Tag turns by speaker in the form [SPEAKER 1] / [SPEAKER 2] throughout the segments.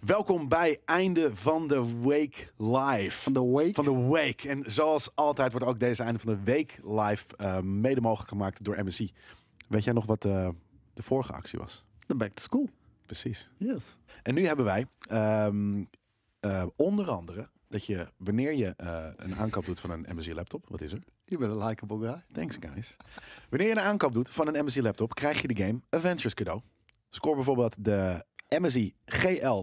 [SPEAKER 1] Welkom bij einde van de week live.
[SPEAKER 2] Van de week.
[SPEAKER 1] Van de week. En zoals altijd wordt ook deze einde van de week live eh, mede mogelijk gemaakt door MSI. Weet jij nog wat eh, de vorige actie was?
[SPEAKER 2] de back to school.
[SPEAKER 1] Precies.
[SPEAKER 2] Yes.
[SPEAKER 1] En nu hebben wij ehm, eh, onder andere dat je wanneer je eh, een aankoop doet van een MSI laptop, wat is er?
[SPEAKER 2] Je bent een likeable guy.
[SPEAKER 1] Thanks guys. Wanneer je een aankoop doet van een MSI laptop, krijg je de game Adventures cadeau. Score bijvoorbeeld de MSI GL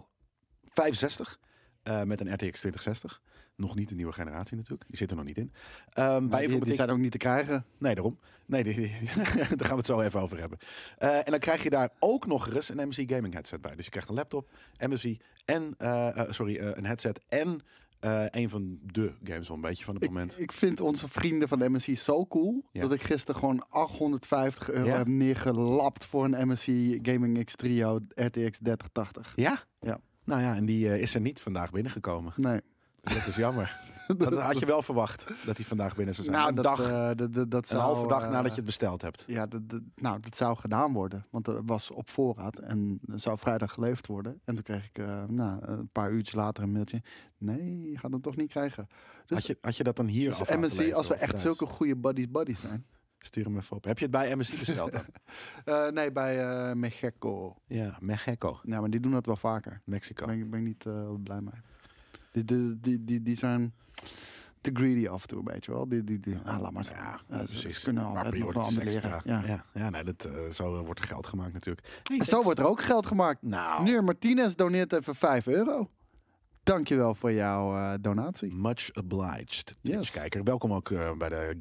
[SPEAKER 1] 65 eh, met een RTX 2060. Nog niet de nieuwe generatie natuurlijk. Die zit er nog niet in. Ehm bij
[SPEAKER 2] Maar die, die
[SPEAKER 1] informatiek-
[SPEAKER 2] zijn ook niet te krijgen.
[SPEAKER 1] Nee, daarom. Nee, die, die- daar gaan we het zo even over hebben. Eh, en dan krijg je daar ook nog eens een MSI gaming headset bij. Dus je krijgt een laptop, MSI en, eh, eh, sorry, eh, een headset en eh, een van de games wel een beetje van het moment.
[SPEAKER 2] Ik, ik vind onze vrienden van de MSI zo cool.
[SPEAKER 1] Ja.
[SPEAKER 2] Dat ik gisteren gewoon 850 euro
[SPEAKER 1] Ja.
[SPEAKER 2] heb neergelapt voor een MSI Gaming X Trio RTX 3080.
[SPEAKER 1] Ja?
[SPEAKER 2] Ja.
[SPEAKER 1] Nou ja, en die eh, is er niet vandaag binnengekomen.
[SPEAKER 2] Nee.
[SPEAKER 1] Dus dat is jammer. Dat had je wel verwacht, dat die vandaag binnen zou zijn.
[SPEAKER 2] Nou,
[SPEAKER 1] een
[SPEAKER 2] dat,
[SPEAKER 1] dag,
[SPEAKER 2] eh, dat, dat, dat
[SPEAKER 1] een
[SPEAKER 2] zou,
[SPEAKER 1] halve dag
[SPEAKER 2] eh,
[SPEAKER 1] nadat je het besteld hebt.
[SPEAKER 2] Ja, dat, dat- nou, dat zou gedaan worden. Want dat was op voorraad en zou vrijdag geleverd worden. En toen kreeg ik eh, nou, een paar uurtjes later een mailtje. Nee, je gaat hem toch niet krijgen. Dus,
[SPEAKER 1] Had je, had je dat dan hier
[SPEAKER 2] dus
[SPEAKER 1] af laten
[SPEAKER 2] MSI,
[SPEAKER 1] leveren
[SPEAKER 2] als we
[SPEAKER 1] of
[SPEAKER 2] echt
[SPEAKER 1] thuis?
[SPEAKER 2] zulke goede buddies-buddies zijn.
[SPEAKER 1] Stuur hem even op. Heb je het bij MSI besteld dan?
[SPEAKER 2] Eh, nee, bij eh Mexico.
[SPEAKER 1] ja, Mexico.
[SPEAKER 2] Ja, maar die doen dat wel vaker.
[SPEAKER 1] Mexico.
[SPEAKER 2] Daar ben, ik- ben ik niet eh, blij mee. Die, die, die, die, die zijn te greedy af en toe, weet je wel. Die, die, die, ah, laat maar staan.
[SPEAKER 1] Ja,
[SPEAKER 2] Ja, ze-
[SPEAKER 1] precies.
[SPEAKER 2] ze kunnen al- het nog wel
[SPEAKER 1] priorities
[SPEAKER 2] andere
[SPEAKER 1] extra.
[SPEAKER 2] leren,
[SPEAKER 1] Ja,
[SPEAKER 2] ja.
[SPEAKER 1] ja. nee, dat, eh, zo eh, wordt er geld gemaakt natuurlijk. Hey,
[SPEAKER 2] Zo wordt er ook geld gemaakt.
[SPEAKER 1] Nou,
[SPEAKER 2] Nuur Martinez doneert even 5 euro. Dankjewel voor jouw eh, donatie.
[SPEAKER 1] much obliged,
[SPEAKER 2] Yes.
[SPEAKER 1] Twitch-kijker. Welkom ook eh, bij de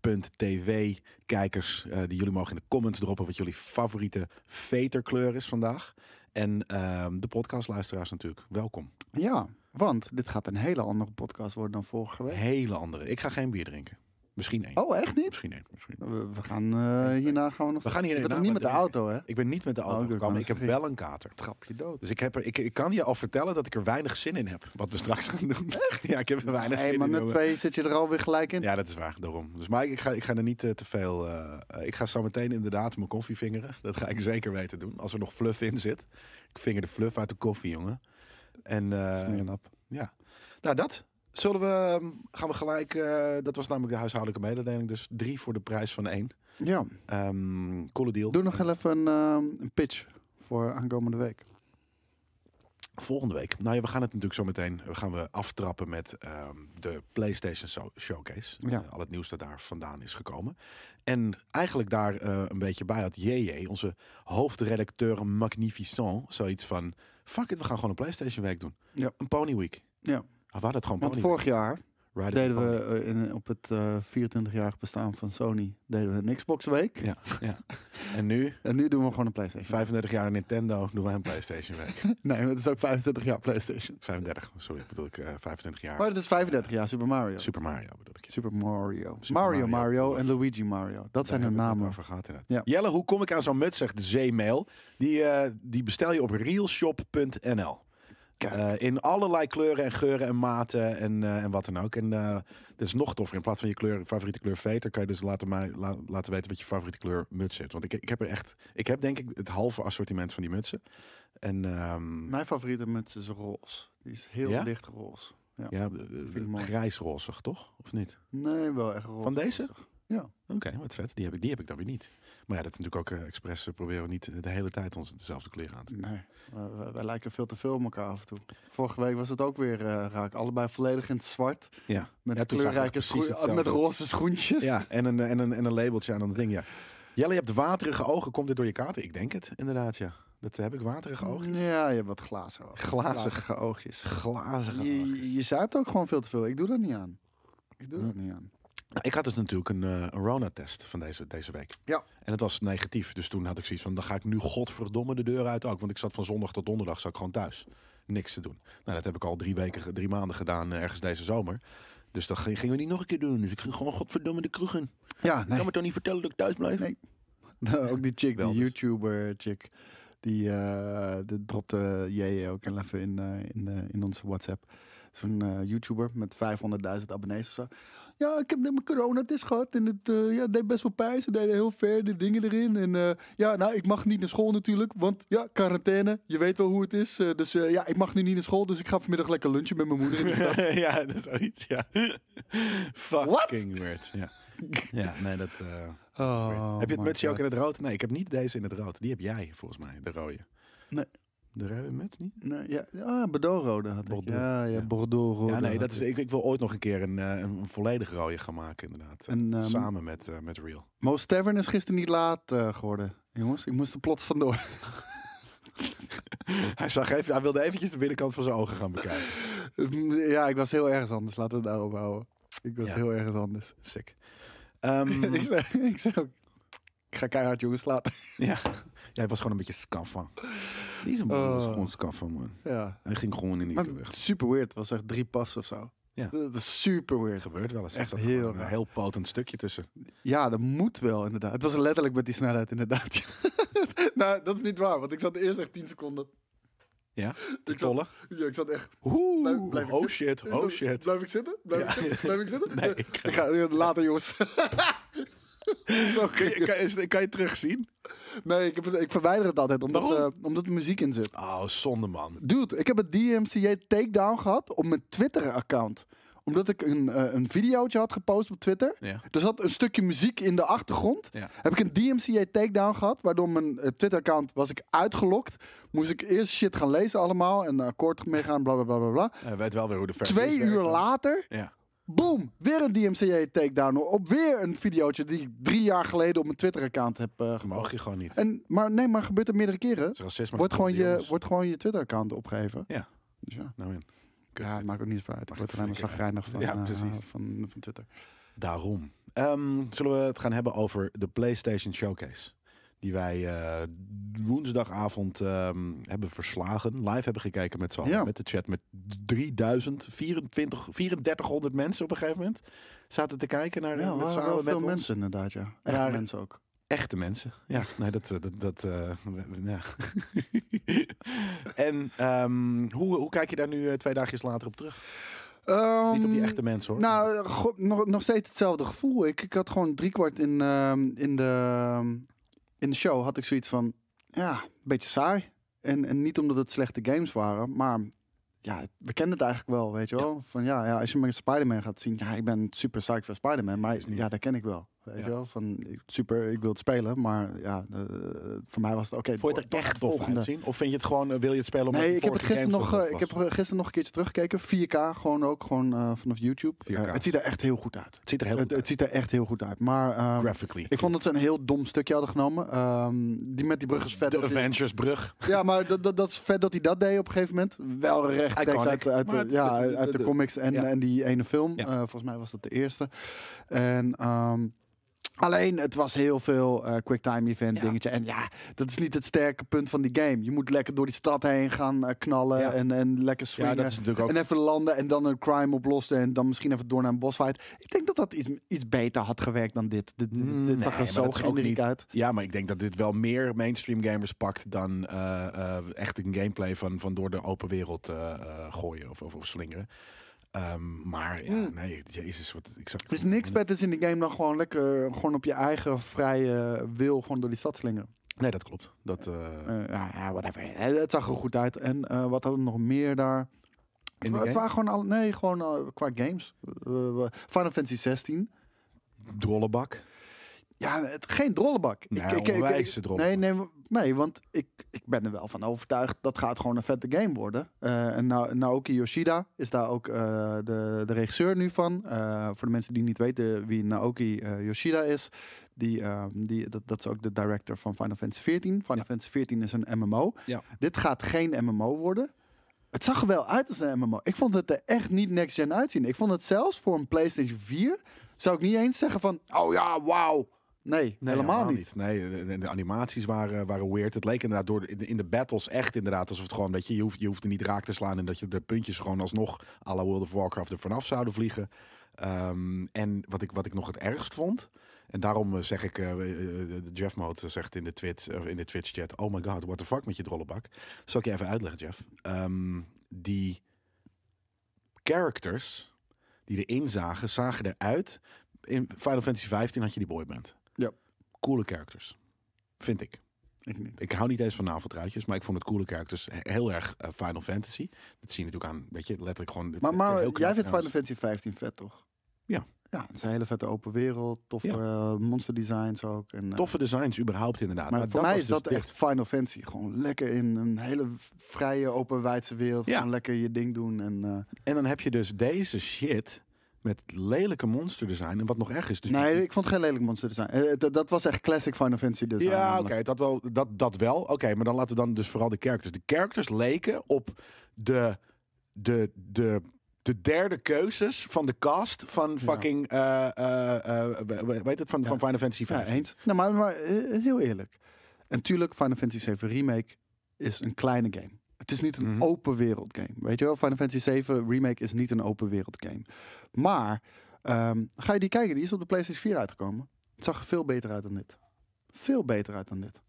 [SPEAKER 1] GameKings.tv kijkers. eh, die jullie mogen in de comments droppen wat jullie favoriete veterkleur is vandaag. En ehm, de podcastluisteraars natuurlijk, welkom.
[SPEAKER 2] Ja, want dit gaat een hele andere podcast worden dan vorige week.
[SPEAKER 1] Hele andere. Ik ga geen bier drinken. Misschien één.
[SPEAKER 2] Oh, echt niet?
[SPEAKER 1] Misschien één. Misschien.
[SPEAKER 2] We, we gaan eh, hierna gaan we nog...
[SPEAKER 1] We gaan hier
[SPEAKER 2] je bent
[SPEAKER 1] hierna
[SPEAKER 2] toch
[SPEAKER 1] wat
[SPEAKER 2] niet met de
[SPEAKER 1] drinken.
[SPEAKER 2] auto, hè?
[SPEAKER 1] Ik ben niet met de auto
[SPEAKER 2] Oh, ik wou
[SPEAKER 1] gekomen.
[SPEAKER 2] net
[SPEAKER 1] Ik heb
[SPEAKER 2] zeggen,
[SPEAKER 1] wel een kater.
[SPEAKER 2] Trap je dood.
[SPEAKER 1] Dus ik, heb er, ik, ik kan je al vertellen dat ik er weinig zin in heb. Wat we straks gaan doen. Echt? Ja, ik heb er weinig
[SPEAKER 2] Hey,
[SPEAKER 1] zin
[SPEAKER 2] maar
[SPEAKER 1] in.
[SPEAKER 2] met
[SPEAKER 1] jongen.
[SPEAKER 2] twee zit je er alweer gelijk in.
[SPEAKER 1] Ja, dat is waar, daarom. Dus, maar ik ga, ik ga er niet eh, te veel... eh, eh, ik ga zo meteen inderdaad mijn koffie vingeren. Dat ga ik zeker weten doen. Als er nog fluff in zit. Ik vinger de fluff uit de koffie, jongen. En eh,
[SPEAKER 2] Smeerlap.
[SPEAKER 1] ja, nou dat. Zullen we, ehm, gaan we gelijk, eh, dat was namelijk de huishoudelijke mededeling. Dus drie voor de prijs van één.
[SPEAKER 2] Ja.
[SPEAKER 1] Ehm coole deal.
[SPEAKER 2] Doe nog heel even een, ehm, een pitch voor aankomende week.
[SPEAKER 1] Volgende week. Nou ja, we gaan het natuurlijk zo meteen we gaan we aftrappen met ehm, de PlayStation Show- Showcase.
[SPEAKER 2] Ja.
[SPEAKER 1] Eh, al het nieuws dat daar vandaan is gekomen. En eigenlijk daar eh, een beetje bij had JJ, onze hoofdredacteur Magnificent, zoiets van... Fuck it, we gaan gewoon een PlayStation week doen.
[SPEAKER 2] Ja.
[SPEAKER 1] Een Pony Week.
[SPEAKER 2] Ja.
[SPEAKER 1] Ah, we hadden het gewoon
[SPEAKER 2] Want
[SPEAKER 1] Pony
[SPEAKER 2] vorig jaar
[SPEAKER 1] Week. Riding
[SPEAKER 2] deden
[SPEAKER 1] the
[SPEAKER 2] we eh, in, op het eh, 24-jarig bestaan van Sony deden we een Xbox week.
[SPEAKER 1] Pony. Ja, ja. En nu,
[SPEAKER 2] En nu doen we gewoon een PlayStation.
[SPEAKER 1] 35 jaar Nintendo, doen wij een PlayStation week.
[SPEAKER 2] Nee, maar het is ook 25 jaar PlayStation.
[SPEAKER 1] 35, sorry, bedoel ik eh, 25 jaar
[SPEAKER 2] Maar het is 35 jaar Super Mario.
[SPEAKER 1] Super Mario bedoel ik.
[SPEAKER 2] Super Mario.
[SPEAKER 1] Super
[SPEAKER 2] Mario
[SPEAKER 1] Mario.
[SPEAKER 2] Mario en Luigi Mario. Dat zijn
[SPEAKER 1] Daar hebben we het
[SPEAKER 2] hun
[SPEAKER 1] net
[SPEAKER 2] namen.
[SPEAKER 1] Over gehad, inderdaad.
[SPEAKER 2] Ja.
[SPEAKER 1] Jelle, hoe kom ik aan zo'n muts, zegt Zeemail. Die, eh, die bestel je op realshop.nl.
[SPEAKER 2] Kijk.
[SPEAKER 1] Eh, in allerlei kleuren en geuren en maten en, eh, en wat dan ook. En eh dat is nog toffer. In plaats van je kleur, favoriete kleur veter, kan je dus laten, mij, la- laten weten wat je favoriete kleur muts is. Want ik, ik heb er echt, ik heb denk ik het halve assortiment van die mutsen. En ehm,
[SPEAKER 2] Mijn favoriete muts is roze. Die is heel
[SPEAKER 1] Ja?
[SPEAKER 2] licht roze.
[SPEAKER 1] ja, eh,
[SPEAKER 2] ik
[SPEAKER 1] eh,
[SPEAKER 2] mooi.
[SPEAKER 1] grijsrozig toch? Of niet?
[SPEAKER 2] Nee, wel echt roze.
[SPEAKER 1] Van deze?
[SPEAKER 2] Ja.
[SPEAKER 1] Oké, wat vet. Die heb, ik, die heb ik dan weer niet. Maar ja, dat is natuurlijk ook eh, expres. eh, proberen we niet de hele tijd ons dezelfde kleren aan te
[SPEAKER 2] Nee, wij, wij- wij lijken veel te veel op elkaar af en toe. Vorige week was het ook weer eh, raak. Allebei volledig in het zwart.
[SPEAKER 1] Ja.
[SPEAKER 2] Met
[SPEAKER 1] Ja, toen zagen we
[SPEAKER 2] kleurrijke
[SPEAKER 1] precies
[SPEAKER 2] schoen-
[SPEAKER 1] hetzelfde.
[SPEAKER 2] met roze schoentjes.
[SPEAKER 1] Ja, en een, eh, en een, en een labeltje aan dat ding, ja. Jelle, je hebt waterige ogen. Komt dit door je kater? Ik denk het, inderdaad, ja. Dat heb ik, waterige ogen.
[SPEAKER 2] Ja, je hebt wat glazen ogen.
[SPEAKER 1] Glazige,
[SPEAKER 2] Glazige oogjes.
[SPEAKER 1] glazige ogen.
[SPEAKER 2] Je, je zuipt ook gewoon veel te veel. Ik doe dat niet aan. Ik doe
[SPEAKER 1] Hm.
[SPEAKER 2] dat niet aan.
[SPEAKER 1] Nou, ik had dus natuurlijk een, eh, een Rona-test van deze, deze week.
[SPEAKER 2] Ja.
[SPEAKER 1] En het was negatief. Dus toen had ik zoiets van, dan ga ik nu godverdomme de deur uit ook. Want ik zat van zondag tot donderdag zat ik gewoon thuis. Niks te doen. Nou, dat heb ik al drie, weken, ge- drie maanden gedaan eh, ergens deze zomer. Dus dat ging- gingen we niet nog een keer doen. Dus ik ging gewoon godverdomme de kroeg in.
[SPEAKER 2] Ja,
[SPEAKER 1] Kan me toch niet vertellen dat ik thuis blijf?
[SPEAKER 2] Nee. ook die chick,
[SPEAKER 1] Wel
[SPEAKER 2] die
[SPEAKER 1] dus.
[SPEAKER 2] YouTuber chick. Die, eh die dropte JJ ook heel even in, eh, in, eh, in onze WhatsApp. Zo'n eh, YouTuber met 500.000 abonnees of zo. Ja, ik heb net mijn coronatest gehad en het eh, ja, deed best wel pijn. Ze deden heel ver de dingen erin. En eh, ja, nou, ik mag niet naar school natuurlijk, want ja, quarantaine. Je weet wel hoe het is. Eh, dus eh, ja, ik mag nu niet naar school, dus ik ga vanmiddag lekker lunchen met mijn moeder. in de stad.
[SPEAKER 1] ja, dat is zoiets, ja. Fucking weird, ja. Ja, nee, dat... eh,
[SPEAKER 2] Oh,
[SPEAKER 1] heb je het
[SPEAKER 2] my
[SPEAKER 1] mutsje ook
[SPEAKER 2] God.
[SPEAKER 1] in het rood? Nee, ik heb niet deze in het rood. Die heb jij volgens mij, de rode.
[SPEAKER 2] Nee.
[SPEAKER 1] De rode muts niet?
[SPEAKER 2] Nee, ja, ah, Bordeaux-rode had ik.
[SPEAKER 1] Bordeaux,
[SPEAKER 2] Ja, ja,
[SPEAKER 1] ja.
[SPEAKER 2] Bordeaux-rode.
[SPEAKER 1] ja, nee,
[SPEAKER 2] had
[SPEAKER 1] dat is,
[SPEAKER 2] ik.
[SPEAKER 1] ik, ik wil ooit nog een keer een, eh, een volledig rode gaan maken, inderdaad. Eh,
[SPEAKER 2] En, ehm,
[SPEAKER 1] Samen met, eh, met Real.
[SPEAKER 2] Moos Tavern is gisteren niet laat eh, geworden. Jongens, ik moest er plots vandoor.
[SPEAKER 1] hij, zag even, hij wilde eventjes de binnenkant van zijn ogen gaan bekijken.
[SPEAKER 2] ja, ik was heel ergens anders. Laten we het daarop houden. Ik was
[SPEAKER 1] Ja.
[SPEAKER 2] heel ergens anders.
[SPEAKER 1] Sick. Ehm,
[SPEAKER 2] ik, zeg, ik zeg ook, ik ga keihard jongens laten.
[SPEAKER 1] ja, jij was gewoon een beetje skaffa. Die is een man, was
[SPEAKER 2] Oh.
[SPEAKER 1] gewoon skaffa, man.
[SPEAKER 2] Ja.
[SPEAKER 1] Hij ging gewoon in
[SPEAKER 2] Maar
[SPEAKER 1] één keer weg.
[SPEAKER 2] super weird. Het was echt drie passen of zo.
[SPEAKER 1] Ja.
[SPEAKER 2] Dat is super
[SPEAKER 1] Het
[SPEAKER 2] weird.
[SPEAKER 1] gebeurt wel eens. Er
[SPEAKER 2] Echt
[SPEAKER 1] zat
[SPEAKER 2] heel
[SPEAKER 1] gewoon een
[SPEAKER 2] raar.
[SPEAKER 1] heel potent stukje tussen.
[SPEAKER 2] Ja, dat moet wel inderdaad. Het was letterlijk met die snelheid inderdaad. nou, dat is niet waar. Want ik zat eerst echt 10 seconden.
[SPEAKER 1] Ja,
[SPEAKER 2] Ik zat,
[SPEAKER 1] tollen.
[SPEAKER 2] ja, ik zat echt Blijf-
[SPEAKER 1] Oeh,
[SPEAKER 2] blijf ik
[SPEAKER 1] oh shit,
[SPEAKER 2] Is
[SPEAKER 1] oh
[SPEAKER 2] dat-
[SPEAKER 1] shit.
[SPEAKER 2] Blijf ik zitten? Blijf,
[SPEAKER 1] Ja.
[SPEAKER 2] ik, zitten? blijf ik zitten?
[SPEAKER 1] Nee,
[SPEAKER 2] ik
[SPEAKER 1] ik
[SPEAKER 2] ga,
[SPEAKER 1] ga-
[SPEAKER 2] later, jongens. Zo
[SPEAKER 1] Kun je,
[SPEAKER 2] gek.
[SPEAKER 1] kan, je- kan je terugzien?
[SPEAKER 2] Nee, ik, heb het, ik verwijder het altijd omdat,
[SPEAKER 1] Waarom?
[SPEAKER 2] eh, omdat er muziek in zit.
[SPEAKER 1] Oh, zonde man.
[SPEAKER 2] Dude, ik heb een DMCA takedown gehad op mijn Twitter-account. Omdat ik een, eh, een videootje had gepost op Twitter.
[SPEAKER 1] Ja.
[SPEAKER 2] Er zat een stukje muziek in de achtergrond.
[SPEAKER 1] Ja.
[SPEAKER 2] Heb ik een DMCA takedown gehad, waardoor mijn eh, Twitter-account was ik uitgelokt. Moest ik eerst shit gaan lezen allemaal en een akkoord meegaan, bla bla bla bla bla.
[SPEAKER 1] Hij weet wel weer hoe de verf
[SPEAKER 2] Twee uur later
[SPEAKER 1] Ja.
[SPEAKER 2] Boom, weer een DMCA takedown op weer een videootje die ik drie jaar geleden op mijn Twitter-account heb eh,
[SPEAKER 1] Dat mag je gewoon niet. Het
[SPEAKER 2] En maar nee, maar gebeurt er meerdere keren.
[SPEAKER 1] is racisme. dat
[SPEAKER 2] Wordt gewoon,
[SPEAKER 1] doen die
[SPEAKER 2] je,
[SPEAKER 1] jongens.
[SPEAKER 2] wordt gewoon je Twitter-account opgeheven.
[SPEAKER 1] Ja.
[SPEAKER 2] Dus ja.
[SPEAKER 1] Nou, in. Kut.
[SPEAKER 2] ja, het maakt ook niet zoveel uit. Ik
[SPEAKER 1] Mag
[SPEAKER 2] word er
[SPEAKER 1] het
[SPEAKER 2] helemaal zagrijnig van,
[SPEAKER 1] Ja,
[SPEAKER 2] eh,
[SPEAKER 1] precies.
[SPEAKER 2] van, van Twitter.
[SPEAKER 1] Daarom. Ehm, zullen we het gaan hebben over de PlayStation Showcase. Die wij eh, woensdagavond ehm, hebben verslagen. Live hebben gekeken met z'n allen.
[SPEAKER 2] Ja.
[SPEAKER 1] Met de chat. Met 3000, 24, 3400 mensen op een gegeven moment. Zaten te kijken naar
[SPEAKER 2] Ja,
[SPEAKER 1] eh,
[SPEAKER 2] er
[SPEAKER 1] met
[SPEAKER 2] waren
[SPEAKER 1] samen
[SPEAKER 2] wel
[SPEAKER 1] met
[SPEAKER 2] veel
[SPEAKER 1] ons.
[SPEAKER 2] mensen inderdaad, ja. Echt
[SPEAKER 1] Waren-
[SPEAKER 2] mensen ook.
[SPEAKER 1] Echte mensen. Ja, nee, dat. eh, dat, dat eh, we- we- ja. en ehm, hoe, hoe kijk je daar nu eh, twee dagjes later op terug? Niet op die
[SPEAKER 2] Ehm,
[SPEAKER 1] echte mensen hoor.
[SPEAKER 2] Nou, eh, go- nog, nog steeds hetzelfde gevoel. Ik, ik had gewoon driekwart in, ehm, in, de, ehm, in de show had ik zoiets van, ja, een beetje saai. En, en niet omdat het slechte games waren, maar ja, we kennen het eigenlijk wel, weet je wel. Van ja, ja als je maar Spider-Man gaat zien, ja, ik ben super psyched voor Spider-Man, maar
[SPEAKER 1] Is niet.
[SPEAKER 2] ja, dat ken ik wel. Weet
[SPEAKER 1] Ja.
[SPEAKER 2] je wel, van ik- super, ik wil het spelen, maar ja, eh, voor mij was het oké.
[SPEAKER 1] Vond je het er
[SPEAKER 2] door- door
[SPEAKER 1] echt
[SPEAKER 2] de
[SPEAKER 1] tof
[SPEAKER 2] volgende.
[SPEAKER 1] uitzien? Of vind je het gewoon, eh, wil je het spelen omdat
[SPEAKER 2] Nee,
[SPEAKER 1] de
[SPEAKER 2] ik heb, het
[SPEAKER 1] vorige
[SPEAKER 2] gisteren
[SPEAKER 1] game
[SPEAKER 2] nog,
[SPEAKER 1] zo
[SPEAKER 2] eh,
[SPEAKER 1] goed
[SPEAKER 2] ik
[SPEAKER 1] was?
[SPEAKER 2] heb er gisteren nog een keertje teruggekeken. 4K gewoon ook, gewoon eh, vanaf YouTube.
[SPEAKER 1] 4K.
[SPEAKER 2] Eh, het ziet er echt heel goed uit.
[SPEAKER 1] Het ziet er heel
[SPEAKER 2] het,
[SPEAKER 1] goed
[SPEAKER 2] het ziet er echt heel goed uit. Maar ehm,
[SPEAKER 1] uit. Graphically.
[SPEAKER 2] ik vond dat ze een heel dom stukje hadden genomen. Ehm, die met die brug is vet.
[SPEAKER 1] de
[SPEAKER 2] dat die-
[SPEAKER 1] Avengersbrug.
[SPEAKER 2] ja, maar dat, dat, dat is vet dat hij dat deed op een gegeven moment. Wel rechtstreeks
[SPEAKER 1] Iconic.
[SPEAKER 2] uit, uit, de,
[SPEAKER 1] Maar het-
[SPEAKER 2] ja,
[SPEAKER 1] het-
[SPEAKER 2] uit
[SPEAKER 1] het-
[SPEAKER 2] de
[SPEAKER 1] het-
[SPEAKER 2] comics en,
[SPEAKER 1] ja.
[SPEAKER 2] en die ene film.
[SPEAKER 1] Ja.
[SPEAKER 2] Eh, volgens mij was dat de eerste. En... ehm, Alleen, het was heel veel eh quicktime event
[SPEAKER 1] Ja.
[SPEAKER 2] dingetje. En ja, dat is niet het sterke punt van die game. Je moet lekker door die stad heen gaan eh, knallen
[SPEAKER 1] Ja.
[SPEAKER 2] en, en lekker
[SPEAKER 1] Ja,
[SPEAKER 2] swingen.
[SPEAKER 1] dat is natuurlijk ook.
[SPEAKER 2] En eh, even landen en dan een crime oplossen en dan misschien even door naar een bosfight. Ik denk dat dat iets, iets beter had gewerkt dan dit. Dit, dit,
[SPEAKER 1] Mm,
[SPEAKER 2] dit zag
[SPEAKER 1] nee,
[SPEAKER 2] er
[SPEAKER 1] maar
[SPEAKER 2] zo
[SPEAKER 1] dat is ook
[SPEAKER 2] generiek
[SPEAKER 1] niet-
[SPEAKER 2] uit.
[SPEAKER 1] Ja, maar ik denk dat dit wel meer mainstream gamers pakt dan eh, eh, echt een gameplay van, van door de open wereld eh, eh, gooien of, of, of slingeren. Ehm, maar ja,
[SPEAKER 2] Mm.
[SPEAKER 1] nee, jezus, wat ik zag.
[SPEAKER 2] Er is niks beters in de game dan gewoon lekker gewoon op je eigen vrije wil gewoon door die stad slingeren.
[SPEAKER 1] Nee, dat klopt. Dat, eh,
[SPEAKER 2] Eh, ja, ja, whatever. Eh, Het zag er goed uit. En eh, wat hadden we nog meer daar?
[SPEAKER 1] in de
[SPEAKER 2] het wa- het
[SPEAKER 1] game,
[SPEAKER 2] waren gewoon al, nee, gewoon eh, qua games. Eh, we- Final Fantasy 16.
[SPEAKER 1] drollebak.
[SPEAKER 2] Ja, het, geen drollebak.
[SPEAKER 1] Nee, onwijze drollebak.
[SPEAKER 2] Nee, nee, w- nee, want ik, ik ben er wel van overtuigd dat gaat gewoon een vette game worden. Eh en Na- Naoki Yoshida is daar ook eh, de, de regisseur nu van. Eh, voor de mensen die niet weten wie Naoki eh, Yoshida is, die, eh, die, dat, dat is ook de director van Final Fantasy XIV. Final Fantasy XIV is een MMO.
[SPEAKER 1] Ja.
[SPEAKER 2] Dit gaat geen MMO worden. Het zag er wel uit als een MMO. Ik vond het er echt niet next-gen uitzien. Ik vond het zelfs voor een PlayStation 4... zou ik niet eens zeggen van... Oh ja, wauw. Nee, helemaal, niet.
[SPEAKER 1] Nee, de- de, de animaties waren, waren weird. Het leek inderdaad door de- in de, in de battles echt inderdaad alsof het gewoon dat je, je hoeft, je hoeft er niet raak te slaan en dat je de puntjes gewoon alsnog à la World of Warcraft er vanaf zouden vliegen. Ehm, en wat ik, wat ik nog het ergst vond, en daarom eh, zeg ik, eh, eh, eh, Jeff Mode zegt in de, twit, of in de Twitch chat, oh my god, what the fuck met je drollebak. Zal ik je even uitleggen, Jeff. Ehm, die characters die erin zagen, zagen eruit. In Final Fantasy 15 had je die boyband.
[SPEAKER 2] Ja.
[SPEAKER 1] Coole characters. Vind ik.
[SPEAKER 2] Ik niet.
[SPEAKER 1] Ik hou niet eens van naveltruitjes, maar ik vond het coole characters he- heel erg eh, Final Fantasy. Dat zie je natuurlijk aan, weet je, letterlijk gewoon... dit-
[SPEAKER 2] Maar,
[SPEAKER 1] dit-
[SPEAKER 2] maar
[SPEAKER 1] heel knap
[SPEAKER 2] jij vindt Final
[SPEAKER 1] trouwens.
[SPEAKER 2] Fantasy 15 vet, toch?
[SPEAKER 1] Ja.
[SPEAKER 2] Ja, het is een hele vette open wereld. Toffe
[SPEAKER 1] Ja.
[SPEAKER 2] eh, monster designs ook. En, eh,
[SPEAKER 1] Toffe designs überhaupt inderdaad.
[SPEAKER 2] Maar, voor mij
[SPEAKER 1] was
[SPEAKER 2] is
[SPEAKER 1] dus
[SPEAKER 2] dat
[SPEAKER 1] dit.
[SPEAKER 2] echt Final Fantasy. Gewoon lekker in een hele v- vrije, openwijdse wereld.
[SPEAKER 1] Ja.
[SPEAKER 2] Gewoon lekker je ding doen. En, eh,
[SPEAKER 1] En dan heb je dus deze shit met lelijke monster design. En wat nog erg is... Dus
[SPEAKER 2] nee, ik vond het geen lelijk monster design. Eh, d- dat was echt classic Final Fantasy dus, eh, design.
[SPEAKER 1] Ja, oké,
[SPEAKER 2] namelijk.
[SPEAKER 1] dat wel. Dat, dat wel. Oké, maar dan laten we dan dus vooral de characters. De characters leken op de, de, de, de derde keuzes van de cast van fucking, eh, eh, eh, we- we- weet het, van,
[SPEAKER 2] Ja.
[SPEAKER 1] van Final Fantasy 5.
[SPEAKER 2] Ja, eens. Nou, maar, maar eh, heel eerlijk. En tuurlijk, Final Fantasy 7 Remake is een kleine game. Het is niet een
[SPEAKER 1] Mhm.
[SPEAKER 2] open wereld game. Weet je wel, Final Fantasy 7 Remake is niet een open wereld game. Maar, ehm, ga je die kijken, die is op de PlayStation 4 uitgekomen. Het zag er veel beter uit dan dit. Veel beter uit dan dit.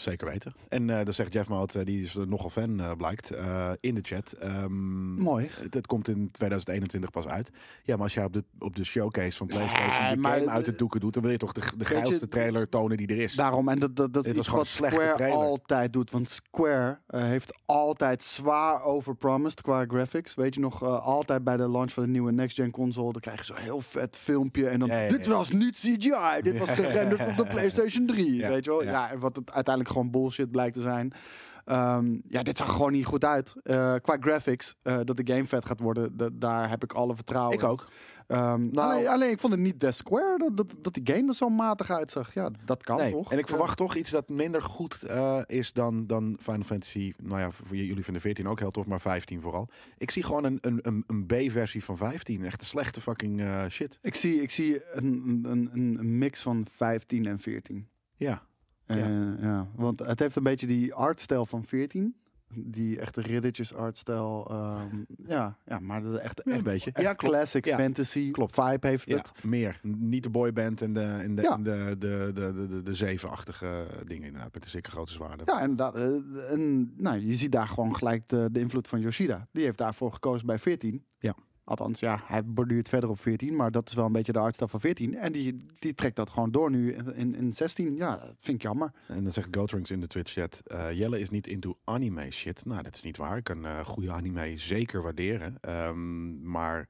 [SPEAKER 1] Zeker weten. En eh dan zegt Jeff Mout, eh, die is er nogal fan eh, blijkt, eh, in de chat. Ehm,
[SPEAKER 2] Mooi.
[SPEAKER 1] het, het komt in 2021 pas uit. Ja, maar als jij op de, op de showcase van
[SPEAKER 2] Nee,
[SPEAKER 1] PlayStation die
[SPEAKER 2] maar
[SPEAKER 1] game
[SPEAKER 2] de-
[SPEAKER 1] uit de doeken doet, dan wil je toch de, de
[SPEAKER 2] je,
[SPEAKER 1] geilste trailer tonen die er is.
[SPEAKER 2] Daarom, en dat, dat, dat is
[SPEAKER 1] Dit was
[SPEAKER 2] iets
[SPEAKER 1] gewoon
[SPEAKER 2] wat
[SPEAKER 1] een slechte
[SPEAKER 2] Square
[SPEAKER 1] trailer.
[SPEAKER 2] altijd doet. Want Square eh, heeft altijd zwaar overpromised qua graphics. Weet je nog, eh, altijd bij de launch van de nieuwe next-gen console... dan krijg je zo'n heel vet filmpje en dan...
[SPEAKER 1] Ja, ja,
[SPEAKER 2] dit
[SPEAKER 1] ja.
[SPEAKER 2] was niet CGI, dit was
[SPEAKER 1] Ja.
[SPEAKER 2] gerenderd op de PlayStation 3,
[SPEAKER 1] Ja,
[SPEAKER 2] weet je wel.
[SPEAKER 1] ja.
[SPEAKER 2] Ja. en wat het uiteindelijk gewoon bullshit blijkt te zijn. Ehm, ja, dit zag gewoon niet goed uit. Eh, qua graphics, eh, dat de game vet gaat worden, da- daar heb ik alle vertrouwen
[SPEAKER 1] ik
[SPEAKER 2] in.
[SPEAKER 1] ook.
[SPEAKER 2] Ehm,
[SPEAKER 1] Nou-
[SPEAKER 2] alleen, alleen, ik vond het niet Death Square dat, dat, dat die game er zo matig uitzag. Ja, dat kan
[SPEAKER 1] Nee,
[SPEAKER 2] toch?
[SPEAKER 1] En ik
[SPEAKER 2] Ja.
[SPEAKER 1] verwacht toch iets dat minder goed eh, is dan, dan Final Fantasy. Nou ja, voor j- jullie vinden 14 ook heel tof, maar 15 vooral. Ik zie gewoon een, een, een, een B-versie van 15. Echt een slechte fucking eh, shit.
[SPEAKER 2] Ik zie, ik zie een, een, een- een mix van 15 en 14.
[SPEAKER 1] Ja.
[SPEAKER 2] Eh,
[SPEAKER 1] Ja.
[SPEAKER 2] ja. Want het heeft een beetje die artstijl van 14. Die echte riddertjes artstijl. ehm, ja, ja, maar de echte,
[SPEAKER 1] Ja, een
[SPEAKER 2] echt,
[SPEAKER 1] beetje.
[SPEAKER 2] echt
[SPEAKER 1] Ja, klopt.
[SPEAKER 2] classic
[SPEAKER 1] Ja,
[SPEAKER 2] fantasy
[SPEAKER 1] klopt.
[SPEAKER 2] vibe heeft
[SPEAKER 1] Ja,
[SPEAKER 2] het.
[SPEAKER 1] meer. N- Niet de boyband en de, en de,
[SPEAKER 2] Ja.
[SPEAKER 1] en de, de, de, de, de, de zevenachtige dingen inderdaad. Met de zeker grote zwaarden.
[SPEAKER 2] Ja, en, dat, eh, en nou, je ziet daar gewoon gelijk de, de invloed van Yoshida. Die heeft daarvoor gekozen bij 14.
[SPEAKER 1] Ja.
[SPEAKER 2] Althans, ja, hij borduurt verder op 14, maar dat is wel een beetje de artstijl van 14. En die, die trekt dat gewoon door nu in, in, in 16. Ja, vind ik jammer.
[SPEAKER 1] En dan zegt Gotrunks in de Twitch chat. eh, Jelle is niet into anime shit. Nou, dat is niet waar. Ik kan eh, goede anime zeker waarderen. Ehm, maar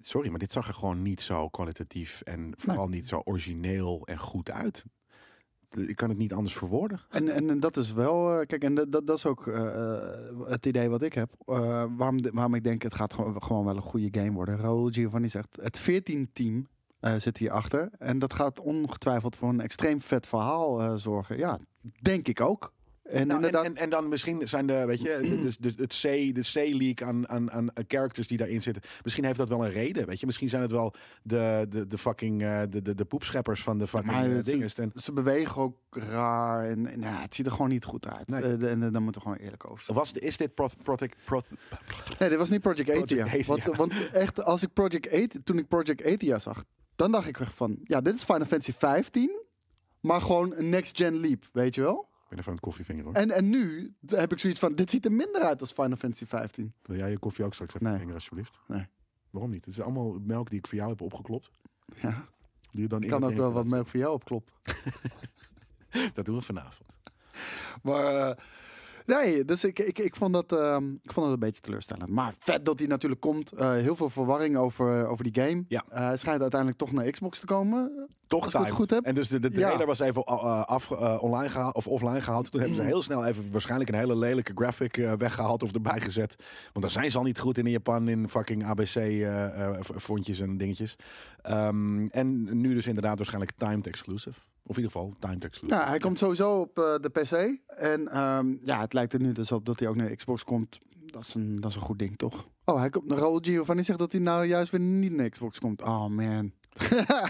[SPEAKER 1] sorry, maar dit zag er gewoon niet zo kwalitatief en vooral niet zo origineel en goed uit. D- Ik kan het niet anders verwoorden.
[SPEAKER 2] En, en, en dat is wel, eh, kijk, en dat, dat, dat is ook eh, eh, het idee wat ik heb. Eh, waarom, de- waarom ik denk, het gaat gewoon, gewoon wel een goede game worden. Raul Giovanni zegt, het 14-team eh zit hierachter. En dat gaat ongetwijfeld voor een extreem vet verhaal eh, zorgen. Ja, denk ik ook. En
[SPEAKER 1] Nou, en,
[SPEAKER 2] inderdaad,
[SPEAKER 1] en, en dan misschien zijn de, weet je, de- dus, dus het C, de C-leak aan, aan, aan characters die daarin zitten. Misschien heeft dat wel een reden, weet je. Misschien zijn het wel de, de, de fucking, eh, de, de, de poepscheppers van de fucking
[SPEAKER 2] maar
[SPEAKER 1] eh,
[SPEAKER 2] het-
[SPEAKER 1] dinges. En
[SPEAKER 2] ze bewegen ook raar. En, en, ja, het ziet er gewoon niet goed uit.
[SPEAKER 1] Nee.
[SPEAKER 2] Eh, de- en eh, daar moeten we gewoon eerlijk over zijn.
[SPEAKER 1] was, de- is dit pro, protect- pro-
[SPEAKER 2] Nee, dit was niet Project Athia.
[SPEAKER 1] Project Athia.
[SPEAKER 2] Want, want echt, als ik Project Athia, toen ik Project Athia zag, dan dacht ik echt van, ja, dit is Final Fantasy 15, maar gewoon een next-gen leap, weet je wel?
[SPEAKER 1] Ik ben even aan het koffievinger hoor.
[SPEAKER 2] En, en nu heb ik zoiets van, dit ziet er minder uit als Final Fantasy 15.
[SPEAKER 1] Wil jij je koffie ook straks even
[SPEAKER 2] Nee.
[SPEAKER 1] vingeren alsjeblieft?
[SPEAKER 2] Nee.
[SPEAKER 1] Waarom niet? Het is allemaal melk die ik voor jou heb opgeklopt.
[SPEAKER 2] Ja,
[SPEAKER 1] Die je dan
[SPEAKER 2] ik
[SPEAKER 1] in
[SPEAKER 2] kan
[SPEAKER 1] het
[SPEAKER 2] ook wel
[SPEAKER 1] ding
[SPEAKER 2] wat
[SPEAKER 1] hebt
[SPEAKER 2] merk voor jou opkloppen.
[SPEAKER 1] gezet. Dat doen we vanavond.
[SPEAKER 2] Maar, eh, nee, dus ik, ik, ik, vond dat, ehm, ik vond dat een beetje teleurstellend. Maar vet dat hij natuurlijk komt. Eh, heel veel verwarring over, over die game.
[SPEAKER 1] Ja.
[SPEAKER 2] Eh, hij schijnt uiteindelijk toch naar Xbox te komen.
[SPEAKER 1] Toch
[SPEAKER 2] Als ik het
[SPEAKER 1] timed.
[SPEAKER 2] goed heb.
[SPEAKER 1] En dus de, de
[SPEAKER 2] Ja.
[SPEAKER 1] trailer was even eh, af, eh, online gehaald of offline gehaald. Toen hebben ze heel snel even waarschijnlijk een hele lelijke graphic eh, weggehaald of erbij gezet. Want daar zijn ze al niet goed in in Japan in fucking ABC eh, eh, v- fontjes en dingetjes. Ehm, en nu dus inderdaad waarschijnlijk timed exclusive. Of in ieder geval timed exclusive.
[SPEAKER 2] Nou, hij komt sowieso op eh, de PC. En ehm, ja, het lijkt er nu dus op dat hij ook naar Xbox komt. Dat is een, dat is een goed ding, toch? Oh, hij komt naar Raul Giovanni zegt dat hij nou juist weer niet naar Xbox komt. Oh man.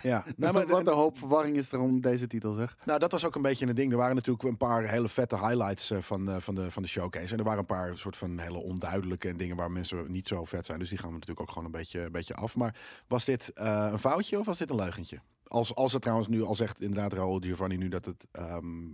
[SPEAKER 1] Ja, nou, maar,
[SPEAKER 2] maar, Wat een hoop verwarring is er om deze titel, zeg.
[SPEAKER 1] Nou, dat was ook een beetje een ding. Er waren natuurlijk een paar hele vette highlights eh, van, de, van, de, van de showcase. En er waren een paar soort van hele onduidelijke en dingen waar mensen niet zo vet zijn. Dus die gaan we natuurlijk ook gewoon een beetje, een beetje af. Maar was dit eh, een foutje of was dit een leugentje? Als, als het trouwens nu al zegt, inderdaad, Raul Giovanni, nu dat het ehm,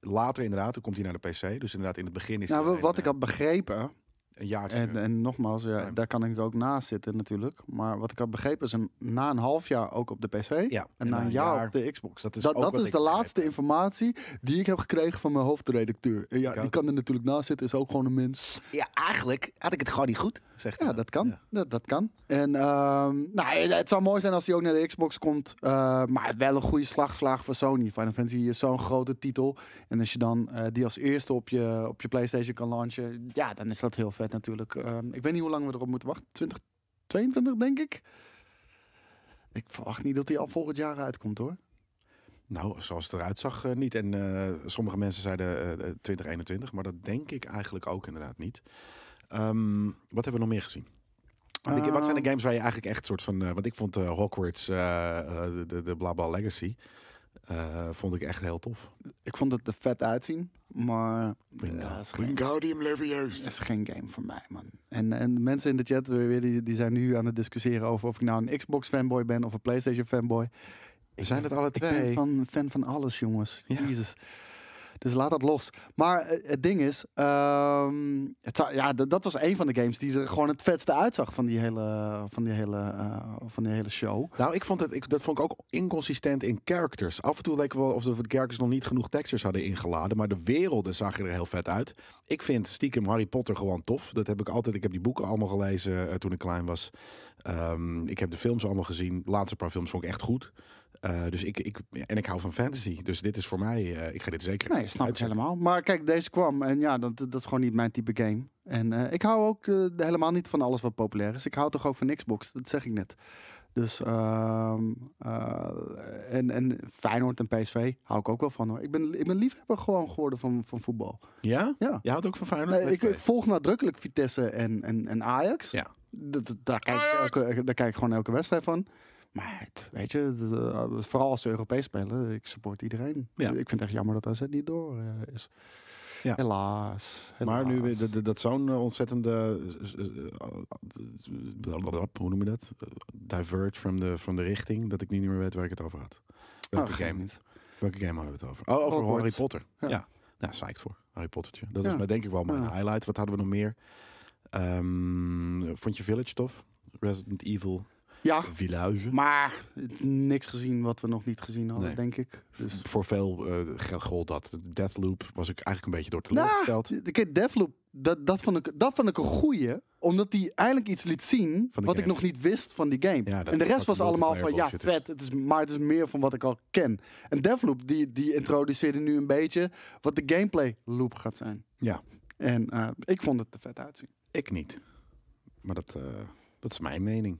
[SPEAKER 1] later inderdaad, dan komt hij naar de PC. Dus inderdaad, in het begin is.
[SPEAKER 2] Nou,
[SPEAKER 1] hij
[SPEAKER 2] wa-
[SPEAKER 1] alleen,
[SPEAKER 2] wat ik had begrepen
[SPEAKER 1] Een jaartje.
[SPEAKER 2] En, eh, en nogmaals, ja,
[SPEAKER 1] Ja.
[SPEAKER 2] daar kan ik ook naast zitten natuurlijk. Maar wat ik had begrepen is een, na een half jaar ook op de PC.
[SPEAKER 1] ja.
[SPEAKER 2] En na een jaar, op de Xbox.
[SPEAKER 1] Dat is
[SPEAKER 2] dat
[SPEAKER 1] Dus ook
[SPEAKER 2] dat
[SPEAKER 1] wat
[SPEAKER 2] is
[SPEAKER 1] ik
[SPEAKER 2] de
[SPEAKER 1] begrijp.
[SPEAKER 2] laatste informatie die ik heb gekregen van mijn hoofdredacteur. En ja,
[SPEAKER 1] Ik
[SPEAKER 2] die
[SPEAKER 1] ook.
[SPEAKER 2] kan er natuurlijk naast zitten, is ook gewoon een mens.
[SPEAKER 1] Ja, eigenlijk had ik het gewoon niet goed, zegt
[SPEAKER 2] Ja,
[SPEAKER 1] hij.
[SPEAKER 2] dat kan.
[SPEAKER 1] Ja.
[SPEAKER 2] Dat, dat kan. En ehm, nou, het- het zou mooi zijn als hij ook naar de Xbox komt. eh, maar wel een goede slagslaag voor Sony. Final Fantasy is zo'n grote titel. En als je dan eh, die als eerste op je, op je PlayStation kan launchen. Ja, dan is dat heel vet natuurlijk. Ehm, ik weet niet hoe lang we erop moeten wachten. 2022 denk ik. Ik verwacht niet dat hij al volgend jaar uitkomt hoor.
[SPEAKER 1] Nou, zoals het eruit zag, eh, niet. En eh, sommige mensen zeiden eh, eh, 2021, maar dat denk ik eigenlijk ook inderdaad niet. Ehm, wat hebben we nog meer gezien? De- wat zijn de
[SPEAKER 2] Ehm,
[SPEAKER 1] games waar je eigenlijk echt soort van... eh, want ik vond eh, Hogwarts, eh, eh, de- de, de Blabla Legacy, eh, vond ik echt heel tof.
[SPEAKER 2] Ik vond het er vet uitzien, maar ja, dat is geen,
[SPEAKER 1] Wingardium Leviosa.
[SPEAKER 2] dat is geen game voor mij, man. En, en de mensen in de chat eh, weer, die, die zijn nu aan het discussiëren over of ik nou een Xbox fanboy ben of een PlayStation fanboy.
[SPEAKER 1] We zijn het alle
[SPEAKER 2] Ik ben
[SPEAKER 1] twee.
[SPEAKER 2] van, fan van alles, jongens.
[SPEAKER 1] Ja.
[SPEAKER 2] Jezus. Dus laat dat los. Maar eh, het ding is, ehm, het zou- ja, dat, dat was een van de games die er gewoon het vetste uitzag van die hele, van die hele, eh, van die hele show.
[SPEAKER 1] Nou, ik vond het, ik, dat vond ik ook inconsistent in characters. Af en toe leek wel of de characters nog niet genoeg textures hadden ingeladen, maar de werelden zagen er heel vet uit. Ik vind stiekem Harry Potter gewoon tof. Dat heb ik altijd. Ik heb die boeken allemaal gelezen eh, toen ik klein was. Ehm, ik heb de films allemaal gezien. De laatste paar films vond ik echt goed. Eh, dus ik, ik, en ik hou van fantasy. Dus dit is voor mij. eh, ik ga dit zeker.
[SPEAKER 2] Nee, snap ik
[SPEAKER 1] uitchecken.
[SPEAKER 2] helemaal. Maar kijk, deze kwam en ja, dat, dat is gewoon niet mijn type game. En eh, ik hou ook eh, helemaal niet van alles wat populair is. Ik hou toch ook van Xbox, dat zeg ik net. Dus, ehm, eh, en, en Feyenoord en PSV hou ik ook wel van hoor. Ik ben, ik ben liefhebber gewoon geworden van, van voetbal.
[SPEAKER 1] Ja?
[SPEAKER 2] Ja.
[SPEAKER 1] Je houdt ook van Feyenoord?
[SPEAKER 2] Nee, ik,
[SPEAKER 1] Oké.
[SPEAKER 2] ik volg nadrukkelijk Vitesse en, en, en Ajax.
[SPEAKER 1] Ja.
[SPEAKER 2] Dat- dat- daar, kijk ik elke, daar kijk ik gewoon elke wedstrijd van. Maar het- weet je, het, eh, vooral als ze Europees spelen, ik support iedereen.
[SPEAKER 1] Ja.
[SPEAKER 2] Ik vind het echt jammer dat AZ niet door eh, is.
[SPEAKER 1] Ja.
[SPEAKER 2] Helaas,
[SPEAKER 1] Maar nu weer
[SPEAKER 2] helaas.
[SPEAKER 1] dat- dat- dat zo'n eh, ontzettende. eh, eh, eh, Hoe noem je dat? Eh, Divert from the, from de richting. Dat ik nu niet meer weet waar ik het over had. Welke
[SPEAKER 2] Ah, geen
[SPEAKER 1] game?
[SPEAKER 2] niet.
[SPEAKER 1] Welke game hadden we het over? Oh, over
[SPEAKER 2] Hogwarts.
[SPEAKER 1] Harry Potter.
[SPEAKER 2] Ja.
[SPEAKER 1] Ja. Nou, psyched voor. Harry Pottertje. Dat
[SPEAKER 2] Ja.
[SPEAKER 1] is maar denk ik wel mijn
[SPEAKER 2] Ja.
[SPEAKER 1] highlight. Wat hadden we nog meer? Ehm, vond je Village tof? Resident Evil
[SPEAKER 2] Ja,
[SPEAKER 1] Village.
[SPEAKER 2] maar niks gezien wat we nog niet gezien hadden,
[SPEAKER 1] Nee.
[SPEAKER 2] denk ik. Dus.
[SPEAKER 1] Voor veel eh gold dat. Deathloop was ik eigenlijk een beetje door teleurgesteld.
[SPEAKER 2] Nou, ik heb Devloop, dat, dat, vond ik, dat vond ik een goeie. Omdat die eigenlijk iets liet zien
[SPEAKER 1] Van
[SPEAKER 2] wat
[SPEAKER 1] de
[SPEAKER 2] ik
[SPEAKER 1] game.
[SPEAKER 2] nog niet wist van die game.
[SPEAKER 1] Ja, dat
[SPEAKER 2] en de
[SPEAKER 1] is wat
[SPEAKER 2] rest was
[SPEAKER 1] de
[SPEAKER 2] allemaal van, ja,
[SPEAKER 1] multiplayer bullshit
[SPEAKER 2] vet, het is, maar het is meer van wat ik al ken. En Devloop, die, die introduceerde nu een beetje wat de gameplay loop gaat zijn.
[SPEAKER 1] Ja.
[SPEAKER 2] En eh, ik vond het er vet uitzien.
[SPEAKER 1] Ik niet. Maar dat, eh, dat is mijn mening.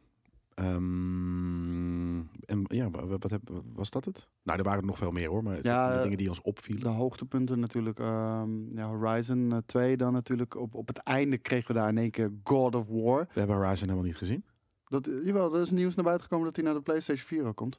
[SPEAKER 1] Ehm, en ja, wa- wa- wat, heb- was dat het? Nou, er waren er nog veel meer hoor, maar het
[SPEAKER 2] Ja,
[SPEAKER 1] zijn van de
[SPEAKER 2] eh,
[SPEAKER 1] dingen die ons opvielen.
[SPEAKER 2] De hoogtepunten natuurlijk. ehm, ja, Horizon eh, 2 dan natuurlijk. Op, op het einde kregen we daar in één keer God of War.
[SPEAKER 1] We hebben Horizon helemaal niet gezien.
[SPEAKER 2] Dat, eh, jawel, er is nieuws naar buiten gekomen dat hij naar de PlayStation 4 ook komt.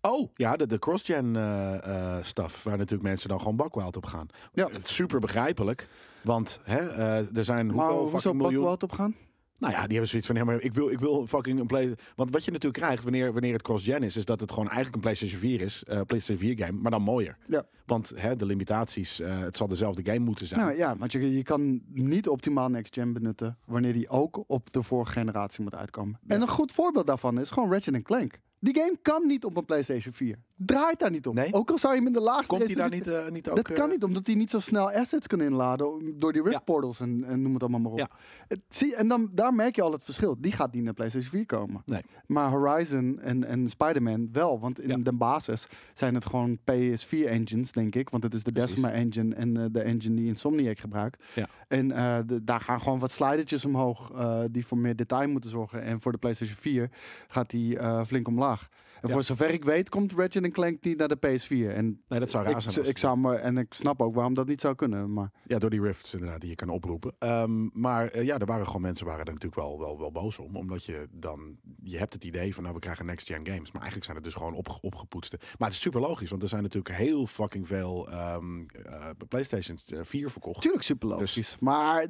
[SPEAKER 1] Oh, ja, de, de cross-gen eh, eh, stuff, waar natuurlijk mensen dan gewoon bakwild op gaan.
[SPEAKER 2] Ja.
[SPEAKER 1] Het is Super begrijpelijk, want hè, eh, er zijn
[SPEAKER 2] Maar
[SPEAKER 1] hoeveel
[SPEAKER 2] hoezo
[SPEAKER 1] fucking miljoen...
[SPEAKER 2] Buckwald op gaan?
[SPEAKER 1] Nou ja, die hebben zoiets van, ja, maar ik wil, ik wil fucking een play... Want wat je natuurlijk krijgt wanneer, wanneer het cross-gen is, is dat het gewoon eigenlijk een PlayStation 4 is, eh, PlayStation 4 game, maar dan mooier.
[SPEAKER 2] Ja.
[SPEAKER 1] Want hè, de limitaties, eh, het zal dezelfde game moeten zijn.
[SPEAKER 2] Nou ja, want je, je kan niet optimaal Next Gen benutten wanneer die ook op de vorige generatie moet uitkomen. En een goed voorbeeld daarvan is gewoon Ratchet Clank. Die game kan niet op een PlayStation 4. Draait daar niet op.
[SPEAKER 1] Nee.
[SPEAKER 2] Ook al zou je hem in de laagste
[SPEAKER 1] Komt hij daar niet,
[SPEAKER 2] resolutie-
[SPEAKER 1] eh, niet ook...
[SPEAKER 2] dat kan
[SPEAKER 1] eh,
[SPEAKER 2] niet, omdat hij niet zo snel assets kan inladen om- door die Rift
[SPEAKER 1] Ja.
[SPEAKER 2] Portals en, en noem het allemaal maar op.
[SPEAKER 1] Ja.
[SPEAKER 2] Het- zie, en dan, daar merk je al het verschil. Die gaat niet naar PlayStation 4 komen.
[SPEAKER 1] Nee.
[SPEAKER 2] Maar Horizon en, en Spider-Man wel, want in
[SPEAKER 1] Ja.
[SPEAKER 2] de basis zijn het gewoon PS4-engines, denk ik. Want het is de
[SPEAKER 1] Precies.
[SPEAKER 2] Decima-engine en eh, de engine die Insomniac gebruikt.
[SPEAKER 1] Ja.
[SPEAKER 2] En eh, de- daar gaan gewoon wat slidertjes omhoog eh, die voor meer detail moeten zorgen. En voor de PlayStation 4 gaat die eh, flink omlaag. En
[SPEAKER 1] Ja.
[SPEAKER 2] voor zover ik weet komt Ratchet Clank niet naar de PS4. En
[SPEAKER 1] Nee, dat zou raar
[SPEAKER 2] ik,
[SPEAKER 1] zijn.
[SPEAKER 2] z-
[SPEAKER 1] als-
[SPEAKER 2] ik zou maar, en ik snap ook waarom dat niet zou kunnen. Maar
[SPEAKER 1] Ja, door die rifts inderdaad, die je kan oproepen. Ehm, maar eh, ja, er waren gewoon mensen waren er natuurlijk wel, wel, wel boos om. Omdat je dan, je hebt het idee van nou, we krijgen next-gen games. Maar eigenlijk zijn het dus gewoon opge- opgepoetste. Maar het is super logisch, want er zijn natuurlijk heel fucking veel ehm eh, Playstation 4 verkocht.
[SPEAKER 2] natuurlijk super logisch. Dus- Maar eh,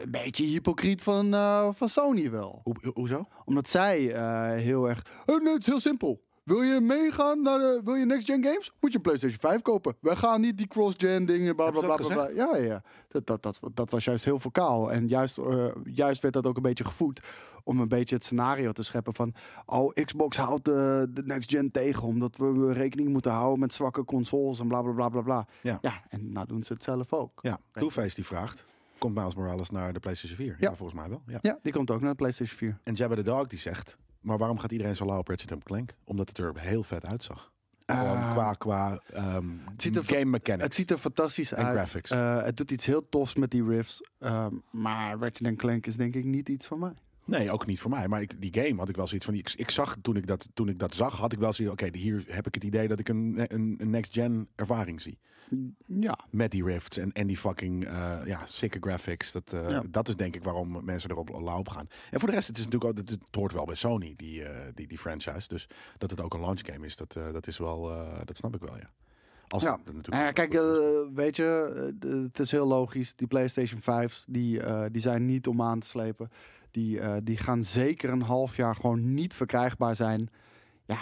[SPEAKER 2] een beetje hypocriet van, eh, van Sony wel.
[SPEAKER 1] Hoe, hoezo?
[SPEAKER 2] Omdat zij eh, heel erg. "Oh, nee, het is heel simpel. Wil je meegaan naar de, wil je next gen games? Moet je een PlayStation 5 kopen. Wij gaan niet die cross gen dingen bla bla
[SPEAKER 1] Hebben ze
[SPEAKER 2] bla.
[SPEAKER 1] dat
[SPEAKER 2] bla, bla. Ja, ja, ja. Dat, dat, dat, dat was juist heel vocaal en juist, eh, juist werd dat ook een beetje gevoed om een beetje het scenario te scheppen van oh Xbox houdt eh, de, de next gen tegen omdat we rekening moeten houden met zwakke consoles en bla bla bla bla bla.
[SPEAKER 1] Ja.
[SPEAKER 2] ja en nou doen ze het zelf ook.
[SPEAKER 1] Ja, Two-Face die vraagt. Komt Miles Morales naar de PlayStation 4? Ja,
[SPEAKER 2] Ja.
[SPEAKER 1] volgens mij wel. Ja.
[SPEAKER 2] Ja, die komt ook naar de PlayStation 4.
[SPEAKER 1] En Jabba the Dog die zegt... Maar waarom gaat iedereen zo lauw op Ratchet Clank? Omdat het er heel vet uitzag. Gewoon
[SPEAKER 2] Eh,
[SPEAKER 1] qua qua ehm,
[SPEAKER 2] ziet er-
[SPEAKER 1] game mechanics.
[SPEAKER 2] Het ziet er fantastisch
[SPEAKER 1] En
[SPEAKER 2] uit.
[SPEAKER 1] graphics.
[SPEAKER 2] Eh, het doet iets heel tofs met die riffs. Ehm, maar Ratchet Clank is denk ik niet iets van mij.
[SPEAKER 1] Nee, ook niet voor mij. Maar ik, die game had ik wel zoiets van... Ik, ik zag toen ik, dat, toen ik dat zag, had ik wel zoiets... Oké, hier heb ik het idee dat ik een, een, een next-gen ervaring zie.
[SPEAKER 2] Ja,
[SPEAKER 1] Met die rifts en, en die fucking eh ja, sikke graphics. Dat, eh,
[SPEAKER 2] Ja.
[SPEAKER 1] dat is denk ik waarom mensen erop lauw op gaan. En voor de rest, het is natuurlijk ook, het, het hoort wel bij Sony, die, eh, die, die franchise. Dus dat het ook een launch game is, dat, eh, dat is wel, eh, dat snap ik wel, ja. Als
[SPEAKER 2] Ja.
[SPEAKER 1] het natuurlijk
[SPEAKER 2] Nou ja,
[SPEAKER 1] ook
[SPEAKER 2] kijk,
[SPEAKER 1] goed is.
[SPEAKER 2] eh, weet je, eh, de- het is heel logisch. Die PlayStation 5's, die, eh, die zijn niet om aan te slepen. Die, eh, die gaan zeker een half jaar gewoon niet verkrijgbaar zijn. Ja,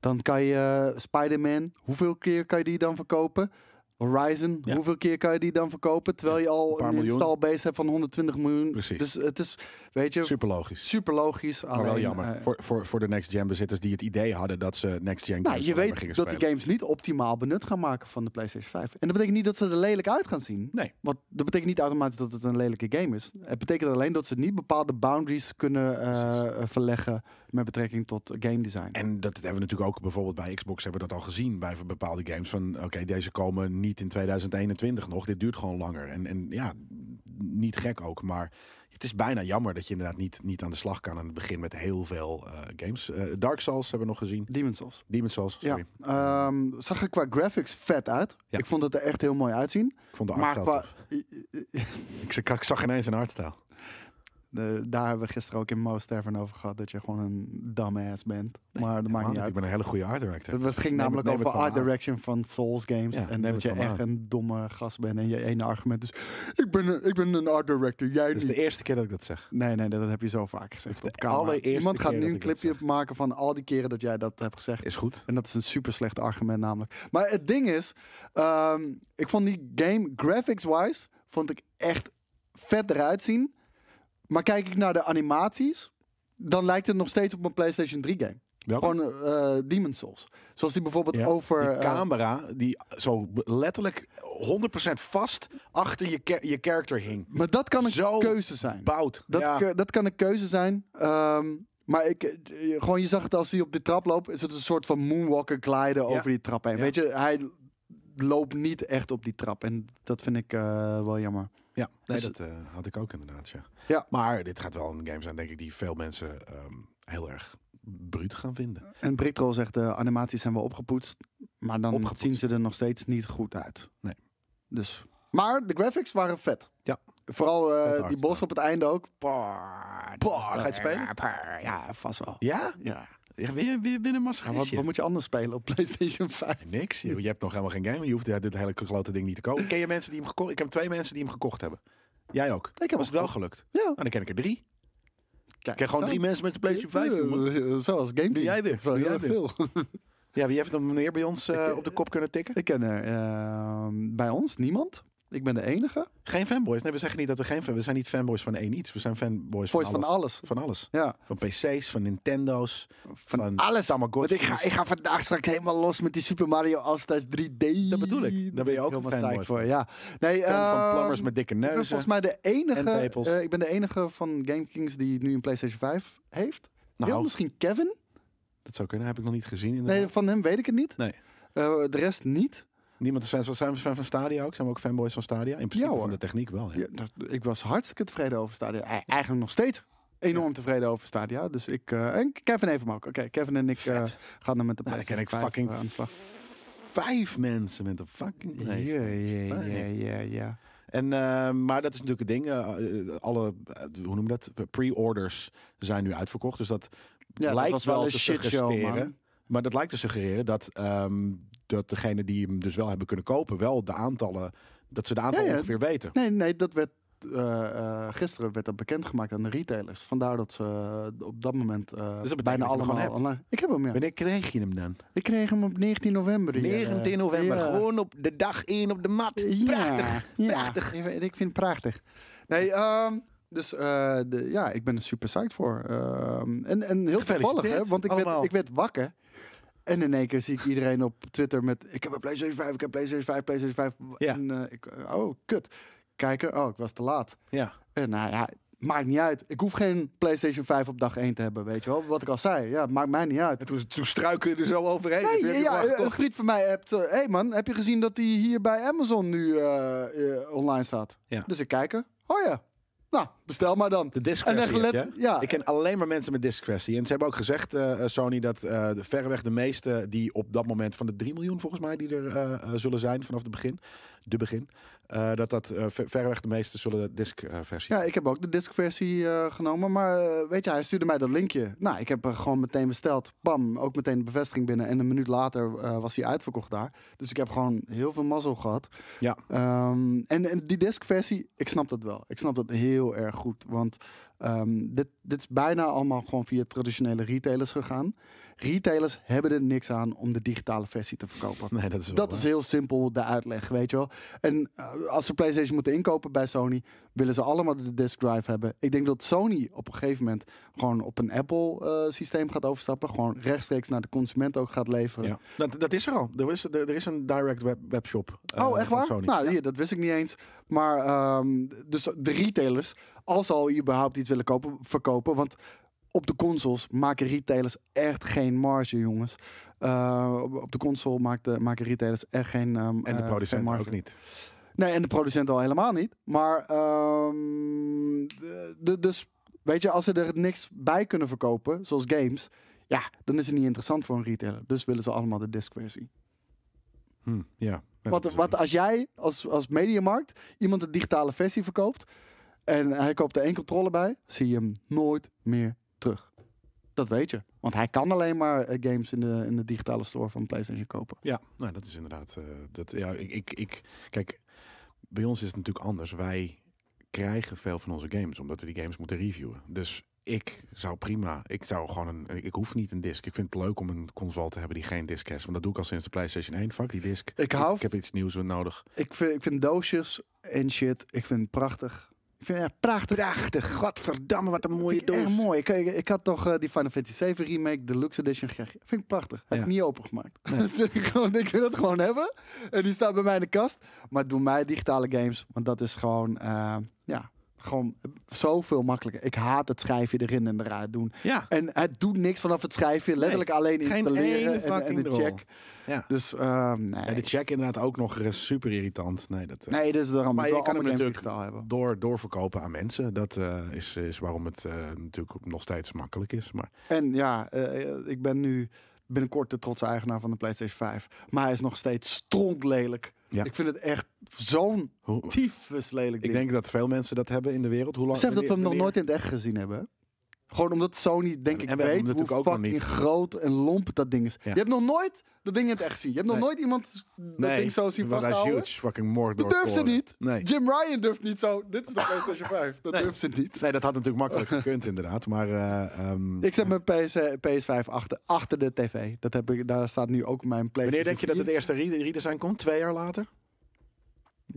[SPEAKER 2] dan kan je eh, Spider-Man, hoeveel keer kan je die dan verkopen? Horizon,
[SPEAKER 1] Ja,
[SPEAKER 2] hoeveel keer kan je die dan verkopen? Terwijl je al
[SPEAKER 1] paar
[SPEAKER 2] een
[SPEAKER 1] miljoen.
[SPEAKER 2] installbase hebt van 120 miljoen.
[SPEAKER 1] Precies.
[SPEAKER 2] Dus het is, weet je,
[SPEAKER 1] super logisch.
[SPEAKER 2] super logisch.
[SPEAKER 1] Maar wel
[SPEAKER 2] alleen,
[SPEAKER 1] jammer
[SPEAKER 2] eh,
[SPEAKER 1] voor, voor, voor de next-gen bezitters die het idee hadden dat ze next-gen games
[SPEAKER 2] nou, je
[SPEAKER 1] alleen Dus maar
[SPEAKER 2] weet
[SPEAKER 1] gingen
[SPEAKER 2] dat
[SPEAKER 1] spelen.
[SPEAKER 2] die games niet optimaal benut gaan maken van de PlayStation 5. En dat betekent niet dat ze er lelijk uit gaan zien.
[SPEAKER 1] Nee.
[SPEAKER 2] Want dat betekent niet automatisch dat het een lelijke game is. Het betekent alleen dat ze niet bepaalde boundaries kunnen eh, verleggen met betrekking tot game design.
[SPEAKER 1] En dat hebben we natuurlijk ook bijvoorbeeld bij Xbox hebben we dat al gezien bij bepaalde games. Van oké, deze komen niet in 2021 nog. Dit duurt gewoon langer. En, en ja, niet gek ook. Maar het is bijna jammer dat je inderdaad niet, niet aan de slag kan aan het begin met heel veel eh, games. Eh, Dark Souls hebben we nog gezien.
[SPEAKER 2] Demon's Souls.
[SPEAKER 1] Demon's Souls, sorry.
[SPEAKER 2] Ja, ehm, zag er qua graphics vet uit.
[SPEAKER 1] Ja.
[SPEAKER 2] Ik vond het er echt heel mooi uitzien.
[SPEAKER 1] Ik vond de
[SPEAKER 2] maar
[SPEAKER 1] artstijl
[SPEAKER 2] qua...
[SPEAKER 1] tof. Ik, zag- ik zag ineens een artstijl.
[SPEAKER 2] Eh, daar hebben we gisteren ook in Mo's Tavern over gehad dat je gewoon een dumbass bent. maar dat maakt
[SPEAKER 1] Man,
[SPEAKER 2] niet uit.
[SPEAKER 1] Ik ben een hele goede art director.
[SPEAKER 2] Het het ging
[SPEAKER 1] Neem het-
[SPEAKER 2] namelijk
[SPEAKER 1] neem
[SPEAKER 2] over
[SPEAKER 1] het van
[SPEAKER 2] art
[SPEAKER 1] me aan.
[SPEAKER 2] direction van Souls games.
[SPEAKER 1] Ja,
[SPEAKER 2] en
[SPEAKER 1] neem
[SPEAKER 2] dat
[SPEAKER 1] het
[SPEAKER 2] je
[SPEAKER 1] van me
[SPEAKER 2] echt
[SPEAKER 1] aan.
[SPEAKER 2] een domme gast bent. En je ene argument is, ik ben een, ik ben een art director, jij
[SPEAKER 1] Dit is
[SPEAKER 2] niet.
[SPEAKER 1] de eerste keer dat ik dat zeg.
[SPEAKER 2] Dus Nee, nee, dat heb je zo vaak gezegd
[SPEAKER 1] Dat is
[SPEAKER 2] op
[SPEAKER 1] de
[SPEAKER 2] camera.
[SPEAKER 1] allereerste
[SPEAKER 2] Iemand gaat
[SPEAKER 1] keer
[SPEAKER 2] nu
[SPEAKER 1] dat
[SPEAKER 2] een
[SPEAKER 1] ik dat
[SPEAKER 2] clipje maken van al die keren dat jij dat hebt gezegd.
[SPEAKER 1] Is goed.
[SPEAKER 2] En dat is een super slecht argument namelijk. Maar het ding is, ehm, ik vond die game graphics-wise, vond ik echt vet eruit zien. Maar kijk ik naar de animaties, dan lijkt het nog steeds op een PlayStation 3 game.
[SPEAKER 1] Welke?
[SPEAKER 2] Gewoon eh Demon Souls. Zoals die bijvoorbeeld
[SPEAKER 1] Ja,
[SPEAKER 2] over...
[SPEAKER 1] Die
[SPEAKER 2] eh,
[SPEAKER 1] camera die zo b- letterlijk 100% vast achter je, cha- je character hing.
[SPEAKER 2] Maar dat kan een
[SPEAKER 1] Zo
[SPEAKER 2] keuze zijn.
[SPEAKER 1] Bout.
[SPEAKER 2] Dat,
[SPEAKER 1] ja.
[SPEAKER 2] ke- dat kan een keuze zijn. Ehm, maar ik, eh, je- gewoon, je zag het als hij op de trap loopt. Is het een soort van moonwalker glijden
[SPEAKER 1] Ja.
[SPEAKER 2] over die trap heen.
[SPEAKER 1] Ja.
[SPEAKER 2] Weet je, hij loopt niet echt op die trap. En dat vind ik eh, wel jammer.
[SPEAKER 1] Ja, nee,
[SPEAKER 2] Dus-
[SPEAKER 1] dat eh, had ik ook inderdaad, ja.
[SPEAKER 2] Ja.
[SPEAKER 1] Maar dit gaat wel een game zijn, denk ik, die veel mensen ehm, heel erg bruut gaan vinden.
[SPEAKER 2] En Brickroll zegt, de animaties zijn wel opgepoetst. Maar dan
[SPEAKER 1] Opgepoetst.
[SPEAKER 2] zien ze er nog steeds niet goed uit.
[SPEAKER 1] Nee.
[SPEAKER 2] Dus. Maar de graphics waren vet.
[SPEAKER 1] Ja.
[SPEAKER 2] Vooral eh,
[SPEAKER 1] Vet art
[SPEAKER 2] die
[SPEAKER 1] style.
[SPEAKER 2] bos op het einde ook. Bah,
[SPEAKER 1] Bah, ga je het spelen?
[SPEAKER 2] bah, Ja, vast wel.
[SPEAKER 1] Ja?
[SPEAKER 2] Ja.
[SPEAKER 1] ja ben, je, ben je binnen massa
[SPEAKER 2] Ja, wat, wat moet je anders spelen op PlayStation 5?
[SPEAKER 1] Niks. Je, je hebt nog helemaal geen game. Je hoeft ja, dit hele grote ding niet te kopen. Ken je mensen die hem gekocht Ik heb twee mensen die hem gekocht hebben. Jij ook.
[SPEAKER 2] Ik heb
[SPEAKER 1] Was het wel gelukt?
[SPEAKER 2] Ja.
[SPEAKER 1] Nou, dan ken ik er drie. Ik ken
[SPEAKER 2] nou,
[SPEAKER 1] gewoon drie mensen met de PlayStation 5. jongen.
[SPEAKER 2] mensen. eh, Zoals Game Doe
[SPEAKER 1] jij weer,
[SPEAKER 2] Dat is wel
[SPEAKER 1] doe
[SPEAKER 2] heel
[SPEAKER 1] jij
[SPEAKER 2] erg veel.
[SPEAKER 1] Ja, wie heeft hem meneer bij ons eh, op de kop kunnen tikken?
[SPEAKER 2] Ik ken er ehm, bij ons niemand. Ik ben de enige.
[SPEAKER 1] Geen fanboys. Nee, we zeggen niet dat we geen fan. We zijn niet fanboys van één iets. We zijn fanboys
[SPEAKER 2] Voice
[SPEAKER 1] van,
[SPEAKER 2] van
[SPEAKER 1] alles.
[SPEAKER 2] alles.
[SPEAKER 1] van alles.
[SPEAKER 2] Ja.
[SPEAKER 1] Van PC's, van Nintendo's, van,
[SPEAKER 2] alles. Want
[SPEAKER 1] Tamagotchi's.
[SPEAKER 2] ik ga, ik ga vandaag straks helemaal los met die Super Mario All-Stars 3D.
[SPEAKER 1] Dat bedoel ik. Daar ben je ook
[SPEAKER 2] helemaal
[SPEAKER 1] een fanboy
[SPEAKER 2] psyched
[SPEAKER 1] van.
[SPEAKER 2] voor. Ja. Nee,
[SPEAKER 1] fan van
[SPEAKER 2] ehm,
[SPEAKER 1] plumbers met dikke
[SPEAKER 2] ik ben
[SPEAKER 1] neuzen.
[SPEAKER 2] volgens mij de enige.
[SPEAKER 1] en tepels.
[SPEAKER 2] eh, ik ben de enige van GameKings die nu een PlayStation 5 heeft.
[SPEAKER 1] Nou,
[SPEAKER 2] Heel misschien Kevin.
[SPEAKER 1] dat zou kunnen. Heb ik nog niet gezien. inderdaad.
[SPEAKER 2] Nee, van hem weet ik het niet.
[SPEAKER 1] Nee.
[SPEAKER 2] Eh, de rest niet.
[SPEAKER 1] Niemand is fan van, zijn we fan van Stadia ook? Zijn we ook fanboys van Stadia? In principe
[SPEAKER 2] hoor.
[SPEAKER 1] van de techniek wel. Ja.
[SPEAKER 2] Ja, dat- ik was hartstikke tevreden over Stadia. E- Eigenlijk nog steeds enorm tevreden over Stadia. Dus ik... eh, en Kevin heeft hem ook. Oké, Kevin en ik
[SPEAKER 1] Vet.
[SPEAKER 2] eh, gaan dan met de
[SPEAKER 1] Nou, dan ken
[SPEAKER 2] PlayStation
[SPEAKER 1] ik
[SPEAKER 2] 5
[SPEAKER 1] fucking
[SPEAKER 2] eh, aan de slag.
[SPEAKER 1] vijf mensen met een fucking
[SPEAKER 2] Ja,
[SPEAKER 1] PlayStation.
[SPEAKER 2] ja, ja,
[SPEAKER 1] Fijn.
[SPEAKER 2] ja, ja.
[SPEAKER 1] En, eh, maar dat is natuurlijk het ding. eh, eh, alle, eh, hoe noem je dat? Pre-orders zijn nu uitverkocht. Dus dat
[SPEAKER 2] Ja, dat
[SPEAKER 1] lijkt
[SPEAKER 2] was wel
[SPEAKER 1] wel
[SPEAKER 2] een
[SPEAKER 1] te
[SPEAKER 2] shitshow, man.
[SPEAKER 1] suggereren. Maar dat lijkt te suggereren dat, ehm, dat degene die hem dus wel hebben kunnen kopen, wel de aantallen, dat ze de aantallen
[SPEAKER 2] ja.
[SPEAKER 1] ongeveer weten.
[SPEAKER 2] Nee, nee, dat werd eh, eh, gisteren werd dat bekendgemaakt aan de retailers. Vandaar dat ze eh, op dat moment eh,
[SPEAKER 1] betekent
[SPEAKER 2] bijna
[SPEAKER 1] Dus dat je hem
[SPEAKER 2] allemaal
[SPEAKER 1] gewoon hebt?
[SPEAKER 2] online- Ik heb hem, ja.
[SPEAKER 1] Wanneer kreeg je hem dan?
[SPEAKER 2] Ik kreeg hem op 19 november. hier, eh.
[SPEAKER 1] 19 november,
[SPEAKER 2] Ja.
[SPEAKER 1] gewoon op de dag 1 op de mat.
[SPEAKER 2] Ja,
[SPEAKER 1] Prachtig.
[SPEAKER 2] ja.
[SPEAKER 1] prachtig.
[SPEAKER 2] Ik, vind- ik vind het prachtig. Nee, ehm, dus eh, de, ja, ik ben er super psyched voor. Ehm, en, en heel toevallig, hè,
[SPEAKER 1] Gefeliciteerd,
[SPEAKER 2] want ik werd,
[SPEAKER 1] allemaal.
[SPEAKER 2] ik werd wakker. En in één keer zie ik iedereen op Twitter met... Ik heb een PlayStation 5, ik heb PlayStation 5, PlayStation 5.
[SPEAKER 1] Ja.
[SPEAKER 2] En, eh, ik, oh, kut. Kijken, oh, ik was te laat.
[SPEAKER 1] Ja.
[SPEAKER 2] En nou ja, maakt niet uit. Ik hoef geen PlayStation 5 op dag 1 te hebben, weet je wel. Wat ik al zei, ja, maakt mij niet uit.
[SPEAKER 1] En Dus toen, toen struikel je er zo overheen.
[SPEAKER 2] Nee,
[SPEAKER 1] Toen heb je
[SPEAKER 2] ja,
[SPEAKER 1] gewoon
[SPEAKER 2] eh, een
[SPEAKER 1] gekocht.
[SPEAKER 2] vriend van mij hebt. Hé hey man, heb je gezien dat die hier bij Amazon nu eh, eh, online staat?
[SPEAKER 1] Ja.
[SPEAKER 2] Dus ik kijk er. Oh ja. Nou, bestel maar dan.
[SPEAKER 1] de
[SPEAKER 2] En
[SPEAKER 1] discretie.
[SPEAKER 2] dan gelet.
[SPEAKER 1] heb
[SPEAKER 2] Ja.
[SPEAKER 1] je, hè? Ik ken alleen maar mensen met discretie. En ze hebben ook gezegd, eh, eh, Sony, dat eh, de, verreweg de meeste die op dat moment van de 3 miljoen volgens mij die er eh, eh, zullen zijn vanaf het begin, de begin, eh, dat dat eh, ver- verreweg de meeste zullen eh, de disc-versie.
[SPEAKER 2] ja, ik heb ook de discversie eh, genomen. Maar eh, weet je, hij stuurde mij dat linkje. Nou, ik heb er gewoon meteen besteld. Bam, ook meteen de bevestiging binnen. En een minuut later eh, was hij uitverkocht daar. Dus ik heb gewoon heel veel mazzel gehad.
[SPEAKER 1] Ja.
[SPEAKER 2] Ehm, en, en die discversie, ik snap dat wel. Ik snap dat heel erg goed. Want ehm, dit, dit is bijna allemaal gewoon via traditionele retailers gegaan. Retailers hebben er niks aan om de digitale versie te verkopen.
[SPEAKER 1] Nee, dat is wel
[SPEAKER 2] Dat
[SPEAKER 1] waar.
[SPEAKER 2] is heel simpel de uitleg, weet je wel. En eh, als ze PlayStation moeten inkopen bij Sony, willen ze allemaal de disk drive hebben. Ik denk dat Sony op een gegeven moment gewoon op een Apple eh, systeem gaat overstappen. Gewoon rechtstreeks naar de consument ook gaat leveren.
[SPEAKER 1] Ja. Dat, dat is er al. Er is, er, er is een direct web, webshop. eh,
[SPEAKER 2] oh, echt
[SPEAKER 1] van
[SPEAKER 2] waar?
[SPEAKER 1] Sony.
[SPEAKER 2] Nou, hier, dat wist ik niet eens. Maar ehm, dus de retailers, als ze al überhaupt iets willen kopen, verkopen. Want op de consoles maken retailers echt geen marge, jongens. Eh, op- op de console maakten- maken retailers echt geen, ehm, eh,
[SPEAKER 1] en de
[SPEAKER 2] geen
[SPEAKER 1] producent
[SPEAKER 2] marge.
[SPEAKER 1] ook niet.
[SPEAKER 2] Nee, en de producent al helemaal niet. Maar, ehm, de- de- dus weet je, als ze er niks bij kunnen verkopen, zoals games, ja, dan is het niet interessant voor een retailer. Dus willen ze allemaal de discversie.
[SPEAKER 1] Hm, ja.
[SPEAKER 2] Want, want als jij als, als mediamarkt iemand een digitale versie verkoopt en hij koopt er één controle bij, zie je hem nooit meer terug. Dat weet je. Want hij kan alleen maar eh, games in de, in de digitale store van PlayStation kopen.
[SPEAKER 1] Ja, nou, dat is inderdaad. eh, dat, ja, ik, ik, ik, kijk, bij ons is het natuurlijk anders. Wij krijgen veel van onze games, omdat we die games moeten reviewen. Dus ik zou prima, ik zou gewoon een, ik hoef niet een disc. Ik vind het leuk om een console te hebben die geen disc heeft. Want dat doe ik al sinds de PlayStation 1. Fuck die disc.
[SPEAKER 2] Ik hou-
[SPEAKER 1] Ik, heb iets nieuws nodig.
[SPEAKER 2] Ik vind, ik vind doosjes en shit, ik vind het prachtig. Ik vind het echt prachtig.
[SPEAKER 1] Prachtig, godverdamme, wat een mooie
[SPEAKER 2] Vind ik
[SPEAKER 1] doos.
[SPEAKER 2] Erg mooi. Ik, ik, ik had toch eh, die Final Fantasy 7 remake, deluxe edition gekregen. Vind ik prachtig. Heb
[SPEAKER 1] Ja.
[SPEAKER 2] ik niet opengemaakt. Vind ik gewoon- ik wil dat gewoon hebben. En die staat bij mij in de kast. Maar doe mij digitale games, want dat is gewoon, eh, ja, gewoon zoveel makkelijker. Ik haat het schijfje erin en eruit doen.
[SPEAKER 1] Ja,
[SPEAKER 2] En het doet niks vanaf het schijfje. Letterlijk alleen
[SPEAKER 1] geen
[SPEAKER 2] installeren
[SPEAKER 1] ene
[SPEAKER 2] en- en,
[SPEAKER 1] fucking
[SPEAKER 2] de
[SPEAKER 1] drol.
[SPEAKER 2] check.
[SPEAKER 1] Ja.
[SPEAKER 2] Dus, eh, nee.
[SPEAKER 1] en de check inderdaad ook nog eh, super irritant. Nee, dat, eh,
[SPEAKER 2] nee, dus daarom
[SPEAKER 1] Maar
[SPEAKER 2] ik wil
[SPEAKER 1] je kan hem
[SPEAKER 2] allemaal games
[SPEAKER 1] natuurlijk
[SPEAKER 2] digitaal hebben.
[SPEAKER 1] door, doorverkopen aan mensen. Dat eh, is, is waarom het eh, natuurlijk nog steeds makkelijk is. Maar
[SPEAKER 2] En ja, eh, ik ben nu binnenkort de trotse eigenaar van de PlayStation 5. Maar hij is nog steeds strontlelijk.
[SPEAKER 1] Ja.
[SPEAKER 2] Ik vind het echt zo'n
[SPEAKER 1] hoe,
[SPEAKER 2] tyfus lelijk
[SPEAKER 1] Ik
[SPEAKER 2] ding.
[SPEAKER 1] denk dat veel mensen dat hebben in de wereld. Hoe lang?
[SPEAKER 2] Besef dat we hem nog
[SPEAKER 1] wanneer-
[SPEAKER 2] nooit in het echt gezien hebben. hè? Gewoon omdat Sony, denk
[SPEAKER 1] En
[SPEAKER 2] ik,
[SPEAKER 1] we hebben hem
[SPEAKER 2] weet hoe
[SPEAKER 1] natuurlijk ook nog
[SPEAKER 2] fucking
[SPEAKER 1] niet.
[SPEAKER 2] groot en lomp dat ding is.
[SPEAKER 1] Ja.
[SPEAKER 2] Je hebt nog nooit dat ding in het echt gezien. Je hebt nog
[SPEAKER 1] Nee.
[SPEAKER 2] nooit iemand dat
[SPEAKER 1] nee,
[SPEAKER 2] ding zo zien
[SPEAKER 1] want hij is
[SPEAKER 2] vasthouden.
[SPEAKER 1] huge, fucking Mordor.
[SPEAKER 2] Dat durft ze
[SPEAKER 1] Thor.
[SPEAKER 2] niet.
[SPEAKER 1] Nee.
[SPEAKER 2] Jim Ryan durft niet zo. Dit is de PlayStation 5. Dat
[SPEAKER 1] Nee.
[SPEAKER 2] durft ze niet.
[SPEAKER 1] nee, dat had natuurlijk makkelijk gekund inderdaad. Maar eh, ehm,
[SPEAKER 2] Ik zet mijn PS, eh, PS5 achter, achter de tv. Dat heb ik, daar staat nu ook mijn PlayStation
[SPEAKER 1] wanneer denk je dat
[SPEAKER 2] 4.
[SPEAKER 1] het eerste re- redesign komt? Twee jaar later?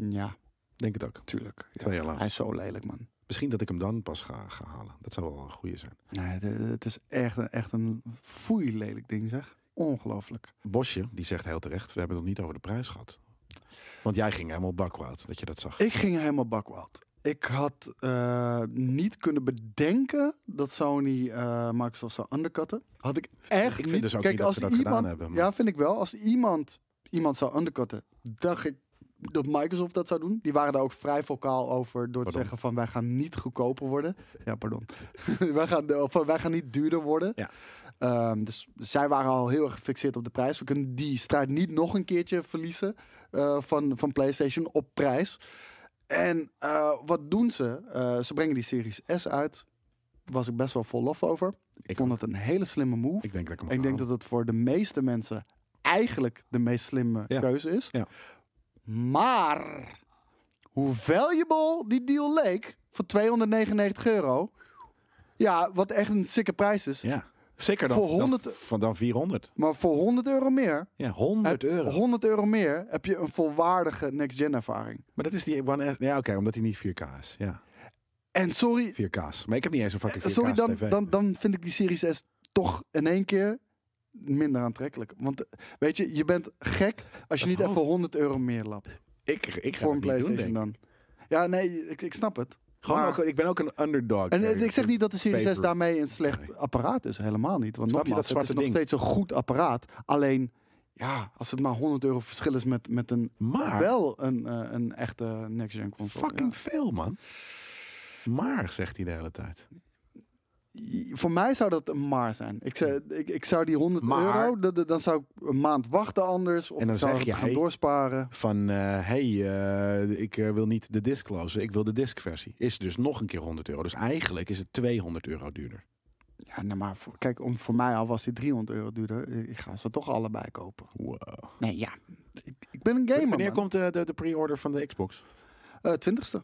[SPEAKER 2] Ja,
[SPEAKER 1] Denk het ook.
[SPEAKER 2] tuurlijk. Ja.
[SPEAKER 1] Twee jaar later.
[SPEAKER 2] Hij is zo lelijk, man.
[SPEAKER 1] Misschien dat ik hem dan pas ga, ga halen. Dat zou wel een goede zijn.
[SPEAKER 2] Nee, de- de- het is echt een, echt een foei lelijk ding, zeg. Ongelooflijk.
[SPEAKER 1] Bosje, die zegt heel terecht, we hebben het nog niet over de prijs gehad. Want jij ging helemaal bakwaad, dat je dat zag.
[SPEAKER 2] Ik ging helemaal bakwild. Ik had eh, niet kunnen bedenken dat Sony eh, Microsoft zou undercutten. Had ik echt
[SPEAKER 1] ik
[SPEAKER 2] niet.
[SPEAKER 1] vind dus ook
[SPEAKER 2] Kijk,
[SPEAKER 1] niet dat
[SPEAKER 2] als
[SPEAKER 1] ze dat
[SPEAKER 2] iemand,
[SPEAKER 1] gedaan hebben. maar-
[SPEAKER 2] Ja, vind ik wel. Als iemand iemand zou undercutten, dacht ik dat Microsoft dat zou doen. Die waren daar ook vrij vocaal over door te
[SPEAKER 1] Pardon.
[SPEAKER 2] zeggen van wij gaan niet goedkoper worden. Ja, pardon. wij, gaan, de- of, wij gaan niet duurder worden.
[SPEAKER 1] Ja.
[SPEAKER 2] Ehm, dus zij waren al heel erg gefixeerd op de prijs. We kunnen die strijd niet nog een keertje verliezen eh, van, van PlayStation op prijs. En eh, wat doen ze? Eh, ze brengen die Series S uit. Was ik best wel vol lof over. Ik,
[SPEAKER 1] Ik
[SPEAKER 2] vond het een hele slimme move.
[SPEAKER 1] Ik denk dat ik hem
[SPEAKER 2] En ik
[SPEAKER 1] ga
[SPEAKER 2] denk dat het voor de meeste mensen eigenlijk de meest slimme
[SPEAKER 1] Ja.
[SPEAKER 2] keuze is.
[SPEAKER 1] Ja.
[SPEAKER 2] Maar hoe valuable die deal leek voor 299 euro. Ja, wat echt een sikke prijs is.
[SPEAKER 1] Ja. Zeker dan,
[SPEAKER 2] Voor
[SPEAKER 1] dan-
[SPEAKER 2] 100
[SPEAKER 1] van dan 400.
[SPEAKER 2] Maar voor 100 euro meer,
[SPEAKER 1] Ja, 100
[SPEAKER 2] heb-
[SPEAKER 1] euro.
[SPEAKER 2] 100 euro meer heb je een volwaardige next-gen ervaring.
[SPEAKER 1] Maar dat is die One S. Ja, oké, omdat die niet 4K is. Ja,
[SPEAKER 2] En sorry,
[SPEAKER 1] 4K's. Maar ik heb niet eens een fucking 4K
[SPEAKER 2] Eh, sorry dan,
[SPEAKER 1] TV.
[SPEAKER 2] dan, dan vind ik die Series S toch in één keer minder aantrekkelijk. Want eh, weet je, je bent gek als je
[SPEAKER 1] Dat
[SPEAKER 2] niet even
[SPEAKER 1] hoofd.
[SPEAKER 2] 100 euro meer lapt
[SPEAKER 1] ik, ik ga
[SPEAKER 2] voor een
[SPEAKER 1] dat niet doen,
[SPEAKER 2] PlayStation
[SPEAKER 1] denk ik.
[SPEAKER 2] dan. Ja, nee, ik, ik snap het.
[SPEAKER 1] Gewoon
[SPEAKER 2] Maar-
[SPEAKER 1] ook, ik nou ben ook een underdog.
[SPEAKER 2] En eh,
[SPEAKER 1] Jerry.
[SPEAKER 2] ik zeg niet dat de Series S
[SPEAKER 1] paper.
[SPEAKER 2] daarmee een slecht apparaat is, helemaal niet. Want
[SPEAKER 1] Snap je
[SPEAKER 2] nogmaals,
[SPEAKER 1] dat
[SPEAKER 2] het is
[SPEAKER 1] zwarte
[SPEAKER 2] nog steeds een goed apparaat. Alleen, ja, als het maar 100 euro verschil is met, met een
[SPEAKER 1] Maar
[SPEAKER 2] wel een, eh, een echte next-gen console.
[SPEAKER 1] fucking veel, man. Maar, zegt hij de hele tijd.
[SPEAKER 2] ja. Voor mij zou dat een maar zijn. Ik zou, ik, ik zou die 100
[SPEAKER 1] Maar-
[SPEAKER 2] euro, da- da- dan zou ik een maand wachten anders. Of
[SPEAKER 1] En dan
[SPEAKER 2] ik zou
[SPEAKER 1] zeg
[SPEAKER 2] het gaan
[SPEAKER 1] jij-
[SPEAKER 2] doorsparen.
[SPEAKER 1] Van, eh, hey, eh, ik eh, wil niet de disc closen, ik wil de discversie. Is dus nog een keer 100 euro. Dus eigenlijk is het 200 euro duurder.
[SPEAKER 2] Ja, nou maar voor- kijk, om, voor mij al was die 300 euro duurder. Ik ik ga ze toch allebei kopen.
[SPEAKER 1] Wow.
[SPEAKER 2] Nee, ja. Ik, ik ben een gamer,
[SPEAKER 1] Wanneer
[SPEAKER 2] man.
[SPEAKER 1] komt eh, de, de pre-order van de Xbox?
[SPEAKER 2] Eh, 20ste.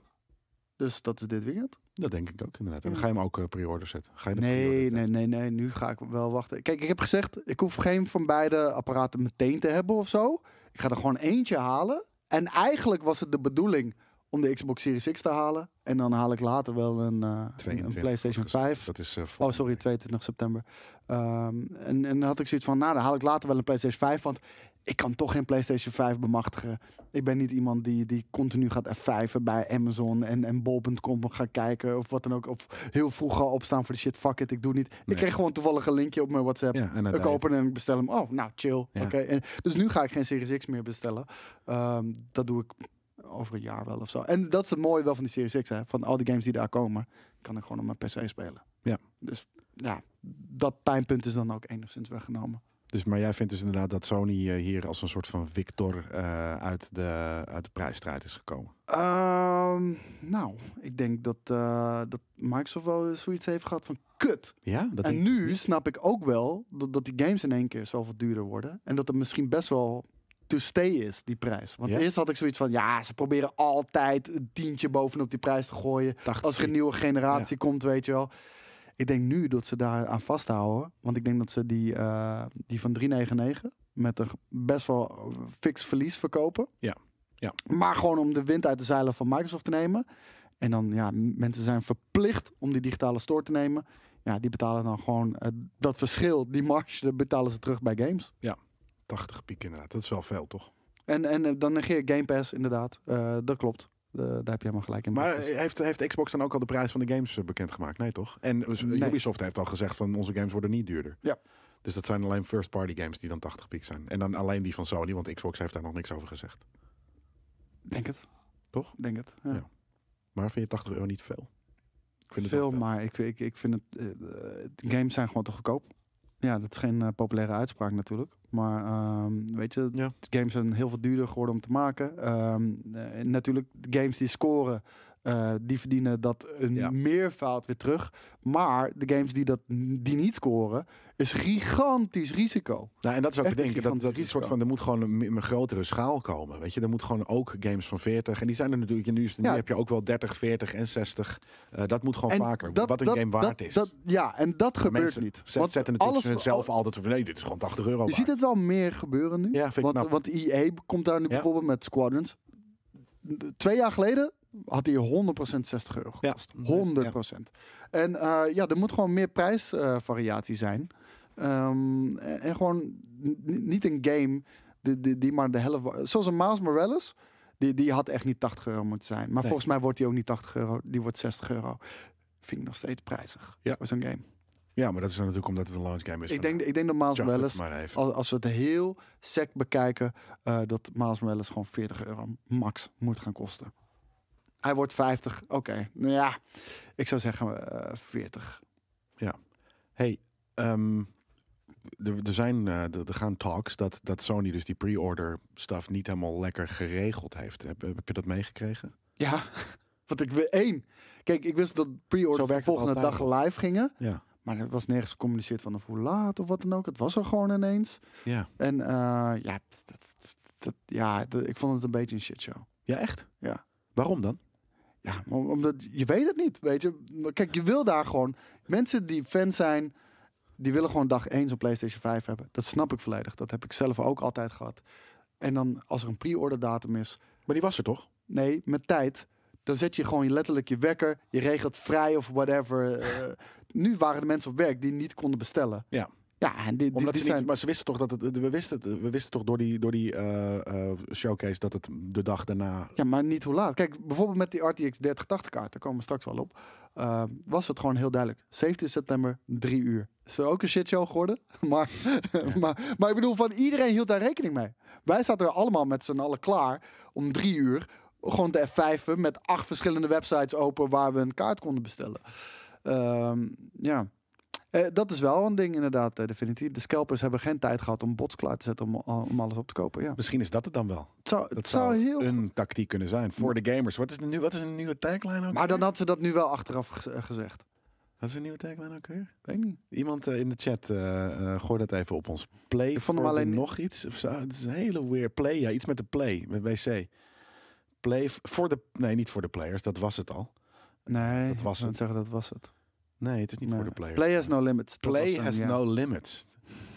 [SPEAKER 2] Dus dat is dit weekend.
[SPEAKER 1] Dat denk ik ook, inderdaad. En
[SPEAKER 2] Ja.
[SPEAKER 1] dan ga je hem ook eh, pre-order zetten. Ga je de pre-order
[SPEAKER 2] Nee,
[SPEAKER 1] zetten?
[SPEAKER 2] nee, nee, nee. Nu ga ik wel wachten. Kijk, ik heb gezegd, ik hoef geen van beide apparaten meteen te hebben of zo. Ik ga er gewoon eentje halen. En eigenlijk was het de bedoeling om de Xbox Series X te halen. En dan haal ik later wel een, eh, een
[SPEAKER 1] 22
[SPEAKER 2] PlayStation
[SPEAKER 1] augustus.
[SPEAKER 2] 5.
[SPEAKER 1] Dat is, eh,
[SPEAKER 2] Oh,
[SPEAKER 1] volgende
[SPEAKER 2] sorry,
[SPEAKER 1] week.
[SPEAKER 2] 22 september. Ehm, en, en dan had ik zoiets van, nou, dan haal ik later wel een PlayStation 5. Want ik kan toch geen PlayStation 5 bemachtigen. Ik ben niet iemand die, die continu gaat F5'en bij Amazon en, en bol.com gaat kijken. Of wat dan ook. Of heel vroeg gaan opstaan voor de shit, fuck it, ik doe niet. Ik
[SPEAKER 1] Nee.
[SPEAKER 2] kreeg gewoon toevallig een linkje op mijn WhatsApp.
[SPEAKER 1] Ja, en
[SPEAKER 2] Ik
[SPEAKER 1] uiteindelijk-
[SPEAKER 2] open en ik bestel hem. Oh, nou, chill.
[SPEAKER 1] Ja.
[SPEAKER 2] Oké. En, dus nu ga ik geen Series X meer bestellen. Ehm, dat doe ik over een jaar wel of zo. En dat is het mooie wel van die Series X. Hè? Van al die games die daar komen, kan ik gewoon op mijn PC spelen.
[SPEAKER 1] Ja.
[SPEAKER 2] Dus ja, dat pijnpunt is dan ook enigszins weggenomen.
[SPEAKER 1] Dus, maar jij vindt dus inderdaad dat Sony eh, hier als een soort van victor eh, uit, de, uit de prijsstrijd is gekomen.
[SPEAKER 2] Ehm, nou, ik denk dat, eh, dat Microsoft wel zoiets heeft gehad van kut.
[SPEAKER 1] Ja, dat
[SPEAKER 2] en
[SPEAKER 1] denk ik dus
[SPEAKER 2] nu
[SPEAKER 1] niet.
[SPEAKER 2] snap ik ook wel dat, dat die games in één keer zoveel duurder worden. En dat het misschien best wel to stay is, die prijs. Want
[SPEAKER 1] Ja.
[SPEAKER 2] eerst had ik zoiets van, ja, ze proberen altijd een tientje bovenop die prijs te gooien.
[SPEAKER 1] 80
[SPEAKER 2] Als er een nieuwe generatie komt, weet je wel. Ik denk nu dat ze daar aan vasthouden. Want ik denk dat ze die, eh, die van 399 met een best wel fix verlies verkopen.
[SPEAKER 1] Ja, ja.
[SPEAKER 2] Maar gewoon om de wind uit de zeilen van Microsoft te nemen. En dan, ja, m- mensen zijn verplicht om die digitale store te nemen. Ja, die betalen dan gewoon eh, dat verschil, die marge, dat betalen ze terug bij games.
[SPEAKER 1] 80 piek inderdaad. Dat is wel veel, toch?
[SPEAKER 2] En, en eh, dan negeer ik Game Pass, inderdaad. Eh, dat klopt. Eh, daar heb je helemaal gelijk in.
[SPEAKER 1] Maar
[SPEAKER 2] Dat is-
[SPEAKER 1] eh, heeft, heeft Xbox dan ook al de prijs van de games eh, bekendgemaakt? Nee, toch? En eh,
[SPEAKER 2] Nee.
[SPEAKER 1] Ubisoft heeft al gezegd van onze games worden niet duurder.
[SPEAKER 2] Ja.
[SPEAKER 1] Dus dat zijn alleen first-party games die dan 80 piek zijn. En dan alleen die van Sony, want Xbox heeft daar nog niks over gezegd.
[SPEAKER 2] Denk het.
[SPEAKER 1] Toch?
[SPEAKER 2] Denk het, ja.
[SPEAKER 1] Ja. Maar vind je 80 euro niet veel? Ik vind het eh, wel
[SPEAKER 2] veel, maar ik, ik, ik vind het. eh, eh, de games zijn gewoon te goedkoop. Ja, dat is geen eh, populaire uitspraak natuurlijk. Maar ehm, weet je,
[SPEAKER 1] Ja.
[SPEAKER 2] de games zijn heel veel duurder geworden om te maken. Ehm, eh, en natuurlijk, de games die scoren, eh, die verdienen dat een
[SPEAKER 1] Ja.
[SPEAKER 2] meervoud weer terug. Maar de games die, dat, die niet scoren, is gigantisch risico.
[SPEAKER 1] Nou, en dat is ook
[SPEAKER 2] Echt
[SPEAKER 1] het ding.
[SPEAKER 2] een
[SPEAKER 1] Dat, dat,
[SPEAKER 2] gigantisch
[SPEAKER 1] die soort
[SPEAKER 2] risico.
[SPEAKER 1] van, er moet gewoon een, een grotere schaal komen. Weet je, er moet gewoon ook games van 40. En die zijn er natuurlijk. En nu, is, nu
[SPEAKER 2] Ja.
[SPEAKER 1] heb je ook wel 30, 40 en 60. Eh, dat moet gewoon
[SPEAKER 2] En
[SPEAKER 1] vaker. wat een
[SPEAKER 2] dat-
[SPEAKER 1] game
[SPEAKER 2] dat-
[SPEAKER 1] waard is.
[SPEAKER 2] Dat, ja, en dat gebeurt
[SPEAKER 1] Mensen
[SPEAKER 2] niet.
[SPEAKER 1] ze- zetten natuurlijk alles, zelf altijd van nee, dit is gewoon 80 euro.
[SPEAKER 2] oh, Je ziet
[SPEAKER 1] waard.
[SPEAKER 2] het wel meer gebeuren nu.
[SPEAKER 1] Ja, vind ik
[SPEAKER 2] Hm? want,
[SPEAKER 1] knap.
[SPEAKER 2] want EA komt daar nu bijvoorbeeld met Squadrons. De- Twee jaar geleden had hij 100% 60 euro
[SPEAKER 1] Ja.
[SPEAKER 2] gekost. 100%. En eh, ja, er moet gewoon meer prijsvariatie zijn. Ehm, en, en gewoon n- n- niet een game die, die, die maar de helft... wa- Zoals een Miles Morales, die, die had echt niet 80 euro moeten zijn. Maar volgens mij wordt die ook niet 80 euro, die wordt 60 euro. Vind ik nog steeds prijzig
[SPEAKER 1] Ja.
[SPEAKER 2] voor zo'n game.
[SPEAKER 1] Ja, maar dat is dan natuurlijk omdat het een launch game is.
[SPEAKER 2] Ik denk, ik denk dat Miles
[SPEAKER 1] Charge het
[SPEAKER 2] Morales
[SPEAKER 1] maar even.
[SPEAKER 2] als, als we het heel sec bekijken, eh, dat Miles Morales gewoon 40 euro max moet gaan kosten. Hij wordt 50, oké. Nou ja, ik zou zeggen eh, 40.
[SPEAKER 1] Hey, ehm, er, er zijn, eh, er er gaan talks dat, dat Sony dus die pre-order stuff niet helemaal lekker geregeld heeft. Heb, heb je dat meegekregen?
[SPEAKER 2] Ja, want ik wil één. Kijk, ik wist dat
[SPEAKER 1] Zo
[SPEAKER 2] pre-orders de
[SPEAKER 1] werkt het
[SPEAKER 2] volgende dag
[SPEAKER 1] altijd.
[SPEAKER 2] live gingen.
[SPEAKER 1] Ja.
[SPEAKER 2] Maar er was nergens gecommuniceerd vanaf hoe laat of wat dan ook. Het was er gewoon ineens.
[SPEAKER 1] Ja.
[SPEAKER 2] En eh, ja, dat, dat- dat- ja, dat- ik vond het een beetje een shitshow.
[SPEAKER 1] Ja, echt?
[SPEAKER 2] Ja.
[SPEAKER 1] Waarom dan?
[SPEAKER 2] Ja, maar omdat je weet het niet, weet je. Maar Kijk, je wil daar gewoon... Mensen die fan zijn, die willen gewoon dag 1 zo'n PlayStation 5 hebben. Dat snap ik volledig. Dat heb ik zelf ook altijd gehad. En dan als er een pre-order datum is...
[SPEAKER 1] Maar die was er toch?
[SPEAKER 2] Nee, met tijd. Dan zet je gewoon letterlijk je wekker. Je regelt vrij of whatever. eh. nu waren de mensen op werk die niet konden bestellen.
[SPEAKER 1] Ja.
[SPEAKER 2] Ja, en die, die,
[SPEAKER 1] Omdat
[SPEAKER 2] die
[SPEAKER 1] ze niet,
[SPEAKER 2] zijn...
[SPEAKER 1] maar ze wisten toch dat het, we wisten, het- we wisten toch door die, door die eh, eh, showcase dat het de dag daarna.
[SPEAKER 2] Ja, maar niet hoe laat. Kijk, bijvoorbeeld met die RTX 3080 kaart, daar komen we straks wel op. eh, was het gewoon heel duidelijk. 17 september, 3 uur. Is er ook een shitshow geworden? maar, maar, maar ik bedoel, van iedereen hield daar rekening mee. Wij zaten er allemaal met z'n allen klaar om 3 uur. Gewoon te F5'en met acht verschillende websites open waar we een kaart konden bestellen. Ehm, ja. Eh, dat is wel een ding inderdaad, eh, definitief. De scalpers hebben geen tijd gehad om bots klaar te zetten om, om alles op te kopen. Ja.
[SPEAKER 1] Misschien is dat het dan wel.
[SPEAKER 2] Het zou,
[SPEAKER 1] Dat
[SPEAKER 2] het zou heel
[SPEAKER 1] een tactiek kunnen zijn voor de gamers. Wat is de, nu, wat is de nieuwe tagline ook?
[SPEAKER 2] Maar dan
[SPEAKER 1] weer?
[SPEAKER 2] had ze dat nu wel achteraf gez- eh, gezegd.
[SPEAKER 1] Wat is de nieuwe tagline ook weer?
[SPEAKER 2] Weet niet.
[SPEAKER 1] Iemand eh, in de chat, eh, eh, gooi dat even op ons. Play
[SPEAKER 2] Ik vond hem
[SPEAKER 1] for the
[SPEAKER 2] alleen niet-
[SPEAKER 1] nog iets. Of zo. Het is een hele weird play. Ja, iets met de play, met wc. Play f- voor de... Nee, niet voor de players. Dat was het al.
[SPEAKER 2] Nee,
[SPEAKER 1] Dat was
[SPEAKER 2] ik wou
[SPEAKER 1] het.
[SPEAKER 2] zeggen dat was het.
[SPEAKER 1] Nee, het is niet
[SPEAKER 2] Nee.
[SPEAKER 1] voor de players.
[SPEAKER 2] Play has no limits. dat was
[SPEAKER 1] Play
[SPEAKER 2] hem,
[SPEAKER 1] has
[SPEAKER 2] ja.
[SPEAKER 1] no limits.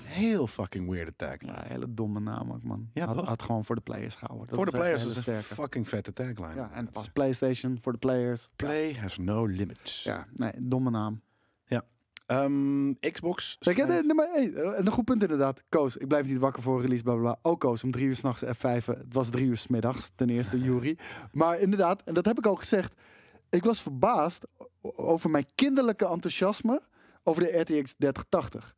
[SPEAKER 1] Heel fucking weird tagline.
[SPEAKER 2] Ja, hele domme naam ook, man.
[SPEAKER 1] Ja,
[SPEAKER 2] had,
[SPEAKER 1] toch?
[SPEAKER 2] had gewoon voor de players gehouden. Dat
[SPEAKER 1] voor de
[SPEAKER 2] was echt
[SPEAKER 1] players is
[SPEAKER 2] een
[SPEAKER 1] een
[SPEAKER 2] hele sterke.
[SPEAKER 1] fucking vette tagline.
[SPEAKER 2] Ja, en
[SPEAKER 1] inderdaad.
[SPEAKER 2] het was PlayStation voor de players.
[SPEAKER 1] Play has no limits.
[SPEAKER 2] Ja, nee, domme naam.
[SPEAKER 1] Ehm, Xbox.
[SPEAKER 2] Zeg, ja,
[SPEAKER 1] schijnt-
[SPEAKER 2] nee, nee, maar, hey, eh, een goed punt inderdaad. Koos, ik blijf niet wakker voor release, bla bla bla. Ook Koos, om drie uur s'nachts F5. Het was drie uur smiddags, ten eerste, Jury. Maar inderdaad, en dat heb ik ook gezegd. Ik was verbaasd o- over mijn kinderlijke enthousiasme over de RTX 3080.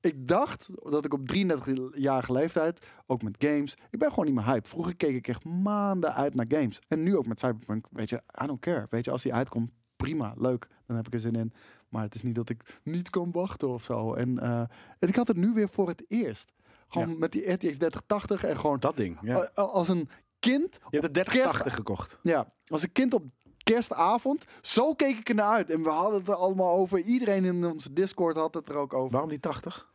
[SPEAKER 2] Ik dacht dat ik op 33-jarige leeftijd, ook met games, ik ben gewoon niet meer hype. Vroeger keek ik echt maanden uit naar games. En nu ook met Cyberpunk, weet je, I don't care. Weet je, als die uitkomt, prima, leuk, dan heb ik er zin in. Maar het is niet dat ik niet kan wachten of zo. En, eh, en ik had het nu weer voor het eerst. Gewoon met die RTX 3080 en gewoon
[SPEAKER 1] Dat ding. Ja.
[SPEAKER 2] a- a- als een kind
[SPEAKER 1] Je hebt de 3080 gekocht.
[SPEAKER 2] ja, als een kind op kerstavond. Zo keek ik ernaar uit. En we hadden het er allemaal over. Iedereen in onze Discord had het er ook over.
[SPEAKER 1] Waarom die 80?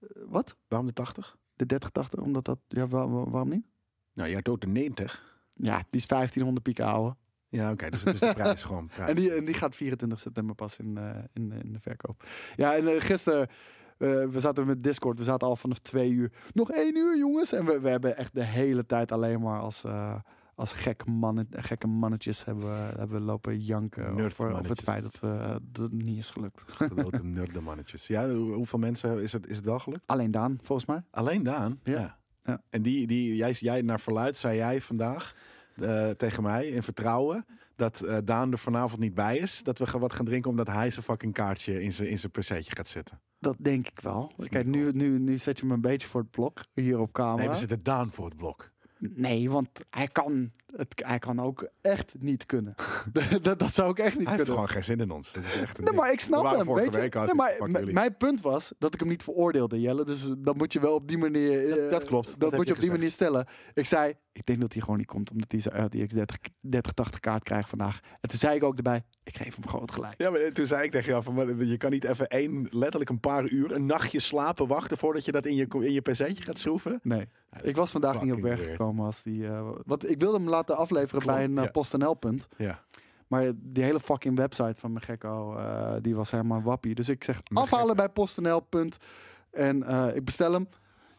[SPEAKER 2] Eh, Wat?
[SPEAKER 1] Waarom de 80?
[SPEAKER 2] De 3080, omdat dat... Ja, wa- wa- waarom niet?
[SPEAKER 1] Nou, jij doet de 90.
[SPEAKER 2] Ja, die is 1500 piek ouwe.
[SPEAKER 1] Ja, oké. dus het is de prijs gewoon. Prijs.
[SPEAKER 2] En die, en die gaat 24 september pas in, eh, in, in de verkoop. Ja, en eh, gisteren... eh, we zaten met Discord, we zaten al vanaf twee uur. Nog één uur, jongens. En we, we hebben echt de hele tijd alleen maar als, eh, als gek mannen, gekke mannetjes hebben, we- hebben we lopen janken over, over het
[SPEAKER 1] Nerdmannetjes.
[SPEAKER 2] feit dat, we, eh, dat het niet is gelukt.
[SPEAKER 1] Grote nerdemannetjes. Ja, hoe- hoeveel mensen is het, is het wel gelukt?
[SPEAKER 2] Alleen Daan, volgens mij.
[SPEAKER 1] Alleen Daan.
[SPEAKER 2] Ja. Ja.
[SPEAKER 1] En die, die, jij, jij naar verluid zei jij vandaag eh, tegen mij in vertrouwen dat eh, Daan er vanavond niet bij is. Dat we gaan wat gaan drinken omdat hij zijn fucking kaartje in zijn, in zijn perceetje gaat zetten.
[SPEAKER 2] Dat denk ik wel.
[SPEAKER 1] niet
[SPEAKER 2] Kijk, nu, nu, nu zet je me een beetje voor het blok hier op
[SPEAKER 1] Nee,
[SPEAKER 2] camera.
[SPEAKER 1] we
[SPEAKER 2] Nee,
[SPEAKER 1] zitten Daan voor het blok.
[SPEAKER 2] want hij kan, het, hij kan ook echt niet kunnen. dat, dat zou ik echt niet
[SPEAKER 1] Hij heeft
[SPEAKER 2] kunnen.
[SPEAKER 1] gewoon geen zin in ons. Dat is echt een
[SPEAKER 2] Nee,
[SPEAKER 1] ding.
[SPEAKER 2] maar ik
[SPEAKER 1] We
[SPEAKER 2] snap
[SPEAKER 1] waren
[SPEAKER 2] hem,
[SPEAKER 1] vorige
[SPEAKER 2] weet je.
[SPEAKER 1] week al,
[SPEAKER 2] Nee, maar
[SPEAKER 1] fuck
[SPEAKER 2] m-
[SPEAKER 1] jullie.
[SPEAKER 2] mijn punt was dat ik hem niet veroordeelde, Jelle. Dus eh, dat moet je wel op die manier... eh,
[SPEAKER 1] Dat- dat klopt, dat
[SPEAKER 2] Dat,
[SPEAKER 1] heb
[SPEAKER 2] moet
[SPEAKER 1] je
[SPEAKER 2] je op die
[SPEAKER 1] gezegd.
[SPEAKER 2] manier stellen. Ik zei, ik denk dat hij gewoon niet komt, omdat hij zijn RTX 30, 3080 kaart krijgt vandaag. En toen zei ik ook erbij, ik geef hem gewoon gelijk.
[SPEAKER 1] Ja, maar toen zei ik tegen jou, van, maar je kan niet even één, letterlijk een paar uur, een nachtje slapen wachten voordat je dat in je, in je perceetje gaat schroeven.
[SPEAKER 2] Nee.
[SPEAKER 1] dat
[SPEAKER 2] ik was vandaag niet op
[SPEAKER 1] fucking
[SPEAKER 2] weg
[SPEAKER 1] weird.
[SPEAKER 2] gekomen als die. eh, want ik wilde hem laten afleveren bij
[SPEAKER 1] Klopt,
[SPEAKER 2] een eh,
[SPEAKER 1] ja.
[SPEAKER 2] PostNL punt.
[SPEAKER 1] Ja.
[SPEAKER 2] Maar die hele fucking website van mijn gekko, eh, die was helemaal wappie. Dus ik zeg
[SPEAKER 1] Mijn
[SPEAKER 2] afhalen bij PostNL punt. En eh, ik bestel hem.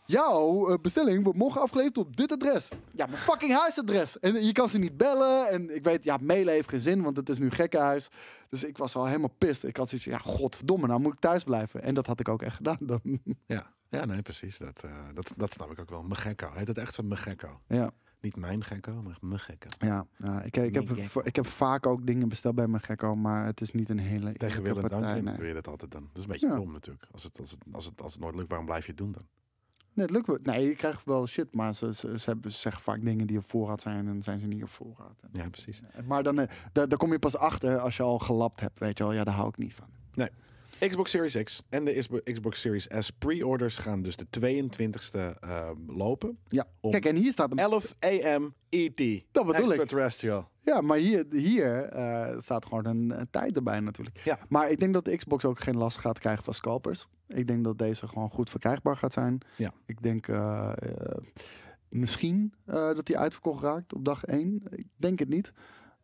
[SPEAKER 2] Jouw eh, bestelling wordt morgen afgeleverd op dit adres. Ja, mijn fucking huisadres. En je kan ze niet bellen. En ik weet, ja, mailen heeft geen zin, want het is nu gekkenhuis. Dus ik was al helemaal pist. Ik had zoiets van, ja, godverdomme, nou moet ik thuis blijven. En dat had ik ook echt gedaan dan.
[SPEAKER 1] Ja, ja nee, precies. Dat, eh, dat, dat snap ik ook wel. Mijn gekko. Heet het echt zo'n mijn gekko?
[SPEAKER 2] ja.
[SPEAKER 1] Niet mijn gekko, maar echt mijn gekko.
[SPEAKER 2] Ja, ja, ik, ik,
[SPEAKER 1] Mijn
[SPEAKER 2] heb,
[SPEAKER 1] gekko.
[SPEAKER 2] ik heb vaak ook dingen besteld bij mijn gekko, maar het is niet een hele eerlijke
[SPEAKER 1] Tegen wil en dank
[SPEAKER 2] partij,
[SPEAKER 1] in
[SPEAKER 2] nee.
[SPEAKER 1] doe je dat altijd dan. Dat is een beetje
[SPEAKER 2] Ja.
[SPEAKER 1] dom natuurlijk. Als het, als, het, als, het, als het nooit lukt, waarom blijf je het doen dan?
[SPEAKER 2] Nee, het lukt wel. Nee, je krijgt wel shit, maar ze, ze, ze hebben, ze zeggen vaak dingen die op voorraad zijn en zijn ze niet op voorraad.
[SPEAKER 1] Ja, precies.
[SPEAKER 2] Maar dan, eh, daar, daar kom je pas achter als je al gelapt hebt, weet je wel. Ja, daar hou ik niet van.
[SPEAKER 1] Xbox Series X en de Isbo- Xbox Series S pre-orders gaan dus de 22e eh, lopen.
[SPEAKER 2] Ja,
[SPEAKER 1] Om-
[SPEAKER 2] kijk, en hier staat een...
[SPEAKER 1] 11 a.m. ET.
[SPEAKER 2] Dat bedoel ik.
[SPEAKER 1] E Extraterrestrial.
[SPEAKER 2] Ja, maar hier, hier eh, staat gewoon een, eh, tijd erbij natuurlijk.
[SPEAKER 1] Ja.
[SPEAKER 2] Maar ik denk dat de Xbox ook geen last gaat krijgen van scalpers. Ik denk dat deze gewoon goed verkrijgbaar gaat zijn.
[SPEAKER 1] Ja.
[SPEAKER 2] Ik denk eh, eh, misschien eh, dat die uitverkocht raakt op dag 1. Ik denk het niet.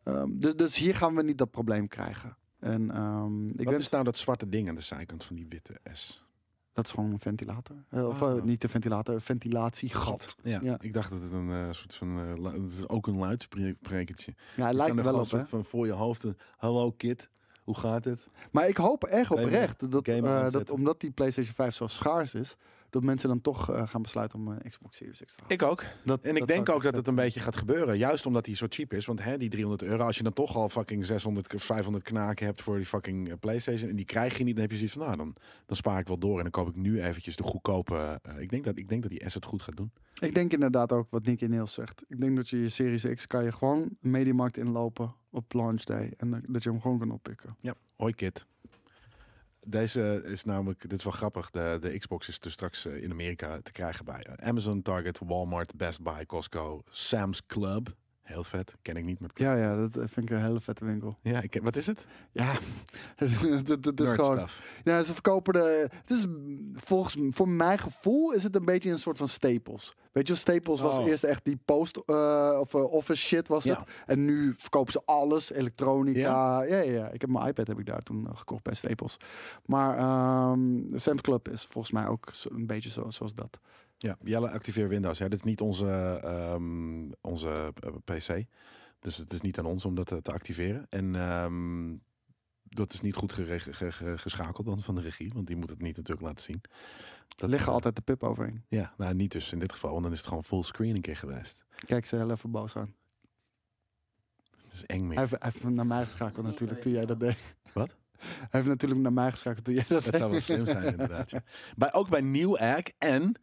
[SPEAKER 2] Ehm, dus, dus hier gaan we niet dat probleem krijgen. En ehm, ik
[SPEAKER 1] Wat
[SPEAKER 2] wens
[SPEAKER 1] is nou dat zwarte ding aan de zijkant van die witte S?
[SPEAKER 2] dat is gewoon een ventilator. Eh, of
[SPEAKER 1] Ah.
[SPEAKER 2] eh, niet de ventilator, een ventilatiegat.
[SPEAKER 1] Ja,
[SPEAKER 2] Ja.
[SPEAKER 1] ik dacht dat het een eh, soort van... eh, lu- het is ook een luidsprekertje.
[SPEAKER 2] Ja, hij
[SPEAKER 1] Je
[SPEAKER 2] lijkt
[SPEAKER 1] kan er
[SPEAKER 2] er
[SPEAKER 1] gewoon
[SPEAKER 2] wel op, hè?
[SPEAKER 1] soort van voor je hoofd een... Hallo kid, hoe gaat het?
[SPEAKER 2] Maar ik hoop echt
[SPEAKER 1] Gamer-
[SPEAKER 2] oprecht dat,
[SPEAKER 1] gamer
[SPEAKER 2] eh, dat
[SPEAKER 1] aanzetten.
[SPEAKER 2] omdat die PlayStation 5 zo schaars is, dat mensen dan toch eh, gaan besluiten om een Xbox Series X te halen.
[SPEAKER 1] Ik ook.
[SPEAKER 2] Dat-
[SPEAKER 1] En ik
[SPEAKER 2] zou
[SPEAKER 1] denk ook dat
[SPEAKER 2] echt
[SPEAKER 1] het
[SPEAKER 2] vet
[SPEAKER 1] een
[SPEAKER 2] vinden.
[SPEAKER 1] beetje gaat gebeuren. Juist omdat die zo cheap is. Want hè, die 300 euro, als je dan toch al fucking 600, k- 500 knaken hebt voor die fucking eh, PlayStation. En die krijg je niet, dan heb je zoiets van, nou, dan, dan spaar ik wel door. En dan koop ik nu eventjes de goedkope. eh, ik, denk dat, ik denk dat die S het goed gaat doen.
[SPEAKER 2] Ik denk inderdaad ook wat Nicky Niels zegt. Ik denk dat je je Series X kan je gewoon een mediamarkt inlopen op launch day. En dat- dat je hem gewoon kan oppikken.
[SPEAKER 1] Ja, hoi kid. Deze is namelijk, dit is wel grappig, de, de Xbox is dus straks eh, in Amerika te krijgen bij eh, Amazon, Target, Walmart, Best Buy, Costco, Sam's Club. Heel vet, ken ik niet. Maar het-
[SPEAKER 2] Ja, ja, dat eh, vind ik een hele vette winkel.
[SPEAKER 1] ja, ik ken- wat is het?
[SPEAKER 2] Ja, het, het- het is
[SPEAKER 1] Nerd
[SPEAKER 2] gewoon...
[SPEAKER 1] stuff.
[SPEAKER 2] Ja, ze verkopen de... Het is mm, volgens... m- Voor mijn gevoel is het een beetje een soort van Staples. Weet je, Staples was
[SPEAKER 1] Oh.
[SPEAKER 2] eerst echt die post... eh, of eh, office shit was
[SPEAKER 1] Ja.
[SPEAKER 2] het. En nu verkopen ze alles. Elektronica. Ja, ja, ja. Ik heb mijn iPad heb ik daar toen eh, gekocht bij Staples. Maar ehm, de Sam's Club is volgens mij ook zo- een beetje zo, zoals dat.
[SPEAKER 1] Ja, Jelle, activeer Windows. Ja, dit is niet onze, ehm, onze eh, PC. Dus het is niet aan ons om dat eh, te activeren. En ehm, dat is niet goed gereg- ge- ge- geschakeld dan van de regie, want die moet het niet natuurlijk laten zien.
[SPEAKER 2] Er
[SPEAKER 1] Dat,
[SPEAKER 2] liggen
[SPEAKER 1] eh,
[SPEAKER 2] altijd de pip overheen.
[SPEAKER 1] Ja, nou niet dus in dit geval, want dan is het gewoon fullscreen een keer geweest.
[SPEAKER 2] Kijk ze heel even boos aan.
[SPEAKER 1] Dat is eng meer.
[SPEAKER 2] Hij heeft, hij heeft naar mij geschakeld natuurlijk toen jij dat deed.
[SPEAKER 1] Wat?
[SPEAKER 2] Hij heeft natuurlijk naar mij geschakeld toen jij dat deed.
[SPEAKER 1] Dat zou wel slim zijn inderdaad. ja. Bij, ook bij New Ag en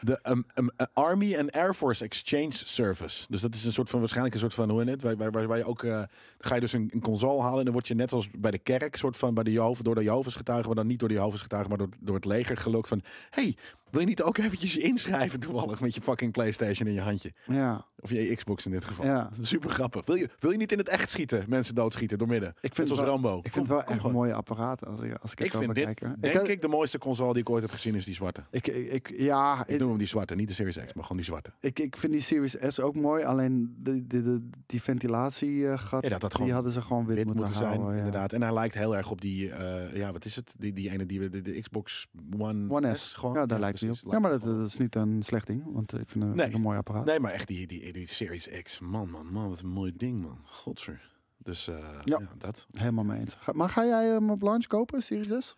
[SPEAKER 1] de ehm, ehm, eh, Army and Air Force Exchange Service. Dus dat is een soort van, waarschijnlijk een soort van, hoe heet het, waar, waar, waar, waar je ook, eh, dan ga je dus een, een console halen en dan word je net als bij de kerk, soort van, bij de Jehovah, door de Jehovah's getuigen, maar dan niet door de Jehovah's getuigen, maar door, door het leger gelokt van, hey, wil je niet ook eventjes je inschrijven toevallig met je fucking Playstation in je handje?
[SPEAKER 2] Ja,
[SPEAKER 1] Of je Xbox in dit geval.
[SPEAKER 2] ja.
[SPEAKER 1] Super grappig. Wil je, wil je niet in het echt schieten, mensen doodschieten door midden?
[SPEAKER 2] Ik
[SPEAKER 1] Net
[SPEAKER 2] vind,
[SPEAKER 1] als
[SPEAKER 2] wel,
[SPEAKER 1] Rambo.
[SPEAKER 2] ik vind het wel echt mooie apparaten als ik, als ik,
[SPEAKER 1] Ik
[SPEAKER 2] het
[SPEAKER 1] vind
[SPEAKER 2] over
[SPEAKER 1] dit,
[SPEAKER 2] kijk. hoor.
[SPEAKER 1] Denk
[SPEAKER 2] ik,
[SPEAKER 1] ik, de mooiste console die ik ooit heb gezien is die zwarte.
[SPEAKER 2] Ik, ik, ik- ja,
[SPEAKER 1] Ik
[SPEAKER 2] ik,
[SPEAKER 1] noem hem die zwarte, niet de Series X, maar gewoon die zwarte.
[SPEAKER 2] ik, ik vind die Series S ook mooi. Alleen de, de, de- die ventilatie eh gat,
[SPEAKER 1] Ja, dat had
[SPEAKER 2] die
[SPEAKER 1] gewoon
[SPEAKER 2] hadden ze gewoon wit,
[SPEAKER 1] wit moeten, zijn,
[SPEAKER 2] houden, ja.
[SPEAKER 1] inderdaad. En hij lijkt heel erg op die, eh, ja, wat is het? Die, die ene die we, de, de Xbox One,
[SPEAKER 2] One S,
[SPEAKER 1] gewoon.
[SPEAKER 2] ja, daar lijkt hij op.
[SPEAKER 1] precies,
[SPEAKER 2] Ja, maar dat,
[SPEAKER 1] gewoon
[SPEAKER 2] dat is niet een slecht ding, want ik vind het
[SPEAKER 1] Nee.
[SPEAKER 2] een mooi apparaat.
[SPEAKER 1] Nee, maar echt die, die, die Series X. Man, man, man, wat een mooi ding, man. Godser. Dus eh,
[SPEAKER 2] Ja.
[SPEAKER 1] ja. dat.
[SPEAKER 2] Helemaal mee eens. Ga- maar ga jij hem op launch kopen, Series S?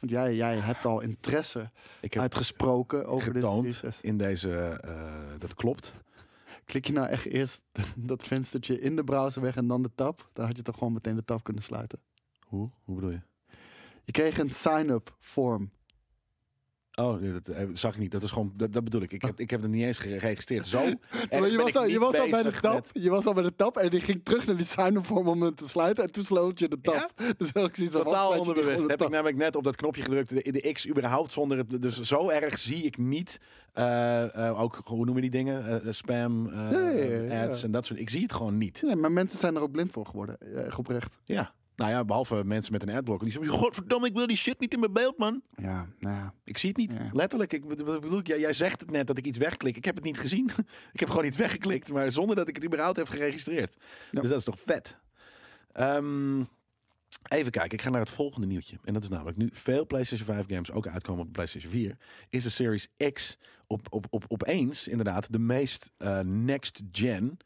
[SPEAKER 2] Want jij, jij hebt al interesse
[SPEAKER 1] Ik heb
[SPEAKER 2] uitgesproken over dit
[SPEAKER 1] getoond.
[SPEAKER 2] Series S.
[SPEAKER 1] in deze, eh, dat klopt.
[SPEAKER 2] Klik je nou echt eerst dat venstertje in de browser weg en dan de tab? Dan had je toch gewoon meteen de tab kunnen sluiten.
[SPEAKER 1] Hoe? Hoe bedoel je?
[SPEAKER 2] Je kreeg een sign-up form.
[SPEAKER 1] Oh, nee, dat eh, zag ik niet. Dat is gewoon, dat, dat bedoel ik. Ik heb, ik heb het niet eens geregistreerd. Zo. erg
[SPEAKER 2] Ah. Maar
[SPEAKER 1] ben
[SPEAKER 2] je was,
[SPEAKER 1] ik
[SPEAKER 2] al, je
[SPEAKER 1] niet
[SPEAKER 2] was al bij de
[SPEAKER 1] bezig
[SPEAKER 2] tab.
[SPEAKER 1] met-
[SPEAKER 2] Je was al bij de tab en die ging terug naar die sign-up form om hem te sluiten. En toen sloot je de tab. Dus had ik zoiets van, wat
[SPEAKER 1] Totaal
[SPEAKER 2] sluit je die
[SPEAKER 1] onderbewust.
[SPEAKER 2] gewoon de
[SPEAKER 1] Heb ik
[SPEAKER 2] tab?
[SPEAKER 1] namelijk net op dat knopje gedrukt. De, de X überhaupt zonder het. Dus zo erg zie ik niet. eh, eh, ook hoe noemen die dingen? Eh, eh, spam, eh,
[SPEAKER 2] Ja, ja, ja,
[SPEAKER 1] ads
[SPEAKER 2] ja.
[SPEAKER 1] en dat soort. Ik zie het gewoon niet.
[SPEAKER 2] Nee, maar mensen zijn er ook blind voor geworden. eh, Echt oprecht.
[SPEAKER 1] Ja. Nou ja, behalve mensen met een adblock. Die zeggen: Godverdomme, ik wil die shit niet in mijn beeld, man.
[SPEAKER 2] Ja, nou ja.
[SPEAKER 1] Ik zie het niet.
[SPEAKER 2] Ja.
[SPEAKER 1] Letterlijk. Ik bedo- bedo- bedoel, jij, jij zegt het net dat ik iets wegklik. Ik heb het niet gezien. ik heb gewoon iets weggeklikt, maar zonder dat ik het überhaupt heb geregistreerd.
[SPEAKER 2] Ja.
[SPEAKER 1] Dus dat is toch vet. Ehm, even kijken. Ik ga naar het volgende nieuwtje. En dat is namelijk nu veel PlayStation 5 games ook uitkomen op de PlayStation 4. Is de Series X op, op, op, opeens inderdaad de meest eh, next-gen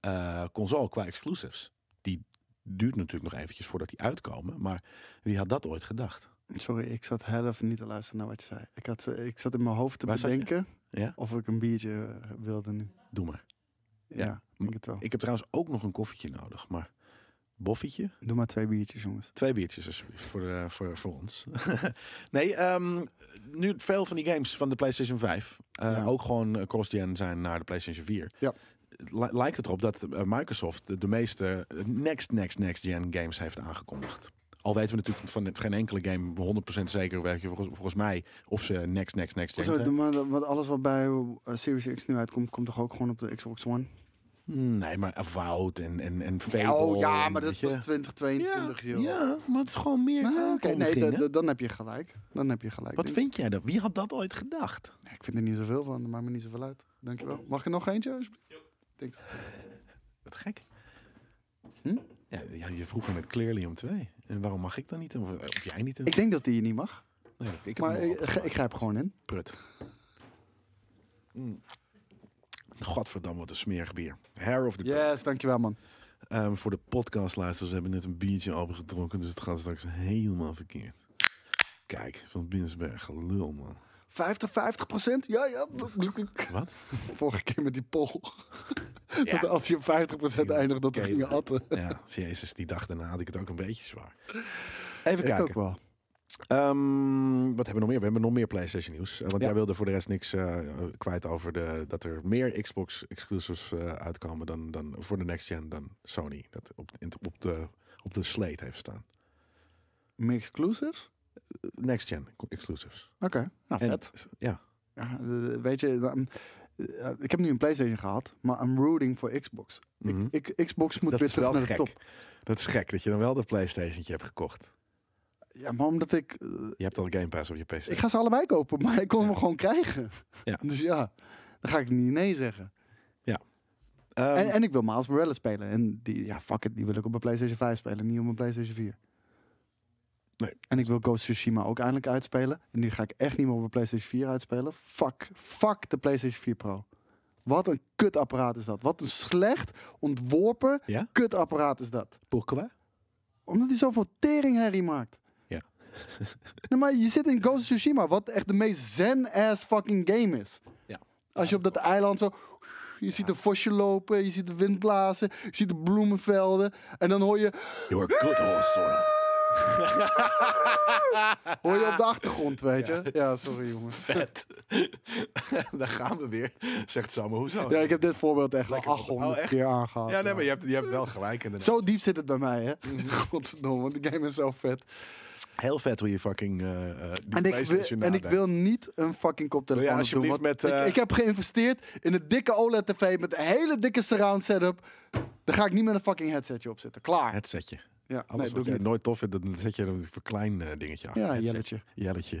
[SPEAKER 1] eh, console qua exclusives. Die duurt natuurlijk nog eventjes voordat die uitkomen. Maar wie had dat ooit gedacht?
[SPEAKER 2] Sorry, ik zat heel even niet te luisteren naar wat je zei. Ik, had, eh, ik zat in mijn hoofd te
[SPEAKER 1] Waar zat je?
[SPEAKER 2] bedenken
[SPEAKER 1] Ja.
[SPEAKER 2] of ik een biertje eh, wilde nu.
[SPEAKER 1] Doe maar.
[SPEAKER 2] Ja,
[SPEAKER 1] Ja.
[SPEAKER 2] ik denk het wel.
[SPEAKER 1] Ik heb trouwens ook nog een koffietje nodig, maar boffietje?
[SPEAKER 2] Doe maar twee biertjes, jongens.
[SPEAKER 1] Twee biertjes alsjeblieft voor, eh, voor, voor ons. nee, ehm, nu veel van die games van de PlayStation 5 eh,
[SPEAKER 2] Ja.
[SPEAKER 1] ook gewoon eh, cross-gen zijn naar de PlayStation 4.
[SPEAKER 2] Ja.
[SPEAKER 1] Li- lijkt het erop dat eh, Microsoft de, de meeste eh, next, next, next-gen games heeft aangekondigd. Al weten we natuurlijk van geen enkele game 100% zeker, weet je, volgens, volgens mij, of ze next, next, next-gen
[SPEAKER 2] Zo,
[SPEAKER 1] zijn.
[SPEAKER 2] doe maar, dat- want alles wat bij eh, Series X nu uitkomt, komt toch ook gewoon op de Xbox One?
[SPEAKER 1] Hmm, Nee, maar Avowed en, en, en Fable.
[SPEAKER 2] oh ja,
[SPEAKER 1] en
[SPEAKER 2] maar dat
[SPEAKER 1] weet je.
[SPEAKER 2] was 2022, joh.
[SPEAKER 1] ja, maar het is gewoon meer
[SPEAKER 2] Nou, oké, nee,
[SPEAKER 1] aankondigingen.
[SPEAKER 2] da- da- dan heb je gelijk. Dan heb je gelijk.
[SPEAKER 1] Wat
[SPEAKER 2] denk
[SPEAKER 1] vind jij dat? Wie had dat ooit gedacht?
[SPEAKER 2] ik. Ik vind er niet zoveel van, dat Oh. maakt me niet zoveel uit. Dankjewel. Mag ik er nog eentje, alsjeblieft?
[SPEAKER 1] Wat gek.
[SPEAKER 2] Hm?
[SPEAKER 1] Ja, ja, je vroeg net clearly om twee. En waarom mag ik dan niet? Of, eh, of jij niet?
[SPEAKER 2] Ik denk dat die je niet mag.
[SPEAKER 1] nee, ik heb
[SPEAKER 2] Maar eh,
[SPEAKER 1] hem al
[SPEAKER 2] ik, ik
[SPEAKER 1] opgemaakt.
[SPEAKER 2] grijp gewoon in.
[SPEAKER 1] Prut. Mm. Godverdamme, wat een smerig bier. Hair of the Dog.
[SPEAKER 2] Yes, dankjewel man.
[SPEAKER 1] Ehm, voor de podcastluisteraars hebben we net een biertje opengedronken, dus het gaat straks helemaal verkeerd. Kijk, van Binsberg, lul man.
[SPEAKER 2] 50, 50 procent? Ja, ja.
[SPEAKER 1] Wat?
[SPEAKER 2] Vorige keer met die poll.
[SPEAKER 1] Ja.
[SPEAKER 2] Dat als je op 50 procent eindigt, dat we
[SPEAKER 1] Oké,
[SPEAKER 2] gingen
[SPEAKER 1] maar-
[SPEAKER 2] atten.
[SPEAKER 1] Ja, jezus, die dag daarna had ik het ook een beetje zwaar. Even
[SPEAKER 2] Ik
[SPEAKER 1] kijken.
[SPEAKER 2] ook wel.
[SPEAKER 1] Ehm, wat hebben we nog meer? We hebben nog meer PlayStation nieuws. Eh, want
[SPEAKER 2] Ja.
[SPEAKER 1] jij wilde voor de rest niks eh, kwijt over de, dat er meer Xbox exclusives eh, uitkomen dan, dan voor de next gen dan Sony. Dat op, in- op, de, op de slate heeft staan.
[SPEAKER 2] Meer exclusives?
[SPEAKER 1] Next gen exclusives.
[SPEAKER 2] Oké, nou
[SPEAKER 1] En-
[SPEAKER 2] vet.
[SPEAKER 1] Ja.
[SPEAKER 2] Ja, eh, weet je, dan- eh, ik heb nu een PlayStation gehad, maar I'm rooting voor Xbox.
[SPEAKER 1] Mhm.
[SPEAKER 2] Ik, ik, Xbox moet
[SPEAKER 1] dat
[SPEAKER 2] weer
[SPEAKER 1] is
[SPEAKER 2] terug
[SPEAKER 1] wel
[SPEAKER 2] naar
[SPEAKER 1] gek.
[SPEAKER 2] de top.
[SPEAKER 1] Dat is gek dat je dan wel de PlayStation hebt gekocht.
[SPEAKER 2] Ja, maar omdat ik... eh,
[SPEAKER 1] Je hebt al Game Pass op je PC.
[SPEAKER 2] ik ga ze allebei kopen, maar ik kon
[SPEAKER 1] Ja.
[SPEAKER 2] hem gewoon krijgen.
[SPEAKER 1] Ja.
[SPEAKER 2] Dus ja, dan ga ik niet nee zeggen.
[SPEAKER 1] Ehm,
[SPEAKER 2] en, en ik wil Miles Morales spelen. En die, ja, fuck it, die wil ik op mijn PlayStation 5 spelen, niet op mijn PlayStation 4.
[SPEAKER 1] Nee.
[SPEAKER 2] En ik wil Ghost of Tsushima ook eindelijk uitspelen. En nu ga ik echt niet meer op mijn PlayStation 4 uitspelen. Fuck, fuck de PlayStation 4 Pro. Wat een kutapparaat is dat. Wat een slecht ontworpen
[SPEAKER 1] Ja?
[SPEAKER 2] kutapparaat is dat.
[SPEAKER 1] Pourquoi?
[SPEAKER 2] Omdat hij zoveel teringherrie maakt.
[SPEAKER 1] Ja.
[SPEAKER 2] nee, maar je zit in Ghost of Tsushima, wat echt de meest zen-ass fucking game is.
[SPEAKER 1] Ja.
[SPEAKER 2] Als je op dat eiland zo... Je ziet een vosje lopen, je ziet de wind blazen, je ziet de bloemenvelden. En dan hoor je,
[SPEAKER 1] Your good horse, Sora.
[SPEAKER 2] hoor je op de achtergrond, weet je. Ja, sorry jongens.
[SPEAKER 1] Vet. Daar gaan we weer. Zegt Samu, hoezo?
[SPEAKER 2] Ja, ik heb dit voorbeeld echt
[SPEAKER 1] Oh, Lekker
[SPEAKER 2] al
[SPEAKER 1] op-
[SPEAKER 2] 800
[SPEAKER 1] Oh, echt?
[SPEAKER 2] keer aangehaald.
[SPEAKER 1] Ja, nee, maar je Mhm. hebt, je hebt wel gelijk. inderdaad.
[SPEAKER 2] Zo diep zit het bij mij, hè. Godverdomme, want die game is zo vet.
[SPEAKER 1] Heel vet hoe je fucking eh eh, die
[SPEAKER 2] En ik, wil,
[SPEAKER 1] PlayStation
[SPEAKER 2] en ik
[SPEAKER 1] nadenkt.
[SPEAKER 2] wil niet een fucking koptelefoon
[SPEAKER 1] Wil je
[SPEAKER 2] op doen.
[SPEAKER 1] alsjeblieft met,
[SPEAKER 2] Want ik,
[SPEAKER 1] eh,
[SPEAKER 2] ik heb geïnvesteerd in een dikke E OLED-tv met een hele dikke surround setup. Daar ga ik niet met een fucking headsetje op zitten. Klaar.
[SPEAKER 1] Het setje.
[SPEAKER 2] Ja,
[SPEAKER 1] Alles
[SPEAKER 2] nee, doe
[SPEAKER 1] wat
[SPEAKER 2] ik
[SPEAKER 1] jij
[SPEAKER 2] niet.
[SPEAKER 1] nooit tof vindt, dan zet je een verklein eh, dingetje achter.
[SPEAKER 2] Ja,
[SPEAKER 1] Headset. Jelletje.
[SPEAKER 2] jelletje.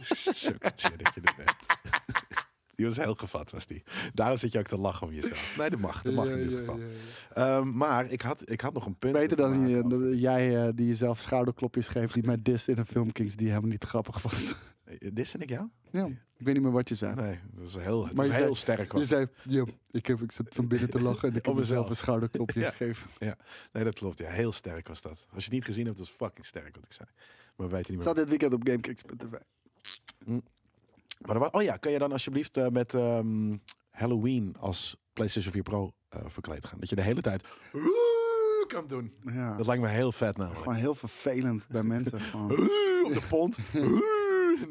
[SPEAKER 1] Sukkertje dat je dat bent. Die was heel gevat, was die. Daarom zit je ook te lachen om jezelf. Nee, dat mag. Dat mag in ieder geval. Ehm, maar ik had, ik had nog een punt.
[SPEAKER 2] Beter
[SPEAKER 1] te
[SPEAKER 2] dan
[SPEAKER 1] maken
[SPEAKER 2] je-
[SPEAKER 1] over-
[SPEAKER 2] dat jij eh, die jezelf schouderklopjes geeft die mij dist in een filmkings die helemaal niet grappig was.
[SPEAKER 1] Eh, Dit en ik jou?
[SPEAKER 2] ja, ik weet niet meer wat je zei.
[SPEAKER 1] Nee, dat is heel, het
[SPEAKER 2] Maar
[SPEAKER 1] was
[SPEAKER 2] je
[SPEAKER 1] heel
[SPEAKER 2] zei-
[SPEAKER 1] sterk.
[SPEAKER 2] Je
[SPEAKER 1] Was.
[SPEAKER 2] zei, "Ja, ik, heb, ik zat van binnen te lachen en ik
[SPEAKER 1] Om
[SPEAKER 2] heb mezelf
[SPEAKER 1] mezelf.
[SPEAKER 2] een schouderklopje
[SPEAKER 1] Ja.
[SPEAKER 2] gegeven.
[SPEAKER 1] Nee, dat klopt. Ja, heel sterk was dat. Als je het niet gezien hebt, was fucking sterk wat ik zei. Maar we weten niet meer.
[SPEAKER 2] Staat dit weekend op GameKings.tv.
[SPEAKER 1] Maar er wa- oh ja, kun je dan alsjeblieft eh, met ehm, Halloween als PlayStation 4 Pro eh, verkleed gaan? Dat je de hele tijd "Oeh" kan doen.
[SPEAKER 2] Ja.
[SPEAKER 1] Dat lijkt me heel vet namelijk.
[SPEAKER 2] Gewoon heel vervelend bij mensen. Gewoon.
[SPEAKER 1] Oeh, op de pont. Oeh,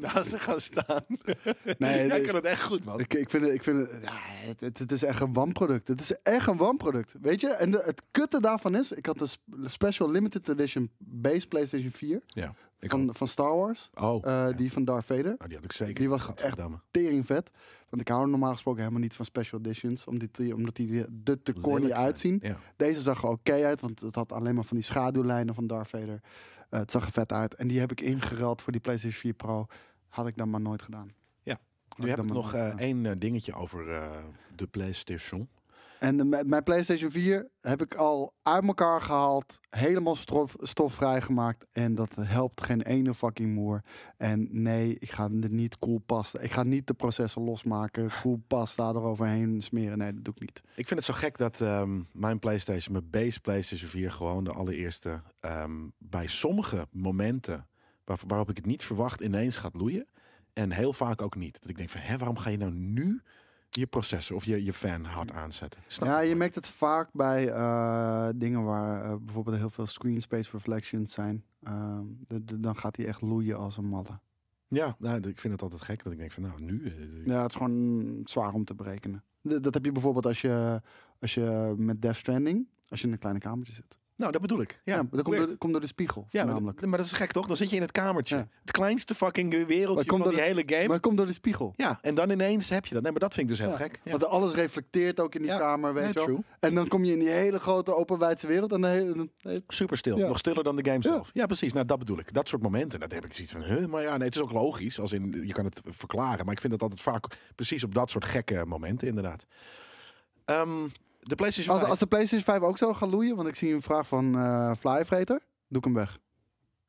[SPEAKER 1] naast ze gaan staan.
[SPEAKER 2] Nee,
[SPEAKER 1] Jij
[SPEAKER 2] dit-
[SPEAKER 1] kan het echt goed, man.
[SPEAKER 2] Ik, ik vind het, ik vind het, ja, het, het, het is echt een wanproduct. Het is echt een wanproduct, weet je? En de- het kutte daarvan is, ik had een sp- special limited edition base PlayStation 4
[SPEAKER 1] ja, ik
[SPEAKER 2] van, van Star Wars,
[SPEAKER 1] kan- oh,
[SPEAKER 2] eh, die van Darth Vader.
[SPEAKER 1] nou, die had ik zeker.
[SPEAKER 2] die was
[SPEAKER 1] Gadverdamme.
[SPEAKER 2] Tering vet, want ik hou normaal gesproken helemaal niet van special editions, omdat die, omdat die er te
[SPEAKER 1] Lelijk
[SPEAKER 2] corny
[SPEAKER 1] zijn.
[SPEAKER 2] uitzien.
[SPEAKER 1] Ja.
[SPEAKER 2] Deze zag er oké uit, want het had alleen maar van die schaduwlijnen van Darth Vader. Eh, het zag er vet uit en die heb ik ingeruild voor die PlayStation 4 Pro. Had ik dan maar nooit gedaan.
[SPEAKER 1] Ja.
[SPEAKER 2] Had
[SPEAKER 1] Nu heb
[SPEAKER 2] ik dan
[SPEAKER 1] ik
[SPEAKER 2] maar
[SPEAKER 1] nog
[SPEAKER 2] nooit
[SPEAKER 1] eh,
[SPEAKER 2] gedaan.
[SPEAKER 1] één eh, dingetje over eh, de PlayStation.
[SPEAKER 2] En eh, mijn- mijn PlayStation 4 heb ik al uit elkaar gehaald. Helemaal stof, stofvrij gemaakt. En dat helpt geen ene fucking moer. En nee, ik ga er niet koelpasta. Ik ga niet de processen losmaken. Koelpasta eroverheen smeren. Nee, dat doe ik niet.
[SPEAKER 1] Ik vind het zo gek dat ehm, mijn PlayStation, mijn base PlayStation 4, gewoon de allereerste, ehm, bij sommige momenten waar- waarop ik het niet verwacht, ineens gaat loeien. En heel vaak ook niet. Dat ik denk van, hè, waarom ga je nou nu je processor of je, je fan hard aanzetten? Snap
[SPEAKER 2] ja,
[SPEAKER 1] ik
[SPEAKER 2] je
[SPEAKER 1] nooit.
[SPEAKER 2] merkt het vaak bij eh, dingen waar eh, bijvoorbeeld heel veel screen space reflections zijn. Ehm, de- de- dan gaat hij echt loeien als een malle.
[SPEAKER 1] Ja, nou, ik vind het altijd gek dat ik denk van, nou, nu... eh,
[SPEAKER 2] Ja, het is gewoon zwaar om te berekenen. D- dat heb je bijvoorbeeld als je, als je met Death Stranding, als je in een kleine kamertje zit.
[SPEAKER 1] Nou, dat bedoel ik. Ja,
[SPEAKER 2] Ja, maar dat komt
[SPEAKER 1] weird.
[SPEAKER 2] door, de- komt door de spiegel.
[SPEAKER 1] Ja, maar,
[SPEAKER 2] namelijk.
[SPEAKER 1] dat- maar dat is gek toch? Dan zit je in het kamertje.
[SPEAKER 2] Ja.
[SPEAKER 1] Het kleinste fucking wereldje
[SPEAKER 2] Maar komt
[SPEAKER 1] van
[SPEAKER 2] dat
[SPEAKER 1] die hele game.
[SPEAKER 2] Maar het komt door de spiegel.
[SPEAKER 1] Ja, en dan ineens heb je dat. Nee, maar dat vind ik dus heel gek. Ja.
[SPEAKER 2] Want alles reflecteert ook in die
[SPEAKER 1] Ja,
[SPEAKER 2] kamer, weet
[SPEAKER 1] Nee,
[SPEAKER 2] je wel.
[SPEAKER 1] true.
[SPEAKER 2] En dan kom je in die hele grote openwijdse wereld. En dan he- dan- he-
[SPEAKER 1] Super stil.
[SPEAKER 2] Ja.
[SPEAKER 1] Nog stiller dan de game
[SPEAKER 2] Ja.
[SPEAKER 1] zelf. Ja. precies. Nou, dat bedoel ik. Dat soort momenten. Dat heb ik zoiets van. Huh? Maar ja, nee, het is ook logisch. Als in, je kan het verklaren. Maar ik vind dat altijd vaak precies op dat soort gekke momenten, inderdaad. Ehm, de PlayStation
[SPEAKER 2] Als,
[SPEAKER 1] 5.
[SPEAKER 2] als de PlayStation 5 ook zo gaat loeien, want ik zie een vraag van eh Fly Freighter, doe ik hem weg.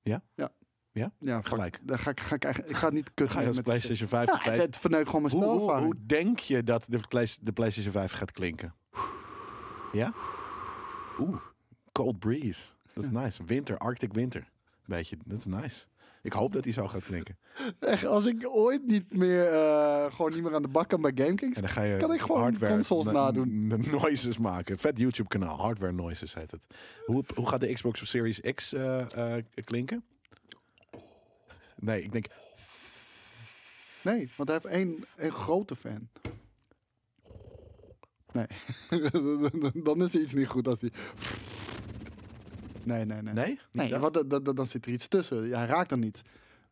[SPEAKER 1] Ja?
[SPEAKER 2] Ja.
[SPEAKER 1] Ja?
[SPEAKER 2] ja fuck.
[SPEAKER 1] Gelijk.
[SPEAKER 2] Dan ga ik, ga ik, eigenlijk- ik ga het niet kut
[SPEAKER 1] Ga je als PlayStation 5
[SPEAKER 2] Ja,
[SPEAKER 1] verwijzen?
[SPEAKER 2] het verneukt gewoon mijn
[SPEAKER 1] hoe, hoe,
[SPEAKER 2] spelervaring.
[SPEAKER 1] hoe denk je dat de, Play- de PlayStation 5 gaat klinken? Ja? Oeh, cold breeze. Dat is nice. Winter, Arctic winter. Beetje, dat is nice. Ik hoop dat die zo gaat klinken.
[SPEAKER 2] Echt, als ik ooit niet meer, eh, gewoon niet meer aan de bak kan bij GameKings.
[SPEAKER 1] En dan ga je
[SPEAKER 2] Kan ik gewoon consoles
[SPEAKER 1] no-
[SPEAKER 2] nadoen?
[SPEAKER 1] no- noises maken. Vet YouTube kanaal, hardware noises heet het. Hoe, hoe gaat de Xbox Series X eh, eh, klinken? Nee, ik denk
[SPEAKER 2] Nee, want hij heeft één, één grote fan. Nee. dan is er iets niet goed als die... Nee, nee, nee.
[SPEAKER 1] nee. Niet
[SPEAKER 2] Nee,
[SPEAKER 1] dat?
[SPEAKER 2] want da- da- da- dan zit er iets tussen. Hij raakt dan niet.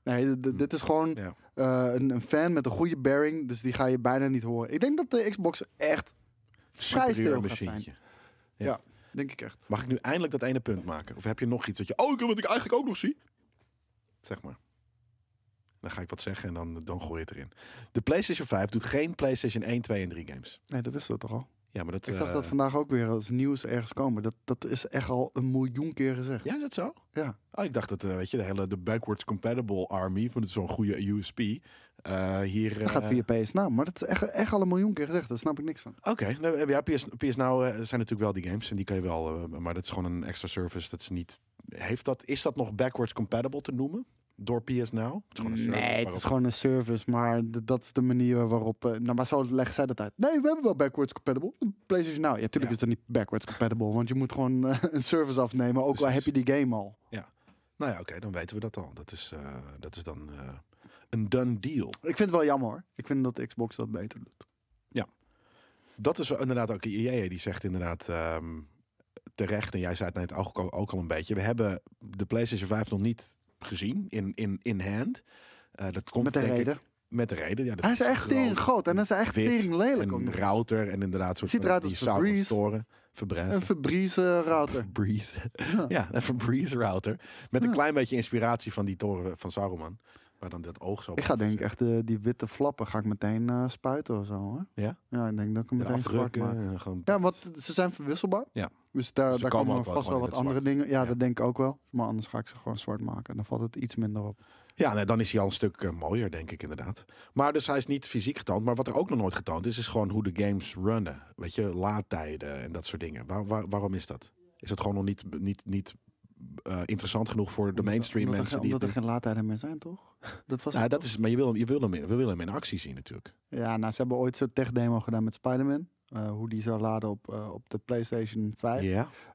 [SPEAKER 2] Nee, d- d- dit is gewoon
[SPEAKER 1] Ja.
[SPEAKER 2] eh, een, een fan met een goede bearing, dus die ga je bijna niet horen. Ik denk dat de Xbox echt vrij
[SPEAKER 1] Superieur
[SPEAKER 2] stil gaat zijn.
[SPEAKER 1] machientje. ja.
[SPEAKER 2] Ja, denk ik echt.
[SPEAKER 1] Mag ik nu eindelijk dat ene punt maken? Of heb je nog iets dat je... Oh, ik- wat ik eigenlijk ook nog zie. Zeg maar. Dan ga ik wat zeggen en dan, dan gooi je het erin. De PlayStation 5 doet geen PlayStation 1, 2 en 3 games.
[SPEAKER 2] Nee, dat wisten we toch al.
[SPEAKER 1] Ja, maar dat...
[SPEAKER 2] Ik zag
[SPEAKER 1] eh,
[SPEAKER 2] dat vandaag ook weer als nieuws ergens komen. Dat, dat is echt al een miljoen keer gezegd.
[SPEAKER 1] Ja, is dat zo?
[SPEAKER 2] Ja.
[SPEAKER 1] Oh, ik dacht dat, eh, weet je, de hele de backwards compatible army, van het zo'n goede USP, eh, hier...
[SPEAKER 2] Dat gaat
[SPEAKER 1] eh,
[SPEAKER 2] via PS Now, maar dat is echt, echt al een miljoen keer gezegd. Daar snap ik niks van.
[SPEAKER 1] Oké, nou, eh, ja, PS, PS Now eh, zijn natuurlijk wel die games en die kan je wel, eh, maar dat is gewoon een extra service, dat is niet... Heeft dat, is dat nog backwards compatible te noemen? Door PS Now? Het is gewoon een service
[SPEAKER 2] Nee, het
[SPEAKER 1] waarop-
[SPEAKER 2] is gewoon een service, maar d- dat is de manier waarop... eh, nou, maar zo leggen zij dat uit. Nee, we hebben wel backwards compatible. PlayStation Now. Ja, natuurlijk
[SPEAKER 1] Ja.
[SPEAKER 2] is dat niet backwards compatible, want je moet gewoon eh, een service afnemen. Ook al heb je
[SPEAKER 1] Precies.
[SPEAKER 2] die game al.
[SPEAKER 1] Nou ja, oké, dan weten we dat al. Dat is, eh, dat is dan eh, een done deal.
[SPEAKER 2] Ik vind het wel jammer hoor. Ik vind dat Xbox dat beter doet.
[SPEAKER 1] Dat is wel inderdaad ook EA die zegt inderdaad ehm, terecht. En jij zei het net ook, al- ook al een beetje. We hebben de PlayStation 5 nog niet gezien in, in, in hand. Eh, dat komt
[SPEAKER 2] Met de
[SPEAKER 1] denk ik-
[SPEAKER 2] reden.
[SPEAKER 1] met de reden. Ja, dat
[SPEAKER 2] Hij is echt tering
[SPEAKER 1] rood
[SPEAKER 2] groot en hij is echt
[SPEAKER 1] wit
[SPEAKER 2] tering lelijk. ook
[SPEAKER 1] en
[SPEAKER 2] nog.
[SPEAKER 1] router en inderdaad soort
[SPEAKER 2] Ziet eruit als Febreze.
[SPEAKER 1] toren. Verbrand.
[SPEAKER 2] Een Febreze router.
[SPEAKER 1] Breeze.
[SPEAKER 2] Ja.
[SPEAKER 1] ja, een Febreze router. Met een
[SPEAKER 2] Ja.
[SPEAKER 1] klein beetje inspiratie van die toren van Saruman. Maar dan dat oog zo.
[SPEAKER 2] Ik ga denk ik echt eh, die witte flappen ga ik meteen eh, spuiten of zo hoor.
[SPEAKER 1] Ja?
[SPEAKER 2] Ja, ik denk dat ik hem meteen zwart maak.
[SPEAKER 1] afdrukken. en Gewoon
[SPEAKER 2] Ja, want ze zijn verwisselbaar.
[SPEAKER 1] Ja.
[SPEAKER 2] Dus daar,
[SPEAKER 1] Dus ze
[SPEAKER 2] daar
[SPEAKER 1] komen
[SPEAKER 2] komen
[SPEAKER 1] ook wel
[SPEAKER 2] vast wel
[SPEAKER 1] gewoon
[SPEAKER 2] wat
[SPEAKER 1] in het
[SPEAKER 2] andere dingen. Ja,
[SPEAKER 1] Ja.
[SPEAKER 2] dat denk ik ook wel. Maar anders ga ik ze gewoon zwart maken. Dan valt het iets minder op.
[SPEAKER 1] Ja, nee, dan is hij al een stuk eh, mooier, denk ik inderdaad. Maar dus hij is niet fysiek getoond. Maar wat er ook nog nooit getoond is, is gewoon hoe de games runnen. Weet je, laadtijden en dat soort dingen. Waar, waar- waarom is dat? Is dat gewoon nog niet, niet, niet eh, interessant genoeg voor de mainstream
[SPEAKER 2] omdat
[SPEAKER 1] mensen?
[SPEAKER 2] Er,
[SPEAKER 1] die
[SPEAKER 2] omdat er
[SPEAKER 1] het
[SPEAKER 2] geen laadtijden meer zijn, toch? Dat was
[SPEAKER 1] doen? Nou,
[SPEAKER 2] het,
[SPEAKER 1] dat is, maar je wil, hem, je wil hem, in- we willen hem in actie zien natuurlijk.
[SPEAKER 2] toch? Ja, nou, ze hebben ooit zo'n tech-demo gedaan met Spider-Man. eh, hoe die zou laden op, eh, op de PlayStation 5. Ja,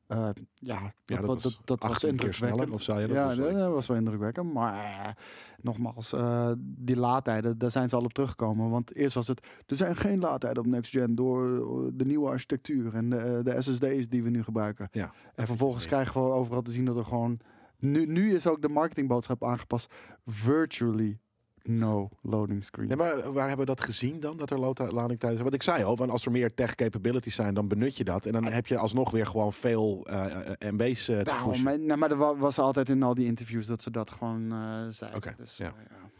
[SPEAKER 1] Ja,
[SPEAKER 2] ja, dat,
[SPEAKER 1] ja dat,
[SPEAKER 2] wa-
[SPEAKER 1] was,
[SPEAKER 2] dat, dat was
[SPEAKER 1] 18 keer
[SPEAKER 2] indrukwekkend.
[SPEAKER 1] sneller of zo. Ja, dat
[SPEAKER 2] Ja,
[SPEAKER 1] was,
[SPEAKER 2] dat, dat was wel indrukwekkend. Maar eh, nogmaals, eh, die laadtijden, daar zijn ze al op teruggekomen. Want eerst was het, er zijn geen laadtijden op Next Gen door eh, de nieuwe architectuur en de, eh, de SSD's die we nu gebruiken.
[SPEAKER 1] Ja,
[SPEAKER 2] en vervolgens
[SPEAKER 1] meer.
[SPEAKER 2] krijgen we overal te zien dat er gewoon... Nu, nu is ook de marketingboodschap aangepast. Virtually no loading screen.
[SPEAKER 1] Ja, maar waar hebben we dat gezien dan, dat er lota- lading tijdens... Want ik zei al, want als er meer tech capabilities zijn, dan benut je dat. En dan heb je alsnog weer gewoon veel eh, eh, MB's eh, te
[SPEAKER 2] Daarom,
[SPEAKER 1] pushen.
[SPEAKER 2] maar, nou, maar er wa- was altijd in al die interviews dat ze dat gewoon eh zeiden.
[SPEAKER 1] Oké,
[SPEAKER 2] Dus,
[SPEAKER 1] ja.
[SPEAKER 2] eh,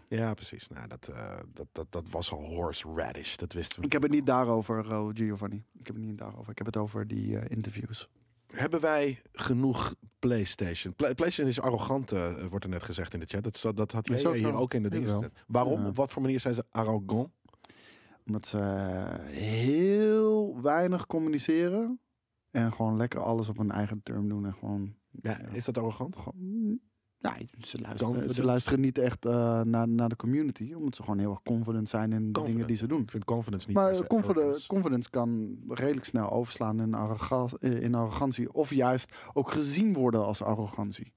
[SPEAKER 2] ja.
[SPEAKER 1] Ja, precies. Nou, dat, eh, dat, dat, dat was al horseradish. Dat wisten we.
[SPEAKER 2] Ik heb het niet daarover, eh, Giovanni. Ik heb het niet daarover. Ik heb het over die eh, interviews.
[SPEAKER 1] Hebben wij genoeg PlayStation? Pla- PlayStation is arrogant, eh, wordt er net gezegd in de chat. Dat, dat, dat had
[SPEAKER 2] Is
[SPEAKER 1] jij
[SPEAKER 2] ook
[SPEAKER 1] hier
[SPEAKER 2] wel.
[SPEAKER 1] ook in de dingen
[SPEAKER 2] Jawel.
[SPEAKER 1] gezet. Waarom?
[SPEAKER 2] Ja.
[SPEAKER 1] Op wat voor manier zijn ze arrogant?
[SPEAKER 2] Omdat ze eh, heel weinig communiceren. En gewoon lekker alles op hun eigen term doen. En gewoon.
[SPEAKER 1] Ja, Is dat arrogant?
[SPEAKER 2] gewoon ja, ze luisteren, ze
[SPEAKER 1] Confident.
[SPEAKER 2] luisteren niet echt eh, naar, naar de community. Omdat ze gewoon heel erg confident zijn in de dingen
[SPEAKER 1] Confident,
[SPEAKER 2] die ze doen.
[SPEAKER 1] Ik vind confidence niet per
[SPEAKER 2] Maar
[SPEAKER 1] se
[SPEAKER 2] confidence,
[SPEAKER 1] arrogance.
[SPEAKER 2] confidence kan redelijk snel overslaan in, arroga- eh, in arrogantie. Of juist ook gezien worden als arrogantie.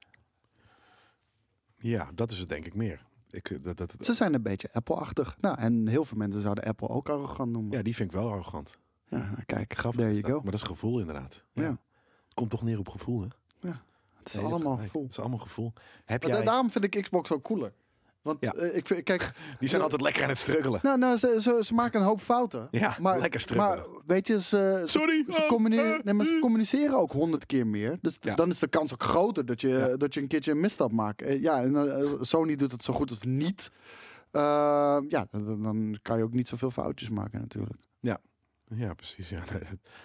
[SPEAKER 1] Ja, dat is het denk ik meer. Ik, eh, dat, dat,
[SPEAKER 2] Ze zijn een beetje Apple-achtig. Nou, en heel veel mensen zouden Apple ook arrogant noemen. Ja,
[SPEAKER 1] ja, die vind ik wel arrogant.
[SPEAKER 2] nou, kijk,
[SPEAKER 1] Grappig
[SPEAKER 2] there
[SPEAKER 1] is
[SPEAKER 2] you
[SPEAKER 1] dat.
[SPEAKER 2] go.
[SPEAKER 1] Maar dat is gevoel inderdaad. Ja.
[SPEAKER 2] Ja.
[SPEAKER 1] Het komt toch neer op gevoel, hè?
[SPEAKER 2] Het is
[SPEAKER 1] Nee, je hebt
[SPEAKER 2] allemaal
[SPEAKER 1] gelijk.
[SPEAKER 2] vol.
[SPEAKER 1] Het is allemaal gevoel. Heb
[SPEAKER 2] Maar
[SPEAKER 1] jij...
[SPEAKER 2] da- daarom vind ik Xbox ook cooler. Want
[SPEAKER 1] Ja.
[SPEAKER 2] eh, ik vind, kijk,
[SPEAKER 1] Die zijn altijd lekker aan het struggelen.
[SPEAKER 2] nou, nou ze, ze, ze maken een hoop fouten.
[SPEAKER 1] Ja,
[SPEAKER 2] Maar,
[SPEAKER 1] lekker struggelen.
[SPEAKER 2] maar weet je, ze, ze,
[SPEAKER 1] Sorry.
[SPEAKER 2] ze
[SPEAKER 1] ah,
[SPEAKER 2] combineren,
[SPEAKER 1] eh,
[SPEAKER 2] nee, maar ze
[SPEAKER 1] eh.
[SPEAKER 2] communiceren ook honderd keer meer. Dus
[SPEAKER 1] Ja.
[SPEAKER 2] dan is de kans ook groter dat je,
[SPEAKER 1] Ja.
[SPEAKER 2] dat je een keertje een misstap maakt. Eh, Ja, en eh, Sony doet het zo goed als niet. Eh, ja, dan, dan kan je ook niet zoveel foutjes maken natuurlijk.
[SPEAKER 1] Ja, precies. Ja.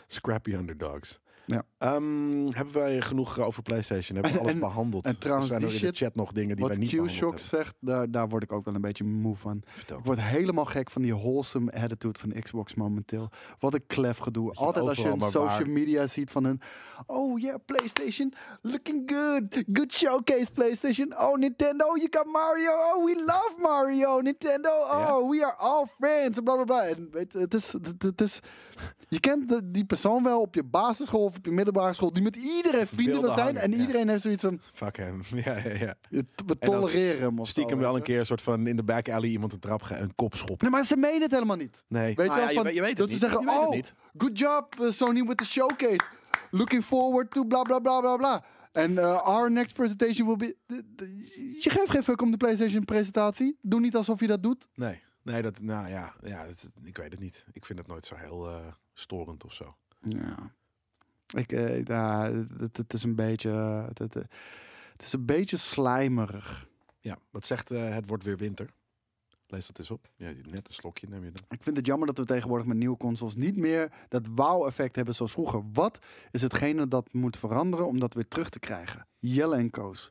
[SPEAKER 1] Scrappy underdogs.
[SPEAKER 2] Ja.
[SPEAKER 1] Ehm, hebben wij genoeg eh, over PlayStation? Hebben we
[SPEAKER 2] En-
[SPEAKER 1] alles
[SPEAKER 2] en-
[SPEAKER 1] behandeld?
[SPEAKER 2] en trouwens,
[SPEAKER 1] zijn er
[SPEAKER 2] die
[SPEAKER 1] in
[SPEAKER 2] shit
[SPEAKER 1] de chat nog dingen die wij
[SPEAKER 2] Wat
[SPEAKER 1] niet behandeld
[SPEAKER 2] Q-Shock
[SPEAKER 1] hebben?
[SPEAKER 2] zegt, daar, daar word ik ook wel een beetje moe van.
[SPEAKER 1] Vertel.
[SPEAKER 2] Ik word helemaal gek van die wholesome attitude van Xbox momenteel. Wat een klef gedoe.
[SPEAKER 1] je
[SPEAKER 2] Altijd als je
[SPEAKER 1] overal
[SPEAKER 2] een
[SPEAKER 1] maar
[SPEAKER 2] social
[SPEAKER 1] waar-
[SPEAKER 2] media ziet van hun... Oh yeah, PlayStation, looking good. Good showcase, PlayStation. Oh, Nintendo, you got Mario. Oh, we love Mario, Nintendo. Oh,
[SPEAKER 1] Ja.
[SPEAKER 2] we are all friends. en Bla, bla, bla. En weet, je, het, is, het, het is... Je kent de- die persoon wel op je basisschool of op je middelbare school... die met iedereen vrienden wil
[SPEAKER 1] Beelden
[SPEAKER 2] zijn.
[SPEAKER 1] hangen,
[SPEAKER 2] en
[SPEAKER 1] ja.
[SPEAKER 2] iedereen heeft zoiets van...
[SPEAKER 1] Fuck hem. ja, ja, ja.
[SPEAKER 2] We
[SPEAKER 1] En dan
[SPEAKER 2] tolereren hem of zo,
[SPEAKER 1] Stiekem
[SPEAKER 2] weet
[SPEAKER 1] wel
[SPEAKER 2] je.
[SPEAKER 1] een keer een soort van in de back alley iemand een trap ge- een kop schoppen.
[SPEAKER 2] Nee, maar ze menen het helemaal niet.
[SPEAKER 1] Nee.
[SPEAKER 2] Weet
[SPEAKER 1] Ah,
[SPEAKER 2] Nou je wel,
[SPEAKER 1] ja,
[SPEAKER 2] van,
[SPEAKER 1] weet- je weet het
[SPEAKER 2] dat
[SPEAKER 1] niet.
[SPEAKER 2] ze zeggen,
[SPEAKER 1] Je weet het
[SPEAKER 2] oh,
[SPEAKER 1] niet.
[SPEAKER 2] good job eh, Sony with the showcase. Looking forward to bla bla bla bla bla. En eh, our next presentation will be... D- d- Je geeft geen fuck om de PlayStation presentatie. Doe niet alsof je dat doet.
[SPEAKER 1] Nee. Nee, dat, nou ja, ja dat- ik weet het niet. Ik vind het nooit zo heel eh, storend of zo.
[SPEAKER 2] Ja. Ik, eh, ja, het, het is een beetje... eh, Het, het, het is een beetje slijmerig.
[SPEAKER 1] Ja, wat zegt eh, het wordt weer winter? Lees dat eens op. Ja, net een slokje neem je dan.
[SPEAKER 2] Ik vind het jammer dat we tegenwoordig met nieuwe consoles niet meer dat wow-effect hebben zoals vroeger. Wat is hetgene dat moet veranderen om dat weer terug te krijgen? Jelle en Koos.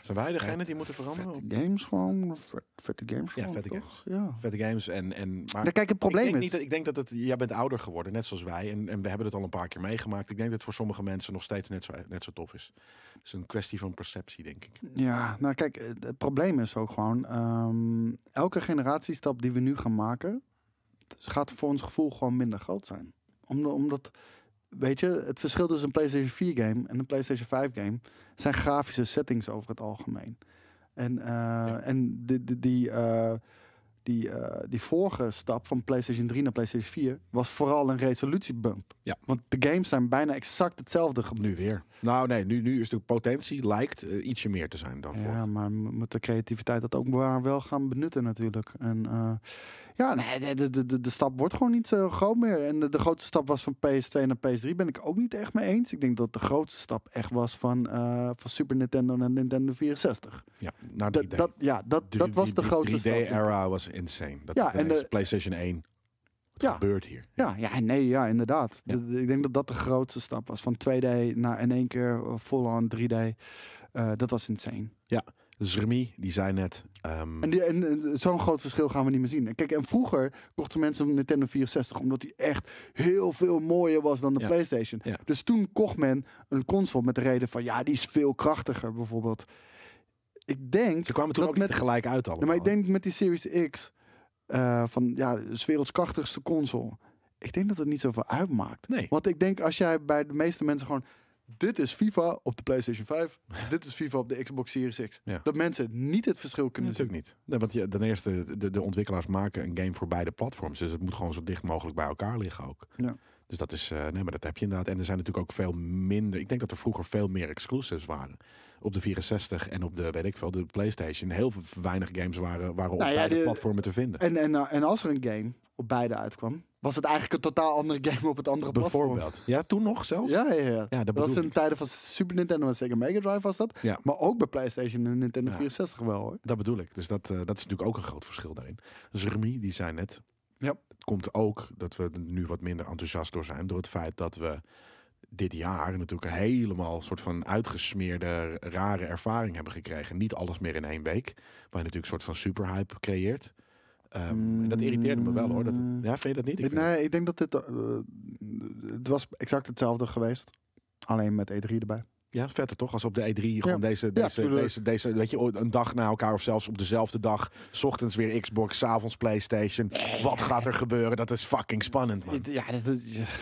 [SPEAKER 1] Zijn wij degene die moeten veranderen?
[SPEAKER 2] Vette games gewoon. vet- vette games
[SPEAKER 1] Ja,
[SPEAKER 2] gewoon.
[SPEAKER 1] vette
[SPEAKER 2] toch?
[SPEAKER 1] games.
[SPEAKER 2] Ja.
[SPEAKER 1] Vette games en... en maar
[SPEAKER 2] Nou, kijk, het
[SPEAKER 1] ik
[SPEAKER 2] probleem
[SPEAKER 1] denk,
[SPEAKER 2] is...
[SPEAKER 1] niet dat, ik denk dat het... Jij bent ouder geworden, net zoals wij. En, en we hebben het al een paar keer meegemaakt. Ik denk dat het voor sommige mensen nog steeds net zo, net zo tof is. Het is een kwestie van perceptie, denk ik.
[SPEAKER 2] Ja, nou kijk, het, het probleem is ook gewoon... ehm, elke generatiestap die we nu gaan maken... gaat voor ons gevoel gewoon minder groot zijn. Omdat, omdat weet je, het verschil tussen een PlayStation 4 game... en een PlayStation 5 game... zijn grafische settings over het algemeen. En, eh, en die, die, die, eh, die, eh, die vorige stap van PlayStation 3 naar PlayStation 4... was vooral een resolutiebump.
[SPEAKER 1] Ja.
[SPEAKER 2] Want de games zijn bijna exact hetzelfde gebleven.
[SPEAKER 1] Nu weer. Nou nee, nu, nu is de potentie, lijkt eh, ietsje meer te zijn dan voor.
[SPEAKER 2] Ja, maar m- moet de creativiteit dat ook maar wel gaan benutten natuurlijk. En eh, ja, nee, de- de, de, de, de stap wordt gewoon niet zo groot meer. En de, de grootste stap was van PS2 naar PS3 ben ik ook niet echt mee eens. Ik denk dat de grootste stap echt was van, eh, van Super Nintendo naar Nintendo 64.
[SPEAKER 1] Ja, nou,
[SPEAKER 2] Dat, dat, ja, dat,
[SPEAKER 1] Dus
[SPEAKER 2] dat was de grootste stap.
[SPEAKER 1] 3D-era was insane. Dat,
[SPEAKER 2] Ja,
[SPEAKER 1] ja,
[SPEAKER 2] en
[SPEAKER 1] en
[SPEAKER 2] de-
[SPEAKER 1] PlayStation 1. Wat
[SPEAKER 2] Ja.
[SPEAKER 1] gebeurt hier?
[SPEAKER 2] Ja, ja, nee, ja, inderdaad.
[SPEAKER 1] Ja.
[SPEAKER 2] De- de- ik denk dat dat de grootste stap was. Van 2D naar in één keer eh, full-on 3D. Eh, dat was insane.
[SPEAKER 1] Dus Remy, die zei net... ehm,
[SPEAKER 2] En, die- en, en zo'n groot verschil gaan we niet meer zien. En Kijk, en vroeger kochten mensen een Nintendo 64 omdat die echt heel veel mooier was dan de
[SPEAKER 1] Ja.
[SPEAKER 2] PlayStation.
[SPEAKER 1] Ja.
[SPEAKER 2] Dus toen kocht men een console met de reden van ja, die is veel krachtiger bijvoorbeeld. Ik denk,
[SPEAKER 1] ze kwamen toen
[SPEAKER 2] dat
[SPEAKER 1] ook met...
[SPEAKER 2] met-
[SPEAKER 1] gelijk uit allemaal.
[SPEAKER 2] ja, maar ik denk met die Series X eh, van ja, is werelds krachtigste console. Ik denk dat het niet zoveel uitmaakt.
[SPEAKER 1] Nee.
[SPEAKER 2] Want ik denk als jij bij de meeste mensen gewoon dit is FIFA op de PlayStation 5, dit is FIFA op de Xbox Series X.
[SPEAKER 1] Ja.
[SPEAKER 2] Dat mensen niet het verschil
[SPEAKER 1] Nee,
[SPEAKER 2] kunnen zien.
[SPEAKER 1] natuurlijk niet. Nee, want je, ten eerste, de, de ontwikkelaars maken een game voor beide platforms. Dus het moet gewoon zo dicht mogelijk bij elkaar liggen ook.
[SPEAKER 2] Ja.
[SPEAKER 1] Dus dat is, eh, nee, maar dat heb je inderdaad. En er zijn natuurlijk ook veel minder. Ik denk dat er vroeger veel meer exclusives waren. Op de 64 en op de, weet ik veel, de PlayStation. Heel v- weinig games waren, waren op
[SPEAKER 2] Nou ja,
[SPEAKER 1] beide
[SPEAKER 2] de-
[SPEAKER 1] platformen te vinden.
[SPEAKER 2] En, en, eh, en als er een game op beide uitkwam, was het eigenlijk een totaal andere game op het andere platform.
[SPEAKER 1] Bijvoorbeeld. Ja, toen nog zelfs?
[SPEAKER 2] Ja, ja, ja.
[SPEAKER 1] Ja, dat
[SPEAKER 2] dat was
[SPEAKER 1] bedoel
[SPEAKER 2] in de tijden van Super Nintendo en Sega Mega Drive was dat.
[SPEAKER 1] Ja.
[SPEAKER 2] Maar ook bij PlayStation en Nintendo
[SPEAKER 1] Ja.
[SPEAKER 2] 64 wel hoor.
[SPEAKER 1] Dat bedoel ik. Dus dat, eh, dat is natuurlijk ook een groot verschil daarin. Dus Remy, die zei net.
[SPEAKER 2] Ja.
[SPEAKER 1] Het komt ook dat we er nu wat minder enthousiast door zijn. Door het feit dat we dit jaar natuurlijk een helemaal soort van uitgesmeerde, rare ervaring hebben gekregen. Niet alles meer in één week. Waar je natuurlijk een soort van superhype creëert. Ehm, en dat irriteerde me wel hoor. Dat,
[SPEAKER 2] Mm.
[SPEAKER 1] ja, vind je dat niet? Ik
[SPEAKER 2] Ik,
[SPEAKER 1] vind-
[SPEAKER 2] nee, ik denk dat dit. eh, het was exact hetzelfde geweest. Alleen met E3 erbij.
[SPEAKER 1] Ja, vetter toch? Als op de E3 gewoon deze,
[SPEAKER 2] Ja,
[SPEAKER 1] deze,
[SPEAKER 2] tuurlijk.
[SPEAKER 1] deze, deze, weet je, een dag na elkaar of zelfs op dezelfde dag. 's ochtends weer Xbox, 's avonds Playstation. Wat gaat er gebeuren? Dat is fucking spannend, man.
[SPEAKER 2] Ik- Ja, dat-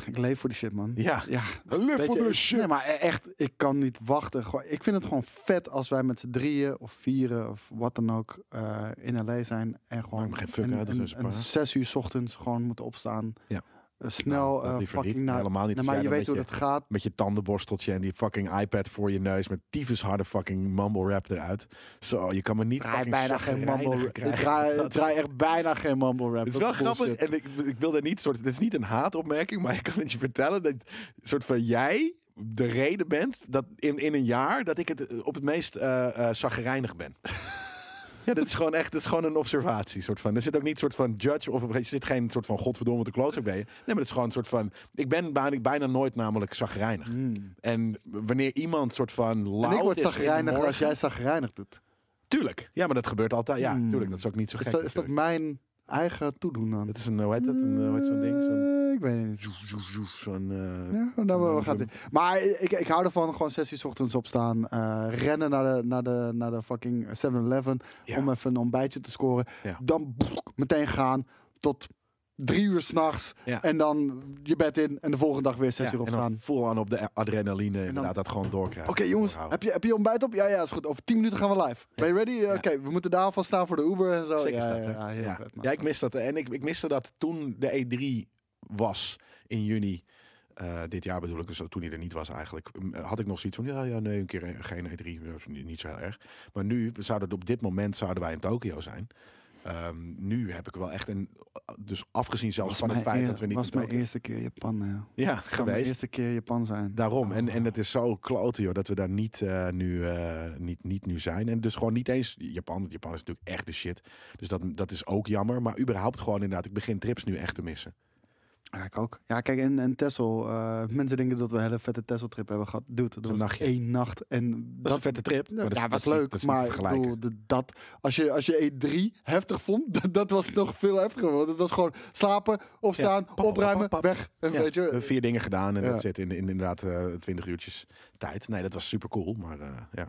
[SPEAKER 2] ik leef voor die shit, man.
[SPEAKER 1] Ja.
[SPEAKER 2] Ja,
[SPEAKER 1] Live
[SPEAKER 2] Weet je, ik- Nee, maar e- echt, ik kan niet wachten. Gewoon- Ik vind het gewoon vet als wij met z'n drieën of vieren of wat dan ook eh, in L.A. zijn. En
[SPEAKER 1] Maakt
[SPEAKER 2] gewoon
[SPEAKER 1] me geen fuck
[SPEAKER 2] en-
[SPEAKER 1] uit, dat
[SPEAKER 2] en-
[SPEAKER 1] is een
[SPEAKER 2] en
[SPEAKER 1] spaar.
[SPEAKER 2] zes uur 's ochtends gewoon moeten opstaan.
[SPEAKER 1] Ja.
[SPEAKER 2] Eh, snel eh, fucking naar...
[SPEAKER 1] Helemaal Nou, niet.
[SPEAKER 2] Nou,
[SPEAKER 1] als
[SPEAKER 2] maar
[SPEAKER 1] jij
[SPEAKER 2] je
[SPEAKER 1] dan
[SPEAKER 2] weet hoe
[SPEAKER 1] met
[SPEAKER 2] dat gaat.
[SPEAKER 1] Met je tandenborsteltje en die fucking iPad voor je neus. Met tyfus harde fucking mumble rap eruit. Zo, je kan me niet
[SPEAKER 2] Draai
[SPEAKER 1] fucking
[SPEAKER 2] bijna geen
[SPEAKER 1] chagrijniger
[SPEAKER 2] mumble rap. Ik
[SPEAKER 1] krijgen.
[SPEAKER 2] draai, ik
[SPEAKER 1] Dat-
[SPEAKER 2] draai echt bijna geen mumble rap.
[SPEAKER 1] Het is
[SPEAKER 2] Dat
[SPEAKER 1] wel grappig.
[SPEAKER 2] bullshit.
[SPEAKER 1] En ik, ik wil daar niet soort. Het is niet een haatopmerking, maar ik kan het je vertellen dat soort van jij de reden bent dat in, in een jaar dat ik het eh, op het meest eh eh, chagrijnig ben. Ja, dit is gewoon echt dit is gewoon een observatie. Soort van. Er zit ook niet soort van judge of er zit geen soort van godverdomme wat een kloter ben je. Nee, maar het is gewoon een soort van. Ik ben bijna, bijna nooit namelijk zagrijnig. En wanneer iemand soort van
[SPEAKER 2] En ik
[SPEAKER 1] lauw
[SPEAKER 2] word
[SPEAKER 1] is in de
[SPEAKER 2] zagrijnig als
[SPEAKER 1] morgen-
[SPEAKER 2] jij zagrijnig doet.
[SPEAKER 1] Tuurlijk. Ja, maar dat gebeurt altijd. Ja,
[SPEAKER 2] Hmm.
[SPEAKER 1] tuurlijk. Dat is ook niet zo
[SPEAKER 2] Is
[SPEAKER 1] gek.
[SPEAKER 2] dat, is dat
[SPEAKER 1] natuurlijk.
[SPEAKER 2] mijn eigen toedoen aan?
[SPEAKER 1] Het is een, hoe heet dat? Een, eh, hoe heet zo'n ding? Zo'n...
[SPEAKER 2] Eh, ik weet het niet.
[SPEAKER 1] zoef, zoef, zoef, Zo'n... eh,
[SPEAKER 2] Ja, nou, we
[SPEAKER 1] Nou,
[SPEAKER 2] gaan
[SPEAKER 1] zo'n-
[SPEAKER 2] zien. Maar ik, ik hou ervan gewoon sessies ochtends opstaan. eh, rennen naar de, naar de, naar de fucking 7-Eleven.
[SPEAKER 1] Ja.
[SPEAKER 2] Om even een ontbijtje te scoren.
[SPEAKER 1] Ja.
[SPEAKER 2] Dan boek, meteen gaan tot drie uur s'nachts.
[SPEAKER 1] Ja.
[SPEAKER 2] En dan je bed in. En de volgende dag weer zes uur
[SPEAKER 1] ja, en dan
[SPEAKER 2] opstaan.
[SPEAKER 1] vol aan op de adrenaline. Inderdaad, dat gewoon doorkrijgen.
[SPEAKER 2] Oké jongens,
[SPEAKER 1] Doorhouden.
[SPEAKER 2] heb je, heb je ontbijt op? Ja, ja, is goed. Over tien minuten gaan we live. Ben je ready? Eh, Oké, we moeten daar alvast staan voor de Uber en zo.
[SPEAKER 1] Zeker
[SPEAKER 2] ja,
[SPEAKER 1] staat,
[SPEAKER 2] ja,
[SPEAKER 1] hè?
[SPEAKER 2] ja, heel
[SPEAKER 1] ja.
[SPEAKER 2] vet, man.
[SPEAKER 1] ja, ik mis dat. En ik, ik miste dat toen de E3 was in juni. eh, dit jaar bedoel ik, dus toen hij er niet was eigenlijk, m, had ik nog zoiets van, ja, ja, nee, een keer een- geen E3, ja, is niet, niet zo heel erg. Maar nu, we zouden op dit moment zouden wij in Tokio zijn. Ehm, nu heb ik wel echt, een, dus afgezien zelfs
[SPEAKER 2] was
[SPEAKER 1] van het
[SPEAKER 2] mijn
[SPEAKER 1] feit
[SPEAKER 2] eer-
[SPEAKER 1] dat we niet
[SPEAKER 2] was
[SPEAKER 1] in
[SPEAKER 2] mijn
[SPEAKER 1] Tokio-
[SPEAKER 2] eerste keer Japan. Ja.
[SPEAKER 1] ja,
[SPEAKER 2] Zou mijn
[SPEAKER 1] geweest.
[SPEAKER 2] eerste keer Japan zijn.
[SPEAKER 1] Daarom. En, en
[SPEAKER 2] Oh.
[SPEAKER 1] het is zo klote, joh, dat we daar niet, eh, nu, eh, niet, niet nu zijn. En dus gewoon niet eens Japan. Want Japan is natuurlijk echt de shit. Dus dat, dat is ook jammer. Maar überhaupt gewoon inderdaad, ik begin trips nu echt te missen.
[SPEAKER 2] Ja, ik ook. Ja, kijk, en, en Tessel. eh, mensen denken dat we een hele vette Tessel-trip hebben gehad. Dude, dat
[SPEAKER 1] Zo'n
[SPEAKER 2] was
[SPEAKER 1] nachtje.
[SPEAKER 2] één nacht. En
[SPEAKER 1] Dat, is een vette trip. maar dat,
[SPEAKER 2] ja,
[SPEAKER 1] is-
[SPEAKER 2] was
[SPEAKER 1] dat is niet-
[SPEAKER 2] leuk.
[SPEAKER 1] dat is niet
[SPEAKER 2] maar
[SPEAKER 1] te
[SPEAKER 2] ik
[SPEAKER 1] vergelijken.
[SPEAKER 2] bedoel, de- dat, als, je, als je E3 heftig vond, dat, dat was nog veel heftiger. Want het was gewoon slapen, opstaan,
[SPEAKER 1] Ja, pap, pap,
[SPEAKER 2] opruimen,
[SPEAKER 1] pap, pap.
[SPEAKER 2] weg. En
[SPEAKER 1] Ja,
[SPEAKER 2] weet
[SPEAKER 1] we
[SPEAKER 2] je,
[SPEAKER 1] hebben vier dingen gedaan en
[SPEAKER 2] Ja.
[SPEAKER 1] dat zit in, in inderdaad eh, twintig 20 uurtjes tijd. Nee, dat was super cool. Maar eh,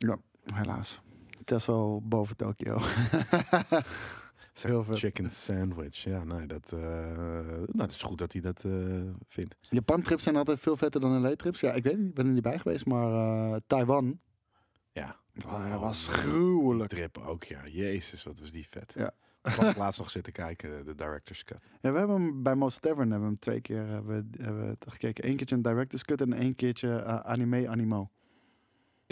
[SPEAKER 1] ja.
[SPEAKER 2] helaas. Tessel boven Tokio. Heel vet.
[SPEAKER 1] Chicken sandwich. Ja, nee, dat, eh, nou, dat is goed dat hij dat eh, vindt.
[SPEAKER 2] Japan-trips zijn altijd veel vetter dan LA-trips. Ja, ik weet niet, ik ben er niet bij geweest. Maar eh, Taiwan
[SPEAKER 1] Ja.
[SPEAKER 2] eh, was
[SPEAKER 1] Oh, man. Die
[SPEAKER 2] gruwelijk.
[SPEAKER 1] Trip ook, ja. Jezus, wat was die vet.
[SPEAKER 2] Ja.
[SPEAKER 1] Ik had laatst nog zitten kijken, de director's cut.
[SPEAKER 2] Ja, we hebben hem bij Most Tavern hebben we hem twee keer hebben, we- hebben we het gekeken. Eén keertje een director's cut en één keertje eh, anime animo.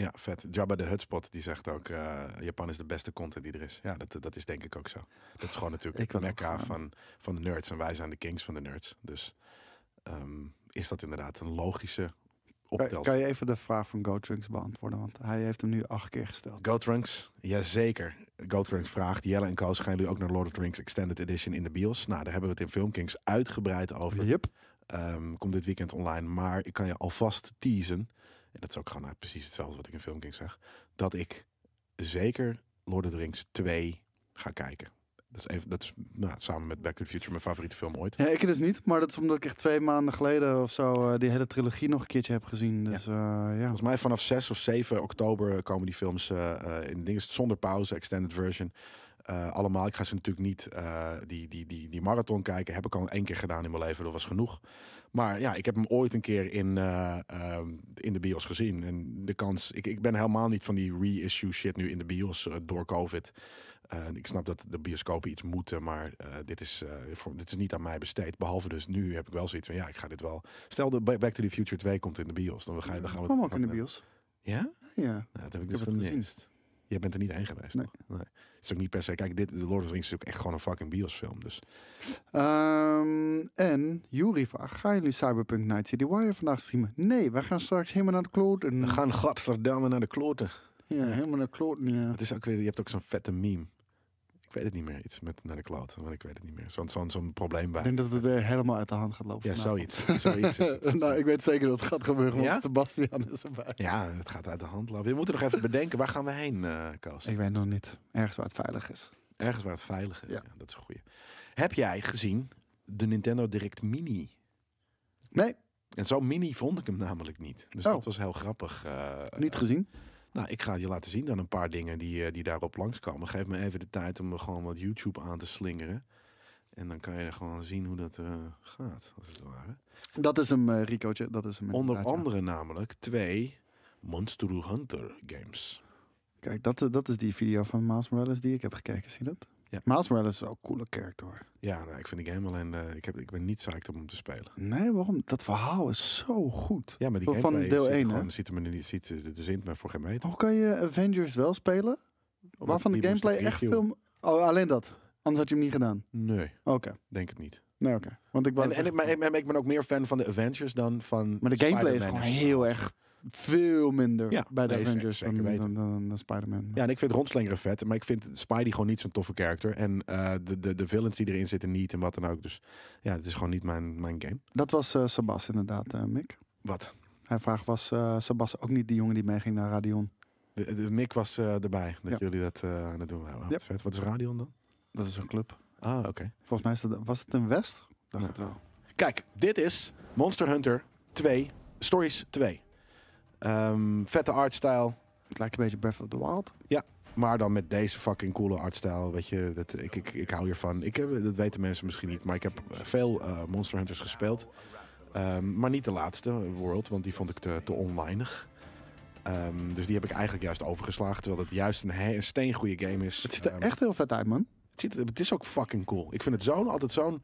[SPEAKER 1] Ja, vet. Jabba de Hutspot, die zegt ook... eh, Japan is de beste content die er is. Ja, dat, dat is denk ik ook zo. Dat is gewoon
[SPEAKER 2] Ik
[SPEAKER 1] natuurlijk
[SPEAKER 2] wil
[SPEAKER 1] het
[SPEAKER 2] ook
[SPEAKER 1] mekka
[SPEAKER 2] gaan.
[SPEAKER 1] van, van de nerds. En wij zijn de kings van de nerds. Dus ehm, is dat inderdaad een logische
[SPEAKER 2] Kan,
[SPEAKER 1] optel.
[SPEAKER 2] kan je even de vraag van GoTrunks beantwoorden? Want hij heeft hem nu acht keer gesteld.
[SPEAKER 1] Goatrunks, jazeker. Goatrunks vraagt, Jelle en Koos, gaan jullie ook naar Lord of the Rings Extended Edition in de bios? Nou, daar hebben we het in Filmkings uitgebreid over.
[SPEAKER 2] Yep.
[SPEAKER 1] Ehm, komt dit weekend online. Maar ik kan je alvast teasen. En dat is ook gewoon nou, precies hetzelfde wat ik in Filmking zeg. Dat ik zeker Lord of the Rings 2 ga kijken. Dat is, even, dat is nou, samen met Back to the Future mijn favoriete film ooit.
[SPEAKER 2] Ja, ik dus niet, maar dat is omdat ik echt twee maanden geleden of zo eh, die hele trilogie nog een keertje heb gezien. Dus eh, ja.
[SPEAKER 1] Volgens mij vanaf 6 of 7 oktober komen die films eh, eh, in dingen zonder pauze, extended version. eh, allemaal. Ik ga ze natuurlijk niet eh, die, die, die, die marathon kijken. Heb ik al één keer gedaan in mijn leven. Dat was genoeg. Maar ja, ik heb hem ooit een keer in, eh, ehm, in de bios gezien. En de kans... Ik, ik ben helemaal niet van die reissue shit nu in de bios eh, door COVID. Eh, ik snap dat de bioscopen iets moeten, maar eh, dit, is, eh, voor, dit is niet aan mij besteed. Behalve dus nu heb ik wel zoiets van, ja, ik ga dit wel... Stel, de Back to the Future 2 komt in de bios. Dan, ga, je- dan gaan we
[SPEAKER 2] Kom ook
[SPEAKER 1] gaan
[SPEAKER 2] in de
[SPEAKER 1] we-
[SPEAKER 2] bios.
[SPEAKER 1] Ja?
[SPEAKER 2] Ja.
[SPEAKER 1] Nou, dat heb ik
[SPEAKER 2] Ik
[SPEAKER 1] dus
[SPEAKER 2] heb het gezien.
[SPEAKER 1] gemist. Jij bent er niet heen geweest.
[SPEAKER 2] Nee.
[SPEAKER 1] toch? nee. Het is ook niet per se. Kijk, dit, The Lord of the Rings is ook echt gewoon een fucking biosfilm. Dus
[SPEAKER 2] Mm. Ehm, en Juri vraagt, gaan jullie Cyberpunk Night City Wire vandaag streamen? Nee, wij gaan straks helemaal naar de kloten.
[SPEAKER 1] we gaan godverdamme naar de kloten.
[SPEAKER 2] Ja, helemaal naar de kloten, ja.
[SPEAKER 1] Het is ook weer, je hebt ook zo'n vette meme. Ik weet het niet meer. Iets met naar de kloten, want ik weet het niet meer. Zo'n zo'n zo'n probleem
[SPEAKER 2] Ik
[SPEAKER 1] bij.
[SPEAKER 2] denk dat het weer helemaal uit de hand gaat lopen.
[SPEAKER 1] Ja,
[SPEAKER 2] vanavond.
[SPEAKER 1] zoiets. zoiets is het.
[SPEAKER 2] nou, ik weet zeker dat het gaat gebeuren, want
[SPEAKER 1] Ja?
[SPEAKER 2] Sebastian is erbij.
[SPEAKER 1] Ja, het gaat uit de hand lopen. We moeten nog even bedenken, waar gaan we heen, eh Koos?
[SPEAKER 2] Ik weet nog niet. Ergens waar het veilig is.
[SPEAKER 1] Ergens waar het veilig is.
[SPEAKER 2] Ja.
[SPEAKER 1] Ja. dat is een goeie. Heb jij gezien de Nintendo Direct Mini?
[SPEAKER 2] Nee,
[SPEAKER 1] En zo mini vond ik hem namelijk niet. Dus
[SPEAKER 2] Oh.
[SPEAKER 1] dat was heel grappig. eh,
[SPEAKER 2] niet gezien.
[SPEAKER 1] Nou, ik ga het je laten zien dan een paar dingen die, eh, die daarop langskomen. Geef me even de tijd om er gewoon wat YouTube aan te slingeren. En dan kan je er gewoon zien hoe dat eh, gaat, als het ware.
[SPEAKER 2] Dat is hem, eh, Ricootje. Dat is hem.
[SPEAKER 1] Onder
[SPEAKER 2] inderdaad, ja.
[SPEAKER 1] andere namelijk twee Monster Hunter games.
[SPEAKER 2] Kijk, dat, eh, dat is die video van Miles Morales die ik heb gekeken. Zie je dat?
[SPEAKER 1] Ja.
[SPEAKER 2] Miles Morales is ook een coole character. hoor.
[SPEAKER 1] Ja, nou, ik vind die game alleen... eh, ik, heb, ik ben niet psyched om hem te spelen.
[SPEAKER 2] Nee, waarom? Dat verhaal is zo goed.
[SPEAKER 1] Ja, maar die
[SPEAKER 2] Van- van
[SPEAKER 1] gameplay
[SPEAKER 2] deel
[SPEAKER 1] zit er
[SPEAKER 2] één, hè?
[SPEAKER 1] gewoon, ziet er me nu niet, ziet, de zint me voor geen meter.
[SPEAKER 2] Hoe kan je Avengers wel spelen?
[SPEAKER 1] Omdat
[SPEAKER 2] waarvan de
[SPEAKER 1] die moest
[SPEAKER 2] gameplay
[SPEAKER 1] ik
[SPEAKER 2] echt
[SPEAKER 1] reviewen.
[SPEAKER 2] film... Oh, alleen dat. Anders had je hem niet gedaan.
[SPEAKER 1] Nee,
[SPEAKER 2] Oké.
[SPEAKER 1] denk het niet.
[SPEAKER 2] Nee, oké. Want ik wou
[SPEAKER 1] En, en,
[SPEAKER 2] zeggen-
[SPEAKER 1] ik, maar, ik- maar ik ben ook meer fan van de Avengers dan van...
[SPEAKER 2] Maar de gameplay is
[SPEAKER 1] Spider-Man
[SPEAKER 2] gewoon
[SPEAKER 1] en zo.
[SPEAKER 2] heel erg veel minder
[SPEAKER 1] Ja,
[SPEAKER 2] bij de
[SPEAKER 1] nee, zeker-
[SPEAKER 2] Avengers
[SPEAKER 1] zeker
[SPEAKER 2] dan,
[SPEAKER 1] weten.
[SPEAKER 2] dan, dan, dan Spider-Man.
[SPEAKER 1] Ja, en ik vind rondslingeren vet, maar ik vind Spidey gewoon niet zo'n toffe character. En eh, de, de, de villains die erin zitten niet en wat dan ook. Dus ja, het is gewoon niet mijn, mijn game.
[SPEAKER 2] Dat was eh, Sabas inderdaad, eh, Mick.
[SPEAKER 1] Wat?
[SPEAKER 2] Hij vraagt, was eh, Sabas ook niet die jongen die meeging naar Radion?
[SPEAKER 1] De, de Mick was eh, erbij, dat
[SPEAKER 2] Ja.
[SPEAKER 1] jullie dat, eh, aan het doen waren. Oh, wat
[SPEAKER 2] Ja.
[SPEAKER 1] vet. Wat is Radion dan?
[SPEAKER 2] Dat is een club.
[SPEAKER 1] Ah, oké.
[SPEAKER 2] Volgens mij is dat, was het een West? Dacht
[SPEAKER 1] Ja.
[SPEAKER 2] het wel.
[SPEAKER 1] Kijk, dit is Monster Hunter 2, Stories 2. Ehm, vette artstyle,
[SPEAKER 2] Het lijkt een beetje Breath of the Wild.
[SPEAKER 1] maar dan met deze fucking coole artstyle. Weet je, dat, ik, ik, ik hou hiervan. Ik heb, dat weten mensen misschien niet, maar ik heb eh, veel eh, Monster Hunters gespeeld. Ehm, maar niet de laatste, World, want die vond ik te, te onlijnig. Ehm, dus die heb ik eigenlijk juist overgeslagen, terwijl het juist een, he- een steengoede game is.
[SPEAKER 2] Het ziet er
[SPEAKER 1] Ehm,
[SPEAKER 2] echt heel vet uit, man.
[SPEAKER 1] Het, ziet er- het is ook fucking cool. Ik vind het zo'n, altijd zo'n...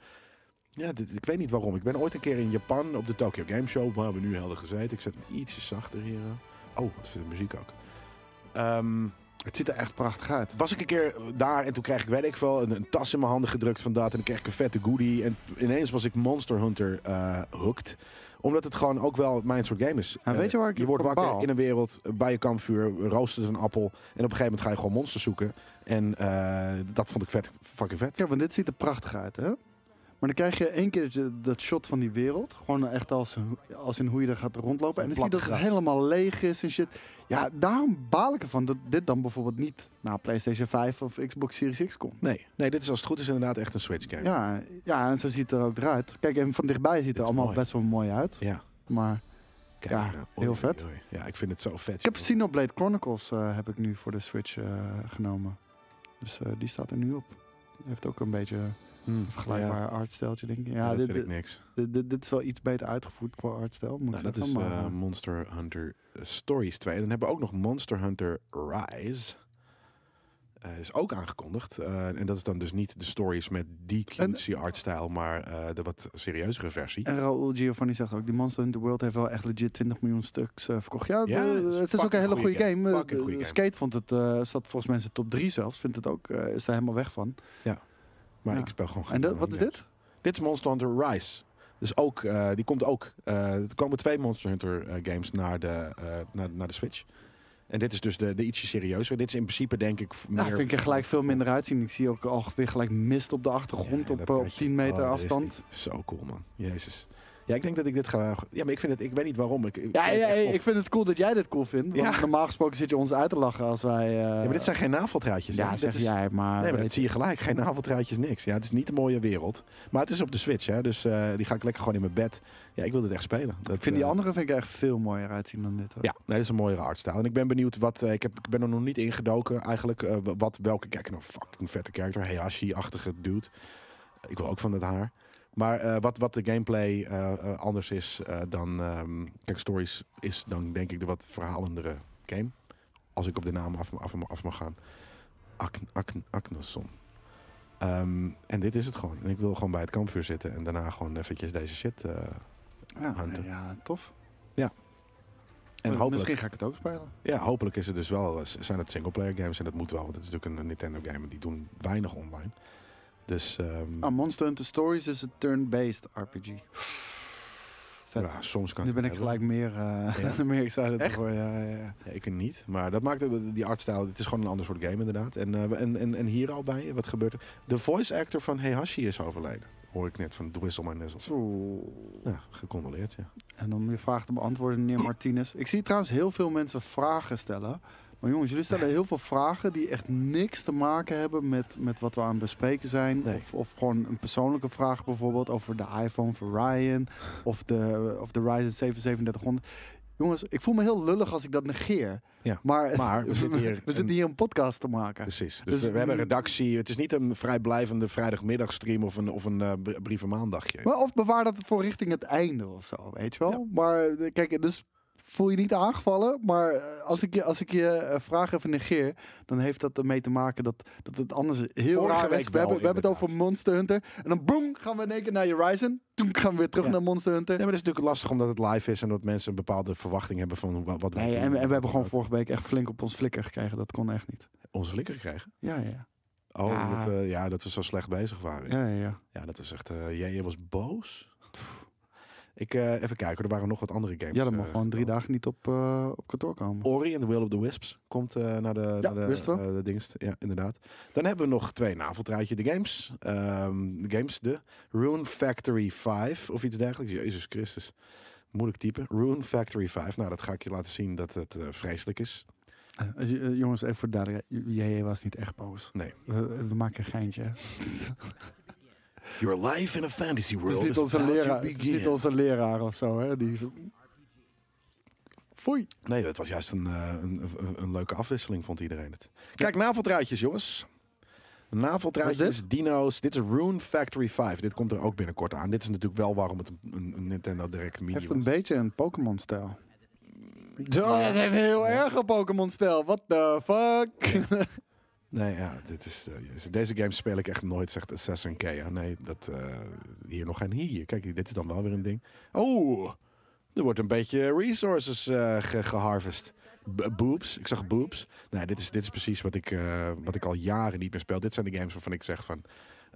[SPEAKER 1] Ja, dit- ik weet niet waarom. Ik ben ooit een keer in Japan op de Tokyo Game Show, waar we nu helder gezeten. Ik zet hem ietsje zachter hier. eh. Oh, wat vindt de muziek ook. Ehm,
[SPEAKER 2] Het ziet er echt prachtig uit.
[SPEAKER 1] was ik een keer daar en toen kreeg ik, weet ik veel, een, een tas in mijn handen gedrukt van dat. En dan kreeg ik een vette goodie. En ineens was ik Monster Hunter eh, hooked. Omdat het gewoon ook wel mijn soort game is.
[SPEAKER 2] En
[SPEAKER 1] Eh,
[SPEAKER 2] weet je waar ik
[SPEAKER 1] je wordt
[SPEAKER 2] van
[SPEAKER 1] wakker
[SPEAKER 2] baal?
[SPEAKER 1] in een wereld, eh, bij je kampvuur, roostert een appel. En op een gegeven moment ga je gewoon monsters zoeken. En eh, dat vond ik vet, fucking vet.
[SPEAKER 2] Ja, want dit ziet er prachtig uit, hè? Maar dan krijg je één keer dat je- dat shot van die wereld. Gewoon echt als, als in hoe je er gaat rondlopen. En dan zie je dat het
[SPEAKER 1] Plattegras.
[SPEAKER 2] helemaal leeg is en shit. Ja, daarom baal ik ervan dat dit dan bijvoorbeeld niet naar PlayStation 5 of Xbox Series X komt.
[SPEAKER 1] Nee, nee, dit is als het goed is inderdaad echt een Switch game.
[SPEAKER 2] Ja, ja, en zo ziet het er ook eruit. Kijk, en van dichtbij ziet het
[SPEAKER 1] Dit
[SPEAKER 2] er
[SPEAKER 1] is
[SPEAKER 2] allemaal
[SPEAKER 1] mooi.
[SPEAKER 2] best wel mooi uit.
[SPEAKER 1] Ja.
[SPEAKER 2] Maar
[SPEAKER 1] Kijk,
[SPEAKER 2] Ja,
[SPEAKER 1] nou,
[SPEAKER 2] heel
[SPEAKER 1] oei,
[SPEAKER 2] vet.
[SPEAKER 1] oei, oei. Ja, ik vind het zo vet.
[SPEAKER 2] ik heb
[SPEAKER 1] joh.
[SPEAKER 2] Xenoblade Chronicles eh, heb ik nu voor de Switch eh, genomen. Dus eh, die staat er nu op. Heeft ook een beetje een
[SPEAKER 1] Hmm,
[SPEAKER 2] vergelijkbaar
[SPEAKER 1] Ja,
[SPEAKER 2] artsteltje, denk ik. Ja,
[SPEAKER 1] ja, dat
[SPEAKER 2] dit,
[SPEAKER 1] vind ik niks.
[SPEAKER 2] Dit, dit- dit is wel iets beter uitgevoerd qua artstijl. Moet
[SPEAKER 1] Nou,
[SPEAKER 2] ik
[SPEAKER 1] dat is
[SPEAKER 2] zeggen, maar,
[SPEAKER 1] eh,
[SPEAKER 2] eh,
[SPEAKER 1] Monster Hunter Stories 2. En dan hebben we ook nog Monster Hunter Rise. Eh, is ook aangekondigd. Eh, en dat is dan dus niet de stories met die cutesy artstijl, maar eh, de wat serieuzere versie.
[SPEAKER 2] En Raoul Giovanni zegt ook, die Monster Hunter World heeft wel echt legit 20 miljoen stuks eh, verkocht. Ja,
[SPEAKER 1] Ja,
[SPEAKER 2] de-
[SPEAKER 1] het is
[SPEAKER 2] het is ook een
[SPEAKER 1] fucking
[SPEAKER 2] hele goede
[SPEAKER 1] goede
[SPEAKER 2] game.
[SPEAKER 1] game.
[SPEAKER 2] Eh,
[SPEAKER 1] Fucking
[SPEAKER 2] de-
[SPEAKER 1] goede game.
[SPEAKER 2] Skate vond het, eh, zat volgens mensen top 3 zelfs. Vindt het ook, eh, is daar helemaal weg van.
[SPEAKER 1] Maar
[SPEAKER 2] ja.
[SPEAKER 1] ik speel gewoon
[SPEAKER 2] En dat,
[SPEAKER 1] geen
[SPEAKER 2] wat is
[SPEAKER 1] games.
[SPEAKER 2] dit?
[SPEAKER 1] Dit is Monster Hunter Rise. Dus ook, eh, die komt ook. eh, er komen twee Monster Hunter eh, games naar de, eh, naar, naar de Switch. En dit is dus de, de ietsje serieuzer. Dit is in principe denk ik v- meer...
[SPEAKER 2] Nou, vind ik er gelijk veel minder uitzien. Ik zie ook alweer gelijk mist op de achtergrond
[SPEAKER 1] Ja,
[SPEAKER 2] op,
[SPEAKER 1] dat
[SPEAKER 2] eh, op
[SPEAKER 1] weet je.
[SPEAKER 2] 10 meter
[SPEAKER 1] Oh, daar is
[SPEAKER 2] afstand.
[SPEAKER 1] die. Zo cool, man. Jezus. Ja, ik denk dat ik dit ga... Ja, maar ik vind het... Ik weet niet waarom. Ik, ik
[SPEAKER 2] Ja,
[SPEAKER 1] weet
[SPEAKER 2] ja,
[SPEAKER 1] echt
[SPEAKER 2] ja,
[SPEAKER 1] of-
[SPEAKER 2] ik vind het cool dat jij dit cool vindt. Want
[SPEAKER 1] Ja.
[SPEAKER 2] normaal gesproken zit je ons uit te lachen als wij... eh,
[SPEAKER 1] Ja, maar dit zijn geen naveltraadjes. hè?
[SPEAKER 2] ja,
[SPEAKER 1] Dit
[SPEAKER 2] zeg
[SPEAKER 1] is-
[SPEAKER 2] jij, maar...
[SPEAKER 1] Nee, maar
[SPEAKER 2] weet
[SPEAKER 1] dat zie je gelijk. Geen naveltraadjes, niks. Ja, het is niet een mooie wereld. Maar het is op de Switch, hè. Dus eh, die ga ik lekker gewoon in mijn bed. Ja, ik wil dit echt spelen. Dat,
[SPEAKER 2] ik vind die
[SPEAKER 1] eh,
[SPEAKER 2] andere vind ik echt veel mooier uitzien dan dit. hoor.
[SPEAKER 1] Ja, nee, dat is een mooiere artstijl. En ik ben benieuwd wat... eh, ik, heb, ik ben er nog niet ingedoken eigenlijk. eh, wa- wat, welke... Kijk, nou, fucking vette character. Heihachi-achtige dude. Ik wil ook van dat haar. Maar eh, wat, wat de gameplay eh, eh, anders is eh, dan... ehm, kijk, Stories is dan denk ik de wat verhalendere game. Als ik op de naam af, af, af mag gaan. Akn, Akn, Aknason. Ehm, en dit is het gewoon. En ik wil gewoon bij het kampvuur zitten. En daarna gewoon eventjes deze shit... eh,
[SPEAKER 2] Nou Ja,
[SPEAKER 1] Hunter.
[SPEAKER 2] ja, tof.
[SPEAKER 1] en
[SPEAKER 2] Maar
[SPEAKER 1] hopelijk...
[SPEAKER 2] Misschien ga ik het ook spelen.
[SPEAKER 1] Ja, hopelijk is het dus wel, eh, zijn het singleplayer games en dat moet wel, want het is natuurlijk een Nintendo game en die doen weinig online. Dus ehm,
[SPEAKER 2] Ah, Monster Hunter Stories is een turn-based RPG. Vet.
[SPEAKER 1] ja, soms kan
[SPEAKER 2] nu ben
[SPEAKER 1] het
[SPEAKER 2] ik
[SPEAKER 1] hebben.
[SPEAKER 2] gelijk meer, eh, meer excited
[SPEAKER 1] Echt?
[SPEAKER 2] voor. Ja, ja, ja.
[SPEAKER 1] Ja, ik niet, maar dat maakt het- die artstijl, het is gewoon een ander soort game inderdaad. En, eh, en, en, en hier al bij, wat gebeurt er? De voice actor van Heihachi is overleden, hoor ik net van Dwizzle My Nizzle. Ja, gecondoleerd, ja.
[SPEAKER 2] En om je vraag te beantwoorden, meneer Martinez. Ik zie trouwens heel veel mensen vragen stellen. Maar jongens, jullie stellen heel veel vragen die echt niks te maken hebben met, met wat we aan het bespreken zijn.
[SPEAKER 1] Nee.
[SPEAKER 2] Of, of gewoon een persoonlijke vraag bijvoorbeeld over de iPhone voor Ryan. Of de, of de Ryzen 7 3700. Jongens, ik voel me heel lullig als ik dat negeer.
[SPEAKER 1] Ja,
[SPEAKER 2] maar,
[SPEAKER 1] maar we zitten hier
[SPEAKER 2] Eh, we
[SPEAKER 1] een-
[SPEAKER 2] zitten hier een podcast te maken.
[SPEAKER 1] Precies. Dus,
[SPEAKER 2] Dus
[SPEAKER 1] we, we hebben
[SPEAKER 2] nu-
[SPEAKER 1] een redactie. Het is niet een vrijblijvende vrijdagmiddagstream of een, of een eh, br- brievenmaandagje.
[SPEAKER 2] Maar of bewaar dat voor richting het einde of zo, weet je wel. Maar eh, kijk, dus voel je niet aangevallen. Maar eh, als ik je, als ik je eh, vraag even negeer, dan heeft dat ermee te maken dat, dat het anders heel
[SPEAKER 1] Vorige
[SPEAKER 2] raar is.
[SPEAKER 1] week
[SPEAKER 2] We
[SPEAKER 1] wel,
[SPEAKER 2] hebben, we hebben het over
[SPEAKER 1] inderdaad.
[SPEAKER 2] Monster Hunter. En dan boem, gaan we in één keer naar Horizon. Toen gaan we weer terug
[SPEAKER 1] Ja.
[SPEAKER 2] naar Monster Hunter.
[SPEAKER 1] Nee, maar dat is natuurlijk lastig omdat het live is en dat mensen een bepaalde verwachting hebben van wa- wat wij
[SPEAKER 2] Nee,
[SPEAKER 1] doen.
[SPEAKER 2] en, we- en we hebben gewoon
[SPEAKER 1] Ook
[SPEAKER 2] vorige week echt flink op ons flikker gekregen. Dat kon echt niet.
[SPEAKER 1] onze flikker krijgen.
[SPEAKER 2] Ja, ja,
[SPEAKER 1] Oh,
[SPEAKER 2] Ja.
[SPEAKER 1] Dat, we, ja, dat we zo slecht bezig waren. Ja,
[SPEAKER 2] ja. ja, ja.
[SPEAKER 1] dat is echt... eh, jij, jij was boos? Ik, eh, even kijken, hoor, er waren nog wat andere games.
[SPEAKER 2] Ja, dan mag
[SPEAKER 1] eh,
[SPEAKER 2] gewoon drie
[SPEAKER 1] gekomen.
[SPEAKER 2] dagen niet op, eh, op kantoor komen.
[SPEAKER 1] Ori and the Will of the Wisps komt eh, naar de, naar de,
[SPEAKER 2] wisten we.
[SPEAKER 1] eh, de dienst. Ja, inderdaad. Dan hebben we nog twee naveltraadje. De games. Ehm, de games, de Rune Factory 5 of iets dergelijks. Jezus Christus. Moeilijk typen. Rune Factory 5. Nou, dat ga ik je laten zien dat het eh, vreselijk is.
[SPEAKER 2] Eh, als je- eh, jongens, even voor de duidelijkheid. JJ was niet echt boos.
[SPEAKER 1] Nee.
[SPEAKER 2] We, we maken een geintje. hè.
[SPEAKER 1] Your life in a fantasy
[SPEAKER 2] Het
[SPEAKER 1] world
[SPEAKER 2] is niet Dus onze
[SPEAKER 1] about to
[SPEAKER 2] leraar, het is
[SPEAKER 1] begin.
[SPEAKER 2] niet onze leraar of zo. Hè? Die... zo- Foei.
[SPEAKER 1] Nee, het was juist een, eh, een, een, een leuke afwisseling, vond iedereen het. Kijk, naveltraadjes, jongens.
[SPEAKER 2] Wat
[SPEAKER 1] Naveltraadjes,
[SPEAKER 2] is
[SPEAKER 1] dino's. Dit is Rune Factory 5. Dit komt er ook binnenkort aan. Dit is natuurlijk wel waarom het een, een- een Nintendo Direct Mini
[SPEAKER 2] Heeft een
[SPEAKER 1] was.
[SPEAKER 2] beetje een Pokémon-stijl. Ja, het heeft heel erg een Pokémon-stijl. What the fuck?
[SPEAKER 1] Nee, ja, dit is, eh, jezus. deze game speel ik echt nooit, zegt Assassin Kea. Nee, dat, eh, hier nog geen hier. Kijk, dit is dan wel weer een ding. Oh, er wordt een beetje resources eh, ge- geharvest. B- boobs, ik zag boobs. Nee, dit is, dit is precies wat ik, eh, wat ik al jaren niet meer speel. Dit zijn de games waarvan ik zeg van...